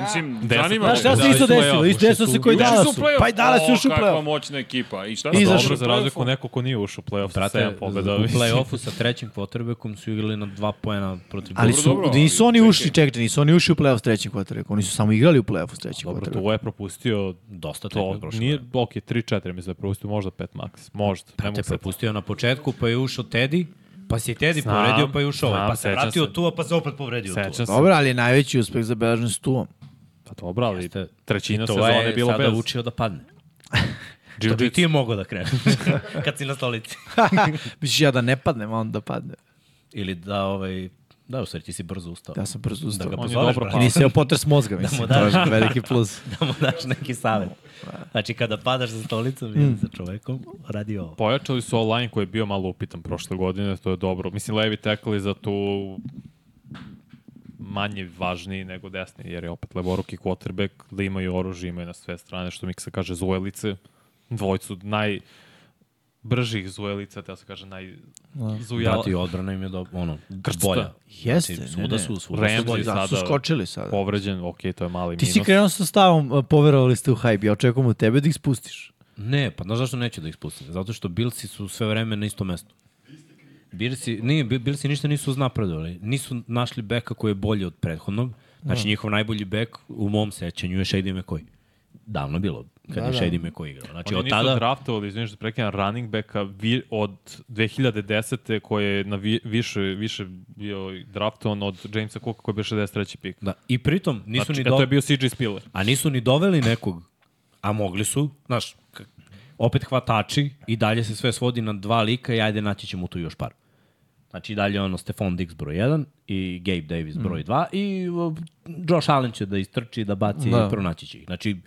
S1: Mislim, zanima
S2: Znaš
S1: me.
S2: šta
S4: Da,
S2: se isto
S4: i play-off,
S2: desilo? Isto
S4: ušli
S2: desilo se
S4: su-
S2: koji
S1: Ušli
S2: dala
S1: su
S4: da,
S2: su.
S1: play-off.
S2: Pa i dala
S1: O,
S2: su još u
S1: Kakva
S2: play-off.
S1: moćna ekipa.
S3: Pa
S1: I šta da
S2: I izašao
S4: Dobro,
S1: u
S4: za
S1: play-offu?
S4: razliku od nekog ko nije ušao u playoff sa 7 pobjeda.
S3: u play-offu sa trećim quarterbackom su igrali na dva poena protiv
S2: Ali
S1: Dobro,
S2: su,
S1: dobro, ali
S2: nisu oni
S1: čekaj.
S2: ušli, čekaj, nisu oni ušli u play-off s trećim kvotarekom, oni su samo igrali u play-off s trećim
S4: Dobro,
S2: kvotarekom.
S4: to je propustio
S3: Dosta tekme
S4: to.
S3: prošle.
S4: Nije,
S3: Nije...
S4: ok, 3-4 mislim da je propustio, možda 5 max. Možda. ne mogu
S3: Te
S4: sad-
S3: propustio na početku, pa je ušao Teddy, pa si Teddy
S4: Znam,
S3: povredio, pa je ušao ovaj,
S4: znam,
S3: pa se
S4: sećam
S3: vratio
S4: se.
S3: tu, a pa se opet povredio tu.
S4: Sećam se.
S2: Dobro, ali je najveći uspeh zabeležen s tuom.
S4: Pa dobro, ali
S3: Jeste.
S4: trećina
S3: I to
S4: sezone
S3: je
S4: je bilo
S3: sada
S4: bez.
S3: učio da padne. To bi
S4: Jiu-jitsu.
S3: ti je mogao da kreneš kad si na stolici.
S2: Bićeš ja da ne padnem, a on da padne.
S3: Ili da, ovaj, da, u stvari ti si brzo ustao. Da
S2: Ja sam brzo ustao.
S3: ga
S4: On je
S3: pozoveš,
S4: dobro pa-
S2: I
S4: Da pao.
S2: nisi jeo potres mozga, mislim,
S3: daš.
S2: to je veliki plus.
S3: da mu daš neki savjet. Znači, kada padaš sa
S4: Mm.
S3: stolicom ili sa čovekom, radi ovo.
S4: Pojačali su online koji je bio malo upitan prošle godine, to je dobro. Mislim, levi tekli za tu manje važniji nego desni, jer je opet levoruki quarterback, da imaju oružje, imaju na sve strane, što Miksa kaže, zujelice. Dvojcu naj bržih zujelica, te ja se kaže, naj
S2: Da.
S4: zujala.
S3: Brati, odbrana im je do, ono,
S4: Krcta.
S3: bolja.
S2: Jeste,
S3: Znači,
S2: ne,
S3: svuda
S2: ne.
S3: su, svuda su
S4: Ramsey
S3: bolji.
S2: Da, su
S4: sada-
S2: skočili sada.
S4: Povređen, okej, to je mali
S2: Ti si
S4: minus.
S2: krenuo sa stavom, uh, poverovali ste u hype, ja očekujem od tebe da ih spustiš.
S3: Ne, pa znaš zašto neću da ih spustim? Zato što Bilsi su sve vreme na istom mestu. Bilsi, nije, Bil- Bilsi ništa nisu uznapredovali. Nisu našli beka koji je bolji od prethodnog.
S4: Da.
S3: Znači, njihov najbolji bek u mom sećanju je Shady McCoy. Davno je bilo, kad je Shady McCoy igrao. Znači,
S4: Da, Oni
S3: od
S4: nisu tada...
S3: tada...
S4: draftovali, izvinite što prekidam, running backa vi, od 2010. koji je na vi, više, više bio draftovan od Jamesa Cooka koji je bio 63. pik.
S3: Da, I pritom nisu
S4: Znači,
S3: ni
S4: e, to
S3: do...
S4: je bio CJ Spiller.
S3: A nisu ni doveli nekog, a mogli su, znaš, k- opet hvatači i dalje se sve svodi na dva lika i ajde naći ćemo tu još par. Znači i dalje ono Stefan Dix broj 1 i Gabe Davis broj
S2: Mhm.
S3: 2 i uh, Josh Allen će da istrči, da baci da.
S2: Da.
S3: i pronaći će ih. Znači,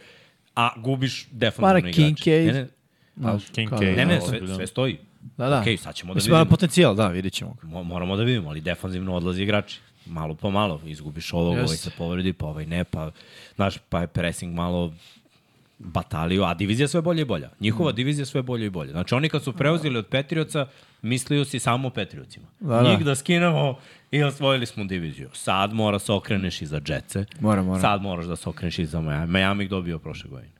S3: a gubiš
S2: Para
S3: definitivno igrače.
S2: Kincaid.
S3: Ne, ne,
S2: Znaš,
S4: King
S2: kao-
S4: K.
S3: ne, ne sve, sve stoji.
S2: Da, da.
S3: Okej, sad ćemo da
S2: Mislim,
S3: vidimo.
S2: ima potencijal, da, vidit ćemo ga.
S3: Mo- moramo da vidimo, ali defanzivno odlazi igrači. Malo po malo, izgubiš ovog, yes. ovaj
S2: Jeste.
S3: se povredi, pa ovaj ne, pa, znaš, pa je pressing malo batalio, a divizija sve bolje i bolja.
S2: Mm.
S3: Njihova divizija sve bolje i bolje. Znači, oni kad su preuzeli od Petrioca, mislio si samo o Petriocima. Da,
S2: Da,
S3: da.
S2: da.
S3: Njih da skinemo i osvojili smo diviziju. Sad mora se okreneš i za Jetce.
S2: Mora, mora.
S3: Sad moraš da se okreneš i za Miami. Miami ih dobio prošle godine.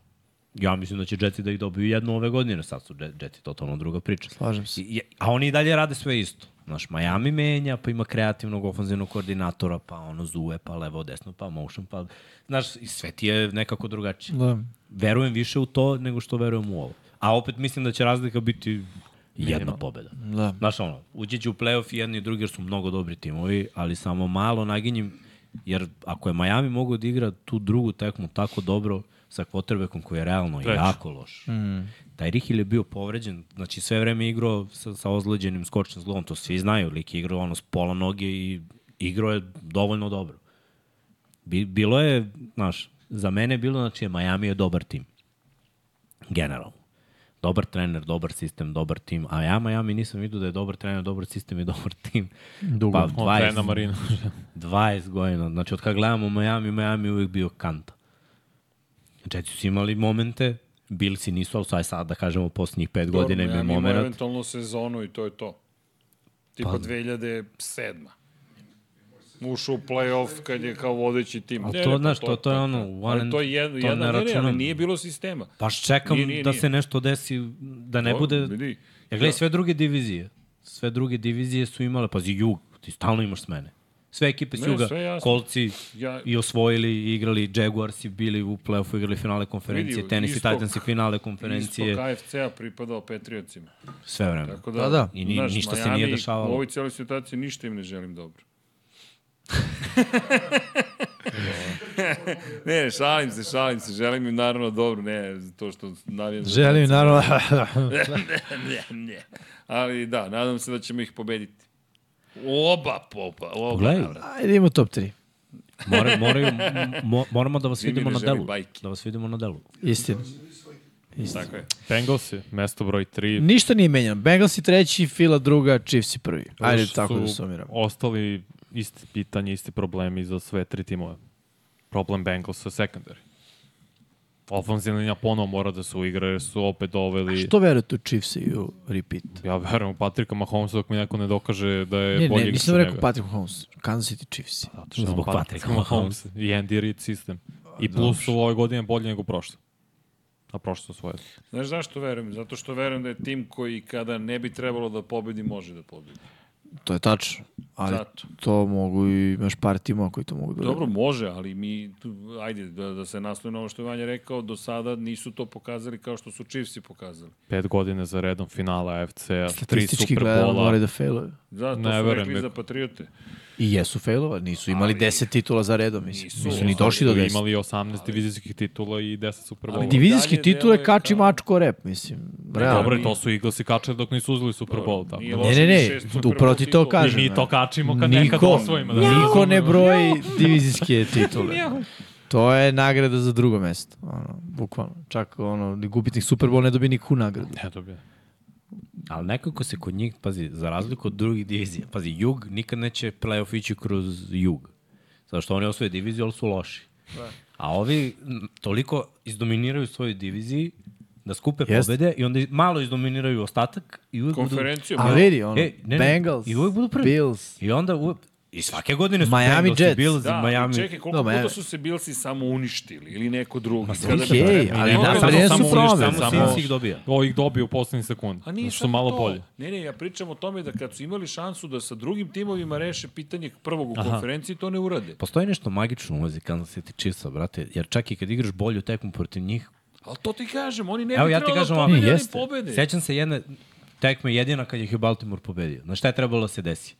S3: Ja mislim da će Jetsi da ih dobiju jednu ove godine, sad su Jet- Jetsi totalno druga priča.
S2: Slažem se.
S3: I- A oni i dalje rade sve isto. Znaš, Miami menja, pa ima kreativnog ofenzivnog koordinatora, pa ono zuje, pa levo, desno, pa motion, pa... Znaš, i sve ti je nekako drugačije.
S2: Da.
S3: Verujem više u to nego što verujem u ovo. A opet mislim da će razlika biti jedna pobeda.
S2: Da.
S3: Znaš, ono, uđe će u playoff i jedni i drugi jer su mnogo dobri timovi, ali samo malo naginjem, jer ako je Miami mogao da igra tu drugu tekmu tako dobro sa quarterbackom koji je realno Treći. jako loš. Mm. Taj Rihil je bio povređen, znači sve vreme je igrao sa, sa ozleđenim skočnim zglobom, to svi znaju, lik je igrao ono s pola noge i igrao je dovoljno dobro. Bi, bilo je, znaš, za mene je bilo, znači, Miami je dobar tim. Generalno. Dobar trener, dobar sistem, dobar tim. A ja Miami nisam vidio da je dobar trener, dobar sistem i dobar tim. Dugo. Pa
S4: On trena
S3: 20,
S4: Marina.
S3: 20 godina. Znači, od kad gledamo Miami, Miami je uvijek bio kanta. Jetsi su imali momente, Billsi nisu, ali sad, sad da kažemo, posljednjih pet
S1: Dobro,
S3: godina
S1: Miami
S3: imaju
S1: ima
S3: moment. Pa-
S1: eventualno sezonu i to je to. Tipa 2007. ušao u play-off kad je kao vodeći tim.
S3: Ali
S1: Ne,
S3: to,
S1: ne,
S3: znaš, to- to je ono, one
S1: ali
S3: and-
S1: to je jedno,
S3: to
S1: jedan,
S3: ne
S1: ne, ne, ali
S3: računam.
S1: nije bilo sistema.
S3: Baš čekam
S1: Nije, nije,
S3: da
S1: nije.
S3: se nešto desi, da ne
S1: To,
S3: bude...
S1: vidi.
S3: Ja gledaj, sve druge divizije, sve druge divizije su imale, pazi, jug, ti stalno imaš smene. Sve ekipe s
S1: Ne,
S3: juga,
S1: sve jasno.
S3: kolci
S1: Ja-
S3: i osvojili, i igrali, Jaguars i bili u play-offu, igrali finale konferencije,
S1: Vidi,
S3: tenis i
S1: istok-
S3: Titans i finale konferencije,
S1: Isto KFC-a pripadao Patriotsima.
S3: sve vreme.
S1: Tako da,
S2: Da, da.
S3: I ni- ništa se nije dešavalo.
S1: U ovoj cijeloj situaciji ništa im ne želim dobro. ne, ne, šalim se, šalim se. Želim im naravno dobro, ne, to što navijam. za
S2: Želim, naravno,
S1: Ne, ne. Ali da, nadam se da ćemo ih pobediti. Oba popa, oba.
S3: Pogledaj,
S2: ajde idemo top 3.
S3: mora, moraju, mo, moramo da vas
S1: Zimi
S3: vidimo
S1: ne
S3: na
S1: želi
S3: delu.
S1: bajke.
S3: Da vas vidimo na delu.
S2: Istina.
S1: Tako je.
S4: Bengalsi, mesto broj 3.
S2: Ništa nije menjeno. Bengalsi treći, Fila druga, Chiefs prvi. Ajde tako da sumiramo.
S4: Ostali isti pitanje, isti problemi za sve tri timove. Problem Bengalsa secondary. Ofenzivna linija ponovo mora da se uigra jer su opet doveli...
S2: Što verujete u Chiefs i u repeat?
S4: Ja verujem u Patrika Mahomesa dok mi neko ne dokaže da je
S2: Ne,
S4: bolji
S2: ne,
S4: igrač Da,
S2: nisam
S4: od
S2: rekao
S4: njega.
S2: Patrick Holmes. Kansas City Chiefs.
S4: Zato što je
S3: Zbog
S4: on
S3: Patricka
S4: Patrick Mahomesa I Andy Reid sistem. I plus su ove godine bolje nego prošle. A prošle su svoje.
S1: Znaš zašto verujem? Zato što verujem da je tim koji kada ne bi trebalo da pobedi, može da pobedi.
S2: To je tačno. Ali
S1: Zato.
S2: to mogu i imaš par timova koji to mogu da
S1: Dobro, može, ali mi, tu, ajde, da, da se nastoji na ovo što je Vanja rekao, do sada nisu to pokazali kao što su Chiefsi pokazali.
S4: Pet godine za redom finala AFC-a, tri
S2: Statistički gledano moraju
S4: Superbola.
S2: da failove.
S1: Da, to
S4: Ne
S1: ne, su
S4: verujem,
S1: rekli
S4: neko.
S1: za Patriote.
S2: I jesu failova, nisu imali 10 titula za redom, mislim.
S1: Nisu,
S2: Nisu, ni
S1: ali
S2: došli do 10.
S4: Imali 18 divizijskih titula i 10 Superbola.
S1: Ali
S4: Ali
S2: Divizijski
S1: Dalje
S2: titul je
S1: deluje
S2: kači
S1: kao-
S2: mačko rep, mislim. Realno.
S4: Dobro, to su Eaglesi kačali dok nisu uzeli Super Bowl. Tako.
S1: Nije
S4: da.
S1: loše,
S2: Ne, ne,
S1: ni
S2: ne,
S1: šest Super
S2: tu
S1: Bowl
S2: proti to
S1: titula.
S4: I
S2: kažem. da.
S4: mi to kačimo kad nekad
S2: Niko,
S4: osvojimo. Da
S2: niko ne broji divizijske titule. To je nagrada za drugo mesto. Ono, bukvalno. Čak ono, ni gubitnik Super Bowl ne dobije nikakvu nagradu.
S4: Ne E, dobije.
S3: Ali nekako se kod njih, pazi, za razliku od drugih divizija, pazi, jug nikad neće playoff ići kroz jug. Zato što oni osvoje diviziju, ali su loši.
S1: Da.
S3: A ovi m, toliko izdominiraju svoju diviziji da skupe
S2: Jeste.
S3: pobede i onda malo izdominiraju ostatak i uvek budu...
S1: Konferenciju.
S2: A
S1: malo.
S2: vidi, ono,
S3: E, ne, ne,
S2: Bengals,
S3: i uvek budu prvi.
S2: Bills.
S3: I onda uvek... I svake godine su
S2: Miami
S3: Bengalsi,
S2: Jets.
S3: Bills,
S1: Da,
S3: Miami...
S1: Miami. čekaj, koliko
S2: Da,
S1: puta
S2: Miami.
S1: su se Bilsi samo uništili ili neko drugi?
S3: sve
S1: Kada-
S2: okej,
S1: Kada-
S2: ali
S1: Ne,
S2: da,
S1: ne,
S2: ali
S1: ne,
S2: su
S1: samo
S2: prave.
S1: uništili,
S3: Samo
S1: samo-
S3: Cincy ih dobija.
S4: O, ih dobije u poslednji sekund.
S1: A nije
S4: Što su
S1: samo
S4: malo
S1: to.
S4: bolje.
S1: Ne, ne, ja pričam o tome da kad su imali šansu da sa drugim timovima reše pitanje prvog u konferenciji, to ne urade.
S3: Postoji nešto magično u ulozi Kansas City Chiefsa, brate, jer čak i kad igraš bolju tekmu protiv njih,
S1: Ali to ti kažem, oni ne
S3: Evo
S1: bi
S3: ja ti
S1: trebalo
S3: kažem
S1: da
S3: ovako,
S1: pobede, ali
S2: jeste.
S1: pobede.
S3: Sećam se jedne tekme jedina kad ih je Baltimore pobedio. Na šta je trebalo da se desi?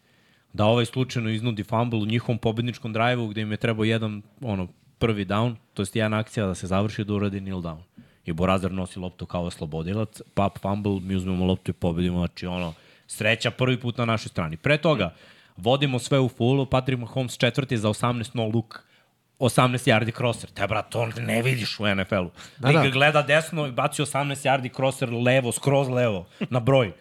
S3: Da ovaj slučajno iznudi fumble u njihovom pobedničkom drive-u gde im je trebao jedan ono, prvi down, to jest jedna akcija da se završi da uradi nil down. I Borazar nosi loptu kao oslobodilac, pap fumble, mi uzmemo loptu i pobedimo, znači ono, sreća prvi put na našoj strani. Pre toga, vodimo sve u fullu, Patrick Mahomes četvrti za 18 no look, 18 yardi crosser. Te, brate, to ne vidiš u NFL-u. Da,
S2: da.
S3: da gleda desno i baci 18 yardi crosser levo, skroz levo, na broj.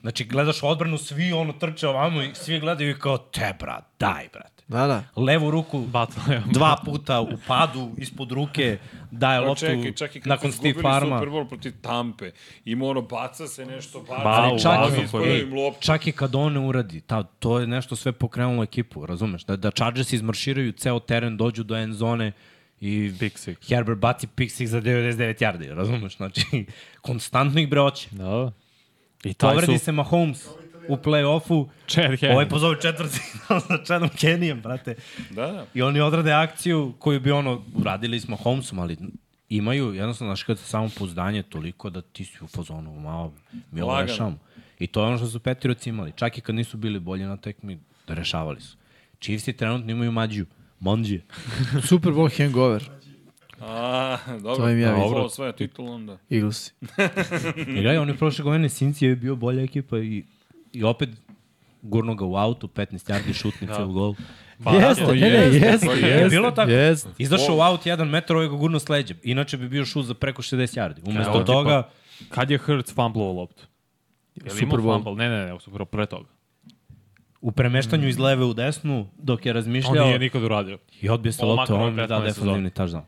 S3: Znači, gledaš odbranu, svi ono trče ovamo i svi gledaju i kao, te brat, daj brat.
S2: Da, da.
S3: Levu ruku
S4: Batla je.
S3: dva puta u padu, ispod ruke, daje
S1: Pa
S3: loptu
S1: čekaj, čekaj, kad
S3: nakon
S1: su izgubili
S3: Steve Farma.
S1: Super Bowl protiv Tampe, ima ono, baca se nešto, baca,
S4: Ba,
S1: baca,
S4: Pa, u
S3: čak,
S4: Wow,
S1: baca,
S4: wow,
S3: i,
S4: koji-
S1: izgledaju im
S3: ej,
S1: loptu.
S3: čak i kad on ne uradi, ta, to je nešto sve pokrenulo ekipu, razumeš? Da, da Chargers izmarširaju ceo teren, dođu do end zone i
S4: Pick six.
S3: Herbert baci pick six za 99 yardi, razumeš? Znači, konstantno ih breoće.
S4: Da, da. I taj
S3: Povredi
S4: su
S3: se Mahomes u play-offu.
S4: Chad Henne.
S3: Ovaj pozove četvrti sa Chadom Kennyem, brate.
S1: Da, da.
S3: I oni odrade akciju koju bi ono, uradili smo Homesom, ali imaju, jednostavno, znaš, kad samo pouzdanje toliko da ti si u fazonu, malo, mi ovo
S1: Lagano.
S3: rešavamo. I to je ono što su Petirioci imali. Čak i kad nisu bili bolji na tekmi, rešavali su. Chiefs i trenutno imaju mađiju. Manđije.
S2: Super Bowl hangover.
S1: A, dobro.
S2: To im ja
S1: Dobro,
S2: vidim.
S1: osvaja titul onda.
S2: Eaglesi.
S3: I gledaj, oni prošle godine Sinci je bio bolja ekipa i, i opet gurno ga u autu, 15 yardi šutni field goal.
S4: Ba,
S2: jeste,
S4: to
S2: ne, ne,
S4: je-
S2: jeste.
S1: to
S2: jeste,
S1: jeste.
S3: Bilo tako?
S2: Jeste.
S3: Izašao u aut 1 metar, ovaj ga gurno s leđem. Inače bi bio šut za preko 60 yardi. Umesto
S4: Evo ti
S3: toga,
S4: Kad je Hurts fumblovao loptu? Je li imao
S2: Super Bowl.
S4: fumble? Ne, ne, ne, u Super Bowl pre toga.
S3: u premeštanju iz leve u desnu, dok je
S4: On
S3: razmišljao
S4: nije nikad uradio.
S3: i odbio se
S4: Ovo
S3: loptu,
S4: makar
S3: on mi da
S4: ove 15
S3: defensivni touchdown.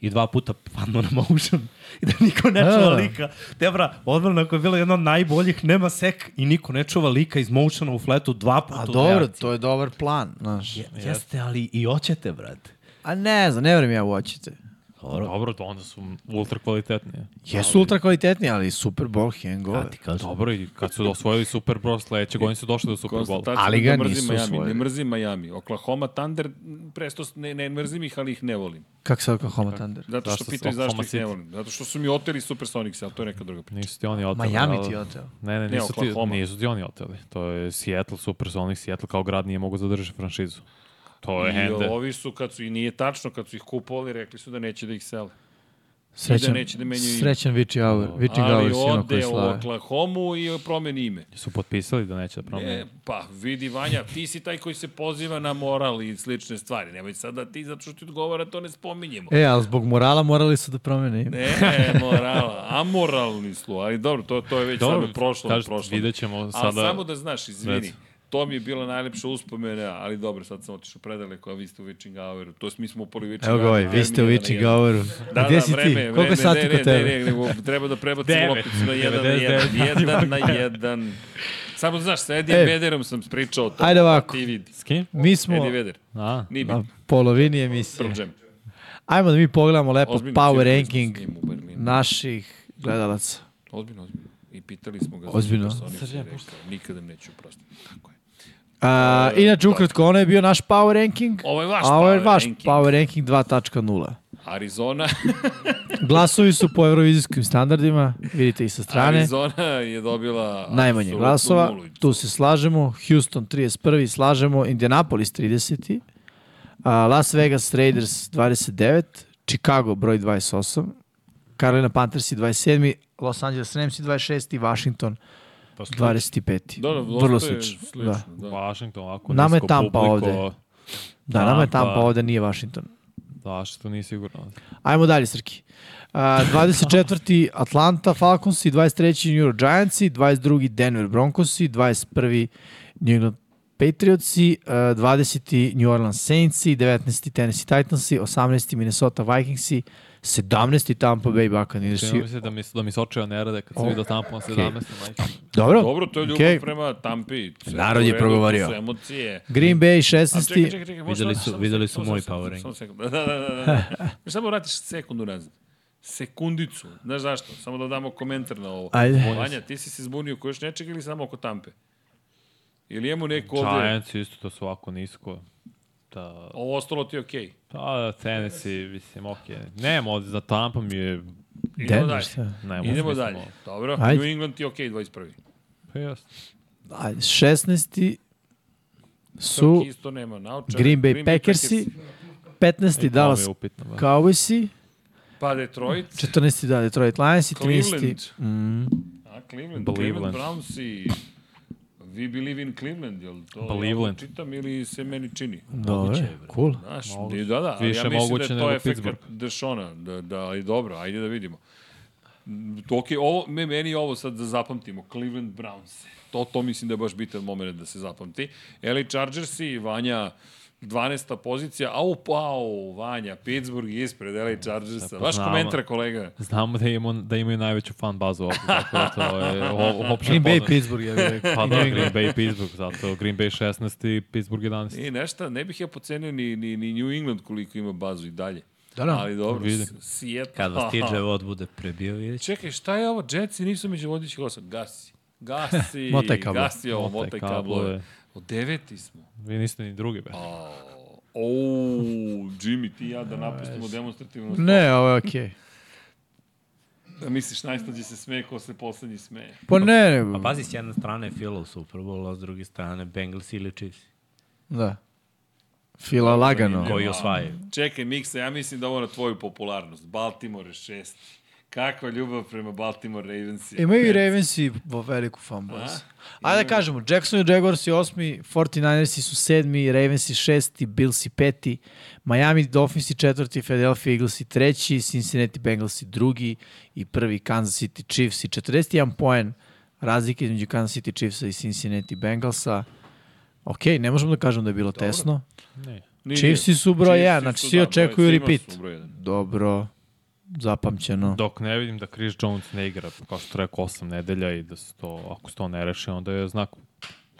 S3: i dva puta padnu na motion i da niko ne čuva
S2: A.
S3: lika. Debra, odbrana koja je bila jedna od najboljih, nema sek i niko ne čuva lika iz motiona u fletu dva puta.
S2: A
S3: u
S2: dobro,
S3: reakciji.
S2: to je dobar plan, znaš.
S3: Je, jeste, ali i oćete, brate.
S2: A ne znam, ne vrem ja u očite.
S3: Dobro,
S4: Dobro, to onda su ultra kvalitetnije.
S2: Jesu ultra kvalitetni, ali Super Bowl
S3: ja
S2: hangover.
S3: ti
S1: Znači,
S3: kažem.
S4: Dobro, i kad su osvojili Super Bowl, sledeće godine su došli do Super Bowl.
S1: Konstatacija
S2: Ali
S1: da
S2: ga
S1: mrzim
S2: nisu
S1: Miami,
S2: osvojili.
S1: Ne mrzim Miami. Oklahoma Thunder, m, presto s- ne, ne mrzim ih, ali ih ne volim.
S2: Kako se Oklahoma Thunder?
S1: Zato što
S4: Zašto su
S1: pitaju zašto
S4: Oklahoma
S1: ih ne
S4: City?
S1: volim. Zato što su mi oteli Supersonics, ali to je neka druga priča.
S4: Nisu ti oni oteli.
S2: Miami
S4: ali-
S2: ti je oteo.
S4: Ne, ne, nisu, ti,
S1: Oklahoma.
S4: nisu ti oni oteli. To je Seattle, Supersonic, Seattle kao grad nije mogu zadržati franšizu. To je
S1: I
S4: hende.
S1: ovi su, kad su, i nije tačno, kad su ih kupovali, rekli su da neće da ih sele.
S2: Srećan,
S1: neće da menjaju ime.
S2: srećan Vici Hour, Vici
S1: Ali
S2: Hour sino koji
S1: ode u
S2: slave.
S1: Oklahomu i promeni ime.
S4: Su potpisali da neće da promene.
S1: E, pa vidi Vanja, ti si taj koji se poziva na moral i slične stvari. Nemoj sad da ti, zato što ti odgovara, to ne spominjemo.
S2: E, ali zbog morala morali su da promene ime.
S1: Ne, morala, amoralni su, ali dobro, to, to je već
S4: Dobro,
S1: sad prošlo.
S4: kaži,
S1: prošlo.
S4: vidjet ćemo
S1: A
S4: sada-
S1: samo da znaš, izvini,
S4: Reci.
S1: to mi je bila najlepša uspomena, ali dobro, sad sam otišao predaleko, a vi ste u Witching Houru. To smo, mi smo upali u Witching
S2: Evo ga ovaj,
S1: Hour,
S2: vi ste u
S1: termin je
S2: Vici
S1: na jedan.
S2: Houru.
S1: Da,
S2: A gde
S1: da,
S2: si
S1: vreme,
S2: ti?
S1: vreme,
S2: Koliko je sati
S1: ne,
S2: kod
S1: ne,
S2: tebe?
S1: Ne, ne, nego treba da prebacimo
S4: Devet.
S1: lopticu na jedan na
S4: 99.
S1: jedan, jedan na jedan. Samo znaš, sa Eddie
S2: E.
S1: Vederom sam pričao to.
S2: Ajde ovako.
S1: Ti vidi.
S4: S kim?
S2: Mi smo da.
S1: Eddie Veder.
S4: A,
S1: Nije
S2: na
S1: bitno.
S2: polovini emisije.
S1: Pearl Jam.
S2: Ajmo da mi pogledamo lepo
S1: Ozbiljno,
S2: power
S1: svirali smo s
S2: ranking
S1: njim u Berlinu.
S2: naših gledalaca.
S1: Ozbiljno, ozbiljno. I pitali smo ga. za
S2: Ozbiljno?
S1: Supersonics i rekao, Nikada im neću oprostiti. Tako je. Da,
S2: A, inače, ukratko, ono je bio naš power ranking,
S1: Ovo je vaš
S2: a ovo je
S1: power
S2: vaš
S1: ranking.
S2: power ranking 2.0.
S1: Arizona,
S2: Glasovi su po eurovizijskim standardima, vidite i sa strane.
S1: Arizona je dobila
S2: Najmanje
S1: apsolutnu
S2: glasova,
S1: nulu.
S2: tu se slažemo. Houston 31. slažemo, Indianapolis 30. A, Las Vegas Raiders 29. Chicago broj 28. Carolina Panthers 27. Los Angeles Rams 26. i Washington 25.
S1: Pa Da, da,
S2: Vrlo
S1: dosta je
S2: slično.
S1: slično,
S2: Da.
S4: да.
S1: da.
S4: Washington, ovako
S2: Nama je
S4: nisko
S2: Tampa
S4: publiko.
S2: ovde. Da, nama je
S4: Tampa.
S2: Tampa ovde, nije Washington.
S4: Da, što nije sigurno.
S2: Ajmo dalje, Srki. Uh, 24. Atlanta Falconsi, 23. New York Giantsi, 22. Denver Broncosi, 21. New England Patriotsi, uh, 20. New Orleans Saintsi, 19. Tennessee Titansi, 18. Minnesota Vikingsi, 17. Tampa Bay Buccaneersi.
S4: Čini mi se da mi, da mi sočeva ne rade kad se vidio Tampa na 17. majke.
S2: Dobro.
S1: Dobro, to je ljubav
S2: Okej.
S1: prema Tampi. Sve
S3: Narod
S1: u
S3: je
S1: redu, to
S3: progovorio.
S1: su emocije.
S2: Green Bay
S1: A
S2: 16.
S1: čekaj, čekaj, čekaj.
S3: Videli su- videli su moj power
S1: powering.
S3: ranking.
S1: Samo sekund. Da, da, da. da. da. Samo vratiš sekundu nazad. Sekundicu. Znaš zašto? Samo da damo komentar na ovo.
S2: Ajde.
S1: Vanja, ti si se zbunio koji još nečeg ili samo oko Tampe? Ili imamo neko ovde?
S4: Giants isto, to su ovako nisko. Da,
S1: Ovo ostalo ti je okej. Okay.
S4: pa, da, Tennessee, mislim, okej. Nemam ovde, za Tampa mi je...
S1: Idemo
S2: Denver,
S1: dalje.
S2: šta?
S4: Nemam,
S1: Idemo
S4: mislim,
S1: dalje.
S4: ovo.
S1: Dobro.
S2: Ajde.
S1: New England je okej 21.
S4: Pa jasno.
S2: Ajde, 16. su
S1: Tu isto nema naučara.
S2: Green Bay Packersi, 15. Dallas
S4: Ovo je upitno, da. ba.
S2: Cowboysi,
S1: Pa Detroit.
S2: 14. da, Detroit Lionsi, 13.
S1: Cleveland.
S2: Mm.
S1: A Cleveland,
S4: Cleveland.
S1: Cleveland Browns i We believe in Cleveland, jel to
S4: Cleveland.
S1: ja čitam ili se meni čini?
S2: Dobro, cool.
S1: Znaš, da, da, ali
S4: Više
S1: ja mislim da
S4: moguće
S1: je to
S4: nego
S1: efekt
S4: Pittsburgh.
S1: Dešona, da, da, ali dobro, ajde da vidimo. Mm, Ok, ovo, me, meni je ovo sad da zapamtimo, Cleveland Browns. To, to mislim da je baš bitan moment da se zapamti. LA Chargers i Vanja 12. pozicija, au, pao, Vanja, Pittsburgh ispred LA Chargersa. Vaš
S4: znamo.
S1: komentar, kolega.
S4: Znamo da, imamo, da imaju najveću fan bazu ovde, tako da to je o- opšte
S2: Green Bay,
S4: poznato.
S2: Pittsburgh, ja bih rekao.
S4: Pa da, Green Bay i Pittsburgh, zato Green Bay 16 i Pittsburgh 11.
S1: I nešta, ne bih ja pocenio ni, ni, ni New England koliko ima bazu i dalje.
S2: Da, da.
S1: Ali dobro,
S4: Vidi.
S1: s- Seattle.
S3: Kad vas TJ Watt bude prebio, vidjet ćete.
S1: Čekaj, šta je ovo? Jetsi nisu među vodećih osam. Gasi. Gasi.
S2: Motaj kablo.
S1: Gasi ovo,
S4: Motaj
S1: motaj
S4: kablo
S1: kablo.
S4: je.
S1: O deveti smo.
S4: Vi niste ni drugi, be.
S1: O, Jimmy, ti i ja da napustimo demonstrativno.
S2: Ne, ovo je okej.
S1: Da misliš, najslađe se smeje ko se poslednji smeje.
S2: Pa ne, nego.
S3: A pazi, s jedne strane je Fila u Super Bowl, a s druge strane Bengals ili Chiefs.
S2: Da. Fila lagano.
S3: Koji osvajaju.
S1: Čekaj, Miksa, ja mislim da ovo na tvoju popularnost. Baltimore je šesti. Kakva ljubav prema Baltimore Ravens je.
S2: Imaju i Ravens i vo- veliku fanbase. Ajde da kažemo, Jackson i Jaguars je osmi, 49ersi su sedmi, Ravens i šesti, Bills i peti, Miami Dolphins i četvrti, Philadelphia Eagles i treći, Cincinnati Bengals i drugi i prvi Kansas City Chiefs i 41 poen razlike između Kansas City Chiefsa i Cincinnati Bengalsa. Ok, ne možemo da kažemo da je bilo tesno.
S4: Ne.
S1: Nije.
S2: Chiefsi su broj
S1: Chiefsi
S2: jedan, znači
S1: su,
S2: svi
S1: da,
S2: očekuju
S1: broj- svima
S2: repeat.
S1: su broj jedan.
S2: Dobro, zapamćeno.
S4: Dok ne vidim da Chris Jones ne igra, kao što rekao, osam nedelja i da se to, ako se to ne reši, onda je znak,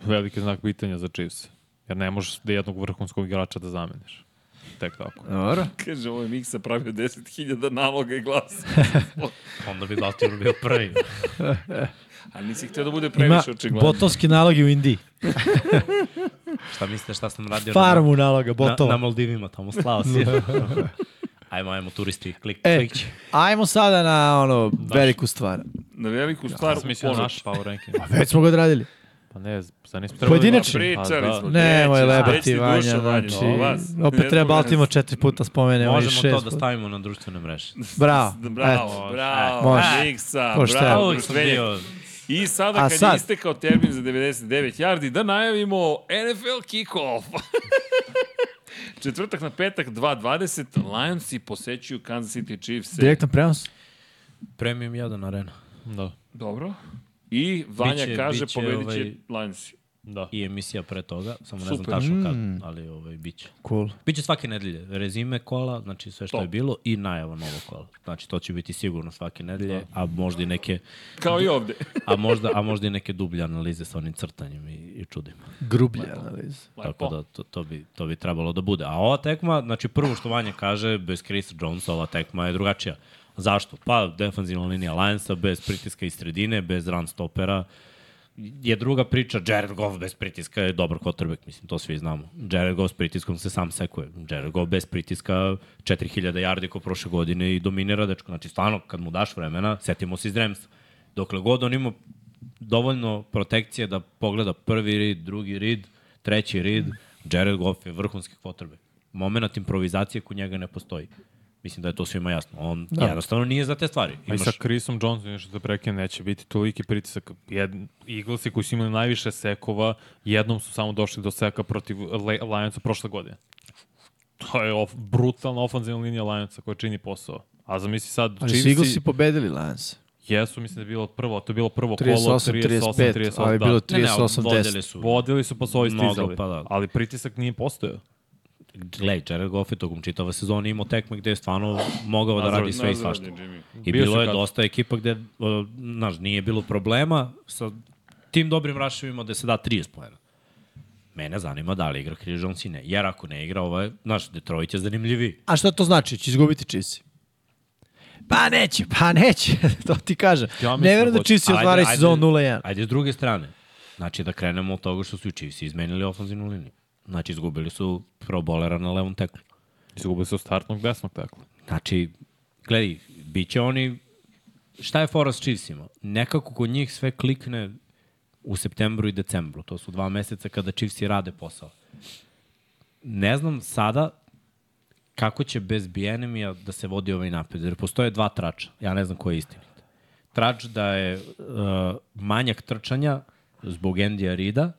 S4: veliki znak pitanja za Chiefs. Jer ne možeš da jednog vrhunskog igrača da zameniš. Tek tako.
S2: Dobro.
S1: Kaže, ovo je Miksa pravio 10.000 naloga i glasa.
S3: Onda bi Latimor bio prvi.
S1: Ali nisi htio da bude
S2: Ima
S1: previše očigledno.
S2: botovski nalogi u Indiji.
S3: Šta mislite šta sam radio?
S2: Farmu naloga,
S3: na, na, na
S2: botova.
S3: Maldivima, tamo slao si. ajmo, ajmo, turisti, klik,
S2: E,
S3: klik.
S2: ajmo sada na ono veliku stvar.
S1: Na veliku stvar
S4: Ja
S1: u
S4: sam mislio
S1: ponoć.
S4: naš power ranking.
S2: Već smo ga odradili.
S4: Pa ne, za nismo
S2: Pojedinačni?
S1: Pričali
S3: Pa
S1: smo.
S2: Nemoj
S1: treći,
S2: lebati
S1: treći
S2: Vanja,
S1: duša, Vanja,
S2: znači,
S1: do vas.
S2: opet treba Baltimore četiri puta spomene, ovaj
S3: Možemo
S2: šest
S3: to da
S2: puta.
S3: stavimo Da, na društvene mreže.
S2: Bravo,
S1: da,
S2: eto. e,
S1: Bravo, bravo,
S2: Može.
S1: Miksa,
S2: Pošteno.
S1: bravo,
S3: Uvijek sam
S1: društvenjak.
S3: bio
S1: I sada
S2: A
S1: kad
S2: sad?
S1: je istekao termin za 99 yardi, da najavimo NFL kick-off. Četvrtak na petak, 2.20, Lionsi posećuju Kansas City Chiefs.
S2: Direktan prenos?
S3: premium 1 arena.
S4: Da,
S1: Dobro. I Vanja
S3: Biće-
S1: kaže,
S3: biće,
S1: pobedit će
S3: ovaj,
S1: Lionsi.
S4: da.
S3: I emisija pre toga, samo ne
S1: Super.
S3: znam tačno kad, ali ovaj, bit će.
S2: Cool.
S3: Biće svake nedelje rezime kola, znači sve što
S1: To.
S3: je bilo i najava novog kola. Znači to će biti sigurno svake nedelje, a možda i neke
S1: Kao i ovde.
S3: a možda a možda i neke dublje analize sa onim crtanjem i, i čudima.
S2: Grublje analize.
S1: Lepo.
S3: Tako da to, to, bi, to bi trebalo da bude. A ova tekma, znači prvo što Vanja kaže, bez Chris Jonesa ova tekma je drugačija. Zašto? Pa defanzivna linija Lionsa, bez pritiska iz sredine, bez run stopera, je druga priča, Jared Goff bez pritiska je dobar quarterback, mislim, to svi znamo. Jared Goff s pritiskom se sam sekuje. Jared Goff bez pritiska 4000 yardi ko prošle godine i dominira dečko. Znači, stvarno, kad mu daš vremena, setimo se iz Remsa. Dokle god on ima dovoljno protekcije da pogleda prvi rid, drugi rid, treći rid, Jared Goff je vrhunski quarterback. Momenat improvizacije kod njega ne postoji. Mislim da je to svima jasno. On da. jednostavno nije za te stvari.
S4: A i
S3: Imaš-
S4: sa Chrisom Johnsonom, nešto da prekinem, neće biti toliki pritisak. Jed, Eaglesi koji su imali najviše sekova, jednom su samo došli do seka protiv Le- Lionsa prošle godine. To je of, brutalna ofanzivna linija Lionsa koja čini posao. A zamisli sad,
S2: Ali su
S4: Chiefs
S2: Eaglesi pobedili Lions.
S4: jesu, mislim da je bilo prvo, to je bilo prvo kolo,
S2: 38,
S4: 38,
S2: 35,
S4: 38,
S2: ali je
S4: da.
S2: bilo
S3: Ne, ne, ali
S2: 38, 10.
S3: vodili su.
S4: Vodili su pa su ovi
S3: da. Mnogo,
S4: stizali,
S3: pa da.
S4: ali pritisak nije postojao.
S3: Glej, Jared Goff je tokom čitave sezone imao tekme gde je stvarno mogao da
S4: Nazvao-
S3: radi sve i
S1: Nazvan
S3: svašta.
S1: je Jimmy.
S3: I
S4: Bio
S3: bilo
S4: si
S3: je
S4: kad-
S3: dosta ekipa gde, o, znaš, nije bilo problema sa tim dobrim raševima da se da 30 pojena. Mene zanima da li igra Chris Jones i ne. Jer ako ne igra, ovaj, znaš, Detroit je zanimljiviji.
S2: A šta to znači? Će izgubiti Chiefs? Pa neće, pa neće, to ti kažem.
S4: Ja
S2: ne
S4: mislim
S2: verujem da
S4: da hoće.
S2: Chiefs otvaraju
S3: ajde-
S2: sezon 0-1.
S3: Ajde, s druge strane, znači da krenemo od toga što su i Chiefs izmenili ofenzivnu liniju. Znači, izgubili su pro bolera na levom teklu.
S4: Izgubili su startnog desnog tekla.
S3: Znači, gledaj, bit će oni... Šta je fora s Chiefsima? Nekako kod njih sve klikne u septembru i decembru. To su dva meseca kada Chiefsi rade posao. Ne znam sada kako će bez Bijenemija da se vodi ovaj napred, jer postoje dva trača. Ja ne znam koji je istinit. Trač da je uh, manjak trčanja zbog Endija Rida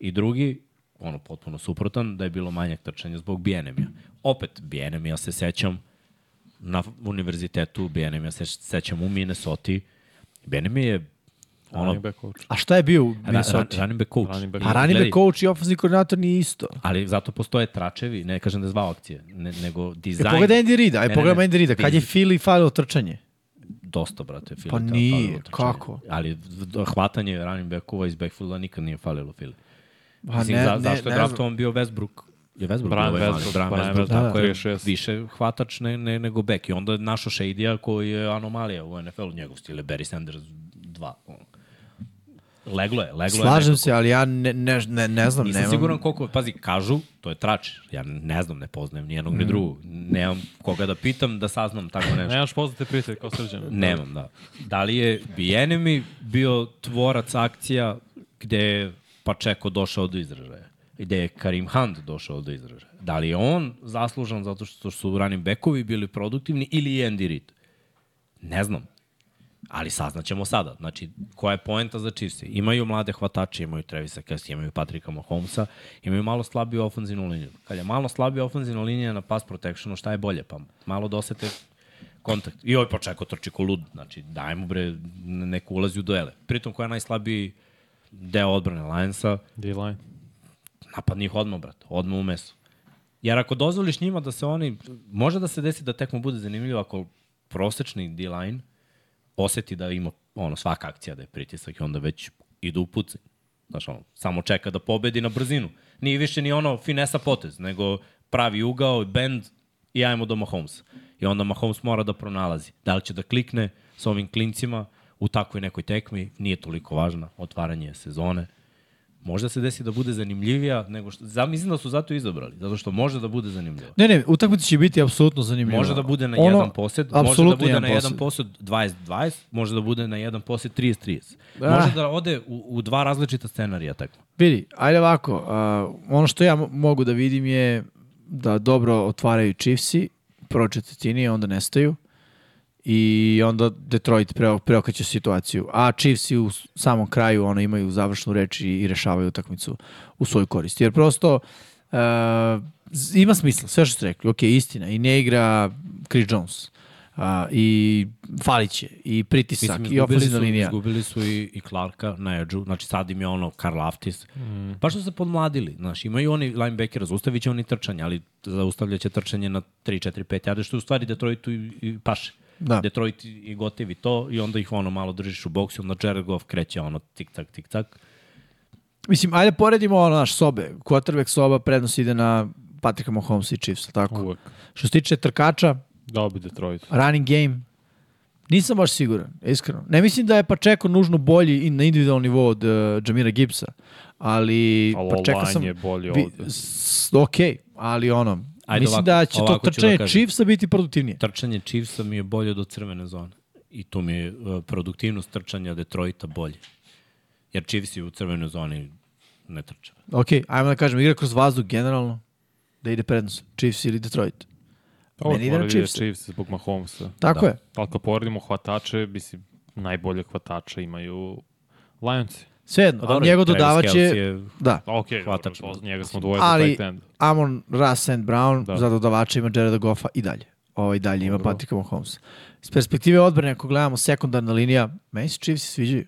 S3: i drugi, ono potpuno suprotan, da je bilo manjak trčanja zbog Bijenemija. Opet, Bijenemija se sećam, na univerzitetu Bijenem, ja se sećam u Minnesota. Bijenem je ono
S4: Running back coach.
S2: A šta je bio u
S3: ra, ra,
S2: Minnesota?
S3: running back coach.
S4: Running back
S2: Pa running back coach i ofensivni koordinator nije isto. E,
S3: Ali zato postoje tračevi, ne kažem da je zvao akcije, ne, nego
S2: E,
S3: dizajn.
S2: pogledaj Andy Rida,
S3: Ne,
S2: aj
S3: ne,
S2: pogledaj
S3: ne,
S2: Andy Rida, kad je
S3: diz-
S2: Philly falio trčanje.
S3: Dosta, brate, Fili.
S2: Pa
S3: ta-
S2: nije,
S3: falilo trčanje.
S2: kako?
S3: Ali d- hvatanje running backova iz backfielda nikad nije falilo Fili.
S2: Pa
S3: Mislim,
S2: ne,
S3: za,
S2: ne,
S3: zašto je
S2: ne znam.
S3: draftovan bio Westbrook? Je Westbrook bio
S4: Brian
S3: ovaj mali?
S4: Westbrook,
S3: Brian
S4: Brian
S3: Westbrook,
S4: Westbrook,
S3: tako je
S4: 36.
S3: više hvatač ne, ne, nego back. I onda je našo Shady-a koji je anomalija u NFL-u, njegov stil je Barry Sanders 2. ono. Leglo je, leglo je.
S2: Slažem se, ali ja ne, ne, ne, ne znam,
S3: Nisam
S2: Pa nemam.
S3: siguran koliko, pazi, kažu, to je trač. Ja ne znam, ne poznajem ni jednog ni drugog. Nemam koga da pitam, da saznam tako nešto.
S4: Nemaš poznate prijatelje kao srđan.
S3: Nemam, da. Da li je Bijenemi bio tvorac akcija gde je Pačeko došao do izražaja? Gde je Karim Hand došao do izražaja? Da li je on zaslužan zato što su running backovi bili produktivni ili je Andy Reid? Ne znam. Ali saznaćemo sada. Znači, koja je poenta za Chiefs? Imaju mlade hvatače, imaju Trevisa Kelsey, imaju Patrika Mahomesa, imaju malo slabiju ofenzivnu liniju. Kad je malo slabija ofenzivna linija na pass protectionu, šta je bolje? Pa malo dosete kontakt. I ovaj počekao trči ko lud. Znači, daj mu bre, neko ulazi u duele. Pritom, koja je najslabiji deo odbrane Lionsa,
S4: D-line.
S3: napadni ih odmah, brate. Odmah u meso. Jer ako dozvoliš njima da se oni, može da se desi da tekmo bude zanimljivo ako prosečni D-line oseti da ima ono, svaka akcija da je pritisak i onda već idu u puci. Znaš, ono, samo čeka da pobedi na brzinu. Nije više ni ono finesa potez, nego pravi ugao, bend i ajmo do Mahomesa. I onda Mahomes mora da pronalazi. Da li će da klikne sa ovim klincima u takvoj nekoj tekmi, nije toliko važna otvaranje sezone možda se desi da bude zanimljivija nego što za, mislim da su zato izabrali, zato što može da bude zanimljiva.
S2: Ne, ne, utakmica će biti apsolutno zanimljiva.
S3: Može da bude na
S2: Ono,
S3: ono, jedan posed, može da
S2: apsolutno
S3: bude na jedan posed 20-20, može da bude na jedan posed 30-30.
S2: Ah.
S3: Može da ode u, u dva različita scenarija tako.
S2: Vidi, ajde ovako, uh, ono što ja mo- mogu da vidim je da dobro otvaraju Chiefsi, prvo četvrtini, onda nestaju i onda Detroit preo, preokreće situaciju. A Chiefsi u s- samom kraju ono, imaju završnu reč i, i rešavaju utakmicu u svoju korist. Jer prosto uh, z- ima smisla, sve što ste rekli, ok, istina, i ne igra Chris Jones, uh, i faliće, i pritisak, i ofenzivna
S3: su,
S2: linija.
S3: izgubili su i, i Clarka na edžu, znači sad im je ono Karl Aftis. Mm. Pa što su se podmladili, znaš, imaju oni linebackera, zaustavit će oni trčanje, ali zaustavlja će trčanje na 3, 4, 5 jade, što je u stvari Detroitu i, i paše.
S2: Da.
S3: Detroit i gotivi to i onda ih ono malo držiš u boksu, onda Jared Goff kreće ono tik-tak, tik-tak.
S2: Mislim, ajde poredimo ono naš sobe. Quarterback soba prednost ide na Patricka Mahomesa i Chiefs, jel tako?
S4: Uvek.
S2: Što se tiče trkača,
S4: Dao bi Detroit.
S2: running game, nisam baš siguran, iskreno. Ne mislim da je Pačeko nužno bolji i na individualnom nivou od uh, Jamira Gibsa, ali
S4: Ali
S2: Pačeko
S4: O-line
S2: sam...
S4: je bolji
S2: vi-
S4: ovde.
S2: s- Ok, ali ono,
S3: Ajde
S2: mislim
S3: ovako,
S2: da će to
S3: ovako ću da
S2: trčanje da
S3: kažem. Da.
S2: Chiefsa biti produktivnije.
S3: Trčanje Chiefsa mi je bolje do crvene zone. I tu mi je uh, produktivnost trčanja Detroita bolje. Jer Chiefs je u crvenoj zoni ne trče.
S2: Ok, ajmo da kažem, igra kroz vazduh generalno, da ide prednost, Chiefs ili Detroit.
S4: Ovo
S2: Meni ide na
S4: poredio je
S2: Chiefs.
S4: Chiefs zbog Mahomesa.
S2: Tako je.
S4: Ali kad poredimo hvatače, mislim, najbolje hvatače imaju Lionsi. Pa
S2: Svejedno, ali njegov dodavač je... Da.
S4: A, Ok,
S3: Hvatač.
S4: dobro, to- njega smo dvoje za
S2: ali
S4: tight end.
S2: Amon Russ and Brown da.
S4: Da.
S2: za dodavača ima Jareda Goffa i dalje. Ovo i dalje ima Patricka Mahomesa. S perspektive odbrane, ako gledamo sekundarna linija, meni se Chiefs sviđaju.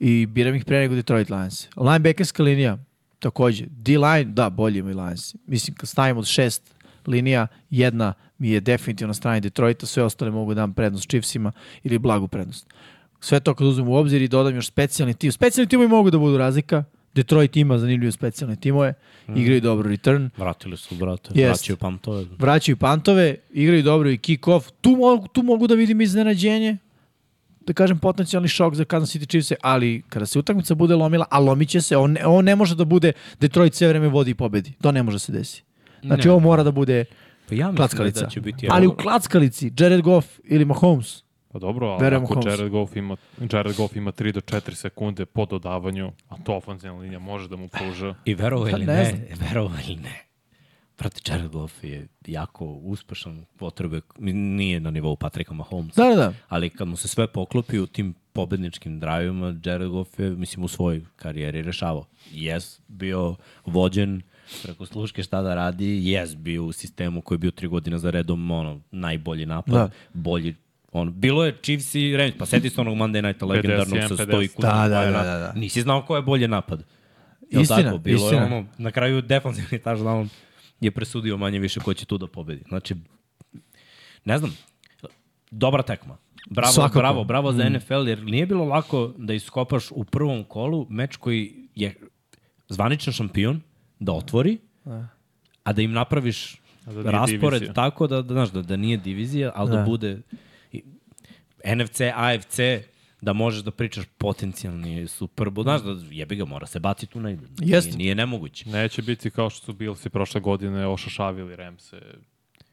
S2: I biram ih pre nego Detroit Lions. Linebackerska linija, takođe. D-line, da, bolje imaju Lions. Mislim, kad stavim od šest linija, jedna mi je definitivno na strani Detroita, sve ostale mogu da dam prednost Chiefsima ili blagu prednost. Sve to kad uzmem u obzir i dodam još specijalni tim. Specijalni timovi mogu da budu razlika. Detroit ima zanimljive specijalne timove,
S3: Mm.
S2: igraju dobro return,
S3: Vratili su, brate.
S2: Jest.
S3: Yes. Vraćaju pamtove.
S2: vraćaju pantove, igraju dobro i kick-off. Tu, mogu, tu mogu da vidim iznenađenje, da kažem potencijalni šok za Kansas City Chiefs, ali kada se utakmica bude lomila, a lomiće se, on, ne- on ne može da bude Detroit sve vreme vodi i pobedi. To ne može da se desi. Znači,
S3: Ne.
S2: ovo mora da bude
S3: Pa ja mislim
S2: klackalica.
S3: da će biti...
S2: ali u klackalici, Jared Goff ili Mahomes,
S4: Pa dobro, ali
S2: Verujem u
S4: ako
S2: Holmesa.
S4: Jared Goff, ima, Jared Goff ima 3 do 4 sekunde po dodavanju, a to ofenzivna linija može da mu pruža.
S3: I verovo
S2: Pa
S3: ili
S2: ne
S3: ne,
S2: znam.
S3: verovo ili ne. Brate, Jared Goff je jako uspešan potrebe, nije na nivou Patrika Mahomesa.
S2: Da, da, da.
S3: Ali kad mu se sve poklopi u tim pobedničkim drajevima, Jared Goff je, mislim, u svojoj karijeri rešavao. Jes, bio vođen preko sluške šta da radi, jes, bio u sistemu koji je bio tri godine za redom, ono, najbolji napad,
S2: Da.
S3: da. bolji ono, bilo je Chiefs i Rams, pa seti se onog Monday Nighta legendarnog
S4: 51,
S3: sa
S4: 50.
S3: stojku.
S2: Da, da,
S3: Fajera.
S2: da, da, da.
S3: Nisi znao ko je bolje napad. Jel
S2: Istina,
S3: tako? Bilo
S2: istina.
S3: Je ono, na kraju defanzivni touchdown je presudio manje više ko će tu da pobedi. Znači, ne znam, dobra tekma. Bravo,
S2: Svakako.
S3: Svakako. Mm. bravo, bravo za NFL, jer nije bilo lako da iskopaš u prvom kolu meč koji je zvaničan šampion, da otvori, a da im napraviš
S4: A da
S3: da
S4: nije
S3: raspored
S4: divizija.
S3: tako da, da, znaš, da, da nije divizija, ali da,
S2: Da.
S3: da bude i- NFC, AFC, da možeš da pričaš potencijalni Super Bowl. Znaš, da jebi ga, mora se baciti tu negde.
S2: Jeste.
S3: Nije, nije nemoguće.
S4: Neće biti kao što su Bilsi prošle godine ošašavili Remse.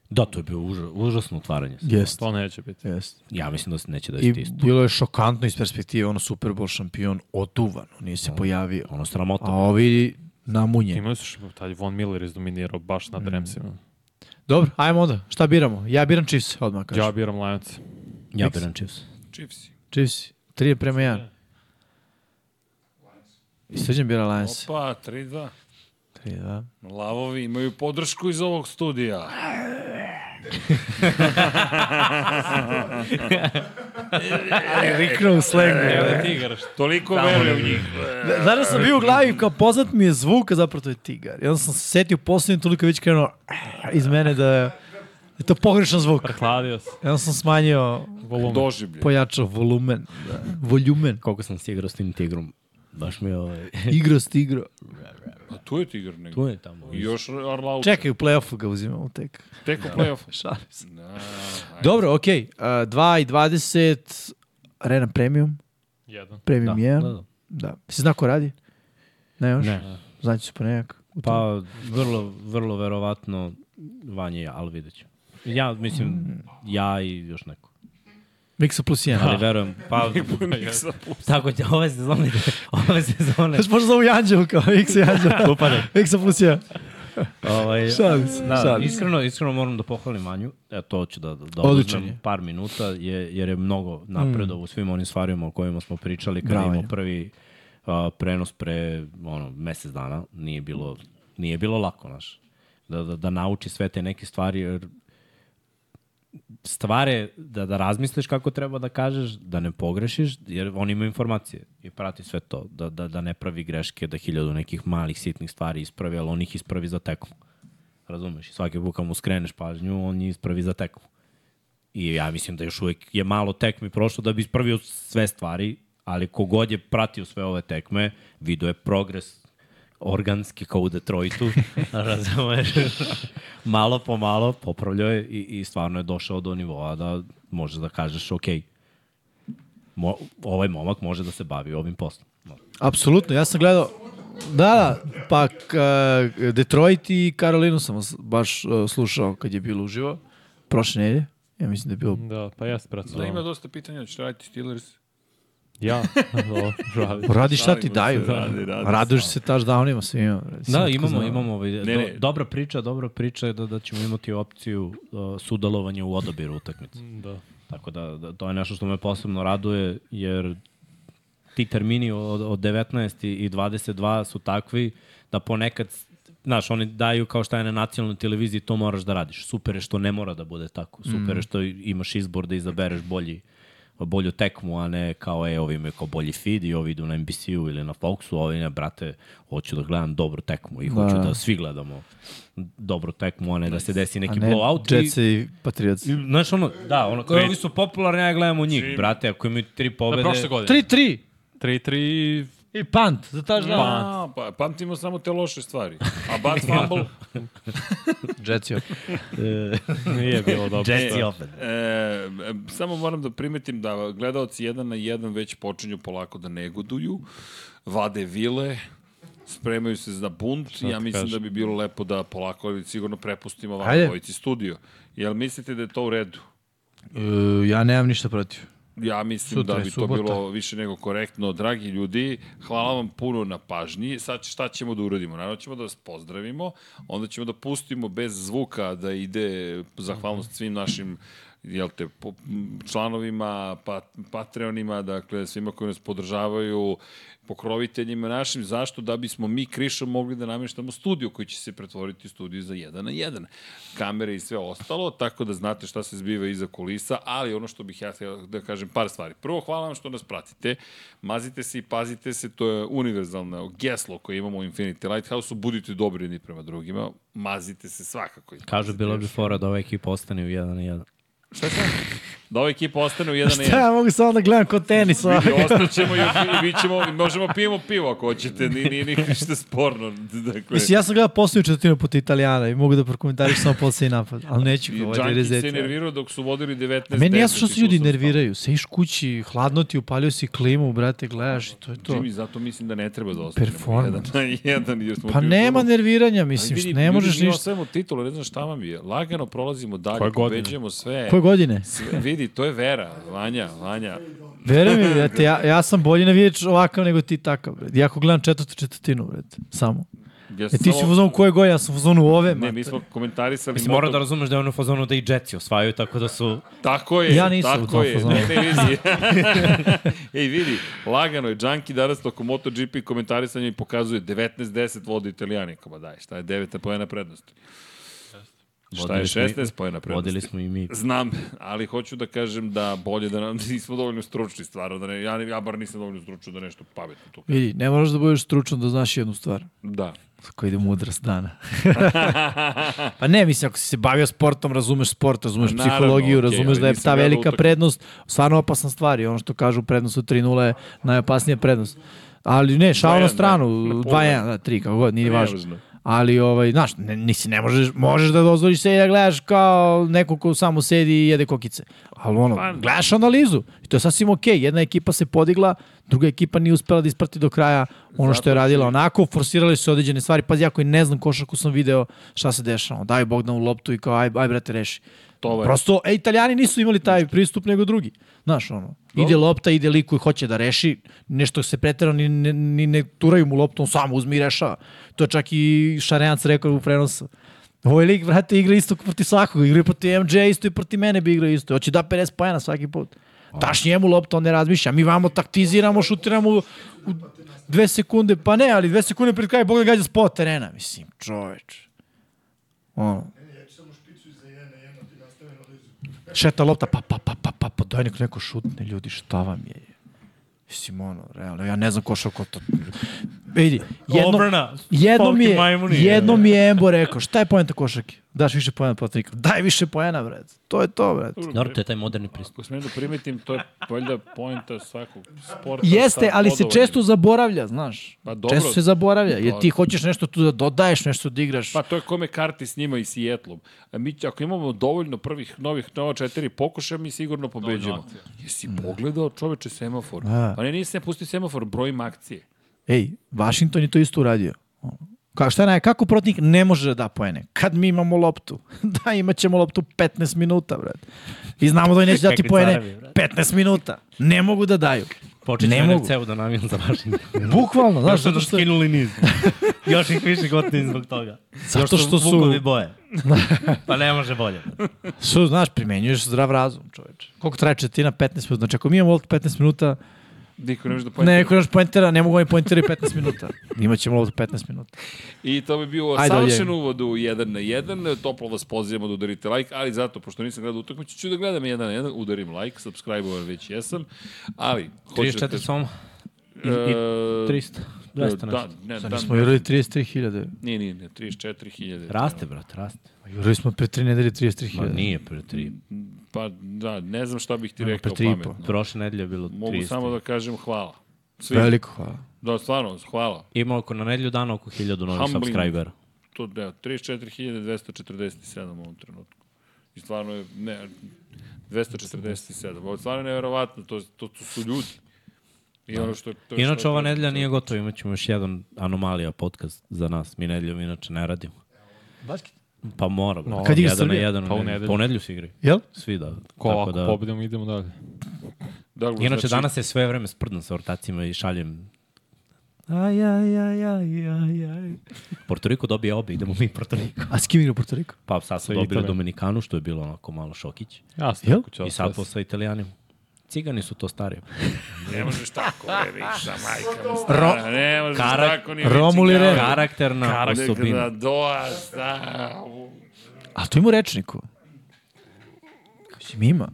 S3: Da, to je bilo uža, užasno otvaranje.
S2: Jeste.
S4: To neće biti.
S2: Jeste.
S3: Ja mislim da se neće da
S2: I
S3: isti isto.
S2: bilo je šokantno iz perspektive, ono Super Bowl šampion oduvan, nije se pojavio.
S3: Ono sramota.
S2: A ovi namunjeni.
S4: Imaju su što taj Von Miller izdominirao baš
S2: Mm,
S4: nad Remsima.
S2: Dobro, ajmo onda. Šta biramo? Ja biram Chiefs, odmah kažem.
S4: Ja
S2: Ja.
S4: biram Lionsa.
S3: Ja biram Chiefs.
S1: Chiefs.
S2: Chiefs, 3 prema 1. I srđan bira Lions.
S1: Opa, 3-2.
S2: 3, da.
S1: Lavovi imaju podršku iz ovog studija.
S2: Ali riknu E, u slengu.
S4: Evo da ti igraš.
S1: Toliko veruje u njih.
S2: Zaraz da sam bio u glavi, kao poznat mi je zvuk, a zapravo to je tigar. I onda sam se setio posljednje toliko je već krenuo iz mene da je da je to pogrešan zvuk.
S4: Prehladio se.
S2: I onda sam smanjio,
S1: Doživlje.
S2: pojačao volumen. Da. Volumen.
S3: Koliko sam se igrao s tim tigrom. Baš mi je ovaj...
S2: Igro stigro.
S1: A tu je Tigar negdje.
S3: Tu je tamo.
S1: I još Arlaut.
S2: Čekaj, u play-offu ga uzimamo tek.
S1: Tek u play-off.
S2: Šalim se.
S1: Da.
S2: Dobro, okej. Okay. 2 i 20. Arena Premium.
S4: Jedan.
S2: Premium
S3: Da,
S2: 1.
S3: da, da.
S2: Da. Si znao ko radi? Ne još?
S3: Ne.
S2: Znači se ponedjak. U to.
S3: Pa, vrlo, vrlo verovatno Vanja i ja, ali vidjet ću. Ja, mislim, ja i još neko.
S2: Miksa plus da 1.
S3: Ali verujem, pa...
S1: Niksa plus.
S3: tako će, ove sezone, ove sezone...
S2: Još možda zovu i Anđelu kao Miksa i Anđela.
S3: Upade.
S2: Miksa plus 1.
S3: Ovaj,
S2: Šalim se,
S3: da,
S2: šalim se.
S3: iskreno, iskreno moram da pohvalim Vanju. E, to ću da, da
S2: Odličan
S3: oduzmem
S2: je.
S3: par minuta, je, jer je mnogo napredo u svim onim stvarima o kojima smo pričali. Kada
S2: Bravo
S3: imamo
S2: je.
S3: prvi a, prenos pre ono, mesec dana, nije bilo, nije bilo lako, znaš. Da, da, da nauči sve te neke stvari, jer stvare da, da razmisliš kako treba da kažeš, da ne pogrešiš, jer on ima informacije i prati sve to, da, da, da ne pravi greške, da hiljadu nekih malih sitnih stvari ispravi, ali on ih ispravi za tekmu. Razumeš? I svaki put kad mu skreneš pažnju, on je ispravi za tekmu. I ja mislim da još uvek je malo tekmi prošlo da bi ispravio sve stvari, ali kogod je pratio sve ove tekme, video je progres organski kao u Detroitu, razumeš? malo po malo popravljao je i, i stvarno je došao do nivoa da možeš da kažeš, ok, mo, ovaj momak može da se bavi ovim poslom. No.
S2: Apsolutno, ja sam gledao... Da, da, pa k- Detroit i Karolinu sam vas baš uh, slušao kad je bilo uživo. Prošle nedelje. Ja mislim da je bilo...
S4: Da, pa ja se pratio.
S1: Da ima dosta pitanja, će raditi Steelers.
S4: Ja, dobro, žali.
S2: Radi šta ti
S1: Šalimo
S2: daju.
S1: se, radi, radi,
S2: Raduješ se touchdownima svima.
S3: Da, imamo, imamo ovaj, ne,
S1: ne.
S3: Do, dobra priča, dobra priča je da, da ćemo imati opciju uh, sudalovanja u odabiru utakmice.
S4: Da.
S3: Tako da, da to je nešto što me posebno raduje, jer ti termini od, od 19 i 22 su takvi da ponekad, znaš, oni daju kao šta je na nacionalnoj televiziji, to moraš da radiš. Super je što ne mora da bude tako. Super je što imaš izbor da izabereš bolji bolju tekmu, a ne kao e, ovi imaju kao bolji feed i ovi idu na NBC-u ili na Foxu, ovi ne, brate, hoću da gledam dobru tekmu i hoću da, svi gledamo dobru tekmu, a ne da se desi neki blowout. i-
S2: Jetsi i Patriots.
S3: I, Znaš ono, da, ono, kao ovi su popularni, ja gledamo njih, brate, ako imaju tri
S4: Da,
S3: pobede.
S4: prošle godine.
S2: 3-3.
S4: 3-3
S2: I punt, za touchdown.
S1: Pa, pa, pamtimo samo te loše stvari. A Bud Fumble,
S2: Jetsi.
S4: nije bilo dobro.
S3: Jetsi opet.
S1: E, samo moram da primetim da gledalci jedan na jedan već počinju polako da negoduju, vade vile, spremaju se za bunt. Ja
S4: ti
S1: mislim
S4: kažem?
S1: da bi bilo lepo da polako ali sigurno prepustimo vam
S2: Ajde.
S1: dvojici studio. Jel mislite da je to u redu?
S2: Uh, ja nemam ništa protiv.
S1: Ja mislim
S2: Sutra
S1: da
S2: je
S1: bi
S2: subota.
S1: to bilo više nego korektno. Dragi ljudi, hvala vam puno na pažnji. Sad šta ćemo da uradimo? Naravno ćemo da vas pozdravimo, onda ćemo da pustimo bez zvuka da ide zahvalnost
S2: Mhm.
S1: svim našim jel te, po- m, članovima, pat, patreonima, dakle svima koji nas podržavaju, pokroviteljima našim, zašto? Da bismo mi krišom mogli da namještamo studio koji će se pretvoriti u studio za jedan na jedan. Kamere i sve ostalo, tako da znate šta se zbiva iza kulisa, ali ono što bih ja htio da kažem par stvari. Prvo, hvala vam što nas pratite. Mazite se i pazite se, to je univerzalno geslo koje imamo u Infinity Lighthouse-u. Budite dobri jedni prema drugima. Mazite se svakako.
S3: Kažu, bilo bi fora da ova ekipa ostane u 1 na 1.
S1: Da ova ekipa ostane u jedan na
S2: Šta,
S1: jedan.
S2: ja mogu samo da gledam kod tenisa.
S1: I ostaćemo i, i mi ćemo, možemo pijemo pivo ako hoćete, nije, nije ništa sporno. Dakle,
S2: Mislim, ja sam gledao posljednju četvrtinu put Italijana i mogu da prokomentariš samo poslednji napad, ali neću
S1: I
S2: ga ovaj
S1: Junkie se
S2: rezeti.
S1: nervirao dok su vodili 19
S2: A Meni je jasno što se ljudi nerviraju. Sediš kući, hladno ti, upalio si klimu, brate, gledaš i to je to.
S1: Jimmy, zato mislim da ne treba da ostanemo
S2: Performance.
S1: jedan na jedan. Jer smo
S2: Pa
S1: bili
S2: nema
S1: ono-
S2: nerviranja,
S1: Ali
S2: mislim,
S1: vidi,
S2: što ne
S1: ljudi,
S2: možeš
S1: mi
S2: ništa.
S1: osvajamo titulu, ne znam šta vam je. Lagano prolazimo
S4: Koje
S1: dalje,
S4: godine?
S1: pobeđujemo sve.
S2: Koje godine?
S1: sve. Vidi, to je vera, Vanja, Vanja.
S2: Veruj mi, brate, ja, ja sam bolji navijač ovakav nego ti takav, brate. Ja ako gledam četvrtu četvrtinu, brate, samo.
S1: Ja
S2: E ti si u fazonu koje godine, ja sam u fazonu ove,
S1: Ne,
S2: mate.
S1: mi smo komentarisali...
S3: Mislim, mora
S1: moto-
S3: da razumeš da je ono u fazonu da i Jetsi osvajaju, tako da su...
S1: Tako je,
S2: Ja nisam u
S1: tako
S2: tom
S1: je.
S2: fazonu.
S1: Ne, ne, vidi. Ej, vidi, lagano je. Džanki danas toko MotoGP komentarisanja i pokazuje 19-10 vode Italijanikama. Daj, šta je 9 pojena prednosti? Šta je
S3: Vodili smo i-
S1: 16 pojena prednosti?
S3: Vodili smo i mi.
S1: Znam, ali hoću da kažem da bolje da nam nismo dovoljno stručni stvarno, da ne, ja, ja bar nisam dovoljno stručan da nešto pametno tu. kažem.
S2: Vidi, ne moraš da budeš stručan da znaš jednu stvar.
S1: Da.
S2: Tako ide mudrost dana. pa ne, mislim, ako si se bavio sportom, razumeš sport, razumeš
S1: Pa naravno,
S2: psihologiju,
S1: okej,
S2: razumeš
S1: ali
S2: da je
S1: nisam
S2: ta
S1: gledao
S2: velika
S1: utak-
S2: prednost stvarno opasna stvar i ono što kažu prednost od 3-0 je najopasnija prednost. Ali ne, šao na
S1: 2:1,
S2: stranu,
S1: da. na polu.
S2: 2-1, da, 3, kako god, nije
S1: Nije
S2: važno.
S1: važno.
S2: Ali, ovaj, znaš, ne, nisi, ne možeš, možeš da dozvoliš se i da gledaš kao neko ko samo sedi i jede kokice. Ali ono,
S1: Pa-
S2: gledaš analizu i to je sasvim okej. Jedna ekipa se podigla, druga ekipa nije uspela da isprati do kraja ono što je radila. Onako, forsirali su se određene stvari. Pazi, ja koji ne znam košarku sam video šta se dešava. Daj Bog da u loptu i kao, aj, aj brate, reši.
S1: To je.
S2: Prosto, e, italijani nisu imali taj pristup nego drugi. Znaš, ono, ide lopta, ide lik koji hoće da reši, nešto se pretjerano, ni, ni, ni ne turaju mu loptu, on sam uzme i rešava. To je čak i Šarenac rekao u prenosu. Ovaj lik, vrate, igra isto proti svakog, igra i proti MJ isto i proti mene bi igrao isto. Hoće da 50 pojena svaki put. Daš njemu loptu, on ne razmišlja. Mi vamo taktiziramo, šutiramo u, u dve sekunde, pa ne, ali dve sekunde pred kraj Bog ga gađa s pola terena, mislim, čoveč. Ono,
S5: Ne, ja ću samo špicu iza jedna, jedna ti nastavim analizu.
S2: šeta lopta, pa, pa, pa, pa, pa, pa, daj nek neko šutne, ljudi, šta vam je? Mislim, ono, realno, ja ne znam košarko to... Vidi, jedno,
S3: Obrana,
S2: jedno mi je,
S3: Falki majmuni.
S2: jedno mi je Embo rekao, šta je poenta košarke? Daš više poena protivnika. Daj više poena, bret. To je to, bret.
S3: Naravno, to je taj moderni pristup.
S1: Ako smijem da primetim, to je valjda pojenta svakog sporta.
S2: Pa Jeste,
S1: sa
S2: ali se
S1: bodovanjem.
S2: često zaboravlja, znaš.
S1: Pa dobro.
S2: Često se zaboravlja, jer ti hoćeš nešto tu da dodaješ, nešto da igraš.
S1: Pa to je kome karti s njima i Sijetlom. A mi, će- ako imamo dovoljno prvih novih nova četiri pokušaja, mi sigurno pobeđujemo. Jesi pogledao čoveče semafor?
S2: Da.
S1: Pa ne, nisam pusti semafor, brojim akcije.
S2: Ej, Washington je to isto uradio. Ka, šta je, naj- kako protivnik ne može da da poene? Kad mi imamo loptu? da, imat ćemo loptu 15 minuta, brat. I znamo da oni neće dati
S3: Kakvi
S2: poene
S3: carevi, brat.
S2: 15 minuta. Ne mogu da daju.
S3: Počet
S2: ne
S3: ću
S2: mogu.
S3: NFC evo da navijam za Washington.
S2: Bukvalno, znaš,
S3: Još su
S2: zato
S3: nam
S2: što,
S3: skinuli niz. Još ih više gotivim zbog toga.
S2: Zato
S3: Još su
S2: što su-
S3: Vukovi boje. Pa ne može bolje.
S2: su, znaš, primenjuješ zdrav razum, čoveče. Koliko traje četina? 15 minuta. Znači, ako mi imamo loptu 15 minuta,
S1: Niko ne može da poenta.
S2: ne, neko naš poentera, ne mogu da oni poenteri 15 minuta. Imaćemo loptu 15 minuta.
S1: I to bi bio
S2: Ajde,
S1: savršen
S2: odjavim.
S1: uvod u 1 na 1. Toplo vas pozivamo da udarite like, ali zato, pošto nisam gledao utakmicu, ću da gledam 1 na 1, udarim like, subscribe-ovan već jesam. Ali, hoću da
S3: 34
S1: kažem...
S3: soma. I, i 300. 200
S1: Da,
S3: nešto.
S1: ne, da,
S2: Sad smo jurili 33.000.
S1: nije, nije, ne, 34.000.
S3: Raste, brat, raste.
S2: Jurili smo pre 3 nedelje 33.000.
S3: Ma nije pre 3.
S1: Pa da, ne znam šta bih ti rekao
S2: pre pa tri i po.
S1: pametno.
S3: Prošle nedelje je bilo 300.
S1: Mogu samo da kažem hvala. Svi,
S2: Veliko hvala.
S1: da, stvarno, hvala.
S3: Ima oko na nedelju dana oko 1000 novih
S1: Humbling.
S3: subscribera.
S1: To da, 34.247 u ovom trenutku. I stvarno je, ne, 247. Ovo je stvarno nevjerovatno, to, to, to su ljudi. I ono što... To je
S3: Inače,
S1: što-
S3: ova nedelja nije gotova, imat ćemo još jedan anomalija podcast za nas. Mi nedeljom inače ne radimo.
S2: Basket?
S3: Pa mora, bro.
S4: No.
S2: Kad igra
S3: jedan na
S2: Srbija?
S3: jedan.
S4: Pa u
S3: ne-
S4: nedelju.
S3: Pa u nedelju se igri.
S2: Jel?
S3: Svi da.
S4: Ko
S3: tako
S4: ako
S3: da-
S4: da. pobedimo, idemo dalje.
S1: Douglas,
S3: Inače,
S1: znači,
S3: danas je sve vreme sprdno sa ortacima i šaljem Aj, aj, aj, aj, aj, aj. Porto Riko dobije obe, idemo mi Porto Riko.
S2: A s kim igra Puerto Rico?
S3: Pa sad su
S4: Sa
S3: dobili
S4: Italijom.
S3: Dominikanu, što je bilo onako malo šokić.
S4: Ja
S2: Jel?
S4: sam kuću
S3: I sad po sa Italijanima. Cigani su to stari.
S1: Ne možeš tako, bre, sa majkama. stara, ne možeš
S3: Karak-
S1: tako ni
S2: Romul i Ren.
S3: Karakterna
S1: Da,
S3: osobina.
S1: doa, sa...
S2: A to ima u rečniku. Mislim, ima.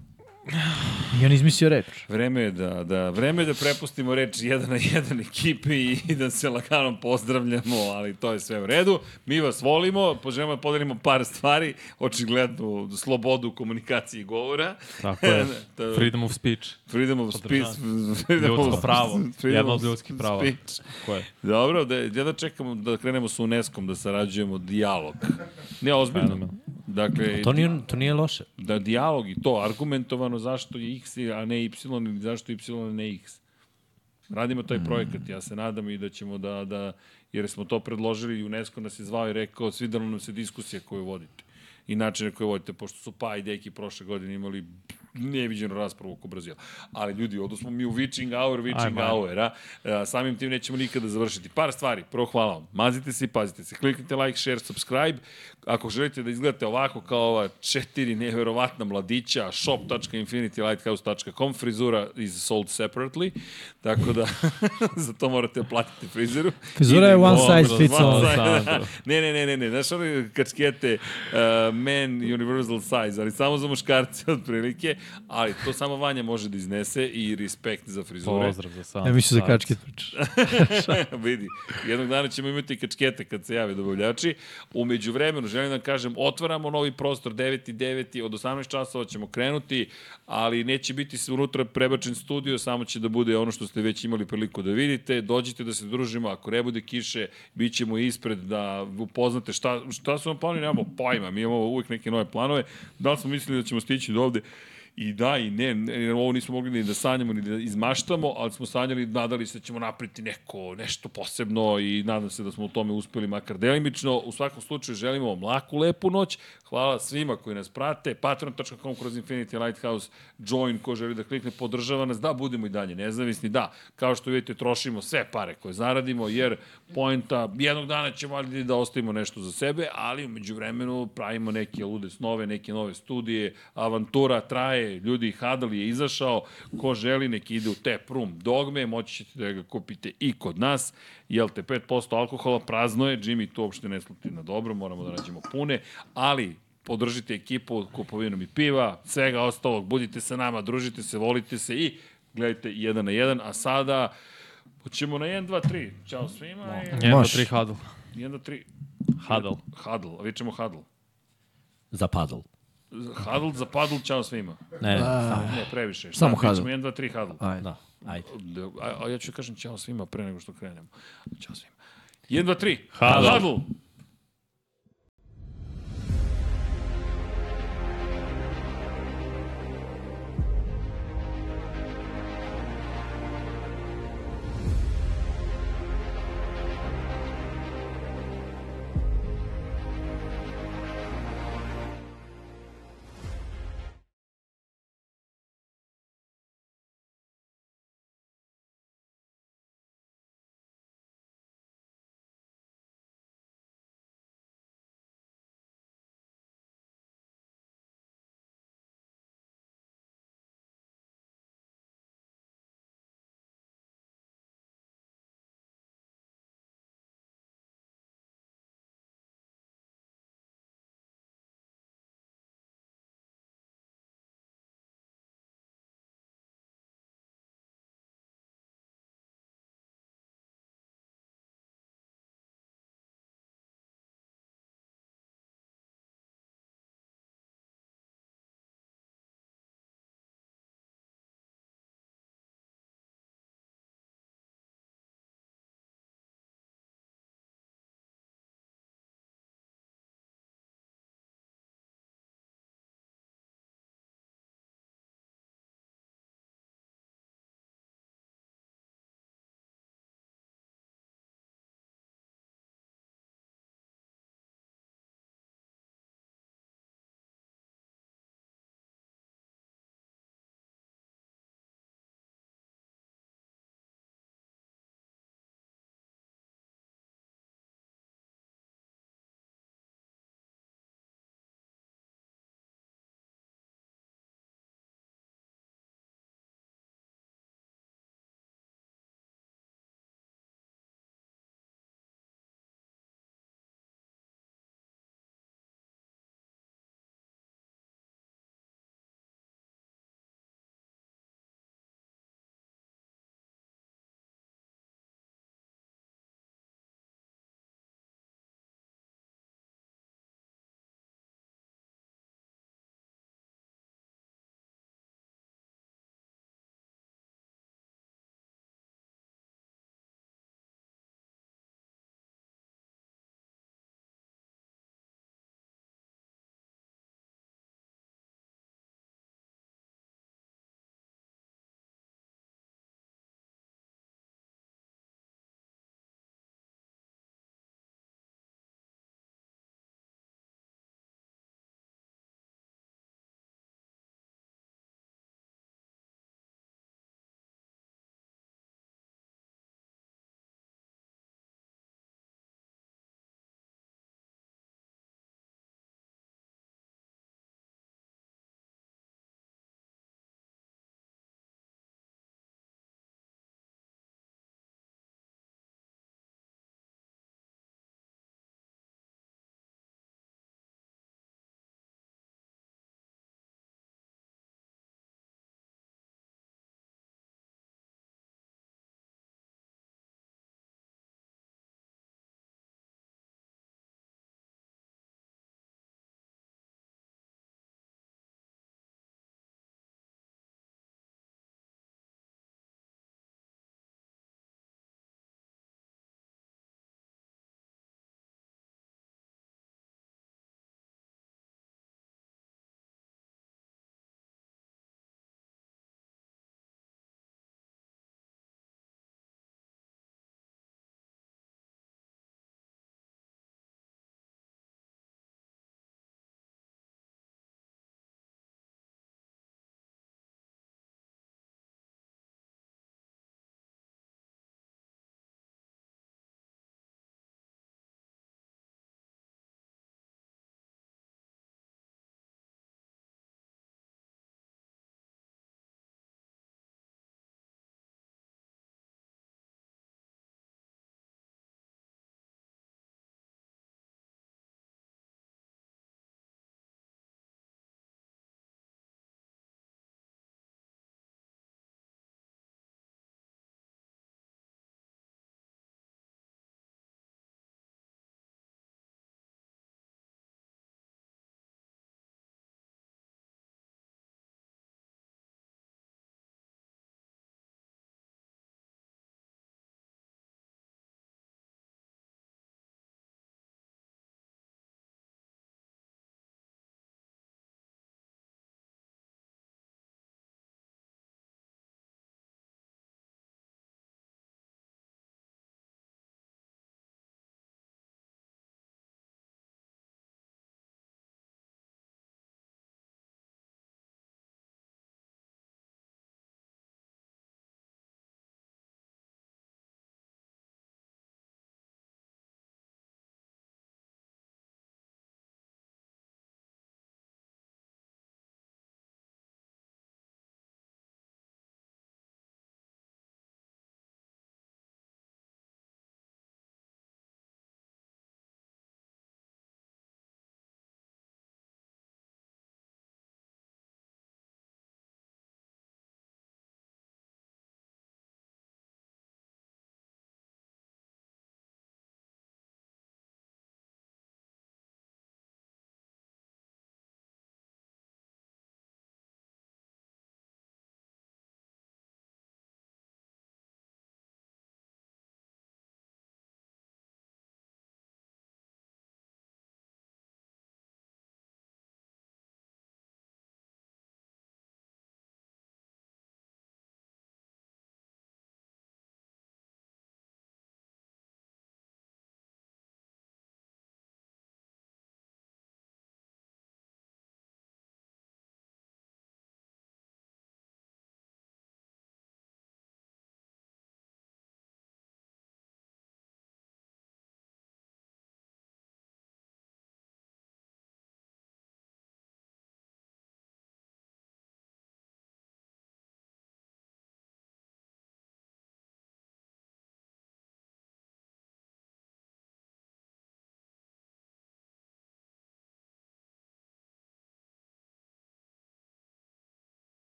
S2: I on izmislio reč.
S1: Vreme je da, da, vreme je da prepustimo reč jedan na jedan ekipi i da se lakanom pozdravljamo, ali to je sve u redu. Mi vas volimo, poželimo da podelimo par stvari, očigledno slobodu u komunikaciji govora.
S4: Tako je.
S1: Da-
S4: Freedom of speech.
S1: Freedom of speech. freedom of-
S4: Ljudsko pravo.
S1: freedom
S4: Jedno od
S1: of
S4: ljudskih prava.
S1: speech.
S4: Ko je?
S1: Dobro, da, ja da čekamo da krenemo sa UNESCO-om, da sarađujemo dijalog. Ne, ozbiljno. Dakle,
S3: To nije, to nije loše.
S1: da dijalog i to argumentovano zašto je x, a ne y, ili zašto y, a ne x. Radimo taj projekat, ja se nadam i da ćemo da, da jer smo to predložili, UNESCO nas je zvao i rekao, da svidalo nam se diskusija koju vodite i načine koje vodite, pošto su pa i deki prošle godine imali neviđenu raspravu oko Brazila. Ali ljudi, odu smo mi u witching hour, witching
S4: Ajmo, ajmo.
S1: hour, a? E, Samim tim nećemo nikada završiti. Par stvari, prvo hvala vam. Mazite se i pazite se. Kliknite like, share, subscribe. Ako želite da izgledate ovako kao ova četiri neverovatna mladića, shop.infinitylighthouse.com frizura is sold separately, tako da za to morate platiti frizeru.
S2: Frizura je
S1: Ili-
S2: one
S1: Dobro,
S2: size fits
S1: one
S2: all.
S1: size,
S4: Da,
S1: da.
S4: da.
S1: ne, ne, ne, ne, ne, znaš one kačkete uh, men universal size, ali samo za muškarce otprilike, ali to samo Vanja može da iznese i respekt za frizure.
S4: Pozdrav za sam.
S2: Ne mi se za
S4: sad.
S2: kačke pričaš.
S1: vidi. Jednog dana ćemo imati i kačkete kad se jave dobavljači. Umeđu vremenu, želim da vam kažem, otvaramo novi prostor 9 i 9, od 18 časova ćemo krenuti, ali neće biti se unutra prebačen studio, samo će da bude ono što ste već imali priliku da vidite. Dođite da se družimo, ako ne bude kiše, bit ćemo ispred da upoznate šta, šta su vam planovi, nemamo pojma, mi imamo uvijek neke nove planove. Da li smo mislili da ćemo stići do ovde? I da i ne, ne, jer ovo nismo mogli ni da sanjamo ni da izmaštamo, ali smo sanjali, nadali se da ćemo napriti neko, nešto posebno i nadam se da smo u tome uspeli makar delimično. U svakom slučaju želimo vam laku, lepu noć. Hvala svima koji nas prate. Patreon.com kroz Infinity Lighthouse join ko želi da klikne, podržava nas. Da, budemo i dalje nezavisni. Da, kao što vidite, trošimo sve pare koje zaradimo, jer poenta, jednog dana ćemo valjda i da ostavimo nešto za sebe, ali umeđu vremenu pravimo neke lude snove, neke nove studije, avantura traje, ljudi, Hadal je izašao, ko želi nek ide u tap room dogme, moći ćete da ga kupite i kod nas, jel te 5% alkohola, prazno je, Jimmy to uopšte ne sluti na dobro, moramo da nađemo pune, ali podržite ekipu kupovinom i piva, svega ostalog, budite sa nama, družite se, volite se i gledajte jedan na jedan, a sada hoćemo na 1, 2, 3, čao svima, i
S4: Jedan, dva,
S2: Može.
S4: tri, hadl.
S1: 1, 2, 3,
S4: Hadl.
S1: Hadl, a vičemo Hadl.
S3: Zapadl.
S1: Hadl za padl, čao svima.
S3: Ne, samo-
S1: Ne, previše. Znači, Šta,
S2: Samo
S1: vičemo
S2: hadl.
S1: 1, 2, 3, Hadl.
S2: Ajde.
S3: da, ajde.
S1: Da, A, a ja ću kažem čao svima pre nego što krenemo. Ćao svima. 1, 2, 3.
S4: Hadl.
S1: Hadl.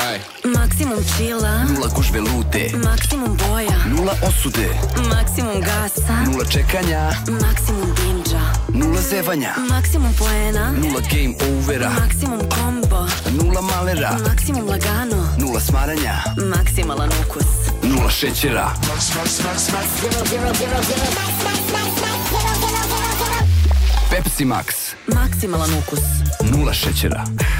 S6: Aj,
S7: Maksimum chilla,
S6: nula gužve lute,
S7: maksimum boja,
S6: nula osude,
S7: maksimum gasa,
S6: nula čekanja,
S7: maksimum binđa,
S6: nula zevanja,
S7: maksimum poena,
S6: nula game overa,
S7: maksimum kombo,
S6: nula malera,
S7: maksimum lagano,
S6: nula smaranja,
S7: maksimalan ukus.
S6: nula šećera. Pepsi Max,
S7: Maksimalan ukus.
S6: nula šećera.